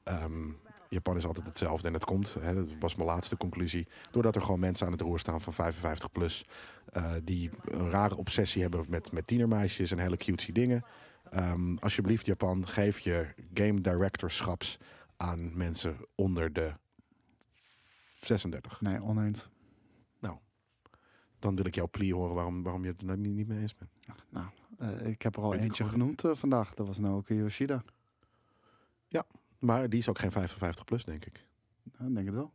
[SPEAKER 1] ehm, Japan is altijd hetzelfde en het komt. Hè, dat was mijn laatste conclusie. Doordat er gewoon mensen aan het roer staan van 55 plus... eh, die een rare obsessie hebben met, met tienermeisjes en hele cutesy dingen. Ehm, alsjeblieft, Japan, geef je game directorships aan mensen onder de 36.
[SPEAKER 2] Nee, oneens.
[SPEAKER 1] Dan wil ik jouw plea horen waarom, waarom je het er niet niet mee eens bent.
[SPEAKER 2] Nou, eh, ik heb er al
[SPEAKER 1] Ben ik
[SPEAKER 2] eentje
[SPEAKER 1] goed?
[SPEAKER 2] genoemd eh, vandaag. Dat was Naoki Yoshida.
[SPEAKER 1] Maar die is ook geen 55 plus, denk ik.
[SPEAKER 2] Nou, ik denk het wel.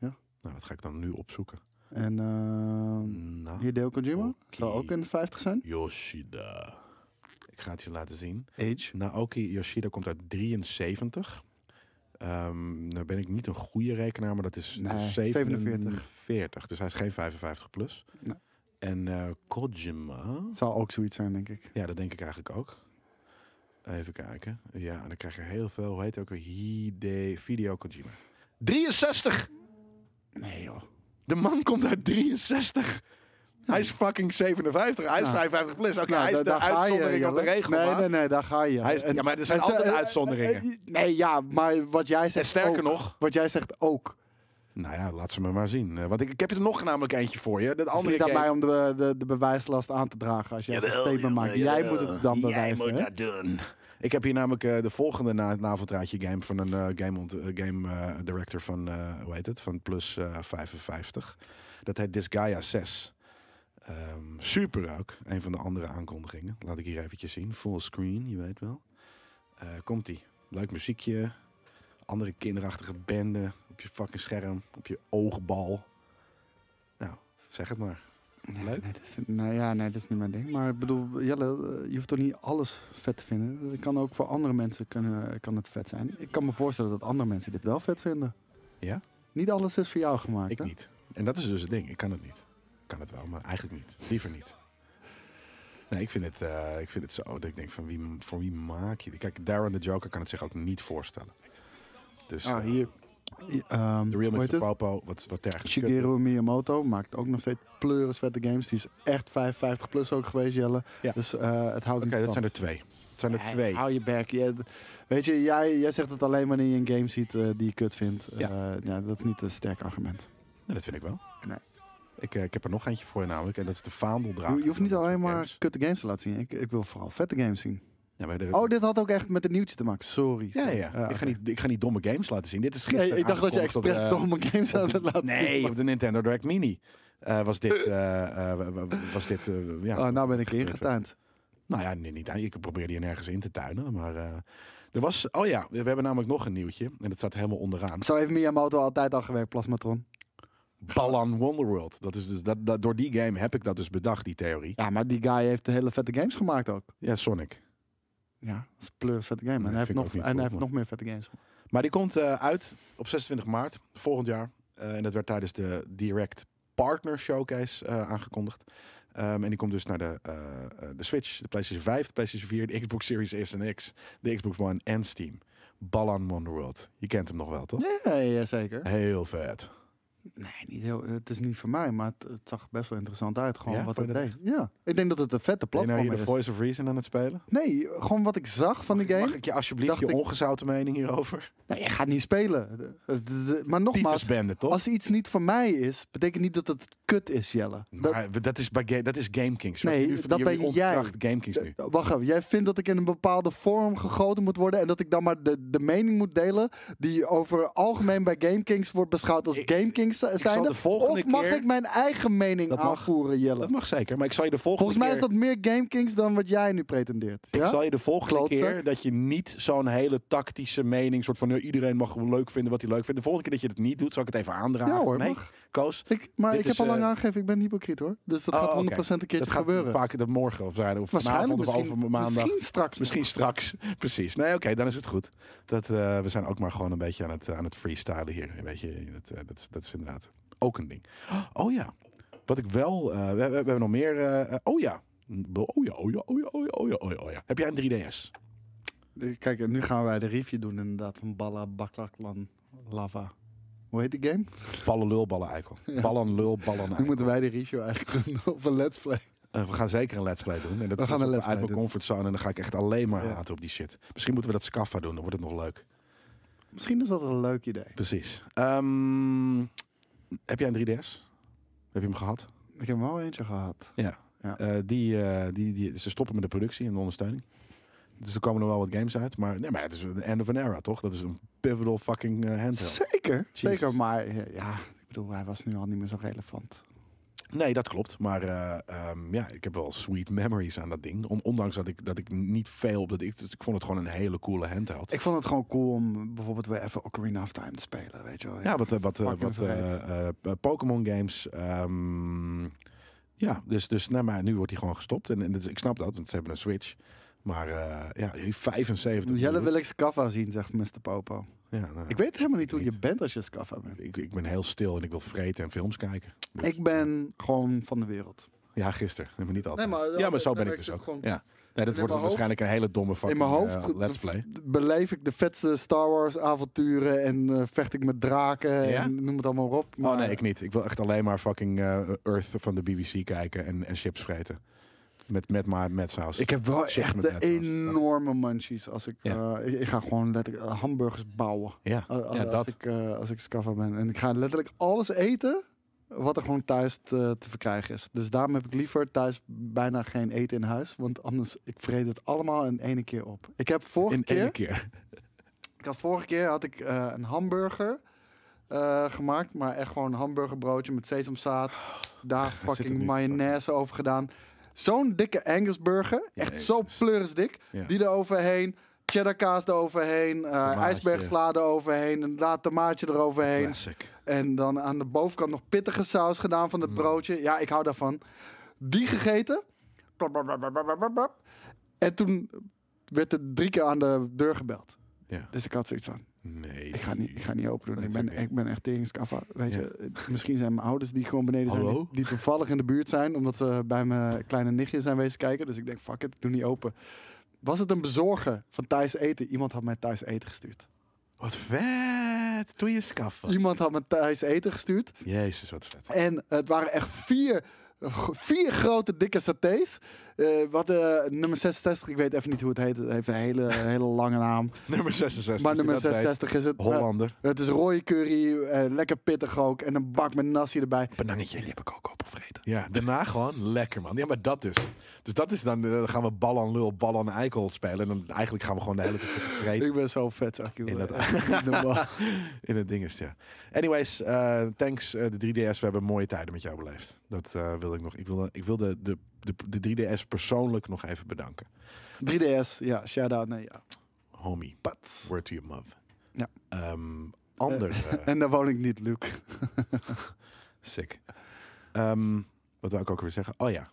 [SPEAKER 1] Nou, dat ga ik dan nu opzoeken.
[SPEAKER 2] En eh
[SPEAKER 1] Nou,
[SPEAKER 2] Hideo Kojima zou
[SPEAKER 1] Oké.
[SPEAKER 2] ook in de 50 zijn.
[SPEAKER 1] Yoshida. Ik ga het je laten zien.
[SPEAKER 2] Age.
[SPEAKER 1] Naoki Yoshida komt uit 73. Ehm nou ben ik niet een goede rekenaar, maar dat is dat is
[SPEAKER 2] Nee,
[SPEAKER 1] 47. Dus hij is geen 55 plus.
[SPEAKER 2] Nee.
[SPEAKER 1] En eh, Kojima.
[SPEAKER 2] Zou ook zoiets zijn, denk ik.
[SPEAKER 1] Ja, dat denk ik eigenlijk ook. Even kijken. Ja, en dan krijg je heel veel. Hoe heet het ook weer? Hide Video Kojima. 63!
[SPEAKER 2] Nee joh.
[SPEAKER 1] De man komt uit 63. Hij is fucking 57. Hij is
[SPEAKER 2] Nou.
[SPEAKER 1] 55 plus. Oké, hij is
[SPEAKER 2] Nou,
[SPEAKER 1] de
[SPEAKER 2] daar ga je,
[SPEAKER 1] uitzondering op de
[SPEAKER 2] Jelle.
[SPEAKER 1] regel.
[SPEAKER 2] Nee,
[SPEAKER 1] maar-
[SPEAKER 2] nee, nee, daar ga je.
[SPEAKER 1] Hij is- ja, maar er zijn
[SPEAKER 2] en-
[SPEAKER 1] altijd
[SPEAKER 2] en-
[SPEAKER 1] uitzonderingen.
[SPEAKER 2] en- Nee, ja, maar wat jij zegt
[SPEAKER 1] En sterker
[SPEAKER 2] ook,
[SPEAKER 1] nog.
[SPEAKER 2] Wat jij zegt ook.
[SPEAKER 1] oh. Nou ja, laat ze me maar zien. Eh, want ik, ik heb er nog namelijk eentje voor je. Dat
[SPEAKER 2] Het is
[SPEAKER 1] andere
[SPEAKER 2] niet aan
[SPEAKER 1] game-
[SPEAKER 2] mij om de, de, de bewijslast aan te dragen als jij zo'n statement maakt. Jij moet het dan bewijzen. hè?
[SPEAKER 1] doen. Ik heb hier namelijk eh, de volgende na naveltraadje game van een eh, game, ont- eh, game eh, director van, eh, hoe heet het, van Plus eh, 55. Dat heet Disgaea 6. Ehm, super ook. Een van de andere aankondigingen. Laat ik hier eventjes zien. Full screen, je weet wel. Eh, Komt-ie. Leuk muziekje. Andere kinderachtige bende. Op je fucking scherm. Op je oogbal. Nou, zeg het maar. Leuk.
[SPEAKER 2] Nee, dat vind- nou ja, nee, dat is niet mijn ding. Maar ik bedoel, Jelle, eh, je hoeft toch niet alles vet te vinden. Het kan ook voor andere mensen kunnen, eh, kan het vet zijn. Ik kan me voorstellen dat andere mensen dit wel vet vinden.
[SPEAKER 1] Ja?
[SPEAKER 2] Niet alles is voor jou gemaakt.
[SPEAKER 1] Ik
[SPEAKER 2] hè?
[SPEAKER 1] niet. En dat is dus het ding. Ik kan het niet. Ik kan het wel, maar eigenlijk niet. Liever niet. Nee, ik vind het, eh, ik vind het zo dat ik denk van wie, voor wie maak je dit? Kijk, Darren de Joker kan het zich ook niet voorstellen. Dus
[SPEAKER 2] Ah,
[SPEAKER 1] eh,
[SPEAKER 2] hier. Hier, ehm,
[SPEAKER 1] de
[SPEAKER 2] hoe
[SPEAKER 1] Real Mr.
[SPEAKER 2] heet het?
[SPEAKER 1] Popo, wat, wat ergens.
[SPEAKER 2] Shigeru Miyamoto maakt ook nog steeds pleuris vette games. Die is echt 55 plus ook geweest, Jelle.
[SPEAKER 1] Ja.
[SPEAKER 2] Dus eh, het
[SPEAKER 1] Oké,
[SPEAKER 2] houdt niet
[SPEAKER 1] dat
[SPEAKER 2] van.
[SPEAKER 1] zijn er twee. Het zijn er
[SPEAKER 2] Nee,
[SPEAKER 1] twee.
[SPEAKER 2] Hou je bek. Je- weet je, jij, jij zegt het alleen wanneer je een game ziet eh, die je kut vindt.
[SPEAKER 1] Ja.
[SPEAKER 2] Eh, ja, dat is niet een sterk argument.
[SPEAKER 1] Nee, dat vind ik wel.
[SPEAKER 2] Nee.
[SPEAKER 1] Ik, eh, ik heb er nog eentje voor je namelijk. En dat is de vaandeldrager.
[SPEAKER 2] Je, je hoeft niet
[SPEAKER 1] van dat
[SPEAKER 2] alleen
[SPEAKER 1] soort
[SPEAKER 2] maar
[SPEAKER 1] games.
[SPEAKER 2] kutte games te laten zien. Ik, ik wil vooral vette games zien.
[SPEAKER 1] Ja, maar de-
[SPEAKER 2] Oh, dit had ook echt met een nieuwtje te maken. Sorry.
[SPEAKER 1] ja, ja. ja.
[SPEAKER 2] sorry.
[SPEAKER 1] ik, ga niet, ik ga niet domme games laten zien. Dit is
[SPEAKER 2] Nee,
[SPEAKER 1] gisteren
[SPEAKER 2] ik dacht dat je
[SPEAKER 1] aangekondigd op eh, de-
[SPEAKER 2] expres domme games aan het laten Oh, zien.
[SPEAKER 1] Nee,
[SPEAKER 2] was.
[SPEAKER 1] op de Nintendo Direct Mini eh, was dit. eh, eh, wa- wa- was dit eh, ja,
[SPEAKER 2] Oh, nou ben ik ingetuind.
[SPEAKER 1] Nou ja, nee, niet aan. Ik probeerde je nergens in te tuinen. Maar eh, er was. Oh ja, we hebben namelijk nog een nieuwtje. En dat staat helemaal onderaan.
[SPEAKER 2] Zo heeft Miyamoto altijd al gewerkt, Plasmatron.
[SPEAKER 1] Balan Wonderworld. Dat is dus, dat, dat, door die game heb ik dat dus bedacht, die theorie.
[SPEAKER 2] Ja, maar die guy heeft hele vette games gemaakt ook.
[SPEAKER 1] Ja, Sonic.
[SPEAKER 2] Ja, dat is een pleuris vette game.
[SPEAKER 1] Nee,
[SPEAKER 2] en hij,
[SPEAKER 1] vind
[SPEAKER 2] heeft
[SPEAKER 1] ik ook niet
[SPEAKER 2] nog, en hij
[SPEAKER 1] goed,
[SPEAKER 2] heeft
[SPEAKER 1] maar-
[SPEAKER 2] nog meer vette games.
[SPEAKER 1] Maar die komt eh, uit op 26 maart volgend jaar. Eh, en dat werd tijdens de Direct Partner Showcase eh, aangekondigd. Ehm, en die komt dus naar de, eh, eh, de Switch, de PlayStation 5, de PlayStation 4, de Xbox Series S en X, de Xbox One en Steam. Balan Wonderworld. Je nou kent hem nog wel, toch?
[SPEAKER 2] Ja, ja, zeker.
[SPEAKER 1] Heel vet.
[SPEAKER 2] Nee, niet heel, het is niet voor mij, maar het, het zag best wel interessant uit. Gewoon
[SPEAKER 1] Ja,
[SPEAKER 2] wat
[SPEAKER 1] vond
[SPEAKER 2] het
[SPEAKER 1] je
[SPEAKER 2] deed. Ja, ik denk dat het een vette
[SPEAKER 1] Ben je nou
[SPEAKER 2] platform
[SPEAKER 1] hier de
[SPEAKER 2] is.
[SPEAKER 1] Voice of Reason aan het spelen?
[SPEAKER 2] Nee, gewoon wat ik zag van die game.
[SPEAKER 1] Mag ik je alsjeblieft
[SPEAKER 2] Dacht
[SPEAKER 1] je
[SPEAKER 2] ik-
[SPEAKER 1] ongezouten mening hierover?
[SPEAKER 2] Nee, je gaat niet spelen. De- de- de- Maar nogmaals,
[SPEAKER 1] Tyfusbende, toch?
[SPEAKER 2] als iets niet voor mij is, betekent niet dat het kut is, Jelle. Dat-
[SPEAKER 1] Maar dat, is bij Ga- dat is Game Kings.
[SPEAKER 2] Nee,
[SPEAKER 1] Wat je nu-
[SPEAKER 2] dat
[SPEAKER 1] jullie
[SPEAKER 2] ben jij.
[SPEAKER 1] ontkracht Game Kings nu.
[SPEAKER 2] d- Eh, wacht even, jij vindt dat ik in een bepaalde vorm gegoten moet worden en dat ik dan maar de, de mening moet delen die over algemeen bij GameKings wordt beschouwd als
[SPEAKER 1] Ik-
[SPEAKER 2] GameKings
[SPEAKER 1] ik zal
[SPEAKER 2] zijn.
[SPEAKER 1] de volgende
[SPEAKER 2] Of mag
[SPEAKER 1] keer-
[SPEAKER 2] ik mijn eigen mening
[SPEAKER 1] Dat mag.
[SPEAKER 2] aanvoeren, Jelle?
[SPEAKER 1] Dat mag zeker, maar ik zal je de volgende
[SPEAKER 2] Volgens mij is
[SPEAKER 1] keer-
[SPEAKER 2] dat meer GameKings dan wat jij nu pretendeert.
[SPEAKER 1] Ik
[SPEAKER 2] Ja?
[SPEAKER 1] zal je de volgende
[SPEAKER 2] Klootzak.
[SPEAKER 1] keer dat je niet zo'n hele tactische mening, soort van eh, iedereen mag leuk vinden wat hij leuk vindt. De volgende keer dat je dat niet doet, zal ik het even aandragen.
[SPEAKER 2] Ja hoor,
[SPEAKER 1] nee,
[SPEAKER 2] mag.
[SPEAKER 1] Koos,
[SPEAKER 2] Ik, maar
[SPEAKER 1] Dit
[SPEAKER 2] ik
[SPEAKER 1] is,
[SPEAKER 2] heb al lang
[SPEAKER 1] eh,
[SPEAKER 2] aangegeven, ik ben hypocriet hoor. Dus dat
[SPEAKER 1] Oh,
[SPEAKER 2] gaat
[SPEAKER 1] oké.
[SPEAKER 2] 100% een keertje
[SPEAKER 1] dat gaat
[SPEAKER 2] gebeuren.
[SPEAKER 1] vaak dat morgen of vrijdag of vanavond
[SPEAKER 2] Waarschijnlijk
[SPEAKER 1] of
[SPEAKER 2] misschien,
[SPEAKER 1] over maandag. Misschien,
[SPEAKER 2] misschien straks.
[SPEAKER 1] straks, precies. Nee, oké, dan is het goed. Dat, eh, we zijn ook maar gewoon een beetje aan het, aan het freestylen hier. Weet je, dat, eh, dat, is- dat is inderdaad ook een ding. Oh ja, wat ik wel... eh, we, we- we hebben nog meer... eh, eh, oh ja. Oh ja, oh ja, oh ja, oh ja, oh ja, oh ja, oh ja. Heb jij een 3DS?
[SPEAKER 2] Eh, Kijk, en nu gaan wij de review doen inderdaad van Balla Baklaklan Lava. Hoe heet die game?
[SPEAKER 1] Ballen lul, ballen eikel. Ballen lul, ballen
[SPEAKER 2] Nu
[SPEAKER 1] eikel.
[SPEAKER 2] moeten wij de review eigenlijk doen op een let's play.
[SPEAKER 1] Eh, we gaan zeker een let's play doen. En dat
[SPEAKER 2] We gaan
[SPEAKER 1] is
[SPEAKER 2] een let's
[SPEAKER 1] uit
[SPEAKER 2] play
[SPEAKER 1] mijn
[SPEAKER 2] doen.
[SPEAKER 1] comfortzone en dan ga ik echt alleen maar
[SPEAKER 2] Ja.
[SPEAKER 1] haten op die shit. Misschien moeten we dat Scaffa doen, dan wordt het nog leuk.
[SPEAKER 2] Misschien is dat een leuk idee.
[SPEAKER 1] Precies. Ehm, heb jij een 3DS? Heb je hem gehad?
[SPEAKER 2] Ik heb er wel eentje gehad.
[SPEAKER 1] Ja.
[SPEAKER 2] Ja.
[SPEAKER 1] Eh, die, eh, die, die, ze stoppen met de productie en de ondersteuning. Dus er komen nog wel wat games uit. Maar, nee, maar het is een end of an era, toch? Dat is een pivotal fucking eh, handheld.
[SPEAKER 2] Zeker,
[SPEAKER 1] Jesus.
[SPEAKER 2] zeker. Maar eh, ja, ik bedoel, hij was nu al niet meer zo relevant.
[SPEAKER 1] Nee, dat klopt. Maar eh, ehm, ja, ik heb wel sweet memories aan dat ding. On- ondanks dat ik, dat ik niet veel op dat... Ik, dus ik vond het gewoon een hele coole handheld.
[SPEAKER 2] Ik vond het gewoon cool om bijvoorbeeld weer even Ocarina of Time te spelen, weet je wel.
[SPEAKER 1] Ja, wat, eh, wat, eh,
[SPEAKER 2] Pak hem
[SPEAKER 1] wat eh, eh, eh, Pokémon games. ehm, ja, dus, dus nou, maar nu wordt hij gewoon gestopt. En, en dus, ik snap dat, want ze hebben een Switch. Maar eh, ja, 75
[SPEAKER 2] Jelle
[SPEAKER 1] miljoen.
[SPEAKER 2] wil ik Scaffa zien, zegt Mr. Popo.
[SPEAKER 1] Ja, nou,
[SPEAKER 2] Ik weet helemaal niet hoe
[SPEAKER 1] Niet.
[SPEAKER 2] je bent als je Scaffa bent.
[SPEAKER 1] ik, ik ben heel stil en ik wil vreten en films kijken. Dus-
[SPEAKER 2] Ik ben gewoon van de wereld.
[SPEAKER 1] Ja, gisteren. Nee, maar niet altijd.
[SPEAKER 2] Nee, maar-
[SPEAKER 1] ja, maar zo ben
[SPEAKER 2] nee, maar
[SPEAKER 1] ik dus
[SPEAKER 2] ik zit
[SPEAKER 1] ook.
[SPEAKER 2] gewoon-
[SPEAKER 1] Ja. Nee, dat
[SPEAKER 2] In
[SPEAKER 1] wordt
[SPEAKER 2] mijn
[SPEAKER 1] waarschijnlijk een hele domme fucking
[SPEAKER 2] In mijn hoofd
[SPEAKER 1] eh, let's play.
[SPEAKER 2] d- beleef ik de vetste Star Wars avonturen en eh, vecht ik met draken
[SPEAKER 1] Ja?
[SPEAKER 2] en noem het allemaal maar op. Maar
[SPEAKER 1] Oh nee, ik niet. Ik wil echt alleen maar fucking eh, Earth van de BBC kijken en, en chips vreten. Met, met, maar met saus.
[SPEAKER 2] ik heb wel
[SPEAKER 1] Chips
[SPEAKER 2] echt
[SPEAKER 1] met
[SPEAKER 2] de
[SPEAKER 1] vet saus.
[SPEAKER 2] enorme munchies als ik,
[SPEAKER 1] Ja.
[SPEAKER 2] eh, ik, ik ga gewoon letterlijk eh, hamburgers bouwen.
[SPEAKER 1] ja.
[SPEAKER 2] Al- al-
[SPEAKER 1] ja,
[SPEAKER 2] als,
[SPEAKER 1] dat.
[SPEAKER 2] ik, eh, als ik scaffer ben. En ik ga letterlijk alles eten wat er gewoon thuis te, te verkrijgen is. Dus daarom heb ik liever thuis bijna geen eten in huis. Want anders, ik vreet het allemaal in ene keer op. Ik heb vorige
[SPEAKER 1] In
[SPEAKER 2] keer...
[SPEAKER 1] één keer.
[SPEAKER 2] Ik had vorige keer had ik eh, een hamburger eh, gemaakt, maar echt gewoon een hamburgerbroodje met sesamzaad.
[SPEAKER 1] Oh,
[SPEAKER 2] Daar
[SPEAKER 1] hem
[SPEAKER 2] fucking
[SPEAKER 1] nu te
[SPEAKER 2] mayonaise over gedaan. Zo'n dikke Angusburger, echt
[SPEAKER 1] Jezus.
[SPEAKER 2] zo pleurisdik.
[SPEAKER 1] Ja.
[SPEAKER 2] Die eroverheen, cheddarkaas eroverheen, eh ijsbergsla eroverheen, inderdaad tomaatje eroverheen.
[SPEAKER 1] Classic.
[SPEAKER 2] En dan aan de bovenkant nog pittige saus gedaan van het
[SPEAKER 1] Mm.
[SPEAKER 2] broodje. Ja, ik hou daarvan. Die gegeten. Blap, blap, blap, blap, blap, blap, blap. En toen werd er drie keer aan de deur gebeld.
[SPEAKER 1] Ja.
[SPEAKER 2] Dus ik had zoiets van,
[SPEAKER 1] Nee.
[SPEAKER 2] ik ga niet, ik ga niet open doen.
[SPEAKER 1] Nee,
[SPEAKER 2] Ik ben,
[SPEAKER 1] tuurlijk niet.
[SPEAKER 2] ik ben echt teringskaffa. Weet
[SPEAKER 1] Ja.
[SPEAKER 2] je, eh, misschien zijn mijn ouders die gewoon beneden zijn.
[SPEAKER 1] Hallo?
[SPEAKER 2] Die, die toevallig in de buurt zijn, omdat ze bij mijn kleine nichtje zijn wezen kijken. Dus ik denk, fuck it, ik doe niet open. Was het een bezorger van thuis eten? Iemand had mij thuis eten gestuurd.
[SPEAKER 1] Wat vet. Doe je scaffen.
[SPEAKER 2] Iemand had me thuis eten gestuurd.
[SPEAKER 1] Jezus, wat vet.
[SPEAKER 2] En het waren echt vier, vier grote dikke satés. Eh, wat eh, nummer 66, ik weet even niet hoe het heet. Het heeft een hele, hele lange naam.
[SPEAKER 1] Nummer 66.
[SPEAKER 2] Maar
[SPEAKER 1] je
[SPEAKER 2] nummer
[SPEAKER 1] dat weet.
[SPEAKER 2] 66 is het. eh,
[SPEAKER 1] Hollander.
[SPEAKER 2] Het is rode curry, eh, lekker pittig ook. En een bak met nasi erbij.
[SPEAKER 1] Benangetje.
[SPEAKER 2] Die heb ik ook opgevreten.
[SPEAKER 1] Ja, daarna gewoon lekker, man. Ja, maar dat dus. Dus dat is dan, eh, dan gaan we bal aan lul, bal aan eikel spelen. En dan eigenlijk gaan we gewoon de hele tijd zitten vreten
[SPEAKER 2] Ik ben zo vet, zeg ik. joh.
[SPEAKER 1] In dat-
[SPEAKER 2] Echt niet normaal.
[SPEAKER 1] in het ding is, het, ja. Anyways, eh, thanks eh, de 3DS. We hebben mooie tijden met jou beleefd. Dat eh wilde ik nog. Ik wilde, ik wilde de, de, de 3DS persoonlijk nog even bedanken.
[SPEAKER 2] 3DS, ja, shout-out. Nee, ja.
[SPEAKER 1] Homie,
[SPEAKER 2] Pats.
[SPEAKER 1] word to your mother.
[SPEAKER 2] Ja.
[SPEAKER 1] Ehm, ander. eh,
[SPEAKER 2] En daar woon ik niet, Luc.
[SPEAKER 1] Sick. Ehm, wat wou ik ook weer zeggen? Oh ja,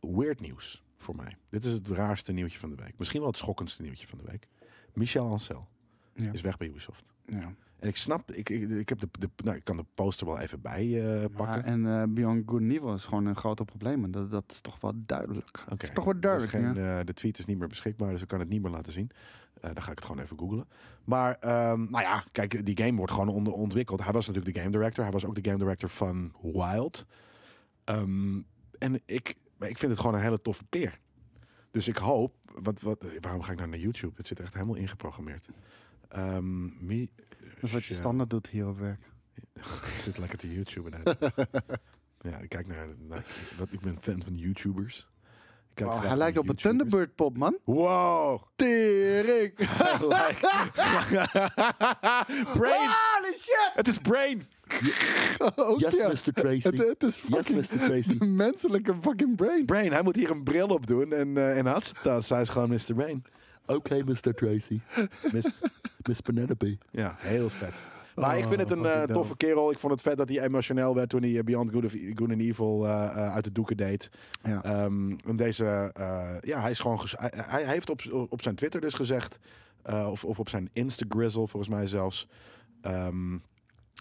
[SPEAKER 1] weird nieuws voor mij. Dit is het raarste nieuwtje van de week. Misschien wel het schokkendste nieuwtje van de week. Michel Ancel
[SPEAKER 2] Ja.
[SPEAKER 1] is weg bij Ubisoft.
[SPEAKER 2] Ja.
[SPEAKER 1] En ik snap, ik, ik, ik heb de, de, nou, ik kan de poster wel even bij eh, pakken.
[SPEAKER 2] Maar, en eh Beyond Good and Evil is gewoon een groot probleem. En dat, dat is toch wel duidelijk.
[SPEAKER 1] Oké.
[SPEAKER 2] is toch wel
[SPEAKER 1] Er
[SPEAKER 2] duidelijk,
[SPEAKER 1] Geen, eh, de tweet is niet meer beschikbaar, dus ik kan het niet meer laten zien. Eh, dan ga ik het gewoon even googlen. Maar, ehm, nou ja, kijk, die game wordt gewoon onder ontwikkeld. Hij was natuurlijk de game director. Hij was ook de game director van Wild. Ehm, en ik, maar ik vind het gewoon een hele toffe peer. Dus ik hoop, want wat, waarom ga ik nou naar YouTube? Het zit er echt helemaal ingeprogrammeerd. Ehm mi-
[SPEAKER 2] Dat is wat je
[SPEAKER 1] shell.
[SPEAKER 2] standaard doet hier op werk.
[SPEAKER 1] Ik zit lekker te YouTube. En ja, ik kijk naar, naar wat, ik ben fan van YouTubers. Ik kijk
[SPEAKER 2] Wauw,
[SPEAKER 1] graag
[SPEAKER 2] hij
[SPEAKER 1] naar
[SPEAKER 2] lijkt op een
[SPEAKER 1] YouTubers.
[SPEAKER 2] Thunderbird pop, man.
[SPEAKER 1] Wow!
[SPEAKER 2] Tering!
[SPEAKER 1] Like- brain!
[SPEAKER 2] Holy shit!
[SPEAKER 1] Het is brain!
[SPEAKER 2] Ook
[SPEAKER 3] Yes,
[SPEAKER 2] ja.
[SPEAKER 3] Mr. Tracy.
[SPEAKER 2] Het, het is
[SPEAKER 3] Yes,
[SPEAKER 2] fucking
[SPEAKER 3] Mr. Tracy.
[SPEAKER 2] de menselijke fucking brain.
[SPEAKER 1] Brain, hij moet hier een bril op doen en, eh en had ze het dan. Zij is gewoon Mr. Brain.
[SPEAKER 3] Oké, Mr. Tracy.
[SPEAKER 1] Miss-
[SPEAKER 3] Miss Penelope.
[SPEAKER 1] ja, heel vet. Maar ik vind het een
[SPEAKER 2] fucking
[SPEAKER 1] eh,
[SPEAKER 2] dope.
[SPEAKER 1] toffe kerel. Ik vond het vet dat hij emotioneel werd toen hij eh, Beyond Good, of, Good and Evil eh, eh, uit de doeken deed.
[SPEAKER 2] Ja.
[SPEAKER 1] Ehm, en deze, eh, ja, hij is gewoon. ges- Hij, hij heeft op, op zijn Twitter dus gezegd, eh, of, of op zijn Instagrizzle volgens mij zelfs. ehm,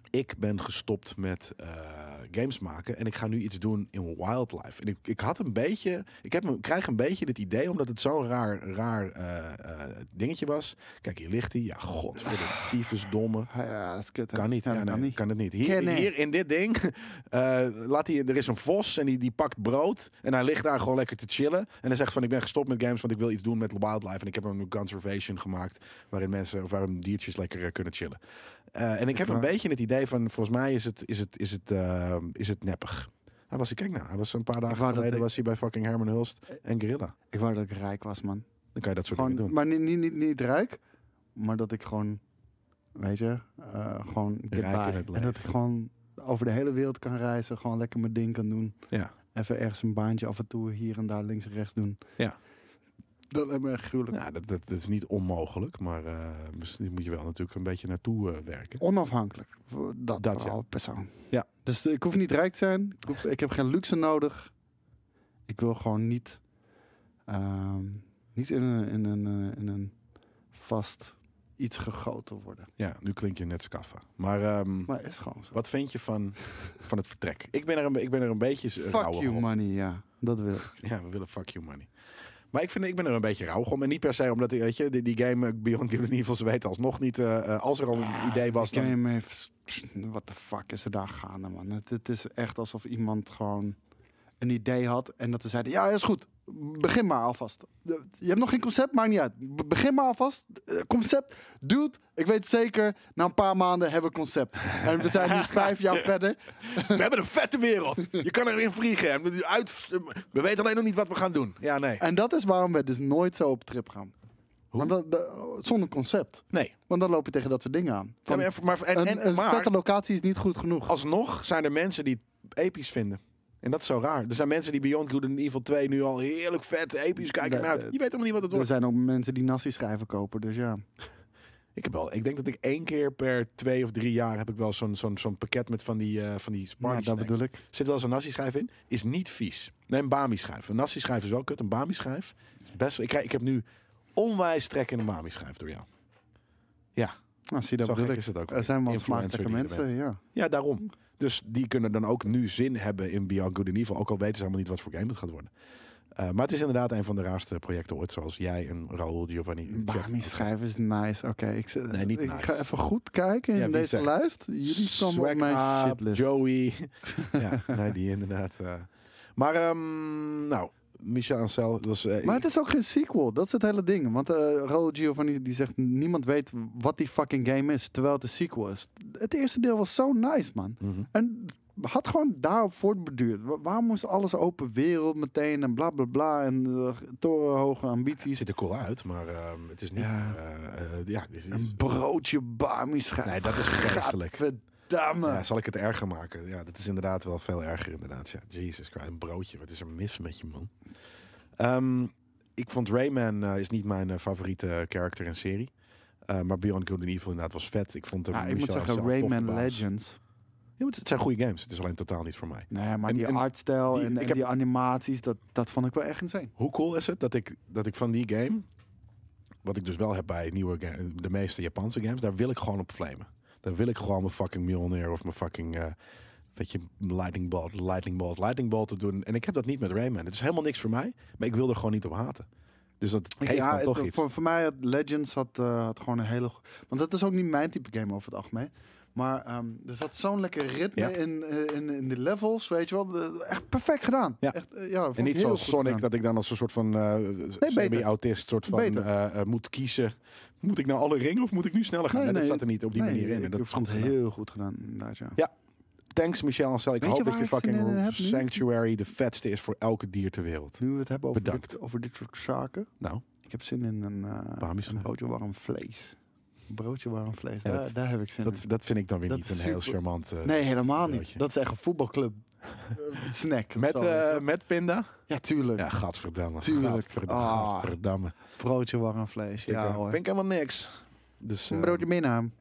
[SPEAKER 1] ik ben gestopt met eh, games maken en ik ga nu iets doen in wildlife. En ik, ik had een beetje, ik heb, een- krijg een beetje dit idee, omdat het zo'n raar, raar eh, eh, dingetje was. Kijk, hier ligt hij. Ja, god, voor de tyfusdomme.
[SPEAKER 2] Ah Ja, dat is kut. hè.
[SPEAKER 1] Kan niet,
[SPEAKER 2] Ja,
[SPEAKER 1] ja,
[SPEAKER 2] dat
[SPEAKER 1] nee,
[SPEAKER 2] kan
[SPEAKER 1] kan,
[SPEAKER 2] niet.
[SPEAKER 1] het niet. Hier,
[SPEAKER 2] Ken niet.
[SPEAKER 1] hier in dit ding, eh, laat hij, er is een vos en die, die pakt brood. En hij ligt daar gewoon lekker te chillen. En hij zegt van, ik ben gestopt met games, want ik wil iets doen met wildlife. En ik heb een conservation gemaakt, waarin mensen, of waarin diertjes lekker eh, kunnen chillen. Eh, en ik heb een
[SPEAKER 2] waar.
[SPEAKER 1] beetje het idee van, volgens mij is het, is het, is het, eh, is het neppig. Hij was, kijk nou, hij was een paar dagen
[SPEAKER 2] wou dat
[SPEAKER 1] geleden
[SPEAKER 2] ik-
[SPEAKER 1] was hij bij fucking Herman Hulst en Gorilla.
[SPEAKER 2] Ik wou dat ik rijk was, man.
[SPEAKER 1] Dan kan je dat soort dingen
[SPEAKER 2] Gewoon,
[SPEAKER 1] doen.
[SPEAKER 2] maar niet, niet, niet, niet rijk, maar dat ik gewoon, weet je, eh, gewoon get
[SPEAKER 1] Rijk in
[SPEAKER 2] by.
[SPEAKER 1] het
[SPEAKER 2] En dat
[SPEAKER 1] leven.
[SPEAKER 2] ik gewoon over de hele wereld kan reizen, gewoon lekker mijn ding kan doen.
[SPEAKER 1] Ja.
[SPEAKER 2] Even ergens een baantje af en toe hier en daar links en rechts doen.
[SPEAKER 1] Ja.
[SPEAKER 2] Dat lijkt me echt gruwelijk.
[SPEAKER 1] Nou, dat, dat, dat is niet onmogelijk, maar eh, misschien moet je wel natuurlijk een beetje naartoe eh, werken.
[SPEAKER 2] Onafhankelijk.
[SPEAKER 1] Dat,
[SPEAKER 2] Dat, dat
[SPEAKER 1] ja.
[SPEAKER 2] persoon.
[SPEAKER 1] Ja.
[SPEAKER 2] Dus eh, ik hoef niet rijk te zijn. Ik, hoef- ik heb geen luxe nodig. Ik wil gewoon niet, ehm, niet in, een, in, een, eh, in een vast iets gegoten worden.
[SPEAKER 1] Ja, nu klink je net Scaffa. Maar, ehm,
[SPEAKER 2] Maar is gewoon zo.
[SPEAKER 1] wat vind je van, van het vertrek? Ik ben er een, be- ik ben er een beetje eh,
[SPEAKER 2] Fuck
[SPEAKER 1] rauwig
[SPEAKER 2] you
[SPEAKER 1] om.
[SPEAKER 2] money, ja. Dat wil ik.
[SPEAKER 1] Ja, we willen fuck you money. Maar ik, vind, ik ben er een beetje rauwig om. En niet per se omdat weet je, die, die game eh, Beyond Good and Evil, ze weten alsnog niet. eh, eh, als er al een idee was,
[SPEAKER 2] Ah, Die
[SPEAKER 1] dan...
[SPEAKER 2] game heeft... Wat de fuck is er daar gaande, man? Het, het is echt alsof iemand gewoon een idee had en dat ze zeiden... Ja, is goed. Begin maar alvast. Je hebt nog geen concept, maakt niet uit. Be- begin maar alvast. Eh, Concept. Dude, ik weet het zeker, na een paar maanden hebben we concept. En we zijn nu vijf jaar verder.
[SPEAKER 1] We hebben een vette wereld. Je kan erin vliegen. En we- Uit, we weten alleen nog niet wat we gaan doen. Ja, nee.
[SPEAKER 2] En dat is waarom we dus nooit zo op trip gaan.
[SPEAKER 1] Hoe?
[SPEAKER 2] Want dat, dat- zonder concept.
[SPEAKER 1] Nee.
[SPEAKER 2] Want dan loop je tegen dat soort dingen aan.
[SPEAKER 1] Ja,
[SPEAKER 2] Van,
[SPEAKER 1] maar, en- maar, en,
[SPEAKER 2] een
[SPEAKER 1] en-
[SPEAKER 2] een
[SPEAKER 1] maar Oh,
[SPEAKER 2] vette locatie is niet goed genoeg.
[SPEAKER 1] alsnog zijn er mensen die het episch vinden. En dat is zo raar. Er zijn mensen die Beyond Good and Evil 2 nu al heerlijk vet, episch kijken
[SPEAKER 2] Nee,
[SPEAKER 1] naar uit.
[SPEAKER 2] eh,
[SPEAKER 1] Je weet helemaal niet wat het
[SPEAKER 2] Er
[SPEAKER 1] wordt.
[SPEAKER 2] zijn ook mensen die nasi schrijven kopen, dus ja.
[SPEAKER 1] Ik, heb wel, ik denk dat ik één keer per twee of drie jaar heb ik wel zo'n zo'n zo'n pakket met van die, eh van die
[SPEAKER 2] Maar
[SPEAKER 1] Smarties.
[SPEAKER 2] dat bedoel ik.
[SPEAKER 1] Zit wel zo'n nasi schijf in. Is niet vies. Nee, een bami schijf. Een nasi schijf is wel kut. Een bami schijf. is Best wel, ik, krijg- ik heb nu onwijs trek in een bami schijf door jou.
[SPEAKER 2] Nou, zie, dat
[SPEAKER 1] zo
[SPEAKER 2] bedoel
[SPEAKER 1] gek
[SPEAKER 2] ik.
[SPEAKER 1] is het ook.
[SPEAKER 2] Er zijn wel
[SPEAKER 1] Influencer
[SPEAKER 2] smakelijke
[SPEAKER 1] die je
[SPEAKER 2] mensen, ja.
[SPEAKER 1] Ja, daarom. Dus die kunnen dan ook nu zin hebben in Beyond Good and Evil. Ook al weten ze helemaal niet wat voor game het gaat worden. Eh, maar het is inderdaad een van de raarste projecten ooit. Zoals jij en Raoul Giovanni. en Jeff.
[SPEAKER 2] Bami schrijven is nice. Oké, ik, z-
[SPEAKER 1] Nee, niet
[SPEAKER 2] ik
[SPEAKER 1] nice.
[SPEAKER 2] ga even goed kijken in
[SPEAKER 1] Ja, wie
[SPEAKER 2] deze
[SPEAKER 1] zegt-
[SPEAKER 2] lijst. Jullie komen op
[SPEAKER 1] Swag
[SPEAKER 2] mijn
[SPEAKER 1] Aap,
[SPEAKER 2] shitlist.
[SPEAKER 1] Joey. ja, nee, die inderdaad. eh. Maar, ehm, nou, Michel Ancel het was... eh,
[SPEAKER 2] Maar het is ook geen sequel, dat is het hele ding. Want eh Raoul Giovanni die zegt, niemand weet wat die fucking game is, terwijl het een sequel is. Het eerste deel was zo nice, man.
[SPEAKER 1] Mhm.
[SPEAKER 2] En had gewoon daarop voortbeduurd. Wa- Waarom moest alles open wereld meteen en bla bla bla en eh, torenhoge
[SPEAKER 1] Die
[SPEAKER 2] ambities?
[SPEAKER 1] ziet er cool uit, maar ehm, het is niet...
[SPEAKER 2] Ja.
[SPEAKER 1] eh, eh, ja, dit is,
[SPEAKER 2] Een broodje Bami
[SPEAKER 1] nee,
[SPEAKER 2] schrijven.
[SPEAKER 1] dat is vreselijk.
[SPEAKER 2] Gadverdamme.
[SPEAKER 1] Ja, zal ik het erger maken? Ja, dat is inderdaad wel veel erger inderdaad. Ja, Jesus Christ, een broodje. Wat is er mis met je, man? Ehm, ik vond Rayman eh, is niet mijn eh, favoriete character en serie. Eh, maar Beyond Good and Evil inderdaad was vet. Ik vond hem
[SPEAKER 2] Ja, ik moet zeggen, Rayman Legends.
[SPEAKER 1] het zijn goede games. Het is alleen totaal niet voor mij.
[SPEAKER 2] Nee, maar
[SPEAKER 1] En-
[SPEAKER 2] die
[SPEAKER 1] en
[SPEAKER 2] artstijl
[SPEAKER 1] die-
[SPEAKER 2] en,
[SPEAKER 1] ik
[SPEAKER 2] en
[SPEAKER 1] heb-
[SPEAKER 2] die animaties, dat, dat vond ik wel echt insane.
[SPEAKER 1] Hoe cool is het dat ik, dat ik van die game... Wat ik dus wel heb bij nieuwe ga- de meeste Japanse games... Daar wil ik gewoon op flamen. Dan wil ik gewoon mijn fucking Mjolnir of mijn fucking... eh, Weet je, lightning bolt, lightning bolt, lightning bolt te doen. En ik heb dat niet met Rayman. Het is helemaal niks voor mij. Maar ik wil er gewoon niet op haten. Dus dat
[SPEAKER 2] Ik-
[SPEAKER 1] geeft
[SPEAKER 2] ja,
[SPEAKER 1] dan
[SPEAKER 2] het-
[SPEAKER 1] toch iets.
[SPEAKER 2] Voor, voor mij had Legends had, eh, had gewoon een hele... go- Want dat is ook niet mijn type game over het algemeen. Maar ehm, er zat zo'n lekker ritme
[SPEAKER 1] Ja.
[SPEAKER 2] in, eh, in, in de levels, weet je wel. De- Echt perfect gedaan.
[SPEAKER 1] Ja.
[SPEAKER 2] Echt, eh, ja, dat vond
[SPEAKER 1] En
[SPEAKER 2] ik
[SPEAKER 1] niet
[SPEAKER 2] heel
[SPEAKER 1] zoals
[SPEAKER 2] goed
[SPEAKER 1] Sonic,
[SPEAKER 2] gedaan.
[SPEAKER 1] dat ik dan als een soort van eh
[SPEAKER 2] beter.
[SPEAKER 1] semi-autist soort van
[SPEAKER 2] Beter.
[SPEAKER 1] eh, eh, moet kiezen. Moet ik nou alle ringen of moet ik nu sneller gaan?
[SPEAKER 2] Nee,
[SPEAKER 1] Nee,
[SPEAKER 2] nee.
[SPEAKER 1] dat zat er niet op die
[SPEAKER 2] Nee,
[SPEAKER 1] manier in.
[SPEAKER 2] ik-
[SPEAKER 1] En dat
[SPEAKER 2] ik
[SPEAKER 1] is
[SPEAKER 2] vond
[SPEAKER 1] goed
[SPEAKER 2] het
[SPEAKER 1] gedaan.
[SPEAKER 2] heel goed gedaan, inderdaad, ja.
[SPEAKER 1] Ja. Thanks Michel en Stel. Ik
[SPEAKER 2] Weet je
[SPEAKER 1] hoop dat
[SPEAKER 2] waar
[SPEAKER 1] je
[SPEAKER 2] ik het in, eh,
[SPEAKER 1] fucking
[SPEAKER 2] heb nu?
[SPEAKER 1] Sanctuary de vetste is voor elke dier ter wereld.
[SPEAKER 2] Nu we het hebben over,
[SPEAKER 1] Bedankt.
[SPEAKER 2] dit, over dit soort zaken.
[SPEAKER 1] Nou,
[SPEAKER 2] Ik heb zin in een, eh,
[SPEAKER 1] Bami's
[SPEAKER 2] een
[SPEAKER 1] gaan.
[SPEAKER 2] broodje warm vlees. Een broodje warm vlees,
[SPEAKER 1] Ja,
[SPEAKER 2] daar,
[SPEAKER 1] dat-
[SPEAKER 2] daar heb ik zin
[SPEAKER 1] dat,
[SPEAKER 2] in.
[SPEAKER 1] dat vind ik dan weer
[SPEAKER 2] Dat
[SPEAKER 1] niet
[SPEAKER 2] is
[SPEAKER 1] een heel
[SPEAKER 2] super.
[SPEAKER 1] charmant... eh,
[SPEAKER 2] Nee, helemaal
[SPEAKER 1] broodje.
[SPEAKER 2] niet. Dat is echt een voetbalclub. Eh, Snack. of
[SPEAKER 1] Met,
[SPEAKER 2] zo.
[SPEAKER 1] eh, met pinda?
[SPEAKER 2] ja, tuurlijk.
[SPEAKER 1] Ja, gadverdamme.
[SPEAKER 2] Tuurlijk.
[SPEAKER 1] Gadverdamme.
[SPEAKER 2] Ah.
[SPEAKER 1] gadverdamme.
[SPEAKER 2] Broodje warm vlees. Ja,
[SPEAKER 1] ik, eh,
[SPEAKER 2] hoor.
[SPEAKER 1] vind ik helemaal niks. Dus,
[SPEAKER 2] Een
[SPEAKER 1] eh,
[SPEAKER 2] broodje meenaam.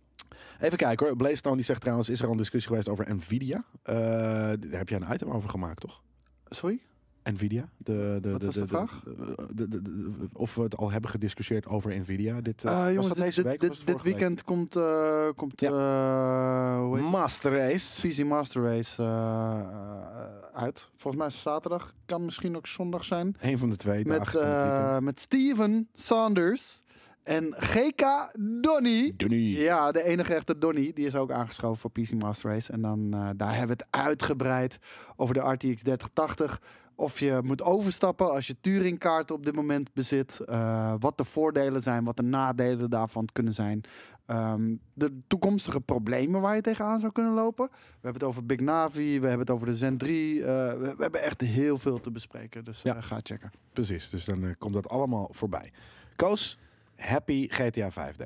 [SPEAKER 1] Even kijken hoor. Blazestone die zegt trouwens, is er al een discussie geweest over Nvidia? Eh, daar heb jij een item over gemaakt, toch?
[SPEAKER 2] Sorry?
[SPEAKER 1] Nvidia? De, de,
[SPEAKER 2] Wat was de vraag?
[SPEAKER 1] de- de- de- de- of we het al hebben gediscussieerd over Nvidia. Dit, eh,
[SPEAKER 2] Eh,
[SPEAKER 1] was
[SPEAKER 2] jongens,
[SPEAKER 1] dat
[SPEAKER 2] dit,
[SPEAKER 1] deze
[SPEAKER 2] dit,
[SPEAKER 1] week of was het
[SPEAKER 2] dit, dit
[SPEAKER 1] vorige
[SPEAKER 2] weekend komt, eh komt
[SPEAKER 1] Ja.
[SPEAKER 2] eh, hoe
[SPEAKER 1] week?
[SPEAKER 2] heet het?
[SPEAKER 1] Master Race.
[SPEAKER 2] PC Master Race eh, eh, uit. Volgens mij is het zaterdag. Kan misschien ook zondag zijn.
[SPEAKER 1] Een van de twee
[SPEAKER 2] Met,
[SPEAKER 1] dagen van het
[SPEAKER 2] eh,
[SPEAKER 1] weekend.
[SPEAKER 2] met Steven Saunders en GK Donny.
[SPEAKER 1] Donnie.
[SPEAKER 2] eh, Ja, de enige echte Donny. Die is ook aangeschoven voor PC Master Race. En dan, eh, daar hebben we het uitgebreid over de RTX 3080. Of je moet overstappen als je Turing-kaart op dit moment bezit. eh, wat de voordelen zijn, wat de nadelen daarvan kunnen zijn. Ehm, de toekomstige problemen waar je tegenaan zou kunnen lopen. We hebben het over Big Navi, we hebben het over de Zen 3. eh, we, we hebben echt heel veel te bespreken. Dus
[SPEAKER 1] Ja.
[SPEAKER 2] eh, ga checken.
[SPEAKER 1] Precies, dus dan eh, komt dat allemaal voorbij. Koos, happy GTA 5D.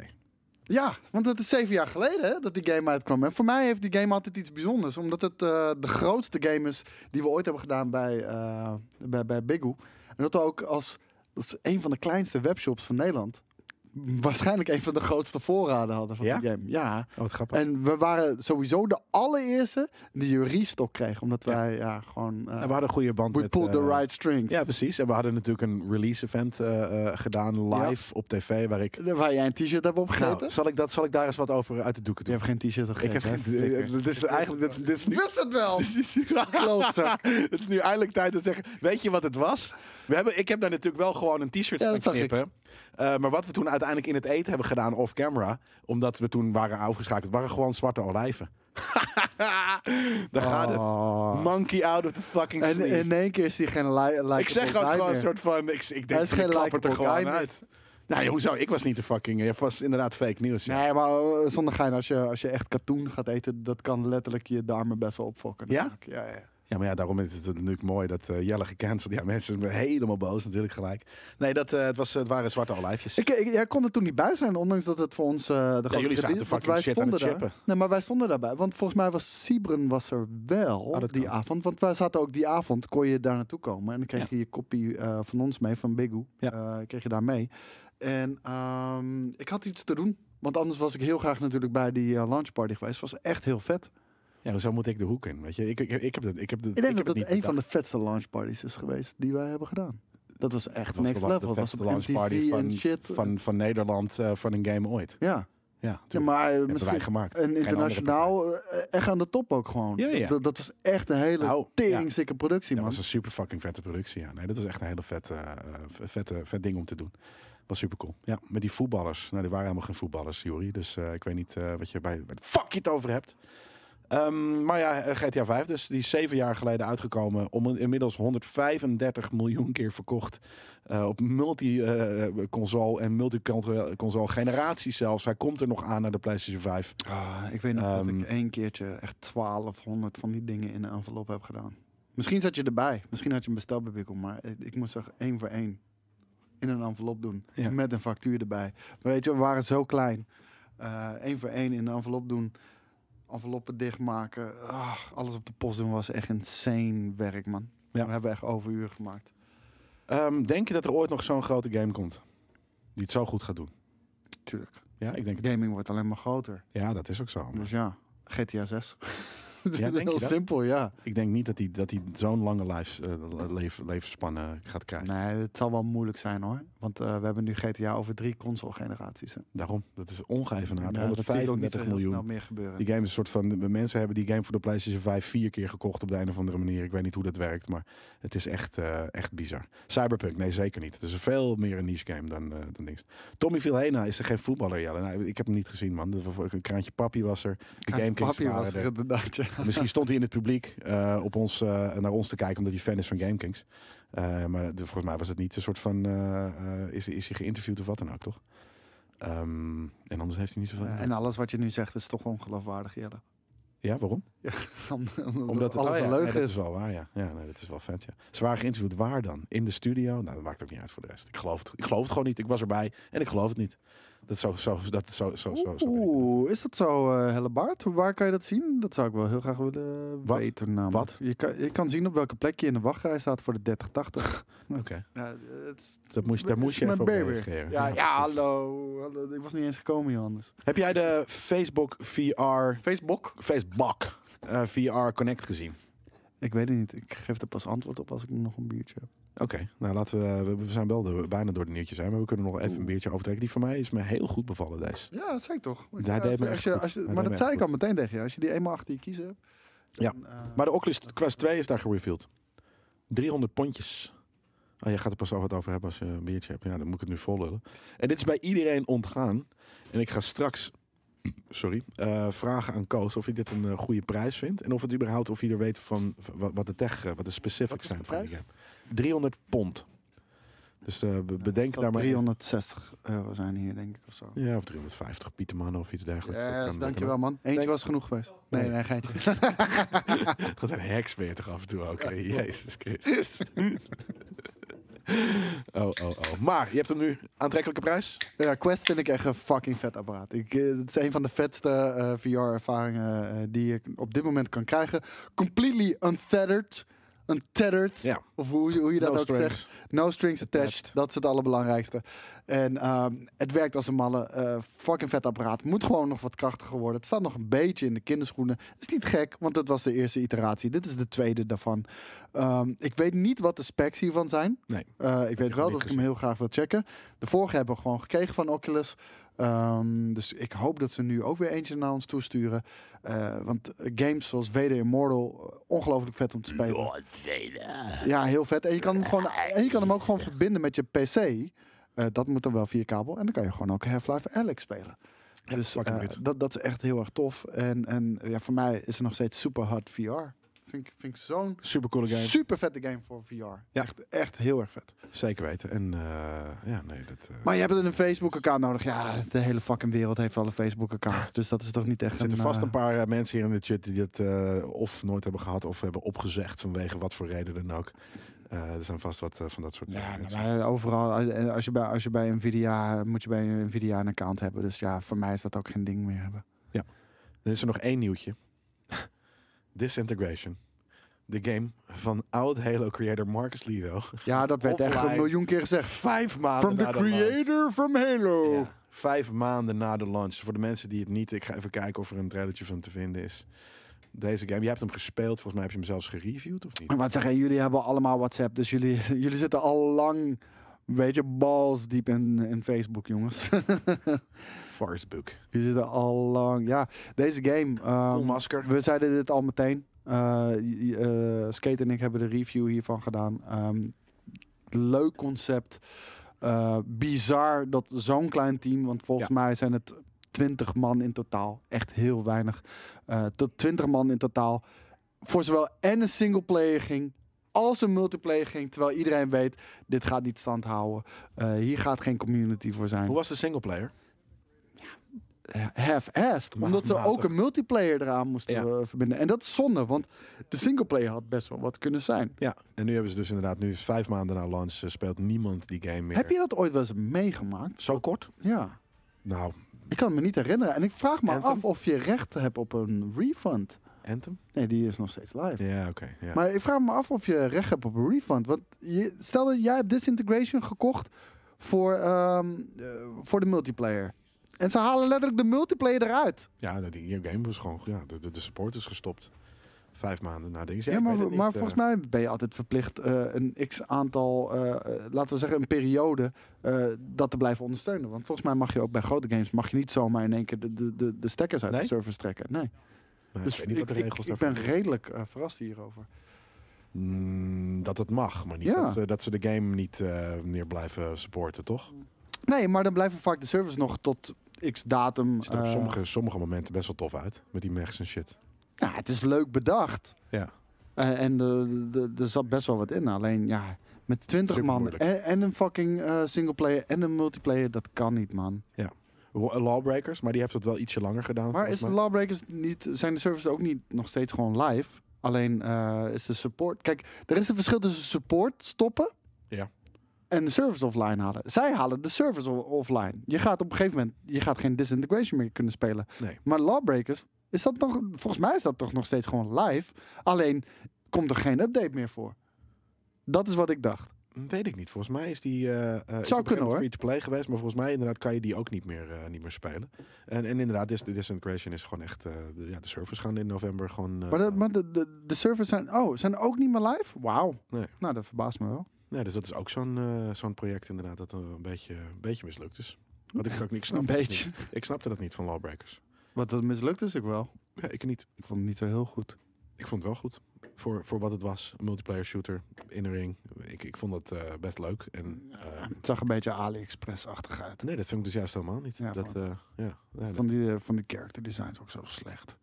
[SPEAKER 2] Ja, want het is zeven jaar geleden hè, dat die game uitkwam. En voor mij heeft die game altijd iets bijzonders. Omdat het eh, de grootste game is die we ooit hebben gedaan bij, eh bij, bij Bigoo. En dat we ook als, als een van de kleinste webshops van Nederland... waarschijnlijk een van de grootste voorraden hadden van
[SPEAKER 1] Ja?
[SPEAKER 2] die game. Ja,
[SPEAKER 1] Oh, wat grappig.
[SPEAKER 2] en we waren sowieso de allereerste die een restock kreeg. Omdat wij ja, gewoon... eh,
[SPEAKER 1] En we hadden een goede band
[SPEAKER 2] we
[SPEAKER 1] met...
[SPEAKER 2] pulled the
[SPEAKER 1] eh,
[SPEAKER 2] right strings.
[SPEAKER 1] Ja, precies. En we hadden natuurlijk een release event eh, eh, gedaan live op tv, waar ik...
[SPEAKER 2] Waar jij een t-shirt hebt opgegeten.
[SPEAKER 1] Nou, zal ik, dat, zal ik daar eens wat over uit de doeken
[SPEAKER 2] Je
[SPEAKER 1] doen?
[SPEAKER 2] hebt geen t-shirt
[SPEAKER 1] ik
[SPEAKER 2] opgegeten.
[SPEAKER 1] heb geen...
[SPEAKER 2] hè?
[SPEAKER 1] eh, Dit is eigenlijk... Dit, dit is nu
[SPEAKER 2] Wist het wel! Klootzak.
[SPEAKER 1] het is nu eindelijk tijd te zeggen. Weet je wat het was? We hebben, ik heb daar natuurlijk wel gewoon een t-shirt
[SPEAKER 2] Ja,
[SPEAKER 1] van
[SPEAKER 2] dat zag ik.
[SPEAKER 1] knippen. Eh, maar wat we toen uiteindelijk in het eten hebben gedaan off camera, omdat we toen waren afgeschakeld, waren gewoon zwarte olijven. daar gaat het.
[SPEAKER 2] Oh.
[SPEAKER 1] Monkey out of the fucking
[SPEAKER 2] En
[SPEAKER 1] sleeve.
[SPEAKER 2] in één keer is die geen li- like
[SPEAKER 1] ik zeg ook gewoon een soort van. Ik, ik denk
[SPEAKER 2] is
[SPEAKER 1] ik
[SPEAKER 2] geen
[SPEAKER 1] klap het er
[SPEAKER 2] likeable guy
[SPEAKER 1] gewoon
[SPEAKER 2] meer.
[SPEAKER 1] uit. Nou, ja, hoezo? Ik was niet de fucking. Het was inderdaad fake nieuws. Ja?
[SPEAKER 2] Nee, maar eh, zonder gein, als je, als je echt katoen gaat eten, dat kan letterlijk je de armen best wel opfokken.
[SPEAKER 1] Ja?
[SPEAKER 2] natuurlijk. Ja, ja.
[SPEAKER 1] Ja, maar ja, daarom is het natuurlijk mooi dat eh, Jelle gecanceld. Ja, mensen zijn helemaal boos natuurlijk gelijk. Nee, dat, eh, het, was, het waren zwarte olijfjes.
[SPEAKER 2] Ik, ik- jij kon er toen niet bij zijn, ondanks dat het voor ons eh, de grote
[SPEAKER 1] jullie zaten
[SPEAKER 2] release- want
[SPEAKER 1] fucking shit aan het
[SPEAKER 2] daar.
[SPEAKER 1] chippen.
[SPEAKER 2] Nee, maar wij stonden daarbij. Want volgens mij was Sibren was er wel
[SPEAKER 1] Ah, dat
[SPEAKER 2] die
[SPEAKER 1] kan.
[SPEAKER 2] avond. Want wij zaten ook die avond, kon je daar naartoe komen. En dan kreeg
[SPEAKER 1] Ja.
[SPEAKER 2] je je kopie eh, van ons mee, van Bigoo.
[SPEAKER 1] Ja.
[SPEAKER 2] Eh, kreeg je daar mee. En ehm, ik had iets te doen. Want anders was ik heel graag natuurlijk bij die eh, launchparty geweest. was echt heel vet.
[SPEAKER 1] Ja, zo moet ik de hoek in. Weet je, ik, ik, ik heb dat. Ik, heb dat,
[SPEAKER 2] Ik denk dat
[SPEAKER 1] heb
[SPEAKER 2] dat
[SPEAKER 1] het
[SPEAKER 2] een
[SPEAKER 1] niet
[SPEAKER 2] van de vetste launchparties is geweest die wij hebben gedaan. Dat was echt
[SPEAKER 1] bedacht. Dat was
[SPEAKER 2] next
[SPEAKER 1] de-
[SPEAKER 2] level.
[SPEAKER 1] De
[SPEAKER 2] Dat was
[SPEAKER 1] vetste
[SPEAKER 2] op
[SPEAKER 1] launchparty
[SPEAKER 2] MTV en
[SPEAKER 1] van,
[SPEAKER 2] shit.
[SPEAKER 1] van, van Nederland eh, van een game ooit.
[SPEAKER 2] ja.
[SPEAKER 1] Ja,
[SPEAKER 2] ja,
[SPEAKER 1] tuurlijk.
[SPEAKER 2] maar eh,
[SPEAKER 1] hebben wij
[SPEAKER 2] misschien
[SPEAKER 1] gemaakt.
[SPEAKER 2] en internationaal eh, echt aan de top ook gewoon.
[SPEAKER 1] Ja, ja.
[SPEAKER 2] Dat, dat was echt een hele
[SPEAKER 1] Nou,
[SPEAKER 2] tering sikke productie,
[SPEAKER 1] Dat
[SPEAKER 2] man.
[SPEAKER 1] was een super fucking vette productie. Ja, nee, dat was echt een hele vette, eh, v- vette, vet ding om te doen. Was super cool. Ja, met die voetballers. Nou, die waren helemaal geen voetballers, Jori. Dus eh, ik weet niet eh, wat je bij wat fuck je het over hebt. Ehm, maar ja, eh, GTA 5 dus. Die is zeven jaar geleden uitgekomen. Om, inmiddels 135 miljoen keer verkocht. eh, op multi-console en multi-console generaties zelfs. Hij komt er nog aan naar de PlayStation 5.
[SPEAKER 2] Ah, ik weet nog dat
[SPEAKER 1] Ehm,
[SPEAKER 2] ik één keertje echt 1200 van die dingen in een envelop heb gedaan. Misschien zat je erbij. Misschien had je hem besteld bij Wikkel, maar ik, ik moest er één voor één in een envelop doen.
[SPEAKER 1] Ja.
[SPEAKER 2] Met een factuur erbij. Weet je, we waren zo klein. Eh, Eén voor één in een envelop doen. Enveloppen dichtmaken. Ah, alles op de post doen was echt insane werk, man.
[SPEAKER 1] Ja.
[SPEAKER 2] We hebben echt overuren gemaakt.
[SPEAKER 1] Ehm, denk je dat er ooit nog zo'n grote game komt? Die het zo goed gaat doen?
[SPEAKER 2] Tuurlijk.
[SPEAKER 1] Ja, ik denk het.
[SPEAKER 2] Gaming wordt alleen maar groter.
[SPEAKER 1] Ja, dat is ook zo.
[SPEAKER 2] Dus ja, GTA 6.
[SPEAKER 1] denk je
[SPEAKER 2] Heel
[SPEAKER 1] dat?
[SPEAKER 2] simpel, ja.
[SPEAKER 1] Ik denk niet dat hij, dat hij zo'n lange lives, eh, le- leef- levensspannen gaat krijgen.
[SPEAKER 2] Nee, het zal wel moeilijk zijn hoor. Want eh, we hebben nu GTA over drie console generaties.
[SPEAKER 1] Daarom, dat is ongeëvenaard.
[SPEAKER 2] Ja, dat zie ik ook niet zo
[SPEAKER 1] 135
[SPEAKER 2] heel snel
[SPEAKER 1] miljoen.
[SPEAKER 2] meer gebeuren.
[SPEAKER 1] Die game is een soort van. de Mensen hebben die game voor de PlayStation 5 vier keer gekocht op de een of andere manier. Ik weet niet hoe dat werkt, maar het is echt, eh, echt bizar. Cyberpunk, nee, zeker niet. Het is een veel meer een niche game dan, eh dan niks. Tommy Vilhena is er geen voetballer, Jelle. Nou, ik heb hem niet gezien, man. Dat was- Een kraantje papi was er. De
[SPEAKER 2] Kraantje
[SPEAKER 1] Game Kings
[SPEAKER 2] Papi
[SPEAKER 1] waren
[SPEAKER 2] was er
[SPEAKER 1] er.
[SPEAKER 2] inderdaad, ja.
[SPEAKER 1] Misschien stond hij in het publiek eh, op ons, eh, naar ons te kijken omdat hij fan is van GameKings. Eh, maar de- volgens mij was het niet een soort van. eh, eh, is, is hij geïnterviewd of wat dan ook, toch? Ehm, en anders heeft hij niet zoveel.
[SPEAKER 2] Ja, En alles wat je nu zegt is toch ongeloofwaardig, Jelle.
[SPEAKER 1] ja, waarom?
[SPEAKER 2] Om- om-
[SPEAKER 1] Omdat het
[SPEAKER 2] alles
[SPEAKER 1] oh ja,
[SPEAKER 2] een
[SPEAKER 1] nee,
[SPEAKER 2] leugen
[SPEAKER 1] dat
[SPEAKER 2] is.
[SPEAKER 1] is wel waar, ja. ja nee, dat is wel vet, ja. Ze waren geïnterviewd waar dan? In de studio? Nou, dat maakt ook niet uit voor de rest. Ik geloof het, ik geloof het gewoon niet. Ik was erbij en ik geloof het niet. Dat zo, zo, dat zo, zo, zo. zo ben ik.
[SPEAKER 2] Oeh, is dat zo, eh Helle Baart? Hoe- Waar kan je dat zien? Dat zou ik wel heel graag willen
[SPEAKER 1] Wat?
[SPEAKER 2] weten. namelijk.
[SPEAKER 1] Wat?
[SPEAKER 2] Je kan, je kan zien op welke plek je in de wachtrij staat voor de 3080.
[SPEAKER 1] Oké,
[SPEAKER 2] ja, het is-
[SPEAKER 1] dat moest, daar
[SPEAKER 2] het
[SPEAKER 1] moest
[SPEAKER 2] is
[SPEAKER 1] je
[SPEAKER 2] mijn
[SPEAKER 1] even op
[SPEAKER 2] baby.
[SPEAKER 1] reageren.
[SPEAKER 2] Ja, ja,
[SPEAKER 1] precies.
[SPEAKER 2] hallo. hallo. Ik was niet eens gekomen, Johannes.
[SPEAKER 1] Heb jij de Facebook VR
[SPEAKER 2] Facebook?
[SPEAKER 1] Facebook eh, VR Connect gezien.
[SPEAKER 2] Ik weet het niet. Ik geef er pas antwoord op als ik nog een biertje heb.
[SPEAKER 1] Oké, nou laten we. we- We zijn wel de- bijna door de nieuwtjes, hè, maar we kunnen nog even een beertje overtrekken. Die voor mij is me heel goed bevallen, deze.
[SPEAKER 2] Ja, dat zei ik toch.
[SPEAKER 1] Hij deed me echt
[SPEAKER 2] als je,
[SPEAKER 1] goed.
[SPEAKER 2] als je,
[SPEAKER 1] Hij
[SPEAKER 2] maar
[SPEAKER 1] deed
[SPEAKER 2] dat
[SPEAKER 1] me
[SPEAKER 2] zei ik
[SPEAKER 1] echt
[SPEAKER 2] al meteen tegen je. Als je die eenmaal achter je kiezen hebt.
[SPEAKER 1] Ja,
[SPEAKER 2] dan, eh,
[SPEAKER 1] Maar de Oculus Quest 2 is daar gereveeld. 300 pondjes. Oh, je gaat er pas al wat over hebben als je een biertje hebt. Ja, dan moet ik het nu vollullen. En dit is bij iedereen ontgaan. En ik ga straks, sorry, eh, vragen aan Koos of hij dit een eh, goede prijs vindt. En of het überhaupt, of hij er weet van wa- wat, de tech, eh, wat de specifics
[SPEAKER 2] Wat is
[SPEAKER 1] zijn
[SPEAKER 2] de
[SPEAKER 1] van die
[SPEAKER 2] prijs?
[SPEAKER 1] game. 300 pond. Dus eh, be- bedenk
[SPEAKER 2] zal
[SPEAKER 1] daar maar
[SPEAKER 2] 360 euro zijn hier, denk ik, of zo.
[SPEAKER 1] Ja, of 350 Pieterman of iets dergelijks. Dat
[SPEAKER 2] Yes,
[SPEAKER 1] kan-
[SPEAKER 2] dankjewel man. Eentje
[SPEAKER 1] Thanks.
[SPEAKER 2] was genoeg geweest. Nee,
[SPEAKER 1] Nee.
[SPEAKER 2] nee, geintje.
[SPEAKER 1] Wat een heks ben je toch af en toe ook. hè? Jezus Christus. oh, oh, oh. Maar je hebt hem nu. Aantrekkelijke prijs?
[SPEAKER 2] ja, Quest vind ik echt een fucking vet apparaat. Ik, eh, het is een van de vetste eh, VR-ervaringen eh, die ik op dit moment kan krijgen. Completely untethered. Untethered.
[SPEAKER 1] Ja.
[SPEAKER 2] Of hoe, hoe je dat
[SPEAKER 1] No
[SPEAKER 2] ook
[SPEAKER 1] strings.
[SPEAKER 2] zegt. No strings attached.
[SPEAKER 1] Attached.
[SPEAKER 2] Dat is het allerbelangrijkste. En ehm, het werkt als een malle. Eh, fucking vet apparaat. Moet gewoon nog wat krachtiger worden. Het staat nog een beetje in de kinderschoenen. Is niet gek, want dat was de eerste iteratie. Dit is de tweede daarvan. Ehm, ik weet niet wat de specs hiervan zijn.
[SPEAKER 1] Nee.
[SPEAKER 2] Eh, ik weet
[SPEAKER 1] nog
[SPEAKER 2] wel
[SPEAKER 1] niet
[SPEAKER 2] dat ik hem heel graag wil checken. De vorige hebben we gewoon gekregen van Oculus. Ehm, dus ik hoop dat ze nu ook weer eentje naar ons toesturen. Eh, want games zoals Vader Immortal, eh, ongelooflijk vet om te spelen. Ja, heel vet. En je kan hem, gewoon, en je kan hem ook gewoon verbinden met je PC. Eh, dat moet dan wel via kabel. En dan kan je gewoon ook Half-Life Alex spelen. dus
[SPEAKER 1] fucking
[SPEAKER 2] eh,
[SPEAKER 1] goed.
[SPEAKER 2] dat, dat is echt heel erg tof. En, en ja, voor mij is het nog steeds super hard VR. Vind ik, vind ik zo'n
[SPEAKER 1] Supercoole game.
[SPEAKER 2] super vette game voor VR. Echt, echt heel erg vet.
[SPEAKER 1] Zeker weten. En eh, ja, nee, dat... eh,
[SPEAKER 2] Maar je hebt een Facebook-account nodig. Ja, de hele fucking wereld heeft wel een Facebook-account. Dus dat is toch niet echt
[SPEAKER 1] er zitten
[SPEAKER 2] een,
[SPEAKER 1] vast
[SPEAKER 2] eh,
[SPEAKER 1] een paar eh, mensen hier in de chat die dat eh, of nooit hebben gehad of hebben opgezegd vanwege wat voor reden dan ook. Eh, er zijn vast wat eh, van dat soort
[SPEAKER 2] Ja,
[SPEAKER 1] mensen.
[SPEAKER 2] maar overal. Als, eh, als, je bij, als je bij Nvidia. moet je bij Nvidia een account hebben. Dus ja, voor mij is dat ook geen ding meer hebben.
[SPEAKER 1] Dan is er nog één nieuwtje. Disintegration. De game van oud Halo creator Marcus Lido.
[SPEAKER 2] Ja, dat werd echt een
[SPEAKER 1] Offline.
[SPEAKER 2] miljoen keer gezegd.
[SPEAKER 1] Vijf maanden
[SPEAKER 2] From the
[SPEAKER 1] na de launch.
[SPEAKER 2] creator from Halo.
[SPEAKER 1] eh, Ja. Vijf maanden na de launch. Voor de mensen die het niet... Ik ga even kijken of er een trailertje van te vinden is. Deze game. Je hebt hem gespeeld. Volgens mij heb je hem zelfs gereviewd, of niet?
[SPEAKER 2] Maar wat zeggen, jullie hebben allemaal WhatsApp. Dus jullie, jullie zitten al lang. Weet je, balls diep in, in Facebook, jongens.
[SPEAKER 1] Farsbook.
[SPEAKER 2] jullie zitten al lang. Ja, deze game. ehm,
[SPEAKER 1] Cool masker.
[SPEAKER 2] We zeiden dit al meteen. Eh, j- eh, Skate en ik hebben de review hiervan gedaan. Ehm, leuk concept. Eh, bizar dat zo'n klein team, want volgens mij zijn het 20 man in totaal. Echt heel weinig. Eh, tot 20 man in totaal. Voor zowel en een singleplayer ging. Als een multiplayer ging, terwijl iedereen weet, dit gaat niet stand houden. Eh, hier gaat geen community voor zijn
[SPEAKER 1] Hoe was de singleplayer?
[SPEAKER 2] half-assed.
[SPEAKER 1] Ma-
[SPEAKER 2] Omdat ze
[SPEAKER 1] matig.
[SPEAKER 2] ook een multiplayer eraan moesten
[SPEAKER 1] Ja.
[SPEAKER 2] eh, verbinden. En dat is zonde, want de singleplayer had best wel wat kunnen zijn.
[SPEAKER 1] Ja. En nu hebben ze dus inderdaad... Nu is vijf maanden na launch. eh, speelt niemand die game meer.
[SPEAKER 2] Heb je dat ooit wel eens meegemaakt?
[SPEAKER 1] Zo kort?
[SPEAKER 2] Ja.
[SPEAKER 1] Nou,
[SPEAKER 2] Ik kan me niet herinneren. En ik vraag me
[SPEAKER 1] Anthem?
[SPEAKER 2] af of je recht hebt op een refund.
[SPEAKER 1] Anthem?
[SPEAKER 2] Nee, die is nog steeds live.
[SPEAKER 1] Ja, oké. ja.
[SPEAKER 2] Maar ik vraag me af of je recht hebt op een refund. Want je, stel dat jij hebt Disintegration gekocht voor, ehm, eh, voor de multiplayer. En ze halen letterlijk de multiplayer eruit.
[SPEAKER 1] Ja, nou, die game was gewoon... Ja, de, de- de support is gestopt. vijf maanden na dingen.
[SPEAKER 2] Ja, maar, maar
[SPEAKER 1] eh,
[SPEAKER 2] volgens mij ben je altijd verplicht eh, een x aantal, eh, eh, laten we zeggen een periode, eh, dat te blijven ondersteunen. Want volgens mij mag je ook bij grote games, mag je niet zomaar in één keer de, de, de, de stekkers uit
[SPEAKER 1] Nee?
[SPEAKER 2] de servers trekken. Nee.
[SPEAKER 1] dus
[SPEAKER 2] dus
[SPEAKER 1] ik weet niet wat de
[SPEAKER 2] ik-
[SPEAKER 1] regels
[SPEAKER 2] ik, ik
[SPEAKER 1] daarvoor
[SPEAKER 2] ben redelijk eh, verrast hierover.
[SPEAKER 1] Mm, dat het mag, maar niet
[SPEAKER 2] Ja.
[SPEAKER 1] dat, ze, dat ze de game niet eh, meer blijven supporten, toch?
[SPEAKER 2] Eh. Nee, maar dan blijven vaak de servers nog tot x datum.
[SPEAKER 1] Ziet er op
[SPEAKER 2] eh,
[SPEAKER 1] sommige, sommige momenten best wel tof uit. Met die mechs en shit.
[SPEAKER 2] Ja, het is leuk bedacht.
[SPEAKER 1] Ja.
[SPEAKER 2] Eh, en de- de- de- er zat best wel wat in. Alleen ja, met 20 man
[SPEAKER 1] Supermoeilijk.
[SPEAKER 2] en, en een fucking eh singleplayer en een multiplayer, dat kan niet, man.
[SPEAKER 1] Wa- eh, Lawbreakers, maar die heeft het wel ietsje langer gedaan.
[SPEAKER 2] Maar
[SPEAKER 1] volgens
[SPEAKER 2] is de
[SPEAKER 1] mij.
[SPEAKER 2] Lawbreakers niet, zijn de servers ook niet nog steeds gewoon live? Alleen eh, is de support. Kijk, er is een verschil tussen support stoppen.
[SPEAKER 1] Ja.
[SPEAKER 2] En de servers offline halen. Zij halen de servers o- offline. Je gaat op een gegeven moment. Je gaat geen disintegration meer kunnen spelen.
[SPEAKER 1] Nee.
[SPEAKER 2] Maar Lawbreakers. Is dat nog. Volgens mij is dat toch nog steeds gewoon live. Alleen komt er geen update meer voor. Dat is wat ik dacht.
[SPEAKER 1] Mm, Weet ik niet. Volgens mij is die. eh, eh, ik heb op een
[SPEAKER 2] kunnen,
[SPEAKER 1] gegeven moment
[SPEAKER 2] hoor.
[SPEAKER 1] Free-to-play geweest, maar volgens mij inderdaad kan je die ook niet meer, eh, niet meer spelen. En, en inderdaad, dis de disintegration is gewoon echt. eh, de, ja, de servers gaan in november gewoon. eh,
[SPEAKER 2] Maar, de, maar de, de, de servers zijn. Oh, zijn ook niet meer live? Wauw.
[SPEAKER 1] Nee.
[SPEAKER 2] Nou, dat verbaast me wel.
[SPEAKER 1] nee, dus dat is ook zo'n eh, zo'n project inderdaad dat een beetje, een beetje mislukt is. Want ik, ook, ik,
[SPEAKER 2] Een
[SPEAKER 1] snapte dat
[SPEAKER 2] beetje.
[SPEAKER 1] niet. ik snapte dat niet van Lawbreakers.
[SPEAKER 2] Wat dat mislukt is ik wel.
[SPEAKER 1] Ja, ik niet.
[SPEAKER 2] Ik vond het niet zo heel goed.
[SPEAKER 1] Ik vond het wel goed. Voor, voor wat het was. Een multiplayer shooter in de ring. Ik, ik vond het eh, best leuk. En, eh,
[SPEAKER 2] Het zag een beetje AliExpress-achtig uit.
[SPEAKER 1] nee, dat vind ik dus juist helemaal niet.
[SPEAKER 2] Ja,
[SPEAKER 1] dat, eh, ja, nee,
[SPEAKER 2] Van die, eh, van die character designs ook zo slecht.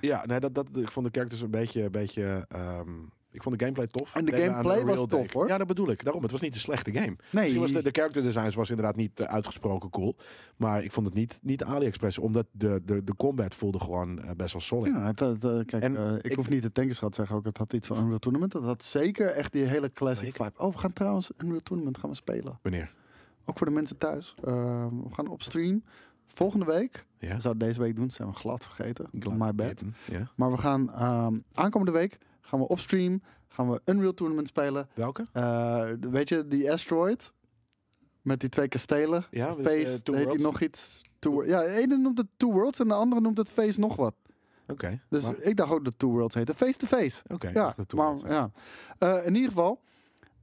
[SPEAKER 1] Ja, nee, dat, dat, ik vond de characters een beetje... Een beetje ehm, ik vond de gameplay tof.
[SPEAKER 2] En de
[SPEAKER 1] Deed me aan
[SPEAKER 2] gameplay was
[SPEAKER 1] Unreal
[SPEAKER 2] tof,
[SPEAKER 1] denken.
[SPEAKER 2] hoor.
[SPEAKER 1] Ja, dat bedoel ik. Daarom, het was niet een slechte game.
[SPEAKER 2] Nee,
[SPEAKER 1] Misschien was de, de character designs was inderdaad niet eh, uitgesproken cool. Maar ik vond het niet, niet AliExpress. Omdat de, de, de combat voelde gewoon eh, best wel solid.
[SPEAKER 2] ja, het, het, eh, kijk,
[SPEAKER 1] En
[SPEAKER 2] eh, ik,
[SPEAKER 1] ik-
[SPEAKER 2] hoef niet de tankerschat te zeggen ook. Het had iets van Unreal Tournament. Dat had zeker echt die hele classic
[SPEAKER 1] Zeker.
[SPEAKER 2] vibe. Oh, we gaan trouwens Unreal Tournament gaan we spelen.
[SPEAKER 1] Meneer.
[SPEAKER 2] Ook voor de mensen thuis. Eh, we gaan op stream. Volgende week.
[SPEAKER 1] Ja.
[SPEAKER 2] We zouden deze week doen. Zijn we glad vergeten. My bad.
[SPEAKER 1] Ja.
[SPEAKER 2] Maar we gaan ehm, aankomende week gaan we op stream. Gaan we Unreal Tournament spelen.
[SPEAKER 1] Welke?
[SPEAKER 2] Eh, de- weet je, die asteroid met die twee kastelen.
[SPEAKER 1] Ja, met, eh,
[SPEAKER 2] Face,
[SPEAKER 1] Two
[SPEAKER 2] heet die
[SPEAKER 1] Worlds.
[SPEAKER 2] nog iets. Two, Wor- ja, de ene noemt het Two Worlds en de andere noemt het Face nog wat.
[SPEAKER 1] Oké.
[SPEAKER 2] Dus
[SPEAKER 1] maar-
[SPEAKER 2] ik dacht ook dat Two Worlds heette. Face to Face.
[SPEAKER 1] Oké.
[SPEAKER 2] Ja,
[SPEAKER 1] wacht, dat doen we
[SPEAKER 2] maar,
[SPEAKER 1] wel.
[SPEAKER 2] ja. Eh, in ieder geval,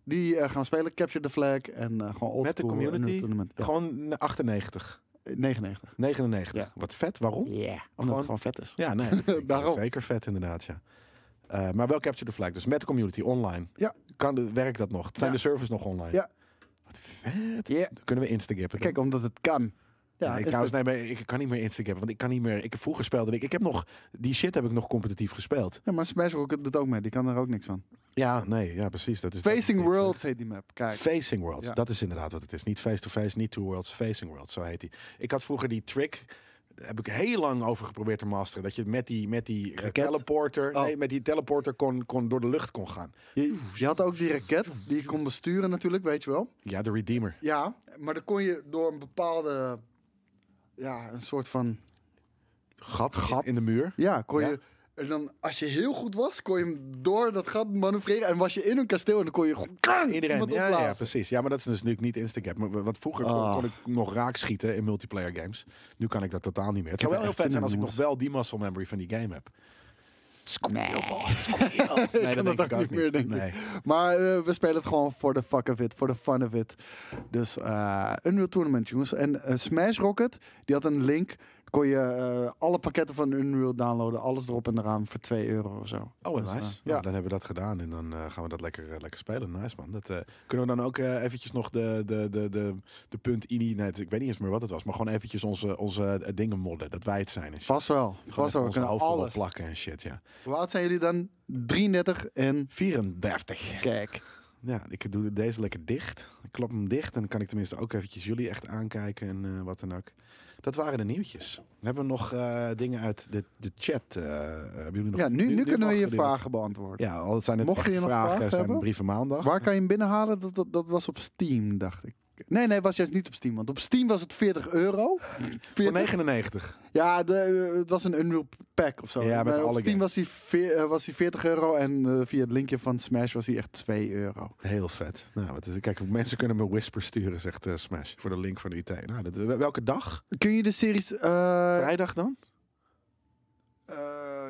[SPEAKER 2] die eh, gaan we spelen. Capture the Flag en eh, gewoon old
[SPEAKER 1] Met de
[SPEAKER 2] school Unreal
[SPEAKER 1] community?
[SPEAKER 2] Tournament. Ja,
[SPEAKER 1] Gewoon n- 98,
[SPEAKER 2] eh, 99.
[SPEAKER 1] 99.
[SPEAKER 2] Ja.
[SPEAKER 1] Wat vet, waarom?
[SPEAKER 2] Ja, omdat
[SPEAKER 1] Gewoon-
[SPEAKER 2] het gewoon vet is.
[SPEAKER 1] Ja, nee. dat is
[SPEAKER 2] Daarom.
[SPEAKER 1] Zeker vet inderdaad, ja. Eh, maar wel Capture the Flag, dus met de community, online.
[SPEAKER 2] Ja.
[SPEAKER 1] Kan de, werkt dat nog? Zijn
[SPEAKER 2] Ja.
[SPEAKER 1] de servers nog online?
[SPEAKER 2] Ja.
[SPEAKER 1] Wat vet.
[SPEAKER 2] Ja.
[SPEAKER 1] Dan kunnen we instagippen.
[SPEAKER 2] Kijk, omdat het kan.
[SPEAKER 1] ja,
[SPEAKER 2] Ja,
[SPEAKER 1] ik,
[SPEAKER 2] is
[SPEAKER 1] trouwens,
[SPEAKER 2] het-
[SPEAKER 1] nee, maar ik kan niet meer instagippen, want ik kan niet meer... Ik, vroeger speelde ik... Ik heb nog... Die shit heb ik nog competitief gespeeld.
[SPEAKER 2] ja, maar Smash Rocket doet ook mee. Die kan er ook niks van.
[SPEAKER 1] Ja, nee, ja, precies. Dat is
[SPEAKER 2] Facing
[SPEAKER 1] dat is-
[SPEAKER 2] Worlds heet die map. Kijk.
[SPEAKER 1] Facing Worlds,
[SPEAKER 2] Ja.
[SPEAKER 1] dat is inderdaad wat het is. Niet face-to-face, niet two worlds, facing worlds, zo heet die. Ik had vroeger die trick, daar heb ik heel lang over geprobeerd te masteren. Dat je met die, met die eh,
[SPEAKER 2] Raket?
[SPEAKER 1] teleporter,
[SPEAKER 2] Oh.
[SPEAKER 1] nee, met die teleporter kon, kon door de lucht kon gaan.
[SPEAKER 2] Je, je had ook die raket die je kon besturen natuurlijk, weet je wel.
[SPEAKER 1] Ja, de Redeemer.
[SPEAKER 2] Ja, maar dan kon je door een bepaalde. Ja, een soort van.
[SPEAKER 1] Gat,
[SPEAKER 2] Gat.
[SPEAKER 1] in de muur.
[SPEAKER 2] Ja, kon
[SPEAKER 1] Ja.
[SPEAKER 2] je. En dan, als je heel goed was, kon je hem door dat gat manoeuvreren. En was je in een kasteel en dan kon je. gewoon kang,
[SPEAKER 1] Iedereen,
[SPEAKER 2] iemand
[SPEAKER 1] ja, ja,
[SPEAKER 2] opblazen.
[SPEAKER 1] precies. Ja, maar dat is dus natuurlijk niet Instagap. Maar, want vroeger kon-
[SPEAKER 2] Ah.
[SPEAKER 1] kon, ik nog raak schieten in multiplayer games. Nu kan ik dat totaal niet meer. Het
[SPEAKER 2] Ik
[SPEAKER 1] zou wel
[SPEAKER 2] heb
[SPEAKER 1] heel vet
[SPEAKER 2] echt
[SPEAKER 1] zijn als
[SPEAKER 2] zin
[SPEAKER 1] ik
[SPEAKER 2] in,
[SPEAKER 1] nog wel die muscle memory van die game heb.
[SPEAKER 2] Ik kan dat ook niet meer, denk ik.
[SPEAKER 1] Nee.
[SPEAKER 2] Maar eh, we spelen het gewoon voor de fuck of it, voor de fun of it. Dus eh Unreal Tournament, jongens. En eh, Smash Rocket, die had een link. Kon je eh, alle pakketten van Unreal downloaden, alles erop en eraan voor 2 euro of zo.
[SPEAKER 1] Oh,
[SPEAKER 2] Dus,
[SPEAKER 1] nice.
[SPEAKER 2] eh,
[SPEAKER 1] ja, dan hebben we dat gedaan en dan eh, gaan we dat lekker, eh, lekker spelen. Nice man. Dat, eh, kunnen we dan ook eh, eventjes nog de, de, de, de, de punt INI, nee, het- ik weet niet eens meer wat het was, maar gewoon eventjes onze, onze eh, dingen modden, dat wij het zijn en shit.
[SPEAKER 2] Vast wel.
[SPEAKER 1] Gewoon
[SPEAKER 2] Vast wel.
[SPEAKER 1] even
[SPEAKER 2] We
[SPEAKER 1] onze
[SPEAKER 2] kunnen
[SPEAKER 1] hoofden erop
[SPEAKER 2] alles.
[SPEAKER 1] plakken en shit, ja.
[SPEAKER 2] Hoe oud zijn jullie dan? 33 en
[SPEAKER 1] 34.
[SPEAKER 2] kijk.
[SPEAKER 1] Ja, ik doe deze lekker dicht. Ik klap hem dicht en dan kan ik tenminste ook eventjes jullie echt aankijken en eh, wat dan ook. Dat waren de nieuwtjes. We hebben nog eh, dingen uit de, de chat. eh, hebben jullie nog,
[SPEAKER 2] Ja, nu, nu, kunnen we
[SPEAKER 1] mag
[SPEAKER 2] je
[SPEAKER 1] jullie nog-
[SPEAKER 2] vragen beantwoorden.
[SPEAKER 1] Ja, al zijn het
[SPEAKER 2] Mocht je
[SPEAKER 1] echte
[SPEAKER 2] nog
[SPEAKER 1] vragen,
[SPEAKER 2] vragen
[SPEAKER 1] zijn
[SPEAKER 2] hebben?
[SPEAKER 1] brieven maandag.
[SPEAKER 2] Waar kan je hem binnenhalen? Dat, dat, dat was op Steam, dacht ik. Nee, nee, was juist niet op Steam. Want op Steam was het 40 euro. 40
[SPEAKER 1] Voor 99.
[SPEAKER 2] Ja, de, eh, het was een Unreal Pack of zo.
[SPEAKER 1] Ja, met
[SPEAKER 2] Maar op
[SPEAKER 1] alle games.
[SPEAKER 2] Steam was die, veer- eh, was die 40 euro. En eh, via het linkje van Smash was die echt 2 euro.
[SPEAKER 1] Heel vet. Nou, wat is, kijk, mensen kunnen me Whisper sturen, zegt eh, Smash. Voor de link van de IT. Nou, dat, welke dag?
[SPEAKER 2] Kun je de series... eh,
[SPEAKER 1] Vrijdag dan?
[SPEAKER 2] eh,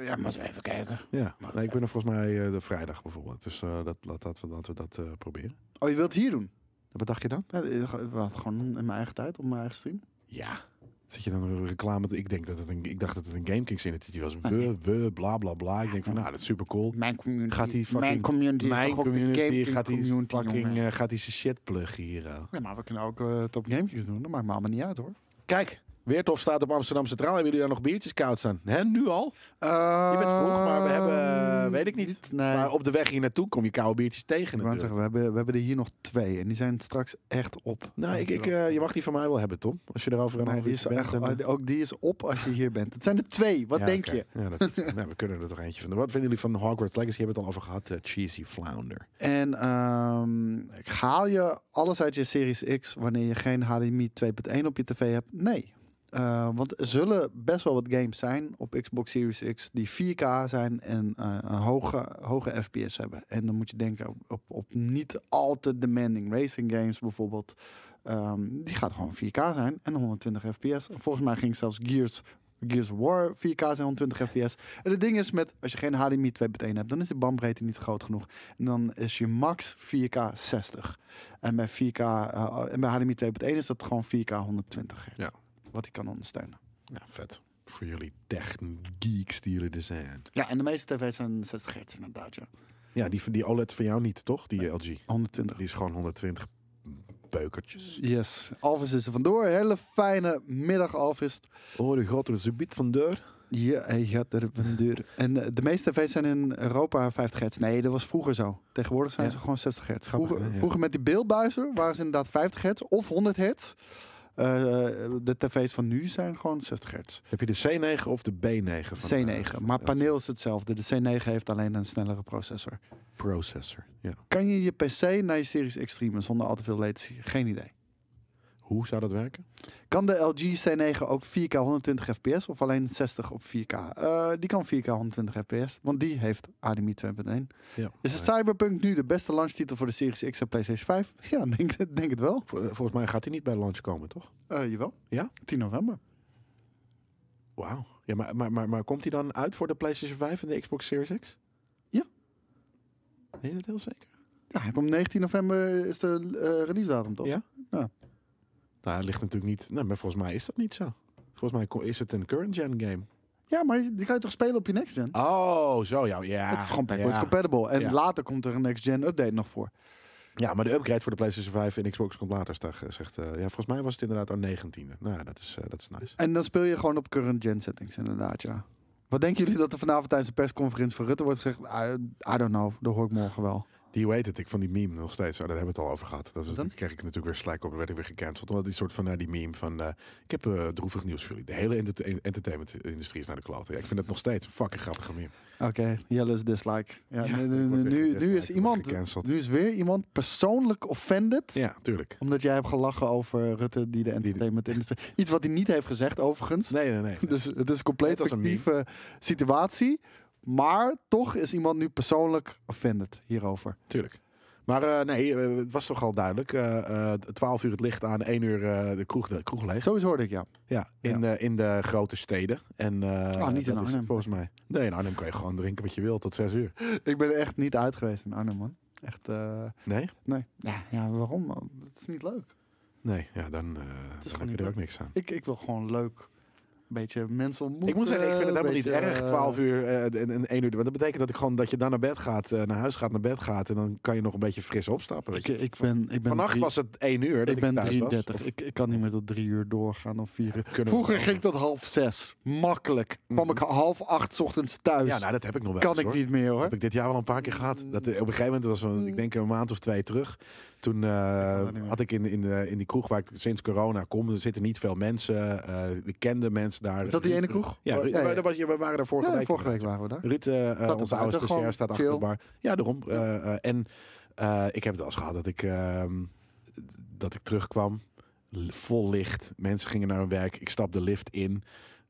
[SPEAKER 2] ja, maar eens even kijken.
[SPEAKER 1] Ja, nee, ik ben er volgens mij eh, de vrijdag bijvoorbeeld. Dus eh, dat, laat, laten we, laten we dat eh, proberen.
[SPEAKER 2] Oh, je wilt het hier doen?
[SPEAKER 1] Wat dacht je dan?
[SPEAKER 2] Ja, eh, we hadden het gewoon in mijn eigen tijd, op mijn eigen stream.
[SPEAKER 1] Ja. Zit je dan een reclame? Ik, denk dat het een, ik dacht dat het een Game Kings Initiative was. We, we, bla bla bla. Ik denk van, nou, dat is super cool.
[SPEAKER 2] Mijn community.
[SPEAKER 1] Gaat die fucking-
[SPEAKER 2] mijn community. is
[SPEAKER 1] Mijn
[SPEAKER 2] toch ook de
[SPEAKER 1] community
[SPEAKER 2] gaming
[SPEAKER 1] gaat die
[SPEAKER 2] community,
[SPEAKER 1] fucking
[SPEAKER 2] jongen.
[SPEAKER 1] eh, gaat die zijn shit pluggen hier. eh.
[SPEAKER 2] Ja, maar we kunnen ook eh, het op gamekjes doen. Dat maakt me allemaal niet uit hoor.
[SPEAKER 1] Kijk, Weertof staat op Amsterdam Centraal. Hebben jullie daar nog biertjes koud staan? Hè, nu al?
[SPEAKER 2] Je
[SPEAKER 1] bent vroeg, maar we hebben, eh, weet ik niet.
[SPEAKER 2] Ehm, nee.
[SPEAKER 1] Maar op de weg hier naartoe kom je koude biertjes tegen
[SPEAKER 2] Ik wou net
[SPEAKER 1] natuurlijk.
[SPEAKER 2] zeggen, we hebben, we hebben er hier nog twee. En die zijn straks echt op.
[SPEAKER 1] Nou, ik, ik, eh, je mag die van mij wel hebben, Tom. Als je er over een
[SPEAKER 2] Nee,
[SPEAKER 1] half
[SPEAKER 2] die
[SPEAKER 1] uurtje
[SPEAKER 2] is
[SPEAKER 1] bent.
[SPEAKER 2] echt,
[SPEAKER 1] dan, eh,
[SPEAKER 2] ook die is op als je hier bent. Het zijn er twee. Wat
[SPEAKER 1] ja,
[SPEAKER 2] denk
[SPEAKER 1] oké.
[SPEAKER 2] je?
[SPEAKER 1] Ja, dat is- nou, we kunnen er toch eentje van doen. Wat vinden jullie van Hogwarts Legacy? Je hebt het al over gehad. eh, cheesy Flounder.
[SPEAKER 2] En ehm, haal je alles uit je Series X wanneer je geen HDMI 2.1 op je tv hebt? Nee. Eh, want er zullen best wel wat games zijn op Xbox Series X die 4K zijn en eh, een hoge, hoge FPS hebben. En dan moet je denken op, op, op niet al te demanding racing games bijvoorbeeld. Ehm, die gaat gewoon 4K zijn en 120 FPS. Volgens mij ging zelfs Gears, Gears of War 4K zijn 120 FPS. En het ding is met, als je geen HDMI 2.1 hebt, dan is de bandbreedte niet groot genoeg. En dan is je max 4K 60. En bij 4K, eh, en bij HDMI 2.1 is dat gewoon 4K 120 hertz.
[SPEAKER 1] Ja.
[SPEAKER 2] Wat die kan ondersteunen.
[SPEAKER 1] Ja, Nou, vet. Voor jullie tech geeks die jullie er zijn.
[SPEAKER 2] Ja, en de meeste tv's zijn 60 hertz inderdaad, ja.
[SPEAKER 1] Ja, die, die OLED van jou niet, toch? Die LG. Die
[SPEAKER 2] 120.
[SPEAKER 1] is gewoon 120 beukertjes.
[SPEAKER 2] Yes. Alvis is er vandoor. Hele fijne middag, Alvis.
[SPEAKER 1] Oh, die gaat er subiet van deur.
[SPEAKER 2] Ja, hij gaat er vandoor. En eh, de meeste tv's zijn in Europa 50 hertz. Nee, dat was vroeger zo. Tegenwoordig zijn
[SPEAKER 1] Ja.
[SPEAKER 2] ze gewoon 60 hertz.
[SPEAKER 1] Grappig,
[SPEAKER 2] vroeger,
[SPEAKER 1] hè, ja.
[SPEAKER 2] vroeger met die beeldbuizen waren ze inderdaad 50 hertz of 100 hertz. Eh, de tv's van nu zijn gewoon 60 hertz.
[SPEAKER 1] Heb je de C9 of de B9? Van, eh,
[SPEAKER 2] C9.
[SPEAKER 1] van
[SPEAKER 2] Maar
[SPEAKER 1] de
[SPEAKER 2] paneel is hetzelfde. De C9 heeft alleen een snellere processor.
[SPEAKER 1] Processor, ja.
[SPEAKER 2] Kan je je PC naar je Series X streamen zonder al te veel latency? Geen idee.
[SPEAKER 1] Hoe zou dat werken?
[SPEAKER 2] Kan de LG C9 ook 4K 120 fps of alleen 60 op 4K? Eh, die kan 4K 120 fps, want die heeft HDMI 2.1.
[SPEAKER 1] Ja.
[SPEAKER 2] Is het Cyberpunk nu de beste launchtitel voor de Series X en PlayStation 5? Ja, denk, denk het wel.
[SPEAKER 1] Vol- eh, volgens mij gaat hij niet bij launch komen, toch?
[SPEAKER 2] Eh jawel.
[SPEAKER 1] Ja?
[SPEAKER 2] 10 november.
[SPEAKER 1] Wauw. Ja, maar, maar, maar, maar komt hij dan uit voor de PlayStation 5 en de Xbox Series X?
[SPEAKER 2] Ja.
[SPEAKER 1] Weet je dat heel zeker?
[SPEAKER 2] Ja, hij komt 19 november is de eh, release datum toch?
[SPEAKER 1] Ja. Nou, het ligt natuurlijk niet... Nee, maar volgens mij is dat niet zo. Volgens mij ko- is het een current-gen game.
[SPEAKER 2] Ja, maar die kan je toch spelen op je next gen?
[SPEAKER 1] Oh, zo ja. Ja,
[SPEAKER 2] het is gewoon backwards
[SPEAKER 1] ja.
[SPEAKER 2] compatible. En
[SPEAKER 1] Ja.
[SPEAKER 2] later komt er een next gen update nog voor.
[SPEAKER 1] Ja, maar de upgrade voor de PlayStation 5 en Xbox komt later, sta- zegt... eh, ja, volgens mij was het inderdaad aan 19e. Nou, ja, dat is, eh, dat is nice.
[SPEAKER 2] En dan speel je gewoon op current gen settings, inderdaad, ja. Wat denken jullie dat er vanavond tijdens de persconferentie van Rutte wordt gezegd? I, I don't know, dat hoor ik morgen wel.
[SPEAKER 1] Die hoe heet het? Ik van die meme nog steeds. Oh, daar hebben we het al over gehad. Dat is,
[SPEAKER 2] Wat
[SPEAKER 1] dan
[SPEAKER 2] dan?
[SPEAKER 1] kreeg ik natuurlijk weer slijk op. Dan werd ik weer gecanceld. Omdat die soort van naar die meme van... eh, ik heb eh, droevig nieuws voor jullie. De hele enter- entertainment-industrie is naar de kloten. Ja, ik vind het nog steeds een fucking grappige meme.
[SPEAKER 2] Oké, Jelle's dislike. Ja,
[SPEAKER 1] Ja,
[SPEAKER 2] nu, nu-
[SPEAKER 1] ik word weer
[SPEAKER 2] nu- nu
[SPEAKER 1] gedislike,
[SPEAKER 2] is
[SPEAKER 1] ik word
[SPEAKER 2] iemand,
[SPEAKER 1] gecanceld.
[SPEAKER 2] nu is weer iemand persoonlijk offended.
[SPEAKER 1] Ja, tuurlijk.
[SPEAKER 2] Omdat jij hebt gelachen over Rutte die de entertainment industrie. Iets wat hij niet heeft gezegd, overigens.
[SPEAKER 1] Nee, nee, nee.
[SPEAKER 2] Dus het is een compleet
[SPEAKER 1] Het was een meme.
[SPEAKER 2] fictieve situatie. Maar toch is iemand nu persoonlijk offended hierover.
[SPEAKER 1] Tuurlijk. Maar eh, nee, eh, het was toch al duidelijk. eh eh 12 uur het licht aan, 1 uur eh, de, kroeg, de kroeg leeg.
[SPEAKER 2] Sowieso hoorde ik ja. Ah,
[SPEAKER 1] Ja, in, De, in de grote steden. En, eh,
[SPEAKER 2] in
[SPEAKER 1] dat is het
[SPEAKER 2] Arnhem.
[SPEAKER 1] Volgens mij. Nee, in Arnhem kan je gewoon drinken wat je wil tot 6 uur.
[SPEAKER 2] Ik ben er echt niet uit geweest in Arnhem, man. Echt, eh,
[SPEAKER 1] Nee?
[SPEAKER 2] nee. Ja, ja, waarom? man? Het is niet leuk.
[SPEAKER 1] Nee, ja, dan, eh, dan heb
[SPEAKER 2] gewoon
[SPEAKER 1] je
[SPEAKER 2] niet
[SPEAKER 1] er ook
[SPEAKER 2] leuk.
[SPEAKER 1] niks aan.
[SPEAKER 2] Ik, ik wil gewoon leuk een beetje mensen ontmoeten.
[SPEAKER 1] Ik moet zeggen, ik vind het helemaal niet
[SPEAKER 2] beetje,
[SPEAKER 1] erg,
[SPEAKER 2] eh,
[SPEAKER 1] 12 uur eh, en, en 1 uur. Want dat betekent dat, ik gewoon, dat je dan naar bed gaat, eh, naar huis gaat, naar bed gaat. En dan kan je nog een beetje fris opstappen. Weet
[SPEAKER 2] Ik,
[SPEAKER 1] je.
[SPEAKER 2] eh, ik ben, ik ben
[SPEAKER 1] Vannacht
[SPEAKER 2] drie-
[SPEAKER 1] was het 1 uur dat
[SPEAKER 2] ik
[SPEAKER 1] ik,
[SPEAKER 2] ben
[SPEAKER 1] thuis was.
[SPEAKER 2] 33. Ik, ik kan niet meer tot drie uur doorgaan of vier uur.
[SPEAKER 1] Dat kunnen we
[SPEAKER 2] Vroeger
[SPEAKER 1] wel.
[SPEAKER 2] ging dat half zes. Makkelijk. Kwam
[SPEAKER 1] Mhm.
[SPEAKER 2] ik half acht 's ochtends thuis.
[SPEAKER 1] Ja, nou, dat heb ik nog wel
[SPEAKER 2] kan
[SPEAKER 1] eens,
[SPEAKER 2] ik
[SPEAKER 1] hoor.
[SPEAKER 2] niet meer hoor. Hmm.
[SPEAKER 1] Heb ik dit jaar wel een paar keer gehad. Dat, eh, op een gegeven moment was van, ik denk een maand of twee terug. Toen eh,
[SPEAKER 2] kan dat niet meer.
[SPEAKER 1] had ik in, in, de- in die kroeg waar ik sinds corona kom, er zitten niet veel mensen. eh ik kende mensen daar.
[SPEAKER 2] Is dat die ene kroeg?
[SPEAKER 1] Ja,
[SPEAKER 2] Oh,
[SPEAKER 1] Ruud-
[SPEAKER 2] ja, ja.
[SPEAKER 1] daar was je- we waren daar vorige
[SPEAKER 2] Ja,
[SPEAKER 1] week.
[SPEAKER 2] vorige week waren we daar.
[SPEAKER 1] Ruud, eh, eh,
[SPEAKER 2] Dat
[SPEAKER 1] onze
[SPEAKER 2] is
[SPEAKER 1] oude
[SPEAKER 2] uit, gewoon
[SPEAKER 1] stagiair, staat achter de
[SPEAKER 2] chill.
[SPEAKER 1] bar. Ja, daarom. Eh, eh, en eh, ik heb het als gehad dat ik, ehm, dat ik terugkwam, l- vol licht. Mensen gingen naar hun werk. Ik stap de lift in.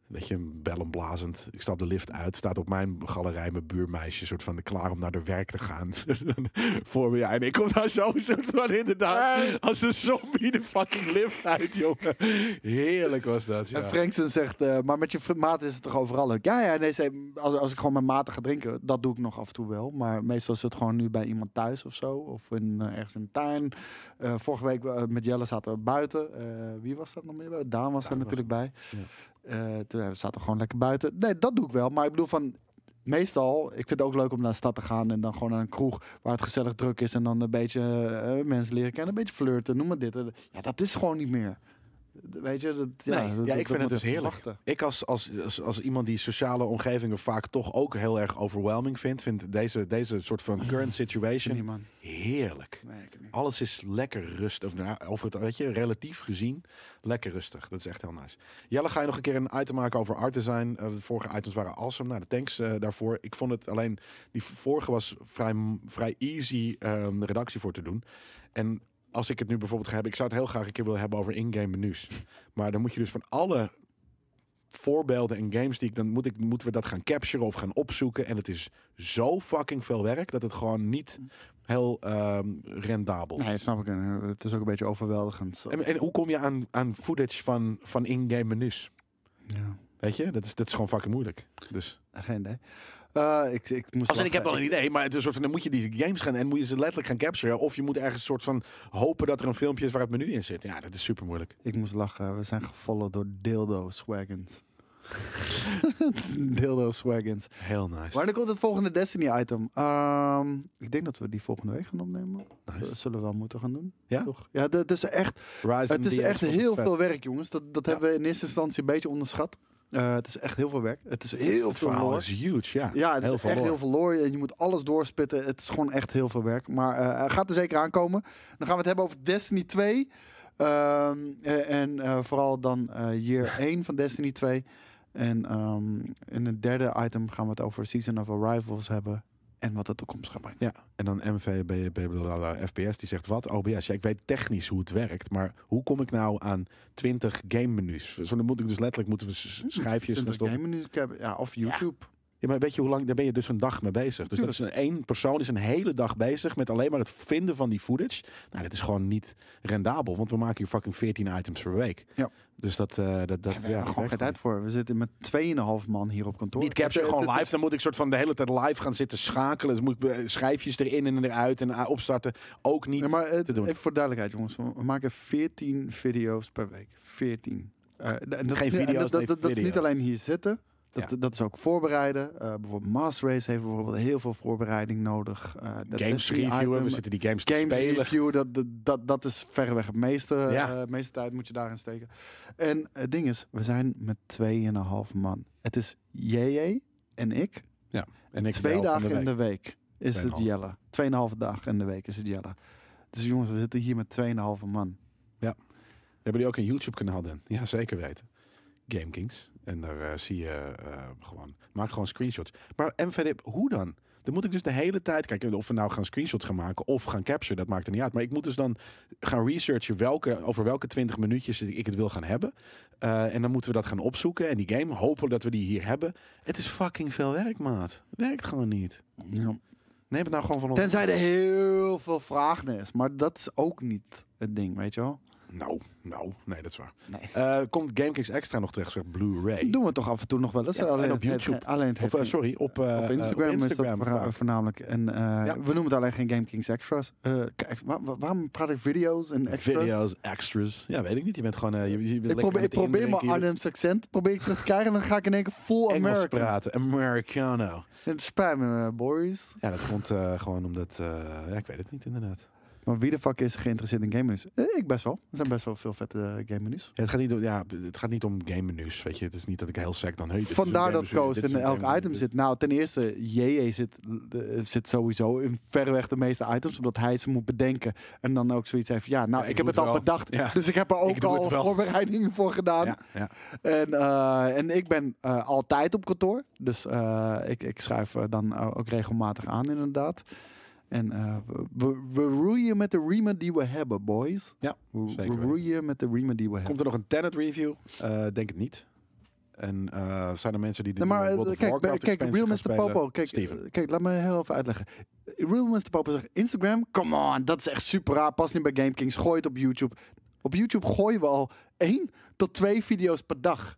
[SPEAKER 1] Weet je, bellen blazend. Ik stap de lift uit. Staat op mijn galerij mijn buurmeisje. Soort van klaar om naar de werk te gaan. Voor me. Ja, en ik kom daar zo. Soort van inderdaad. Als een zombie de fucking lift uit, jongen. Heerlijk was dat. Ja.
[SPEAKER 2] En Franksen zegt, eh, maar met je vri- maat is het toch overal leuk? Ja, ja, nee, ze- als, als ik gewoon met maten ga drinken, dat doe ik nog af en toe wel. Maar meestal is het gewoon nu bij iemand thuis of zo. Of in, eh, ergens in de tuin. Eh, vorige week eh, met Jelle zaten we buiten. Eh, wie was dat nog meer? bij? Daan was
[SPEAKER 1] Daan was
[SPEAKER 2] er natuurlijk bij.
[SPEAKER 1] ja.
[SPEAKER 2] Eh, toen eh, we zaten we gewoon lekker buiten. Nee, dat doe ik wel. Maar ik bedoel van... Meestal, ik vind het ook leuk om naar de stad te gaan en dan gewoon naar een kroeg waar het gezellig druk is en dan een beetje eh, mensen leren kennen, een beetje flirten, noem maar dit. Eh, Ja, dat is gewoon niet meer. Weet je, dat, ja,
[SPEAKER 1] Nee,
[SPEAKER 2] dat-
[SPEAKER 1] ja,
[SPEAKER 2] dat
[SPEAKER 1] ik vind
[SPEAKER 2] moet
[SPEAKER 1] het dus
[SPEAKER 2] even
[SPEAKER 1] heerlijk.
[SPEAKER 2] wachten.
[SPEAKER 1] Ik als, als, als, als iemand die sociale omgevingen vaak toch ook heel erg overwhelming vindt, vind deze, deze soort van current
[SPEAKER 2] Nee,
[SPEAKER 1] situation
[SPEAKER 2] man.
[SPEAKER 1] heerlijk.
[SPEAKER 2] Nee, ik niet.
[SPEAKER 1] Alles is lekker rustig. Of, nou, over het, weet je, relatief gezien, lekker rustig. Dat is echt heel nice. Jelle, ga je nog een keer een item maken over art design? Eh, de vorige items waren awesome. Nou, de thanks eh, daarvoor. Ik vond het alleen, die vorige was vrij, m- vrij easy ehm, de redactie voor te doen. En als ik het nu bijvoorbeeld ga hebben, ik zou het heel graag een keer willen hebben over in-game menus. Maar dan moet je dus van alle voorbeelden en games die ik dan moet ik moeten we dat gaan capturen of gaan opzoeken en het is zo fucking veel werk dat het gewoon niet heel ehm, rendabel.
[SPEAKER 2] Nee, snap ik. En, eh, Het is ook een beetje overweldigend. Zo.
[SPEAKER 1] En, en hoe kom je aan, aan footage van, van in-game menus?
[SPEAKER 2] Ja.
[SPEAKER 1] Weet je, dat is, dat is gewoon fucking moeilijk. Dus.
[SPEAKER 2] Geen idee. Eh, ik, ik moest
[SPEAKER 1] Als in, ik heb
[SPEAKER 2] lachen.
[SPEAKER 1] wel een idee, maar het is een soort van, dan moet je die games gaan en moet je ze letterlijk gaan capturen. Of je moet ergens een soort van hopen dat er een filmpje is waar het menu in zit. Ja, dat is super moeilijk.
[SPEAKER 2] Ik moest lachen. We zijn gefollowd door dildo swaggens. dildo swaggens.
[SPEAKER 1] Heel nice.
[SPEAKER 2] Wanneer komt het volgende Destiny item? Ehm, ik denk dat we die volgende week gaan opnemen.
[SPEAKER 1] Nice.
[SPEAKER 2] Dat zullen we wel moeten gaan doen.
[SPEAKER 1] Ja?
[SPEAKER 2] Toch? Ja, dat is echt
[SPEAKER 1] Rise
[SPEAKER 2] Het
[SPEAKER 1] and
[SPEAKER 2] is
[SPEAKER 1] DX
[SPEAKER 2] echt
[SPEAKER 1] vond ik
[SPEAKER 2] heel
[SPEAKER 1] vet.
[SPEAKER 2] veel werk, jongens. Dat, dat
[SPEAKER 1] Ja.
[SPEAKER 2] hebben we in eerste instantie een beetje onderschat. Eh, het is echt heel veel werk. Het is heel
[SPEAKER 1] Het
[SPEAKER 2] veel
[SPEAKER 1] verhaal
[SPEAKER 2] lore.
[SPEAKER 1] is huge, ja.
[SPEAKER 2] Ja, het is echt
[SPEAKER 1] lore.
[SPEAKER 2] heel veel lore. En Je moet alles doorspitten. Het is gewoon echt heel veel werk. Maar eh, hij gaat er zeker aankomen. Dan gaan we het hebben over Destiny 2. Ehm, eh, en eh, vooral dan eh year 1 van Destiny 2. En ehm, in het derde item gaan we het over Season of Arrivals hebben. En wat de toekomst gaat brengen.
[SPEAKER 1] Ja, en dan MVB, blablabla, FPS, die zegt wat? OBS. Ja, ik weet technisch hoe het werkt, maar hoe kom ik nou aan 20 game menus? Zo, dan moet ik dus letterlijk moeten we s- schijfjes gaan
[SPEAKER 2] Twintig
[SPEAKER 1] stoppen.
[SPEAKER 2] game minuten hebben. Ja, of YouTube.
[SPEAKER 1] Ja, maar weet je hoe lang, daar ben je dus een dag mee bezig. Dus dat is een, één persoon is een hele dag bezig met alleen maar het vinden van die footage. Nou, dat is gewoon niet rendabel, want we maken hier fucking 14 items per week.
[SPEAKER 2] Ja.
[SPEAKER 1] Dus dat, eh, dat, dat
[SPEAKER 2] Ja, we
[SPEAKER 1] ja,
[SPEAKER 2] hebben
[SPEAKER 1] dat
[SPEAKER 2] gewoon geen
[SPEAKER 1] werkt
[SPEAKER 2] tijd voor. We zitten met 2,5 man hier op kantoor.
[SPEAKER 1] Niet capture,
[SPEAKER 2] Het- het-
[SPEAKER 1] gewoon
[SPEAKER 2] het
[SPEAKER 1] live. Dan moet ik soort van de hele tijd live gaan zitten schakelen. Dus moet ik eh, schijfjes erin en eruit en ah, opstarten. Ook niet.
[SPEAKER 2] is- Ja, maar het-
[SPEAKER 1] te doen.
[SPEAKER 2] even voor duidelijkheid, jongens. We we maken 14 video's per week. 14. Eh, d- en dat,
[SPEAKER 1] Geen
[SPEAKER 2] ja, en
[SPEAKER 1] video's,
[SPEAKER 2] dat, dat,
[SPEAKER 1] nee,
[SPEAKER 2] dat- dat is niet
[SPEAKER 1] video's.
[SPEAKER 2] alleen hier zitten. Dat, dat is ook voorbereiden. Eh, bijvoorbeeld Master Race heeft bijvoorbeeld heel veel voorbereiding nodig. Eh, dat
[SPEAKER 1] games
[SPEAKER 2] is die
[SPEAKER 1] reviewen, we
[SPEAKER 2] item.
[SPEAKER 1] zitten die games, te
[SPEAKER 2] Games
[SPEAKER 1] spelen.
[SPEAKER 2] review, dat, dat, dat, dat is verreweg het meeste.
[SPEAKER 1] Ja.
[SPEAKER 2] eh, meeste tijd moet je daarin steken. En het ding is, we zijn met 2,5 man. Het is JJ en ik.
[SPEAKER 1] En ik
[SPEAKER 2] Twee
[SPEAKER 1] wel van
[SPEAKER 2] dagen
[SPEAKER 1] de
[SPEAKER 2] in de week is het
[SPEAKER 1] Tweeënhalf.
[SPEAKER 2] Jelle. Tweeënhalve dagen in de week is het Jelle. Dus jongens, we zitten hier met 2,5 man.
[SPEAKER 1] Hebben die ook een YouTube-kanaal dan? Ja, zeker weten. GameKings. En daar eh, zie je eh, gewoon... Maak gewoon screenshots. Maar MVD, hoe dan? Dan moet ik dus de hele tijd kijken of we nou gaan screenshots gaan maken of gaan capturen. Dat maakt er niet uit. Maar ik moet dus dan gaan researchen welke, over welke 20 minuutjes ik het wil gaan hebben. Eh, en dan moeten we dat gaan opzoeken. En die game, hopen dat we die hier hebben. Het is fucking veel werk, maat. Werkt gewoon niet. Neem het nou gewoon van ons.
[SPEAKER 2] Tenzij er heel veel vraag naar is. Maar dat is ook niet het ding, weet je wel.
[SPEAKER 1] Nou, nou. Nee, dat is waar.
[SPEAKER 2] Nee.
[SPEAKER 1] Eh, komt GameKings Extra nog terecht, zegt Blu-ray.
[SPEAKER 2] Doen we toch af en toe nog wel eens.
[SPEAKER 1] Ja, en
[SPEAKER 2] alleen
[SPEAKER 1] op
[SPEAKER 2] het heet-
[SPEAKER 1] YouTube.
[SPEAKER 2] alleen het
[SPEAKER 1] Of,
[SPEAKER 2] heet-
[SPEAKER 1] eh, sorry, op, eh, eh,
[SPEAKER 2] op Instagram, is dat
[SPEAKER 1] Instagram
[SPEAKER 2] voorna-
[SPEAKER 1] vaak.
[SPEAKER 2] voornamelijk. En eh, we noemen het alleen geen GameKings Extras. Eh, kijk, wa- wa- waarom praat ik video's en extras?
[SPEAKER 1] Video's, extras. Ja, weet ik niet. Je bent gewoon... eh, je, je bent
[SPEAKER 2] Ik
[SPEAKER 1] lekker
[SPEAKER 2] probeer,
[SPEAKER 1] aan
[SPEAKER 2] ik
[SPEAKER 1] het
[SPEAKER 2] probeer mijn
[SPEAKER 1] indrinken. Je
[SPEAKER 2] Arnhems accent probeer ik terug te krijgen. En dan ga ik in één keer full
[SPEAKER 1] Engels
[SPEAKER 2] American.
[SPEAKER 1] praten. Americano.
[SPEAKER 2] Het spijt me, eh, boys.
[SPEAKER 1] Ja, dat komt eh, gewoon omdat... eh, ja, ik weet het niet inderdaad.
[SPEAKER 2] Maar wie de fuck is geïnteresseerd in game menus? Eh, ik best wel. Er zijn best wel veel vette eh, game menus.
[SPEAKER 1] Ja, het, gaat niet om, ja, het gaat niet om game menus, weet je. Het is niet dat ik heel sec dan... Hey, dit is een
[SPEAKER 2] Vandaar
[SPEAKER 1] game
[SPEAKER 2] dat
[SPEAKER 1] menu,
[SPEAKER 2] Koos
[SPEAKER 1] dit is
[SPEAKER 2] in
[SPEAKER 1] een dus- game
[SPEAKER 2] elk
[SPEAKER 1] menu,
[SPEAKER 2] item
[SPEAKER 1] dit-
[SPEAKER 2] zit. Nou, ten eerste, JJ zit, eh, zit sowieso in verreweg de meeste items. Omdat hij ze moet bedenken. En dan ook zoiets heeft. Ja, nou,
[SPEAKER 1] Ja,
[SPEAKER 2] ik,
[SPEAKER 1] ik
[SPEAKER 2] heb
[SPEAKER 1] doe
[SPEAKER 2] het,
[SPEAKER 1] het
[SPEAKER 2] al
[SPEAKER 1] wel.
[SPEAKER 2] bedacht.
[SPEAKER 1] Ja.
[SPEAKER 2] Dus ik heb er ook
[SPEAKER 1] doe
[SPEAKER 2] al
[SPEAKER 1] het wel.
[SPEAKER 2] voorbereidingen voor gedaan.
[SPEAKER 1] Ja, ja.
[SPEAKER 2] En, eh, en ik ben eh, altijd op kantoor. Dus eh, ik, ik schuif eh, dan eh, ook regelmatig aan, inderdaad. En eh, we, we roeien met de riemen die we hebben, boys.
[SPEAKER 1] Ja,
[SPEAKER 2] we, we
[SPEAKER 1] zeker weten.
[SPEAKER 2] roeien met de riemen die we hebben.
[SPEAKER 1] Komt er nog een Tenet review? Eh, denk het niet. En eh, zijn er mensen die de
[SPEAKER 2] Nee, maar
[SPEAKER 1] nieuwe
[SPEAKER 2] eh,
[SPEAKER 1] World of
[SPEAKER 2] kijk,
[SPEAKER 1] Warcraft
[SPEAKER 2] bij- kijk, Real
[SPEAKER 1] expansion
[SPEAKER 2] Mr.
[SPEAKER 1] gaan spelen?
[SPEAKER 2] Popo. Kijk,
[SPEAKER 1] Steven.
[SPEAKER 2] eh, kijk, laat me heel even uitleggen. Real Mr. Popo zegt Instagram, come on, dat is echt super raar. Past niet bij Game Kings, gooi het op YouTube. Op YouTube gooien we al één tot twee video's per dag.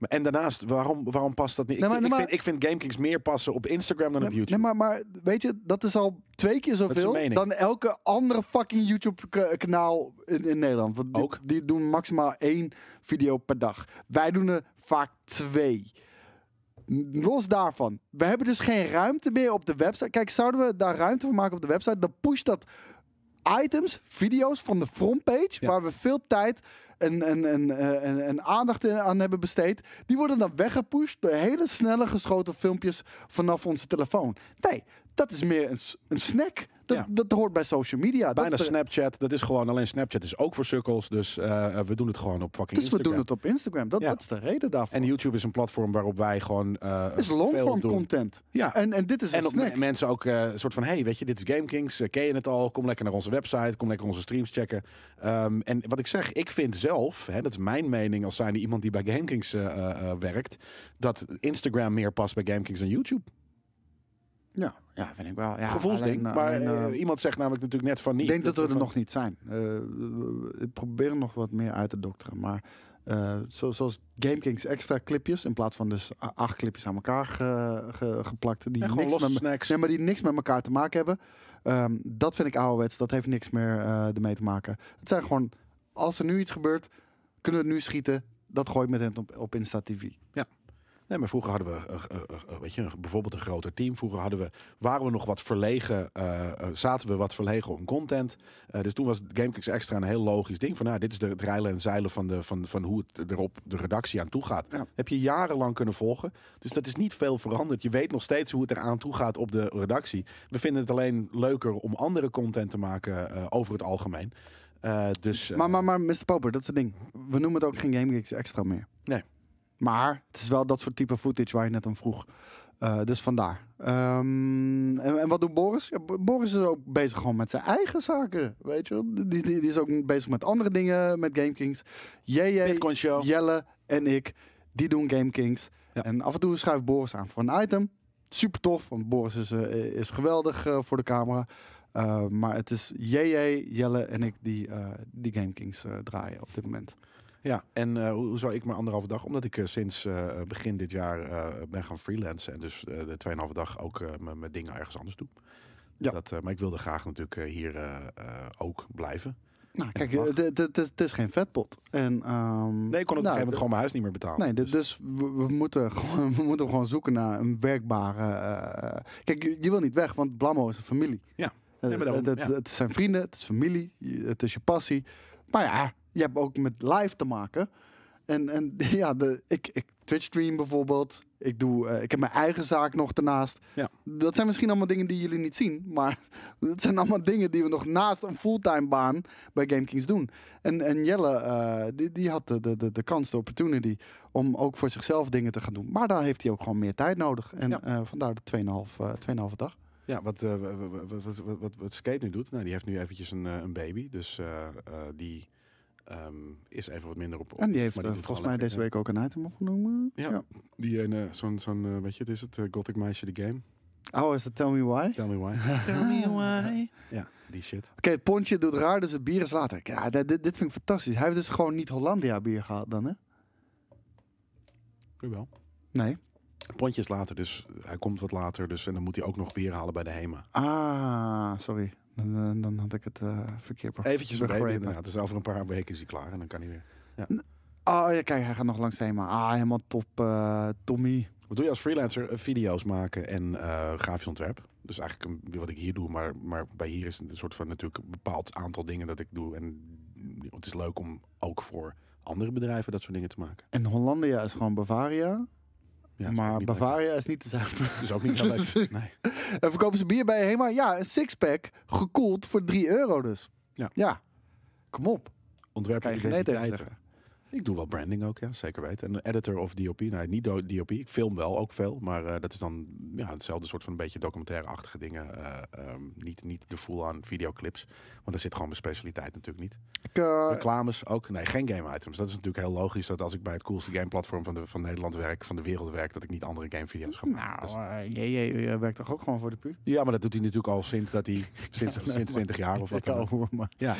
[SPEAKER 1] Maar- En daarnaast, waarom, waarom past dat niet?
[SPEAKER 2] Nee,
[SPEAKER 1] ik,
[SPEAKER 2] maar-
[SPEAKER 1] vind-
[SPEAKER 2] nee,
[SPEAKER 1] ik, vind, ik vind GameKings meer passen op Instagram dan op
[SPEAKER 2] Nee,
[SPEAKER 1] YouTube.
[SPEAKER 2] nee, maar, maar weet je, dat is al twee keer
[SPEAKER 1] is
[SPEAKER 2] zoveel
[SPEAKER 1] een mening.
[SPEAKER 2] dan elke andere fucking YouTube-kanaal in, in Nederland. Want die,
[SPEAKER 1] Ook.
[SPEAKER 2] die doen maximaal één video per dag. Wij doen er vaak twee. N- Los daarvan, we hebben dus geen ruimte meer op de website. Kijk, zouden we daar ruimte voor maken op de website, dan push dat items, video's van de frontpage,
[SPEAKER 1] Ja.
[SPEAKER 2] waar we veel tijd en, en, en, eh, en, en aandacht in- aan hebben besteed, die worden dan weggepusht door hele snelle geschoten filmpjes vanaf onze telefoon. Nee, dat is meer een, s- een snack. Dat,
[SPEAKER 1] Ja.
[SPEAKER 2] dat hoort bij social media. Dat
[SPEAKER 1] Bijna
[SPEAKER 2] is de-
[SPEAKER 1] Snapchat, dat is gewoon, alleen Snapchat is ook voor sukkels, dus eh, we doen het gewoon op fucking
[SPEAKER 2] Dus we
[SPEAKER 1] Instagram.
[SPEAKER 2] doen het op Instagram. Dat,
[SPEAKER 1] Ja.
[SPEAKER 2] dat is de reden daarvoor.
[SPEAKER 1] En YouTube is een platform waarop wij gewoon eh
[SPEAKER 2] Het is
[SPEAKER 1] veel
[SPEAKER 2] longform
[SPEAKER 1] doen.
[SPEAKER 2] content.
[SPEAKER 1] Ja.
[SPEAKER 2] En, en dit is
[SPEAKER 1] En
[SPEAKER 2] een
[SPEAKER 1] op
[SPEAKER 2] snack.
[SPEAKER 1] me- mensen ook eh, een soort van, hey, weet je, dit is GameKings, eh, ken je het al? Kom lekker naar onze website, kom lekker onze streams checken. Ehm, en wat ik zeg, ik vind zelf, hè, dat is mijn mening als zijnde iemand die bij GameKings eh, eh, eh, werkt, dat Instagram meer past bij GameKings dan YouTube.
[SPEAKER 2] Ja. ja, vind ik wel. Ja,
[SPEAKER 1] Gevoelsding,
[SPEAKER 2] alleen, eh,
[SPEAKER 1] maar
[SPEAKER 2] alleen, eh,
[SPEAKER 1] eh, iemand zegt namelijk natuurlijk net van niet.
[SPEAKER 2] Ik denk dat we er
[SPEAKER 1] van-
[SPEAKER 2] nog niet zijn. Eh ik probeer nog wat meer uit te dokteren. Maar eh, zo, zoals GameKings extra clipjes, in plaats van dus a- acht clipjes aan elkaar ge- ge- geplakt. Die
[SPEAKER 1] Ja, gewoon
[SPEAKER 2] niks
[SPEAKER 1] losse
[SPEAKER 2] met, me-
[SPEAKER 1] snacks.
[SPEAKER 2] nee, maar die niks met elkaar te maken hebben. ehm, dat vind ik ouderwets. Dat heeft niks meer eh, ermee te maken. Het zijn gewoon, als er nu iets gebeurt, kunnen we het nu schieten. Dat gooi ik meteen op, op Insta TV.
[SPEAKER 1] Nee, maar vroeger hadden we, eh, eh, eh, weet je, een- bijvoorbeeld een groter team. Vroeger hadden we, waren we nog wat verlegen, eh, eh, zaten we wat verlegen om content. Eh, dus toen was GameKings Extra een heel logisch ding. Van, nou, dit is de, het reilen en zeilen van, de, van, van hoe het erop de redactie aan toe gaat.
[SPEAKER 2] Ja.
[SPEAKER 1] Heb je jarenlang kunnen volgen. Dus dat is niet veel veranderd. Je weet nog steeds hoe het eraan toe gaat op de redactie. We vinden het alleen leuker om andere content te maken eh, over het algemeen. Eh, dus, eh,
[SPEAKER 2] Maar, maar, maar Mr. Poper, dat is het ding. We noemen het ook geen GameGeeks extra meer.
[SPEAKER 1] Nee.
[SPEAKER 2] Maar het is wel dat soort type footage waar je net om vroeg. Eh, dus vandaar. Ehm, en, en wat doet Boris? Ja, Bo- Boris is ook bezig gewoon met zijn eigen zaken. Weet je wel? Die, die, die is ook bezig met andere dingen met GameKings. JJ,
[SPEAKER 1] Bitcoin Show.
[SPEAKER 2] Jelle en ik, die doen GameKings.
[SPEAKER 1] Ja.
[SPEAKER 2] En af en toe schuift Boris aan voor een item. Super tof, want Boris is, eh, is geweldig eh, voor de camera. Eh, maar het is JJ, Jelle en ik die, eh die GameKings eh, draaien op dit moment.
[SPEAKER 1] Ja, en eh, hoe, hoe zou ik maar anderhalve dag? Omdat ik eh, sinds eh, begin dit jaar eh, ben gaan freelancen. En dus eh, de tweeënhalve dag ook eh, mijn mijn dingen ergens anders doe.
[SPEAKER 2] Ja.
[SPEAKER 1] Dat, eh, maar ik wilde graag natuurlijk eh, hier eh, eh, ook blijven.
[SPEAKER 2] Nou, kijk,
[SPEAKER 1] mag.
[SPEAKER 2] eh, dit- dit- dit- het is geen vetpot. En, ehm,
[SPEAKER 1] Nee, ik kon op een
[SPEAKER 2] nou,
[SPEAKER 1] gegeven moment gewoon mijn huis niet meer betalen.
[SPEAKER 2] Nee, dus,
[SPEAKER 1] Dus-
[SPEAKER 2] dus we, we moeten gewoon, we moeten gewoon zoeken naar een werkbare. eh, kijk, je, je wil niet weg, want Blammo is een familie.
[SPEAKER 1] Ja.
[SPEAKER 2] Eh,
[SPEAKER 1] Nee, maar daarom,
[SPEAKER 2] het,
[SPEAKER 1] ja.
[SPEAKER 2] het zijn vrienden, het is familie, je- het is je passie. Maar ja, je hebt ook met live te maken. En, en ja, de, ik, ik Twitch stream bijvoorbeeld. Ik, doe, eh, ik heb mijn eigen zaak nog daarnaast.
[SPEAKER 1] Ja.
[SPEAKER 2] Dat zijn misschien allemaal dingen die jullie niet zien. Maar dat zijn allemaal dingen die we nog naast een fulltime baan bij GameKings doen. En, en Jelle, eh, die, die had de, de, de, de kans, de opportunity om ook voor zichzelf dingen te gaan doen. Maar daar heeft hij ook gewoon meer tijd nodig. En
[SPEAKER 1] Ja.
[SPEAKER 2] eh, vandaar de 2,5 eh, 2,5 dag.
[SPEAKER 1] Ja, wat, eh, wa- wa- wa- wat, wat, wat, wat Skate nu doet, nou, die heeft nu eventjes een, eh, een baby. Dus eh, eh, die ehm, is even wat minder op. op-
[SPEAKER 2] En die heeft
[SPEAKER 1] maar
[SPEAKER 2] eh,
[SPEAKER 1] doet
[SPEAKER 2] volgens mij
[SPEAKER 1] gewoon
[SPEAKER 2] deze
[SPEAKER 1] lekker.
[SPEAKER 2] week ook een item opgenomen.
[SPEAKER 1] Ja. Die ene, zo'n, zo'n eh, weet je, het is het, eh, Gothic Meisje, de game.
[SPEAKER 2] Oh, is dat Tell Me Why?
[SPEAKER 1] Tell me why. Tell me why. Ja, die shit.
[SPEAKER 2] Oké, het pontje doet raar, dus het bier is later. Ja, dit, dit dit vind ik fantastisch. Hij heeft dus gewoon niet Hollandia bier gehad dan, hè?
[SPEAKER 1] Jawel.
[SPEAKER 2] Nee.
[SPEAKER 1] Pontje is later, dus hij komt wat later. Dus, en dan moet hij ook nog bier halen bij de HEMA.
[SPEAKER 2] Ah, sorry. Dan, dan, dan had ik het eh verkeerd begrepen.
[SPEAKER 1] Eventjes een baby
[SPEAKER 2] begrepen.
[SPEAKER 1] inderdaad. Dus over een paar weken is hij klaar en dan kan hij weer.
[SPEAKER 2] Oh ja, kijk, hij gaat nog langs de HEMA. Ah, helemaal top, eh, Tommy.
[SPEAKER 1] Wat doe je als freelancer? Eh, Video's maken en eh, grafisch ontwerp. Dus eigenlijk een- wat ik hier doe, maar, maar bij hier is een soort van natuurlijk een bepaald aantal dingen dat ik doe. En het is leuk om ook voor andere bedrijven dat soort dingen te maken.
[SPEAKER 2] En Hollandia is gewoon Bavaria.
[SPEAKER 1] Ja, is ook
[SPEAKER 2] maar
[SPEAKER 1] niet leuk.
[SPEAKER 2] Bavaria is niet te zuipen.
[SPEAKER 1] is ook niet zo leuk. Nee.
[SPEAKER 2] En verkopen ze bier bij Hema? Ja, een sixpack, gekoeld voor 3 euro dus.
[SPEAKER 1] Ja.
[SPEAKER 2] Kom op,
[SPEAKER 1] Ontwerp
[SPEAKER 2] kan
[SPEAKER 1] en
[SPEAKER 2] je geen nee tegen
[SPEAKER 1] identiteiten.
[SPEAKER 2] zeggen.
[SPEAKER 1] Ik doe wel branding ook, ja, zeker weten. En editor of DOP. Nou, niet do- DOP. Ik film wel ook veel. Maar eh, dat is dan ja, hetzelfde soort van een beetje documentaire-achtige dingen. eh, ehm, niet, niet de full-on videoclips. Want daar zit gewoon mijn specialiteit natuurlijk niet.
[SPEAKER 2] Ik, eh,
[SPEAKER 1] Reclames ook. Nee, geen game items. Dat is natuurlijk heel logisch. Dat als ik bij het coolste gameplatform van, de, van Nederland werk, van de wereld werk, dat ik niet andere gamevideo's ga maken.
[SPEAKER 2] nou,
[SPEAKER 1] Dus-
[SPEAKER 2] eh, JJ eh, werkt toch ook gewoon voor de puur?
[SPEAKER 1] ja, maar dat doet hij natuurlijk al sinds dat hij sinds,
[SPEAKER 2] Ja, nee,
[SPEAKER 1] sinds 20 jaar of wat dan
[SPEAKER 2] Ja,
[SPEAKER 1] ook.
[SPEAKER 2] hoor, maar.
[SPEAKER 1] Ja,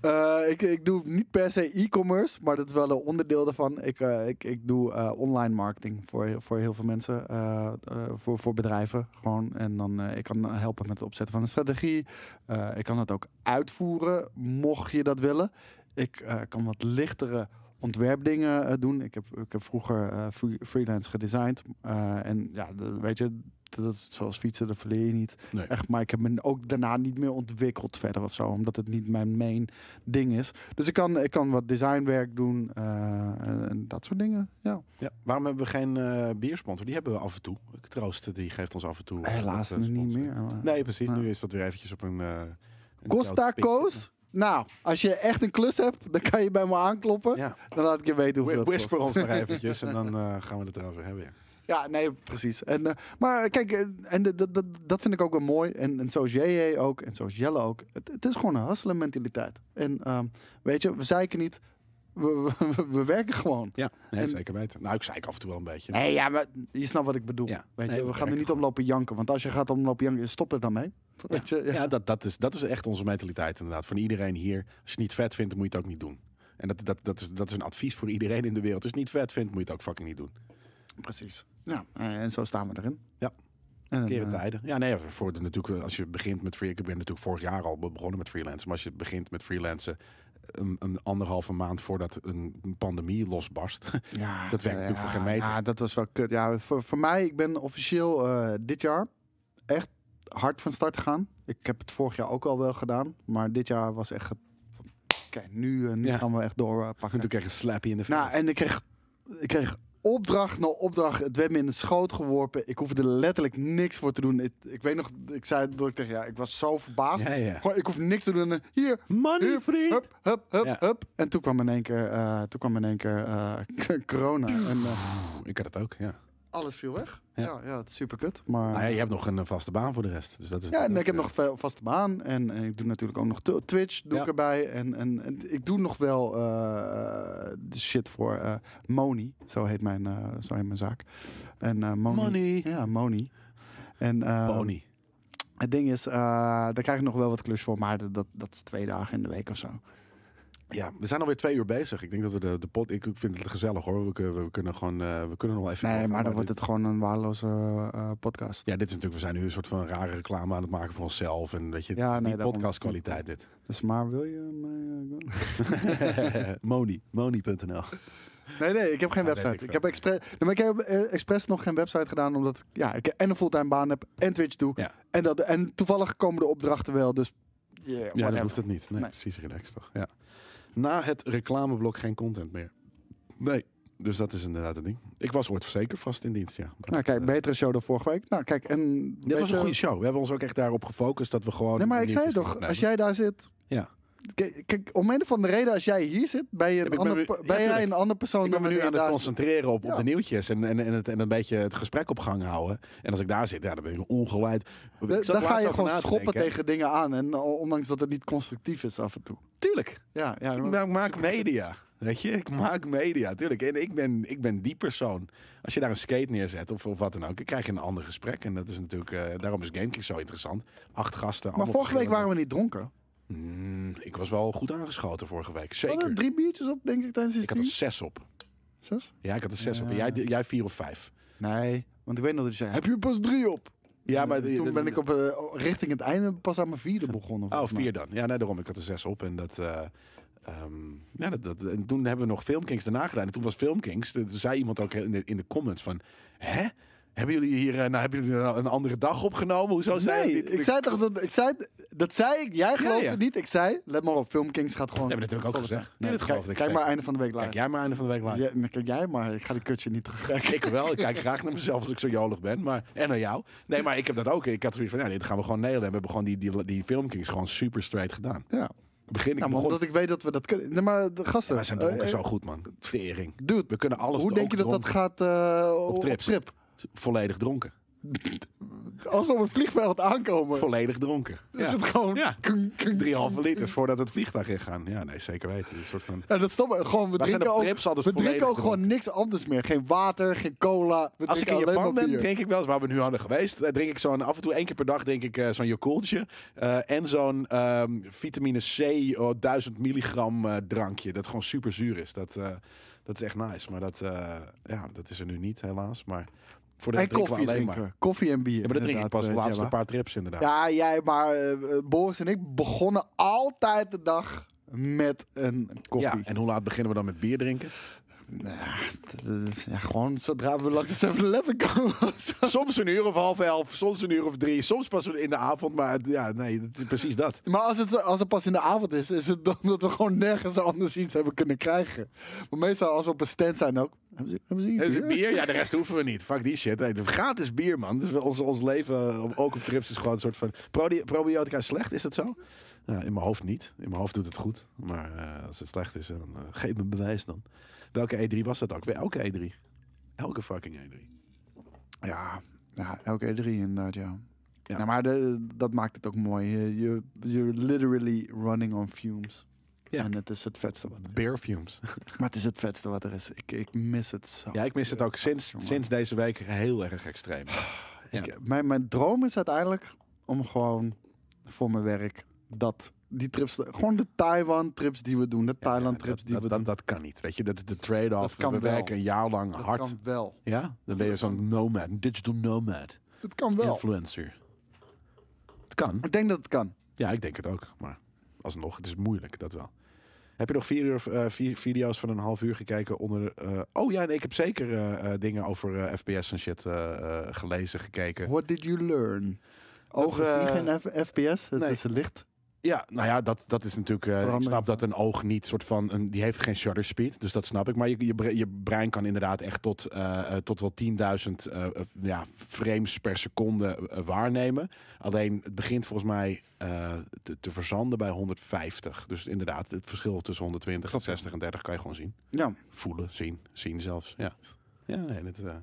[SPEAKER 2] Eh, ik, ik doe niet per se e-commerce, maar dat is wel een onderdeel daarvan. Ik, eh, ik, ik doe eh, online marketing voor, voor heel veel mensen, eh, eh, voor, voor bedrijven gewoon. En dan eh, ik kan helpen met het opzetten van een strategie. Eh, ik kan het ook uitvoeren, mocht je dat willen. Ik eh, kan wat lichtere ontwerpdingen eh, doen. Ik heb, ik heb vroeger eh, free- freelance gedesigned. Eh, en ja, d- weet je, dat is zoals fietsen, dat verleer je niet.
[SPEAKER 1] Nee.
[SPEAKER 2] Echt, maar ik heb me ook daarna niet meer ontwikkeld verder of zo, omdat het niet mijn main ding is. Dus ik kan, ik kan wat designwerk doen eh, en- en dat soort dingen. Ja.
[SPEAKER 1] ja. Waarom hebben we geen eh, biersponsor? Die hebben we af en toe. Ik troost, die geeft ons af en toe. eh,
[SPEAKER 2] Helaas
[SPEAKER 1] wat, eh,
[SPEAKER 2] niet
[SPEAKER 1] sponsor.
[SPEAKER 2] meer. maar-
[SPEAKER 1] Nee, precies.
[SPEAKER 2] Ja.
[SPEAKER 1] Nu is dat weer eventjes op een... eh, een
[SPEAKER 2] Costa
[SPEAKER 1] koud pitje.
[SPEAKER 2] Coast? Nou, als je echt een klus hebt, dan kan je bij me aankloppen.
[SPEAKER 1] Ja,
[SPEAKER 2] Dan laat ik je weten hoeveel
[SPEAKER 1] Whi-
[SPEAKER 2] het kost.
[SPEAKER 1] whisper ons maar eventjes en dan eh, gaan we het erover hebben. Ja.
[SPEAKER 2] Ja, nee, precies. En, eh, maar kijk, eh, en dat- dat, dat, dat vind ik ook wel mooi. En, en zoals JJ ook, en zoals Jelle ook. Het, het is gewoon een hasselen mentaliteit. En ehm, weet je, we zeiken niet. We, we- we, we werken gewoon.
[SPEAKER 1] Ja, nee,
[SPEAKER 2] En-
[SPEAKER 1] zeker weten. Nou, ik zei ik af en toe wel een beetje.
[SPEAKER 2] Nee, ja, maar je snapt wat ik bedoel.
[SPEAKER 1] Ja.
[SPEAKER 2] Weet
[SPEAKER 1] Nee,
[SPEAKER 2] je, we,
[SPEAKER 1] we
[SPEAKER 2] gaan er
[SPEAKER 1] werken
[SPEAKER 2] niet om
[SPEAKER 1] gewoon.
[SPEAKER 2] lopen janken. Want als je gaat om lopen janken, stop er dan mee. Weet je, ja.
[SPEAKER 1] Ja, dat, dat, is, dat is echt onze mentaliteit inderdaad. Van iedereen hier. Als je het niet vet vindt, dan moet je het ook niet doen. En dat, dat, dat, is, dat is een advies voor iedereen in de wereld. Als je het niet vet vindt, moet je het ook fucking niet doen.
[SPEAKER 2] precies. Ja, eh, en zo staan we erin.
[SPEAKER 1] Ja.
[SPEAKER 2] En,
[SPEAKER 1] Keren
[SPEAKER 2] eh,
[SPEAKER 1] tijden. Ja, nee, voor de, natuurlijk, als je begint met free, ik ben natuurlijk vorig jaar al be- begonnen met freelancen, maar als je begint met freelancen eh, een, een anderhalve maand voordat een een pandemie losbarst,
[SPEAKER 2] ja,
[SPEAKER 1] dat werkt natuurlijk voor geen meter.
[SPEAKER 2] Ja, dat was wel kut. Ja, voor, voor mij, ik ben officieel eh, dit jaar echt hard van start gegaan. Ik heb het vorig jaar ook al wel gedaan, maar dit jaar was echt... het- Kijk, nu, eh, nu
[SPEAKER 1] Ja.
[SPEAKER 2] gaan we echt doorpakken.
[SPEAKER 1] en toen krijg je een slappy in de face.
[SPEAKER 2] Nou, en ik kreeg, ik kreeg opdracht na opdracht. Het werd me in de schoot geworpen. Ik hoefde er letterlijk niks voor te doen. Ik, ik weet nog, ik zei dat ik tegen ja, ik was zo verbaasd.
[SPEAKER 1] ja, ja.
[SPEAKER 2] Gewoon, ik hoef niks te doen. En, Hier,
[SPEAKER 1] Money free.
[SPEAKER 2] hup, hup, hup,
[SPEAKER 1] Ja.
[SPEAKER 2] hup. En toen kwam in één keer, eh, toen kwam in één keer eh, corona. En, eh,
[SPEAKER 1] Ik had het ook, ja.
[SPEAKER 2] alles viel weg. Ja,
[SPEAKER 1] Ja.
[SPEAKER 2] ja, het is super kut. Maar...
[SPEAKER 1] Nou ja, je hebt nog een eh, vaste baan voor de rest. Dus dat is
[SPEAKER 2] Ah. ja, en ik heb
[SPEAKER 1] natuurlijk,
[SPEAKER 2] nog veel vaste baan. En, en ik doe natuurlijk ook nog t- Twitch doe
[SPEAKER 1] Ja.
[SPEAKER 2] ik erbij. En, en, en ik doe nog wel eh, de shit voor eh, Moni. Zo heet mijn, eh, zo heet mijn zaak. En, eh,
[SPEAKER 1] eh,
[SPEAKER 2] Moni.
[SPEAKER 1] Money.
[SPEAKER 2] Ja, Moni. En eh,
[SPEAKER 1] Pony.
[SPEAKER 2] het ding is, eh, daar krijg ik nog wel wat klus voor. Maar dat, dat, dat is twee dagen in de week of zo.
[SPEAKER 1] Ja, we zijn alweer twee uur bezig. Ik denk dat we de, de pot. Ik ik vind het gezellig hoor. We, kun- we kunnen gewoon. eh, we kunnen nog wel even.
[SPEAKER 2] Nee,
[SPEAKER 1] doorgaan,
[SPEAKER 2] maar dan wordt
[SPEAKER 1] dit-
[SPEAKER 2] het gewoon een waardeloze eh, podcast.
[SPEAKER 1] Ja, dit is natuurlijk. We zijn nu een soort van rare reclame aan het maken voor onszelf. En weet je,
[SPEAKER 2] Ja,
[SPEAKER 1] ja, is
[SPEAKER 2] nee,
[SPEAKER 1] niet
[SPEAKER 2] daarom.
[SPEAKER 1] podcastkwaliteit dit.
[SPEAKER 2] Dus maar wil je mij... eh,
[SPEAKER 1] Moni. Moni.nl.
[SPEAKER 2] Nee, nee, ik heb geen
[SPEAKER 1] Ja, weet
[SPEAKER 2] website.
[SPEAKER 1] Ah, ik
[SPEAKER 2] Ik,
[SPEAKER 1] veel.
[SPEAKER 2] heb expres, nee, maar ik heb eh, expres nog geen website gedaan, omdat ik- ja, ik en een fulltime baan heb en Twitch doe.
[SPEAKER 1] Ja.
[SPEAKER 2] En, dat, en toevallig komen de opdrachten wel, dus yeah,
[SPEAKER 1] Ja,
[SPEAKER 2] whatever.
[SPEAKER 1] dat hoeft het niet. Nee,
[SPEAKER 2] Nee.
[SPEAKER 1] precies. Relax toch. Ja. Na het reclameblok geen content meer. Nee. Dus dat is inderdaad een ding. Ik was ooit zeker vast in dienst, ja. Maar
[SPEAKER 2] Nou
[SPEAKER 1] dat,
[SPEAKER 2] kijk,
[SPEAKER 1] eh,
[SPEAKER 2] betere show dan vorige week. Nou kijk, en...
[SPEAKER 1] Dit
[SPEAKER 2] weet
[SPEAKER 1] was een
[SPEAKER 2] je-
[SPEAKER 1] goede show. We hebben ons ook echt daarop gefocust dat we gewoon...
[SPEAKER 2] Nee, maar ik
[SPEAKER 1] niet Nou, iets
[SPEAKER 2] zei toch,
[SPEAKER 1] opnemen.
[SPEAKER 2] als jij daar zit...
[SPEAKER 1] Ja.
[SPEAKER 2] Kijk, kijk, om een of andere reden, als jij hier zit, ben, je
[SPEAKER 1] ik
[SPEAKER 2] een,
[SPEAKER 1] ben
[SPEAKER 2] ander,
[SPEAKER 1] nu-
[SPEAKER 2] per-
[SPEAKER 1] ja,
[SPEAKER 2] ben jij
[SPEAKER 1] tuurlijk.
[SPEAKER 2] een ander persoon
[SPEAKER 1] Ik ben me nu
[SPEAKER 2] wanneer
[SPEAKER 1] aan het
[SPEAKER 2] je daar zit.
[SPEAKER 1] concentreren op, op
[SPEAKER 2] Ja.
[SPEAKER 1] de nieuwtjes en, en, en, het, en een beetje het gesprek op gang houden. En als ik daar zit, ja, dan ben ik ongeleid. Ik
[SPEAKER 2] Da-
[SPEAKER 1] zat
[SPEAKER 2] Dan ga
[SPEAKER 1] laatst
[SPEAKER 2] je
[SPEAKER 1] over
[SPEAKER 2] gewoon
[SPEAKER 1] na te
[SPEAKER 2] schoppen
[SPEAKER 1] denken, hè.
[SPEAKER 2] tegen dingen aan, en o- ondanks dat het niet constructief is af en toe.
[SPEAKER 1] Tuurlijk,
[SPEAKER 2] Ja, ja.
[SPEAKER 1] ik
[SPEAKER 2] maar-
[SPEAKER 1] maak, maak media. Weet je, ik maak media, tuurlijk. En ik ben, ik ben die persoon. Als je daar een skate neerzet of, of wat dan ook, dan krijg je een ander gesprek. En dat is natuurlijk, eh, daarom is Gamekick zo interessant. Acht gasten.
[SPEAKER 2] Maar vorige week waren we niet dronken.
[SPEAKER 1] we... ik was wel goed aangeschoten vorige week,
[SPEAKER 2] We hadden
[SPEAKER 1] zeker.
[SPEAKER 2] drie biertjes op, denk ik, tijdens die
[SPEAKER 1] Ik had er
[SPEAKER 2] stream.
[SPEAKER 1] zes op.
[SPEAKER 2] Zes?
[SPEAKER 1] Ja, ik had er zes op. En
[SPEAKER 2] Ja.
[SPEAKER 1] jij, jij vier of vijf.
[SPEAKER 2] Nee, want ik weet nog dat je zei, heb je er pas drie op?
[SPEAKER 1] Ja, maar
[SPEAKER 2] toen ben ik op, eh, richting het einde pas aan mijn vierde begonnen.
[SPEAKER 1] Oh,
[SPEAKER 2] volgens mij.
[SPEAKER 1] vier dan. Ja, nee, daarom. Ik had er zes op. En, dat, eh, ehm, ja, dat, dat, en toen hebben we nog Filmkings daarna gedaan. En toen was Filmkings, toen zei iemand ook in de, in de comments van... Hè? Hebben jullie hier eh, nou, hebben jullie nou een andere dag opgenomen? Hoezo zei
[SPEAKER 2] Nee, ik zei toch dat ik zei dat zei ik. Jij geloofde
[SPEAKER 1] ja.
[SPEAKER 2] het niet. Ik zei, let maar op, Filmkings gaat gewoon.
[SPEAKER 1] Dat heb ik natuurlijk ook
[SPEAKER 2] volgens mij.
[SPEAKER 1] gezegd. Nee, dat
[SPEAKER 2] kijk,
[SPEAKER 1] geloofde ik
[SPEAKER 2] Kijk maar
[SPEAKER 1] zeker.
[SPEAKER 2] einde van de week live.
[SPEAKER 1] Kijk jij maar einde van de week live.
[SPEAKER 2] Ja, dan kijk jij maar. Ik ga die kutje niet terug.
[SPEAKER 1] Ik wel. Ik kijk graag naar mezelf als ik zo jolig ben. Maar, en naar jou. Nee, maar ik heb dat ook. Ik had zoiets van, ja, dit gaan we gewoon nelen. En we hebben gewoon die, die, die Filmkings gewoon super straight gedaan.
[SPEAKER 2] Ja.
[SPEAKER 1] Begin ik
[SPEAKER 2] Ja, Nou, maar
[SPEAKER 1] begon...
[SPEAKER 2] omdat ik weet dat we dat kunnen. Nee, maar de gasten.
[SPEAKER 1] Ja, wij zijn
[SPEAKER 2] eh,
[SPEAKER 1] dronken
[SPEAKER 2] eh,
[SPEAKER 1] zo goed, man. Tering.
[SPEAKER 2] Dude,
[SPEAKER 1] We kunnen alles
[SPEAKER 2] hoe denk je dat dat gaat eh, op,
[SPEAKER 1] trips.
[SPEAKER 2] trip?
[SPEAKER 1] gaat? Volledig dronken.
[SPEAKER 2] Als we op het vliegveld aankomen,
[SPEAKER 1] Volledig dronken.
[SPEAKER 2] is
[SPEAKER 1] Ja.
[SPEAKER 2] het gewoon...
[SPEAKER 1] Ja.
[SPEAKER 2] kung, kung.
[SPEAKER 1] Drieënhalve liters voordat het vliegtuig ingaan. Ja, nee, zeker weten. Het is Een soort van...
[SPEAKER 2] En dat is stom. Gewoon, we
[SPEAKER 1] Wij zijn
[SPEAKER 2] drinken
[SPEAKER 1] op
[SPEAKER 2] ook,
[SPEAKER 1] trips al dus
[SPEAKER 2] we
[SPEAKER 1] volledig
[SPEAKER 2] drinken ook gewoon niks anders meer. Geen water, geen cola. We
[SPEAKER 1] Als ik
[SPEAKER 2] drinken
[SPEAKER 1] in
[SPEAKER 2] alleen
[SPEAKER 1] Japan
[SPEAKER 2] maar
[SPEAKER 1] ben,
[SPEAKER 2] bier.
[SPEAKER 1] denk ik wel eens waar we nu hadden geweest. eh, Drink ik zo'n af en toe één keer per dag denk ik eh, zo'n yokultje. eh, en zo'n ehm, vitamine C oh, 1000 milligram eh, drankje. Dat gewoon super zuur is. Dat, eh, dat is echt nice. Maar dat, eh, ja, dat is er nu niet, helaas. Maar voor de
[SPEAKER 2] En
[SPEAKER 1] rest drinken we
[SPEAKER 2] koffie
[SPEAKER 1] alleen
[SPEAKER 2] drinken.
[SPEAKER 1] maar.
[SPEAKER 2] Koffie en bier.
[SPEAKER 1] Ja, maar dat drink ik
[SPEAKER 2] inderdaad,
[SPEAKER 1] pas
[SPEAKER 2] eh,
[SPEAKER 1] de laatste
[SPEAKER 2] Jabba.
[SPEAKER 1] paar trips inderdaad.
[SPEAKER 2] Ja, jij, maar eh, Boris en ik begonnen altijd de dag met een koffie.
[SPEAKER 1] Ja, en hoe laat beginnen we dan met bier drinken?
[SPEAKER 2] Ja, gewoon zodra we langs de 7-Eleven komen. zo.
[SPEAKER 1] soms een uur of half elf, soms een uur of drie, soms pas in de avond. Maar het- ja, nee, het is precies dat.
[SPEAKER 2] Maar als het, als het pas in de avond is, is het dan dat we gewoon nergens anders iets hebben kunnen krijgen. Maar meestal als we op een stand zijn ook. Hebben ze, hebben ze hier
[SPEAKER 1] Er is een
[SPEAKER 2] bier?
[SPEAKER 1] bier, ja, de rest hoeven we niet. Fuck die shit. Nee, het is gratis bier, man. Dat is wel ons, ons leven, eh, op- ook op trips, is gewoon een soort van... Prodi- probiotica is slecht, is dat zo? Ja, in mijn hoofd niet. In mijn hoofd doet het goed. Maar eh, als het slecht is, dan eh, geef me bewijs dan. Welke E3 was dat ook? Weer elke E3. Elke fucking E E3.
[SPEAKER 2] Ja, ja elke E drie inderdaad, ja.
[SPEAKER 1] Ja.
[SPEAKER 2] Nou, maar de- dat maakt het ook mooi. Je- je- You're literally running on fumes.
[SPEAKER 1] Ja.
[SPEAKER 2] En het is het vetste wat er is.
[SPEAKER 1] Beer fumes.
[SPEAKER 2] Maar het is het vetste wat er is. Ik, ik mis het zo.
[SPEAKER 1] Ja, ik mis het ook sinds,
[SPEAKER 2] Jongen.
[SPEAKER 1] sinds deze week heel erg extreem. ja.
[SPEAKER 2] Ik- mijn, mijn droom is uiteindelijk om gewoon voor mijn werk dat die trips, gewoon de Taiwan trips die we doen, de Thailand trips
[SPEAKER 1] dat,
[SPEAKER 2] die
[SPEAKER 1] dat,
[SPEAKER 2] we
[SPEAKER 1] dat,
[SPEAKER 2] doen.
[SPEAKER 1] dat kan niet. Weet je, dat is de trade-off.
[SPEAKER 2] Dat kan
[SPEAKER 1] We
[SPEAKER 2] wel.
[SPEAKER 1] werken een jaar lang
[SPEAKER 2] Dat
[SPEAKER 1] hard.
[SPEAKER 2] kan wel.
[SPEAKER 1] Ja? Dan ben je zo'n nomad, een digital nomad.
[SPEAKER 2] Het kan wel.
[SPEAKER 1] Influencer. Het kan.
[SPEAKER 2] Ik denk dat het kan.
[SPEAKER 1] Ja, ik denk het ook. Maar alsnog, het is moeilijk, dat wel. Heb je nog vier, uur, eh, vier video's van een half uur gekeken onder... eh, oh ja, nee, ik heb zeker eh, eh, dingen over eh, FPS en shit eh, eh, gelezen, gekeken.
[SPEAKER 2] What did you learn?
[SPEAKER 1] Dat
[SPEAKER 2] Ogen zien
[SPEAKER 1] we-
[SPEAKER 2] geen F- FPS, het
[SPEAKER 1] Nee.
[SPEAKER 2] is licht.
[SPEAKER 1] Ja, nou ja, dat, dat is natuurlijk... eh, ik
[SPEAKER 2] Verandering.
[SPEAKER 1] snap dat een oog niet soort van... Een, die heeft geen shutter speed, dus dat snap ik. Maar je, je, bre- je brein kan inderdaad echt tot, eh, eh, tot wel 10.000 eh, eh, ja, frames per seconde eh, waarnemen. Alleen het begint volgens mij eh, te, te verzanden bij 150. Dus inderdaad, het verschil tussen 120 en
[SPEAKER 2] Klopt, ja.
[SPEAKER 1] 60 en 30 kan je gewoon zien.
[SPEAKER 2] Ja,
[SPEAKER 1] Voelen, zien, zien zelfs. Ja, ja nee, dat, eh,
[SPEAKER 2] nice.
[SPEAKER 1] ja,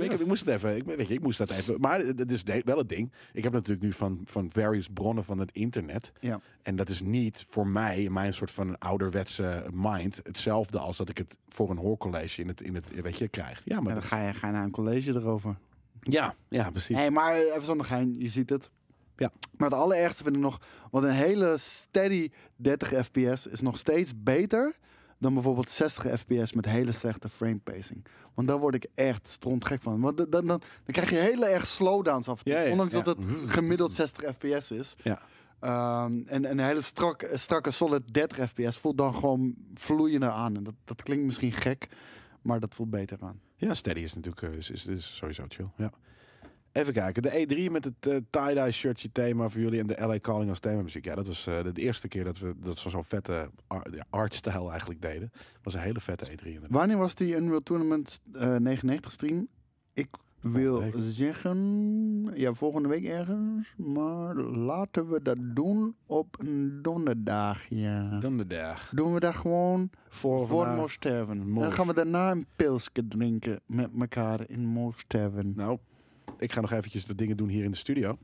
[SPEAKER 1] maar ik,
[SPEAKER 2] Yes.
[SPEAKER 1] ik moest het even, ik, weet je, ik moest dat even. Maar het is de- wel het ding. Ik heb natuurlijk nu van, van various bronnen van het internet.
[SPEAKER 2] Ja.
[SPEAKER 1] En dat is niet voor mij, in mijn soort van ouderwetse mind, hetzelfde als dat ik het voor een hoorcollege in het, in het weet je, krijg. Ja, maar
[SPEAKER 2] Ja,
[SPEAKER 1] dat
[SPEAKER 2] dan ga je, ga je naar een college erover.
[SPEAKER 1] ja, ja, precies.
[SPEAKER 2] Nee, maar eh, even zonder gein, je ziet het.
[SPEAKER 1] Ja.
[SPEAKER 2] Maar het allerergste vind ik nog, want een hele steady 30 fps is nog steeds beter dan bijvoorbeeld 60 fps met hele slechte frame pacing. Want daar word ik echt strontgek van. Want dan, dan, dan krijg je hele erg slowdowns af en toe.
[SPEAKER 1] Ja, ja,
[SPEAKER 2] ondanks
[SPEAKER 1] ja.
[SPEAKER 2] dat het gemiddeld 60 fps is.
[SPEAKER 1] Ja.
[SPEAKER 2] Ehm, en, en een hele strak, strakke solid 30 fps voelt dan gewoon vloeiender aan. En dat, dat klinkt misschien gek, maar dat voelt beter aan.
[SPEAKER 1] Ja, steady is natuurlijk eh, is, is, is sowieso chill. Ja. Even kijken, de E3 met het eh, tie-dye shirtje thema voor jullie en de LA Calling als thema muziek. Ja, dat was eh, de eerste keer dat we dat we zo'n vette ar- ja, artstijl eigenlijk deden. was een hele vette E3 inderdaad.
[SPEAKER 2] Wanneer was die Unreal Tournament eh, 99 stream? Ik wil
[SPEAKER 1] week.
[SPEAKER 2] zeggen, ja, volgende week ergens. Maar laten we dat doen op een donderdagje.
[SPEAKER 1] Dan de dag.
[SPEAKER 2] Doen we dat gewoon
[SPEAKER 1] Voor,
[SPEAKER 2] voor
[SPEAKER 1] vandaag-
[SPEAKER 2] Moos Tavern.
[SPEAKER 1] Moos.
[SPEAKER 2] Dan gaan we daarna een pilsje drinken met elkaar in Moos Tavern.
[SPEAKER 1] Nou, ik ga nog eventjes de dingen doen hier in de studio. En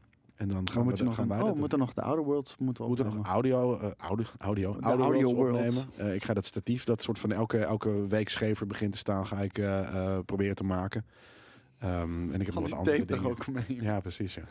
[SPEAKER 1] dan
[SPEAKER 2] Dan
[SPEAKER 1] gaan
[SPEAKER 2] moet
[SPEAKER 1] we
[SPEAKER 2] je
[SPEAKER 1] nog
[SPEAKER 2] nog
[SPEAKER 1] gaan wij
[SPEAKER 2] een,
[SPEAKER 1] dat
[SPEAKER 2] oh, we
[SPEAKER 1] doen.
[SPEAKER 2] moeten nog de Outer Worlds moeten
[SPEAKER 1] We moeten
[SPEAKER 2] opnemen.
[SPEAKER 1] nog audio, eh, audio, audio,
[SPEAKER 2] De
[SPEAKER 1] audio,
[SPEAKER 2] audio
[SPEAKER 1] worlds
[SPEAKER 2] worlds.
[SPEAKER 1] opnemen. Eh, ik ga dat statief, dat soort van elke, elke week schever begint te staan, ga ik eh, eh, proberen te maken. Ehm, en ik heb nog wat
[SPEAKER 2] Al
[SPEAKER 1] andere
[SPEAKER 2] Oh, die tape
[SPEAKER 1] dingen.
[SPEAKER 2] er ook mee.
[SPEAKER 1] Ja, precies. Ja.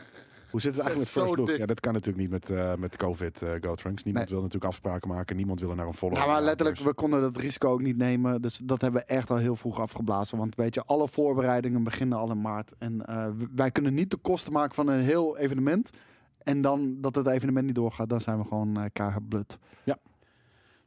[SPEAKER 1] Hoe zit het
[SPEAKER 2] Zo-
[SPEAKER 1] eigenlijk met
[SPEAKER 2] zo
[SPEAKER 1] First Look?
[SPEAKER 2] dik.
[SPEAKER 1] Ja, dat kan natuurlijk niet met, eh, met COVID, eh GoTrunks. Niemand
[SPEAKER 2] Nee.
[SPEAKER 1] wil natuurlijk afspraken maken. Niemand wil er naar een volle.
[SPEAKER 2] Ja, maar letterlijk,
[SPEAKER 1] Dus-
[SPEAKER 2] we konden dat risico ook niet nemen. Dus dat hebben we echt al heel vroeg afgeblazen. Want weet je, alle voorbereidingen beginnen al in maart. En eh, w- wij kunnen niet de kosten maken van een heel evenement. En dan dat het evenement niet doorgaat, dan zijn we gewoon eh keihard blut.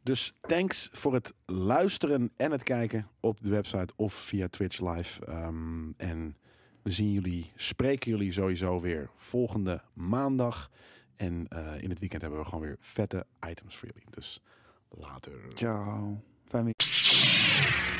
[SPEAKER 1] Dus thanks voor het luisteren en het kijken op de website of via Twitch live. Ehm, en we zien jullie, spreken jullie sowieso weer volgende maandag. En eh, in het weekend hebben we gewoon weer vette items voor jullie. Dus later.
[SPEAKER 2] Ciao. Fijn weekend.